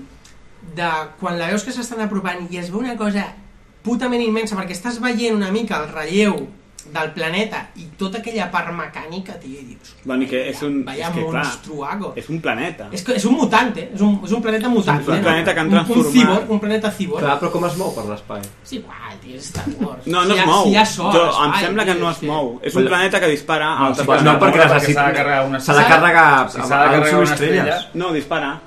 S7: de quan la veus que s'estan apropant i es veu una cosa putament immensa, perquè estàs veient una mica el relleu del planeta i tota aquella part mecànica, tio, i dius,
S9: Bueno, i que és un...
S7: Vaya
S9: és que, clar,
S7: monstruaco.
S9: és un planeta.
S7: És, que és un mutant, eh? És un, és un planeta mutant. eh?
S9: És un planeta que han
S7: Un,
S9: transformat.
S7: un cíborg, un planeta cíborg.
S12: Clar, però com es mou per l'espai?
S7: És igual, tio, és Star Wars.
S9: No, no
S7: Si
S9: es
S7: hi ha-
S9: mou.
S7: Si hi ha sort,
S9: jo, em
S7: espai,
S9: sembla que
S7: tio,
S9: no es
S7: que-
S9: mou. És un planeta que dispara a altres
S12: no,
S9: planetes.
S12: perquè Perquè necessita- s'ha de carregar una- s'ha de carregar
S9: Si
S12: amb-
S9: s'ha de
S12: amb
S9: carregar una
S12: subestrelles.
S9: estrella- No, dispara.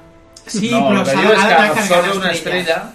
S7: Sí, No, però el que s'ha de- diu és ha de que carregar absorbe una estrella.
S9: No,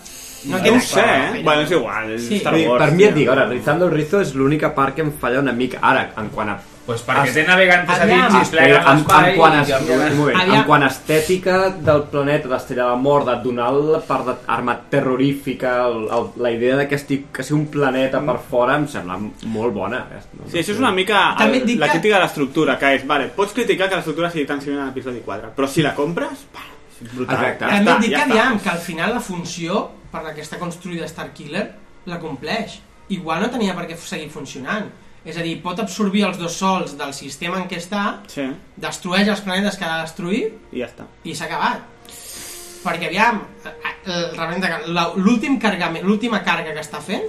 S7: No
S9: no
S7: queda
S9: ho sé,
S7: clar,
S9: eh?
S7: però-
S9: Bueno, és igual, és
S7: Sí.
S9: Star Wars.
S12: per mi et
S9: tio.
S12: dic, ara, Rizando el Rizo és l'única part que em falla una mica. Ara, en quant a...
S6: Pues perquè té navegantes a
S12: Aviam.
S6: dins i es pleguen
S12: Espera, en, en,
S6: l'espai
S12: quant a,
S6: i canvien.
S12: un moment, en
S6: Aviam.
S12: quant a estètica del planeta d'Estrella de la Mort, de donar la part d'arma terrorífica, el, el, la idea de que, estic, que sigui un planeta per fora, em sembla molt bona.
S9: Sí, això és una mica el,
S12: També et dic
S9: la
S12: que-
S9: crítica de l'estructura, que és, vale, pots criticar que l'estructura sigui tan similar a l'episodi 4, però si la compres, pa, és brutal.
S12: Exacte.
S9: Ja
S7: També
S9: està,
S7: et dic
S9: ja
S7: que,
S9: està.
S7: aviam, que al final la funció per la que està construïda Starkiller la compleix. Igual no tenia per què seguir funcionant. És a dir, pot absorbir els dos sols del sistema en què està,
S9: Sí,
S7: destrueix els planetes que ha de destruir
S9: i ja està.
S7: i s'ha acabat. Perquè aviam, eh, eh, realment, la- l'últim cargament, l'última carga que està fent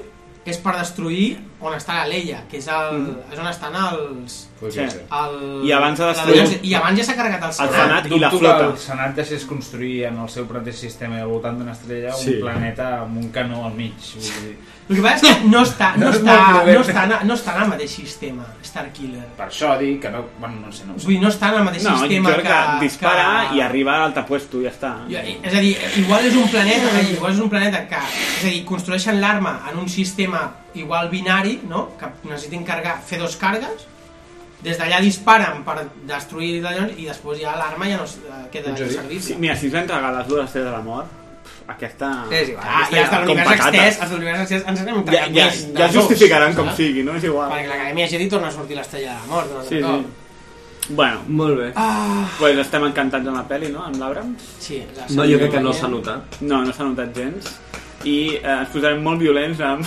S7: és per destruir on està la Leia, que és, el, és on estan els...
S6: Podria ser.
S7: el,
S9: Mm. I abans ha
S7: la
S9: destruït-
S7: Legió- I abans ja s'ha carregat el Senat.
S6: Dubto que el Senat deixés construir en el seu propi sistema al voltant d'una estrella
S7: Sí.
S6: un planeta amb un canó al mig. Vull dir,
S7: El que passa és que no està, no,
S6: No és
S7: està,
S6: molt prudent.
S7: no, està, en- no està en el mateix sistema, Starkiller.
S6: per això dic que no... Bueno, no sé, no ho sé.
S7: Vull dir, no està en el mateix
S9: No,
S7: sistema
S9: jo crec que,
S7: que-
S9: dispara
S7: que-
S9: i arriba a l'altre puesto, ja està.
S7: És a dir, igual és un planeta, igual és un planeta que, és a dir, construeixen l'arma en un sistema igual binari, no? Que necessiten cargar, fer dos cargues, des d'allà disparen per destruir d'allò i després ja l'arma ja no es- eh, queda inservible.
S9: Sí, mira, si ens van tragar les dues estrelles de la mort, pff, aquesta...
S7: És igual, ah, ja està l'univers
S9: com patates.
S7: extès, els de l'univers extès ens n'hem
S9: Ja,
S7: entregat
S9: ja,
S7: més. de
S9: ja
S7: dos,
S9: justificaran com
S7: saps?
S9: sigui, no? És igual.
S7: Perquè l'Acadèmia Jedi torna a sortir l'estrella de la mort. No?
S9: Sí, sí. Bueno, molt bé.
S7: Ah.
S9: Pues estem encantats amb la pel·li, no? Amb l'Abram?
S7: Sí, la
S12: No, jo crec que
S7: eh?
S12: no s'ha notat.
S9: No, no s'ha notat gens. I eh, ens posarem molt violents amb,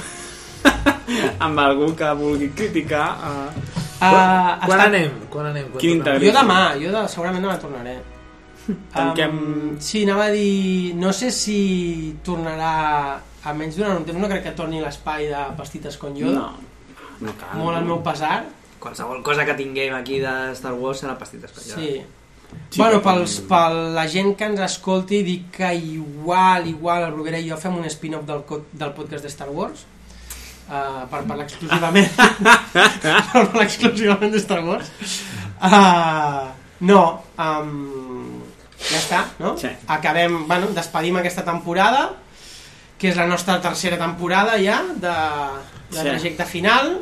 S9: amb algú que vulgui criticar. Eh.
S7: Ah,
S9: Quan
S7: està-
S9: anem?
S48: Quan anem? Quan
S9: Quin
S7: Jo
S9: integrisme?
S7: demà, jo de, segurament demà tornaré.
S9: Tanquem...
S7: Um, sí, anava a dir... No sé si tornarà a menys durant un temps. No crec que torni l'espai de pastites con Yoda.
S13: No,
S9: no
S13: cal.
S7: Molt al meu pesar.
S13: Qualsevol cosa que tinguem aquí de Star Wars serà pastites penjades.
S7: Sí. bueno, pels, per la gent que ens escolti, dic que igual, igual, el Bruguera i jo fem un spin-off del, co- del podcast de Star Wars. Uh, per parlar exclusivament per parlar exclusivament de Star Wars uh, no um, ja està, no? Sí. acabem, bueno, despedim aquesta temporada que és la nostra tercera temporada ja de, de
S9: Sí.
S7: sí. trajecte final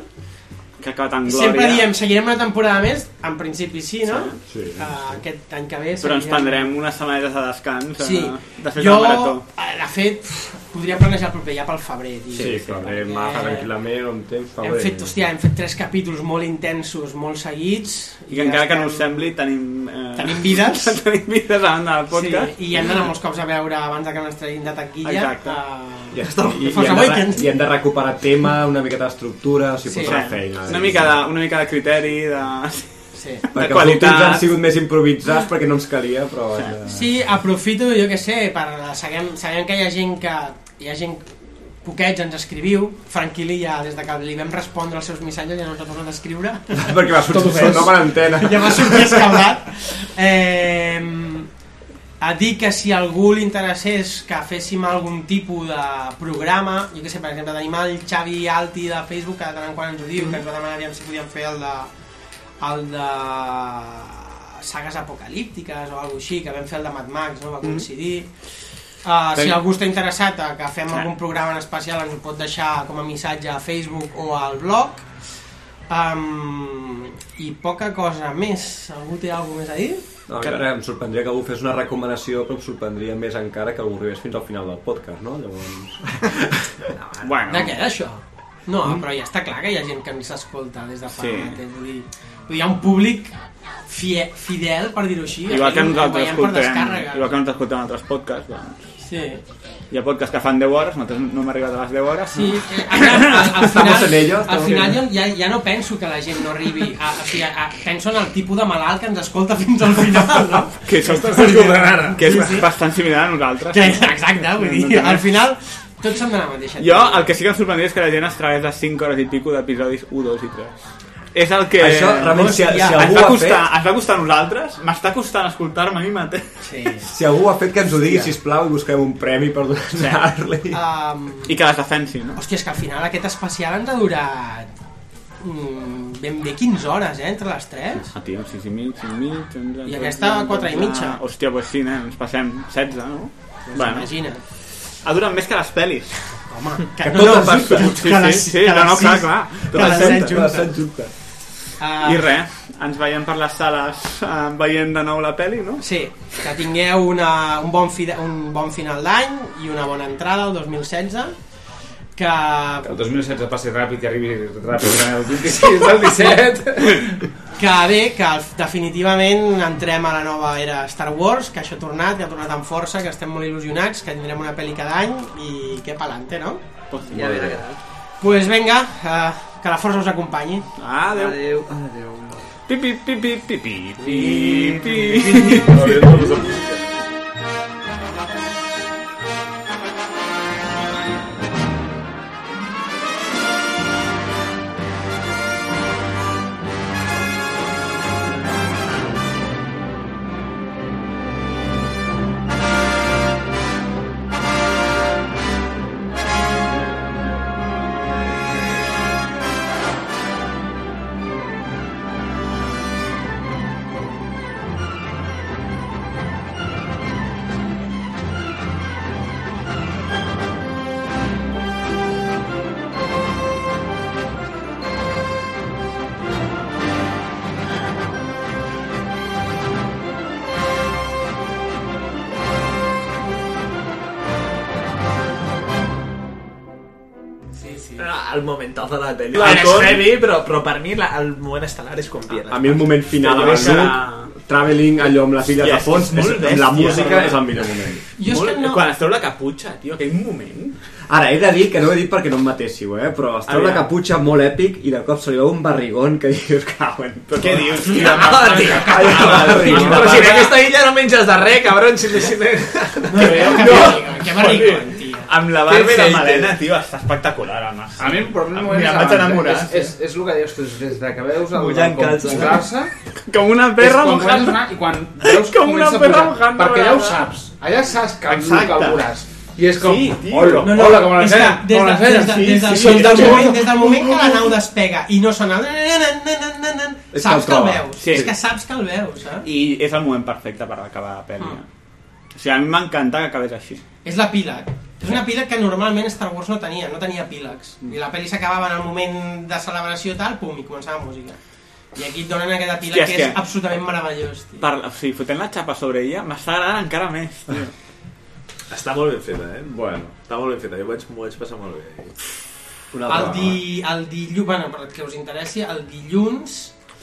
S9: Que acaba tan glòria.
S7: Sempre diem, seguirem una temporada més? En principi sí, no?
S9: Sí.
S7: Uh, aquest any que ve
S9: Però ens
S7: seguirem.
S9: prendrem unes setmanetes de descans. eh,
S7: Sí.
S9: Després
S7: jo,
S9: de la marató.
S7: eh, de fet, pf, podríem planejar el proper ja pel febrer. Dic.
S12: Sí, febrer, març, tranquil·lament, amb temps,
S7: Hem
S12: febrer.
S7: fet, hòstia, hem fet tres capítols molt intensos, molt seguits.
S9: I que encara que no us sembli, tenim... Eh...
S7: Tenim vides.
S9: tenim vides a banda del
S7: Sí,
S9: podcast.
S7: I hem d'anar molts cops a veure abans de que ens treguin de taquilla.
S9: Exacte.
S7: Uh,
S12: I,
S7: ja
S12: i, i,
S7: Força
S12: hem de,
S7: Awakens.
S12: re- I hem de recuperar tema, una miqueta d'estructura, o sigui,
S7: Sí.
S12: sí, posar
S7: Sí.
S12: feina.
S9: Una mica, de, una mica de criteri, de,
S7: sí.
S9: de
S12: Perquè els últims han
S9: qualitat.
S12: sigut més improvisats perquè no ens calia, però... vaja.
S7: Sí, aprofito, jo que sé, per, sabem, sabem que hi ha gent que... Hi ha gent poquets ens escriviu, Franquili ja des de que li vam respondre als seus missatges ja no ens ha tornat a escriure.
S12: Perquè va sortir-
S7: Tot ofès.
S12: no, quarantena.
S7: Ja va sortir escabrat. Eh, a dir que si a algú li interessés que féssim algun tipus de programa, jo que sé, per exemple, tenim el Xavi Alti de Facebook, que de tant en quant ens ho diu, que ens va demanar aviam si podíem fer el de, el de sagues apocalíptiques o alguna així, que vam fer el de Mad Max, no? va coincidir. Uh, si
S5: Mm-hmm. Tenim-
S7: algú està interessat a que fem
S5: Clar.
S7: algun programa en especial ens ho pot deixar com a missatge a Facebook o al blog um, i poca cosa més algú té alguna més a dir?
S12: No, encara em sorprendria que algú fes una recomanació, però em sorprendria més encara que algú arribés fins al final del podcast, no? Llavors...
S9: bueno.
S7: De què, d'això? No, però ja està clar que hi ha gent que ens escolta des de fa
S9: Sí.
S7: sí. Vull dir, vull dir, hi ha un públic fie, fidel, per dir-ho així.
S9: Igual que
S7: aquell
S9: nosaltres
S7: veiem per
S9: escoltem,
S7: descàrrega.
S9: igual que nosaltres escoltem altres podcasts, doncs.
S7: Sí.
S9: Hi ha podcasts que fan 10 hores, nosaltres no hem arribat a les 10 hores.
S7: Sí, eh, al, al, al
S9: Estamos
S7: final,
S9: en ello,
S7: al
S9: estamos
S7: final
S9: en
S7: jo ja, ja no penso que la gent no arribi a, o sigui, a, penso en el tipus de malalt que ens escolta fins al final no?
S9: Que, és, que és bastant similar a nosaltres.
S7: que, exacte, vull dir, al final tots som de la mateixa
S9: Jo, el que sí que em sorprendria és que la gent es tragués les 5 hores i pico d'episodis 1, 2 i 3. És el que...
S12: Això, Ramon, si- si algú
S9: ens va
S12: ho ha
S9: costar,
S12: fet-
S9: Ens va costar a nosaltres, m'està costant escoltar-me a mi mateix.
S7: Sí.
S12: Si algú ho ha fet, que ens ho digui, sisplau, i busquem un premi per donar-li.
S7: um,
S9: I que les defensi, no?
S7: Hòstia, és que al final aquest especial ens ha durat mm, ben bé 15 hores, eh, entre les 3.
S9: Ah, tio, 6 i mig, 5 i mig... 11,
S7: I aquesta, quatre i mitja.
S9: Hòstia, doncs pues sí, nen, ens passem 16, no?
S7: Doncs imagina't.
S9: Ha durat més que les pel·lis.
S7: Home,
S9: que no les juntes.
S7: que les-
S9: Sí, sí, sí,
S7: que
S9: no, no,
S7: les
S9: clar,
S7: sis-
S9: clar.
S7: que les set juntes.
S9: juntes.
S7: Ah.
S9: I res, ens veiem per les sales eh, veient de nou la pel·li, no?
S7: Sí, que tingueu una, un, bon fi, un bon final d'any i una bona entrada el 2016 que...
S6: Que el 2016 passi ràpid i arribi ràpid eh, el 26 del 17.
S7: que bé, que definitivament entrem a la nova era Star Wars, que això ha tornat, que ha tornat amb força, que estem molt il·lusionats, que tindrem una pel·li cada any i que pelante, no?
S13: Ja verà què tal.
S7: Pues venga, eh, que la força us acompanyi.
S9: Adéu.
S13: Adéu. Adéu.
S9: Pipi, pipi, pipi, pipi.
S48: Ah, El momentazo de la peli.
S12: La
S48: Bueno, és
S12: con-
S48: heavy, però, però per mi la, el moment estel·lar és quan pierdes.
S12: A mi el moment final
S48: Jo
S12: de
S48: crec que
S12: Luke,
S48: la-
S12: traveling allò amb les illes
S48: Hòstia,
S12: de fons,
S48: és que és molt
S12: és- amb la
S48: bèstia,
S12: música
S48: perdó.
S12: és el millor moment.
S48: Jo és que no... Quan es treu la caputxa, tio, aquell moment...
S12: Ara, he de dir que no ho he dit perquè no em matéssiu, eh? però es treu la
S48: Aviam.
S12: caputxa molt èpic i de cop se li veu un barrigón que dius, cauen. Però...
S48: Què dius?
S12: Tira, mare, tio,
S48: Però
S12: Però
S48: si en aquesta illa no menges de res, cabron, si si no... No,
S7: que barrigón,
S48: tio. Amb la barba i la melena, tio, està espectacular, home.
S6: A mi el problema
S48: Mira,
S6: és...
S48: em vaig enamorar.
S6: És, és, és el que dius, tu, des de que veus el
S48: Mullant calça.
S6: comprar-se...
S9: Com una perra mojant.
S6: mojant. I quan veus
S9: Com una
S6: comença a
S9: perra
S6: pujar,
S9: mojant.
S6: Perquè ja ho saps. Allà saps que el
S9: Exacte.
S6: que veuràs. I és com...
S9: Sí, tio.
S6: hola,
S9: No, no,
S6: hola, com la
S9: és
S6: feina,
S9: que des
S6: com la
S9: de-
S6: feina.
S7: Des, de, des, del,
S6: Sí, sí,
S7: des, del
S6: sí.
S7: moment, des del moment que la nau despega i no sona el...
S9: És que
S7: Saps que
S9: el
S7: el
S9: troba.
S7: veus.
S9: Sí.
S7: És que saps que el veus, eh?
S9: I és el moment perfecte per acabar la pel·li. eh. O sigui, a mi m'encanta que acabés així.
S7: És l'epíleg. És un epíleg que normalment Star Wars no tenia, no tenia epílegs. I la pel·li s'acabava en el moment de celebració i tal, pum, i començava la música. I aquí et donen aquest epíleg
S9: Hòstia, és
S7: que és
S9: que-
S7: absolutament meravellós. tio.
S9: Per, o sigui, fotent la xapa sobre ella m'està agradant encara més. Tio.
S54: Està molt ben feta, eh? Bueno, està molt ben feta. Jo vaig, m'ho vaig passar molt bé.
S7: El, di, el dilluns, bueno, per que us interessi, el dilluns...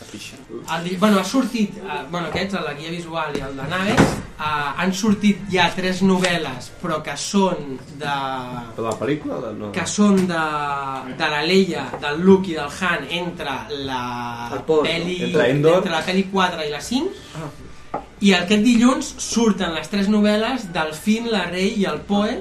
S7: El di, bueno, ha sortit, eh, bueno, aquests, el de Guia Visual i el de Naves, eh, han sortit ja tres novel·les, però que són de...
S12: De la pel·lícula? o De... No.
S7: que són de, de la Leia, del Luke i del Han entre la
S12: El port, no?
S7: peli,
S12: Entre Endor. Ah.
S7: entre la peli 4 i la 5 i aquest dilluns surten les tres novel·les del Finn, la Rey i el Poe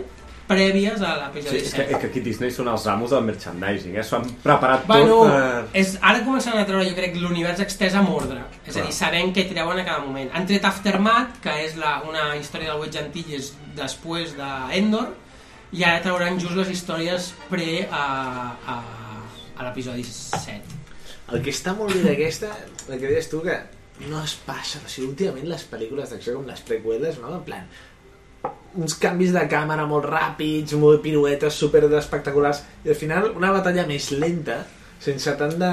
S7: prèvies a l'episodi
S12: Sí, és, que,
S7: 7.
S12: és que aquí Disney són els amos del merchandising, eh? S'ho han preparat
S7: Bueno,
S12: tot per...
S7: és, ara comencen a treure, jo crec, l'univers extès amb ordre. És a
S12: Clar.
S7: dir, sabem què treuen a cada moment. Han tret Aftermath, que és la, una història del Wedge Antilles després d'Endor, i ara trauran just les històries pre a, a, a l'episodi 7.
S19: El que està molt bé d'aquesta, el que deies tu, que no es passa. O sigui, últimament les pel·lícules d'acció com les prequeles, no? En plan, uns canvis de càmera molt ràpids, molt piruetes, super espectaculars, i al final una batalla més lenta, sense tant de...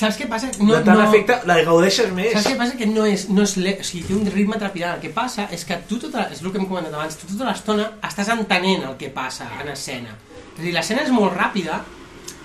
S7: Saps què passa?
S19: No, de tant no. efecte, la gaudeixes més.
S7: Saps què passa? Que no és, no és le... o sigui, té un ritme trepidant. El que passa és que tu, tota... és el que hem comentat abans, tu tota l'estona estàs entenent el que passa en escena. És a dir, l'escena és molt ràpida,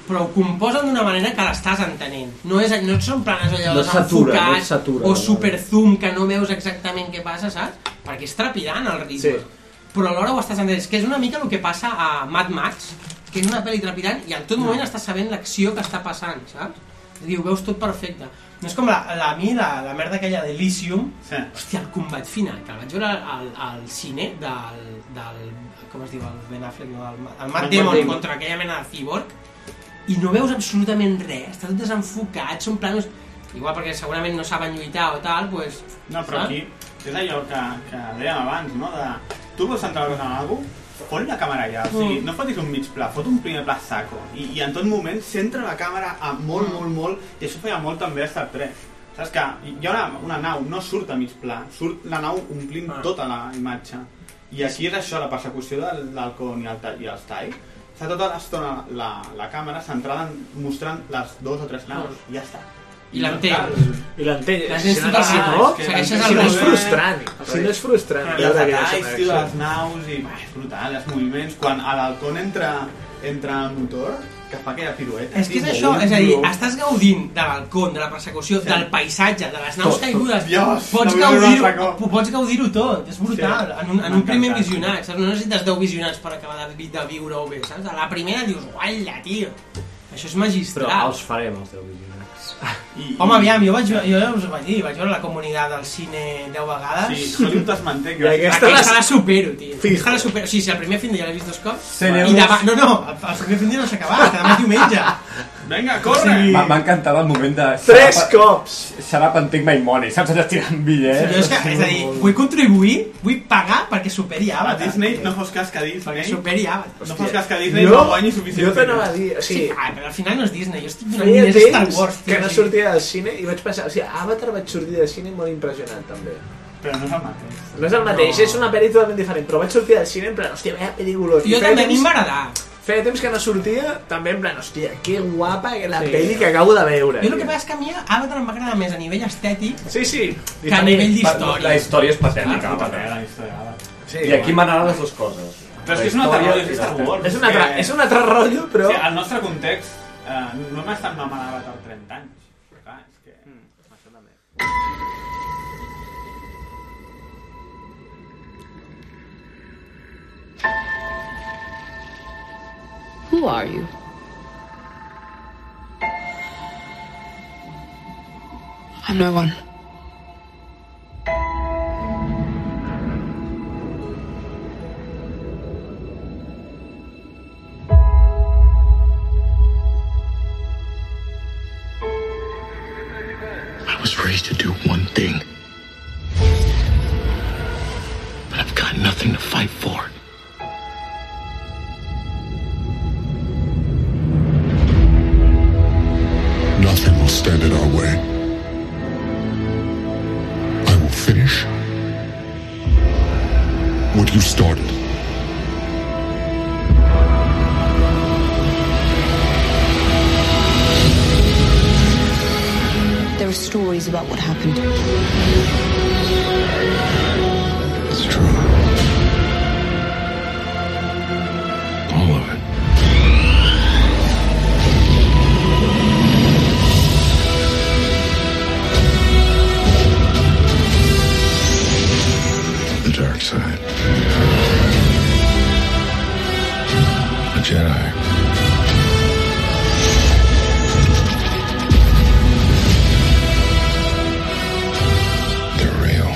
S7: però ho composen d'una manera que l'estàs entenent. No, és, no són planes allò
S12: No
S7: de
S12: satura,
S7: s'enfocat
S12: no satura.
S7: o superzoom que no veus exactament què passa, saps? Perquè és trepidant el ritme. Sí. Però alhora ho estàs entenent. És que és una mica el que passa a Mad Max, que és una pel·li trepidant i en tot moment estàs sabent l'acció que està passant, saps? És a dir, ho veus tot perfecte. No és com la, la a mi, la, la merda aquella d'Elysium, sí. hòstia, el combat final, que el vaig veure al, al cine del, del, com es diu, el Ben Affleck, no? el, el
S60: Matt
S7: Matt Damon
S60: Damon.
S7: contra aquella mena de cyborg, i no veus absolutament res, està tot desenfocat, són planos... Igual perquè segurament no saben lluitar o tal, doncs...
S9: No, però aquí és allò que, que dèiem abans, no? De, tu vols entrar en algú, fot la càmera allà, o sigui,
S7: Mm.
S9: no fotis un mig pla, fot un primer pla saco. I, i en tot moment centra la càmera a molt,
S7: Mm.
S9: molt, molt, i això feia molt també a Star Trek. Saps que hi ha una, una nau, no surt a mig pla, surt la nau omplint
S7: Ah.
S9: tota la imatge. I aquí és això, la persecució del- de l'Alcon i, el, Ta- i els Tai. Està tota l'estona la, la càmera centrada en, mostrant les dues o tres naus, i ja està.
S7: Ah. I l'entens.
S19: I l'entens.
S9: La gent
S19: Si no,
S9: està
S19: si
S9: així,
S19: no,
S9: és que
S19: segueixes el
S9: l'entens. Si no,
S19: ritme.
S9: és frustrant.
S19: Si no, és frustrant.
S9: I els
S19: veure aquella
S9: detalls, tio,
S19: acció.
S9: les naus, i bah, és brutal, els moviments. Quan a l'Alcon entra, entra el motor, que fa aquella pirueta.
S7: És que és això, és a dir, estàs gaudint de l'alcón, de la persecució, sí. del paisatge, de les naus
S9: Tot, tot.
S7: caigudes,
S9: Dios,
S7: pots
S9: no vull veure un
S7: gaudir-ho
S9: altre
S7: po- pots gaudir-ho tot, és brutal,
S9: Sí.
S7: en un, en un
S9: M'ha
S7: primer
S9: encantat.
S7: visionat, saps? no necessites 10 visionats per acabar de, vi- de viure-ho bé, saps? a la primera dius, ualla, tio, això és magistral.
S12: Però els farem, els 10 visionats.
S9: I,
S7: Home, aviam, jo, vaig, jo ja us ho vaig dir, vaig veure la comunitat del cine 10 vegades.
S9: Sí, Hollywood es manté.
S7: I aquesta, aquesta la supero, tio. Aquesta la supero. O sigui, si el primer fin de ja l'he vist dos cops, i demà... No, no, el, el primer fin de no s'ha acabat, que demà és diumenge.
S9: Vinga,
S7: corre! Sí.
S12: M'ha encantat el moment de...
S7: Tres
S12: cops! Xarap en take my money, saps? Allà tirant
S7: Sí,
S12: bitllets.
S7: jo és, que, és a dir, vull contribuir, vull pagar perquè superi
S9: A
S7: Avatar.
S9: Disney no fos cas que Disney...
S7: Perquè superi Avatar.
S9: No fos cas que Disney no guanyi suficient.
S19: jo t'anava a dir, o sigui-
S7: Sí, ah, però al final no és Disney, jo estic donant
S19: Feia
S7: diners a Star
S19: temps
S7: Wars.
S19: que
S7: tio,
S19: no
S7: o sigui.
S19: sortia del cine i vaig pensar, o sigui, Avatar vaig sortir del cine molt impressionat també.
S9: Però no és el mateix.
S19: No és el mateix,
S9: No.
S19: és una pel·li totalment diferent, però vaig sortir del cine en plan, hòstia, veia pel·lícula.
S7: Jo també, a mi em va agradar.
S19: Feia temps que no sortia, també en plan, hòstia, que guapa que la
S7: Sí.
S19: sí. pel·li que acabo de veure.
S7: Jo el que passa és que a mi Avatar em va agradar més a nivell estètic
S19: Sí, sí.
S7: que a nivell d'història.
S12: La història és patètica.
S9: la història. Sí,
S12: I aquí m'agraden les dues coses.
S9: Però és que és un altre rotllo, és Star Wars.
S19: És un altre-
S9: que-
S19: és un altre rotllo, però-
S9: O sigui, al nostre context, eh, no hem estat mamant Avatar 30 anys. Però clar, és que...
S61: Who are you? I'm no one.
S2: I was raised to do one thing. But I've got nothing to fight for. Nothing will stand in our way. I will finish what you started.
S61: There are stories about what happened.
S2: All of it. The dark side. A Jedi. They're real.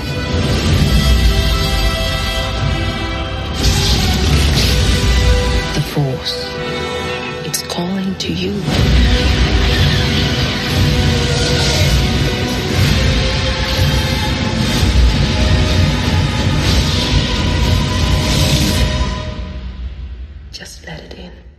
S61: happened to you. Just let it in.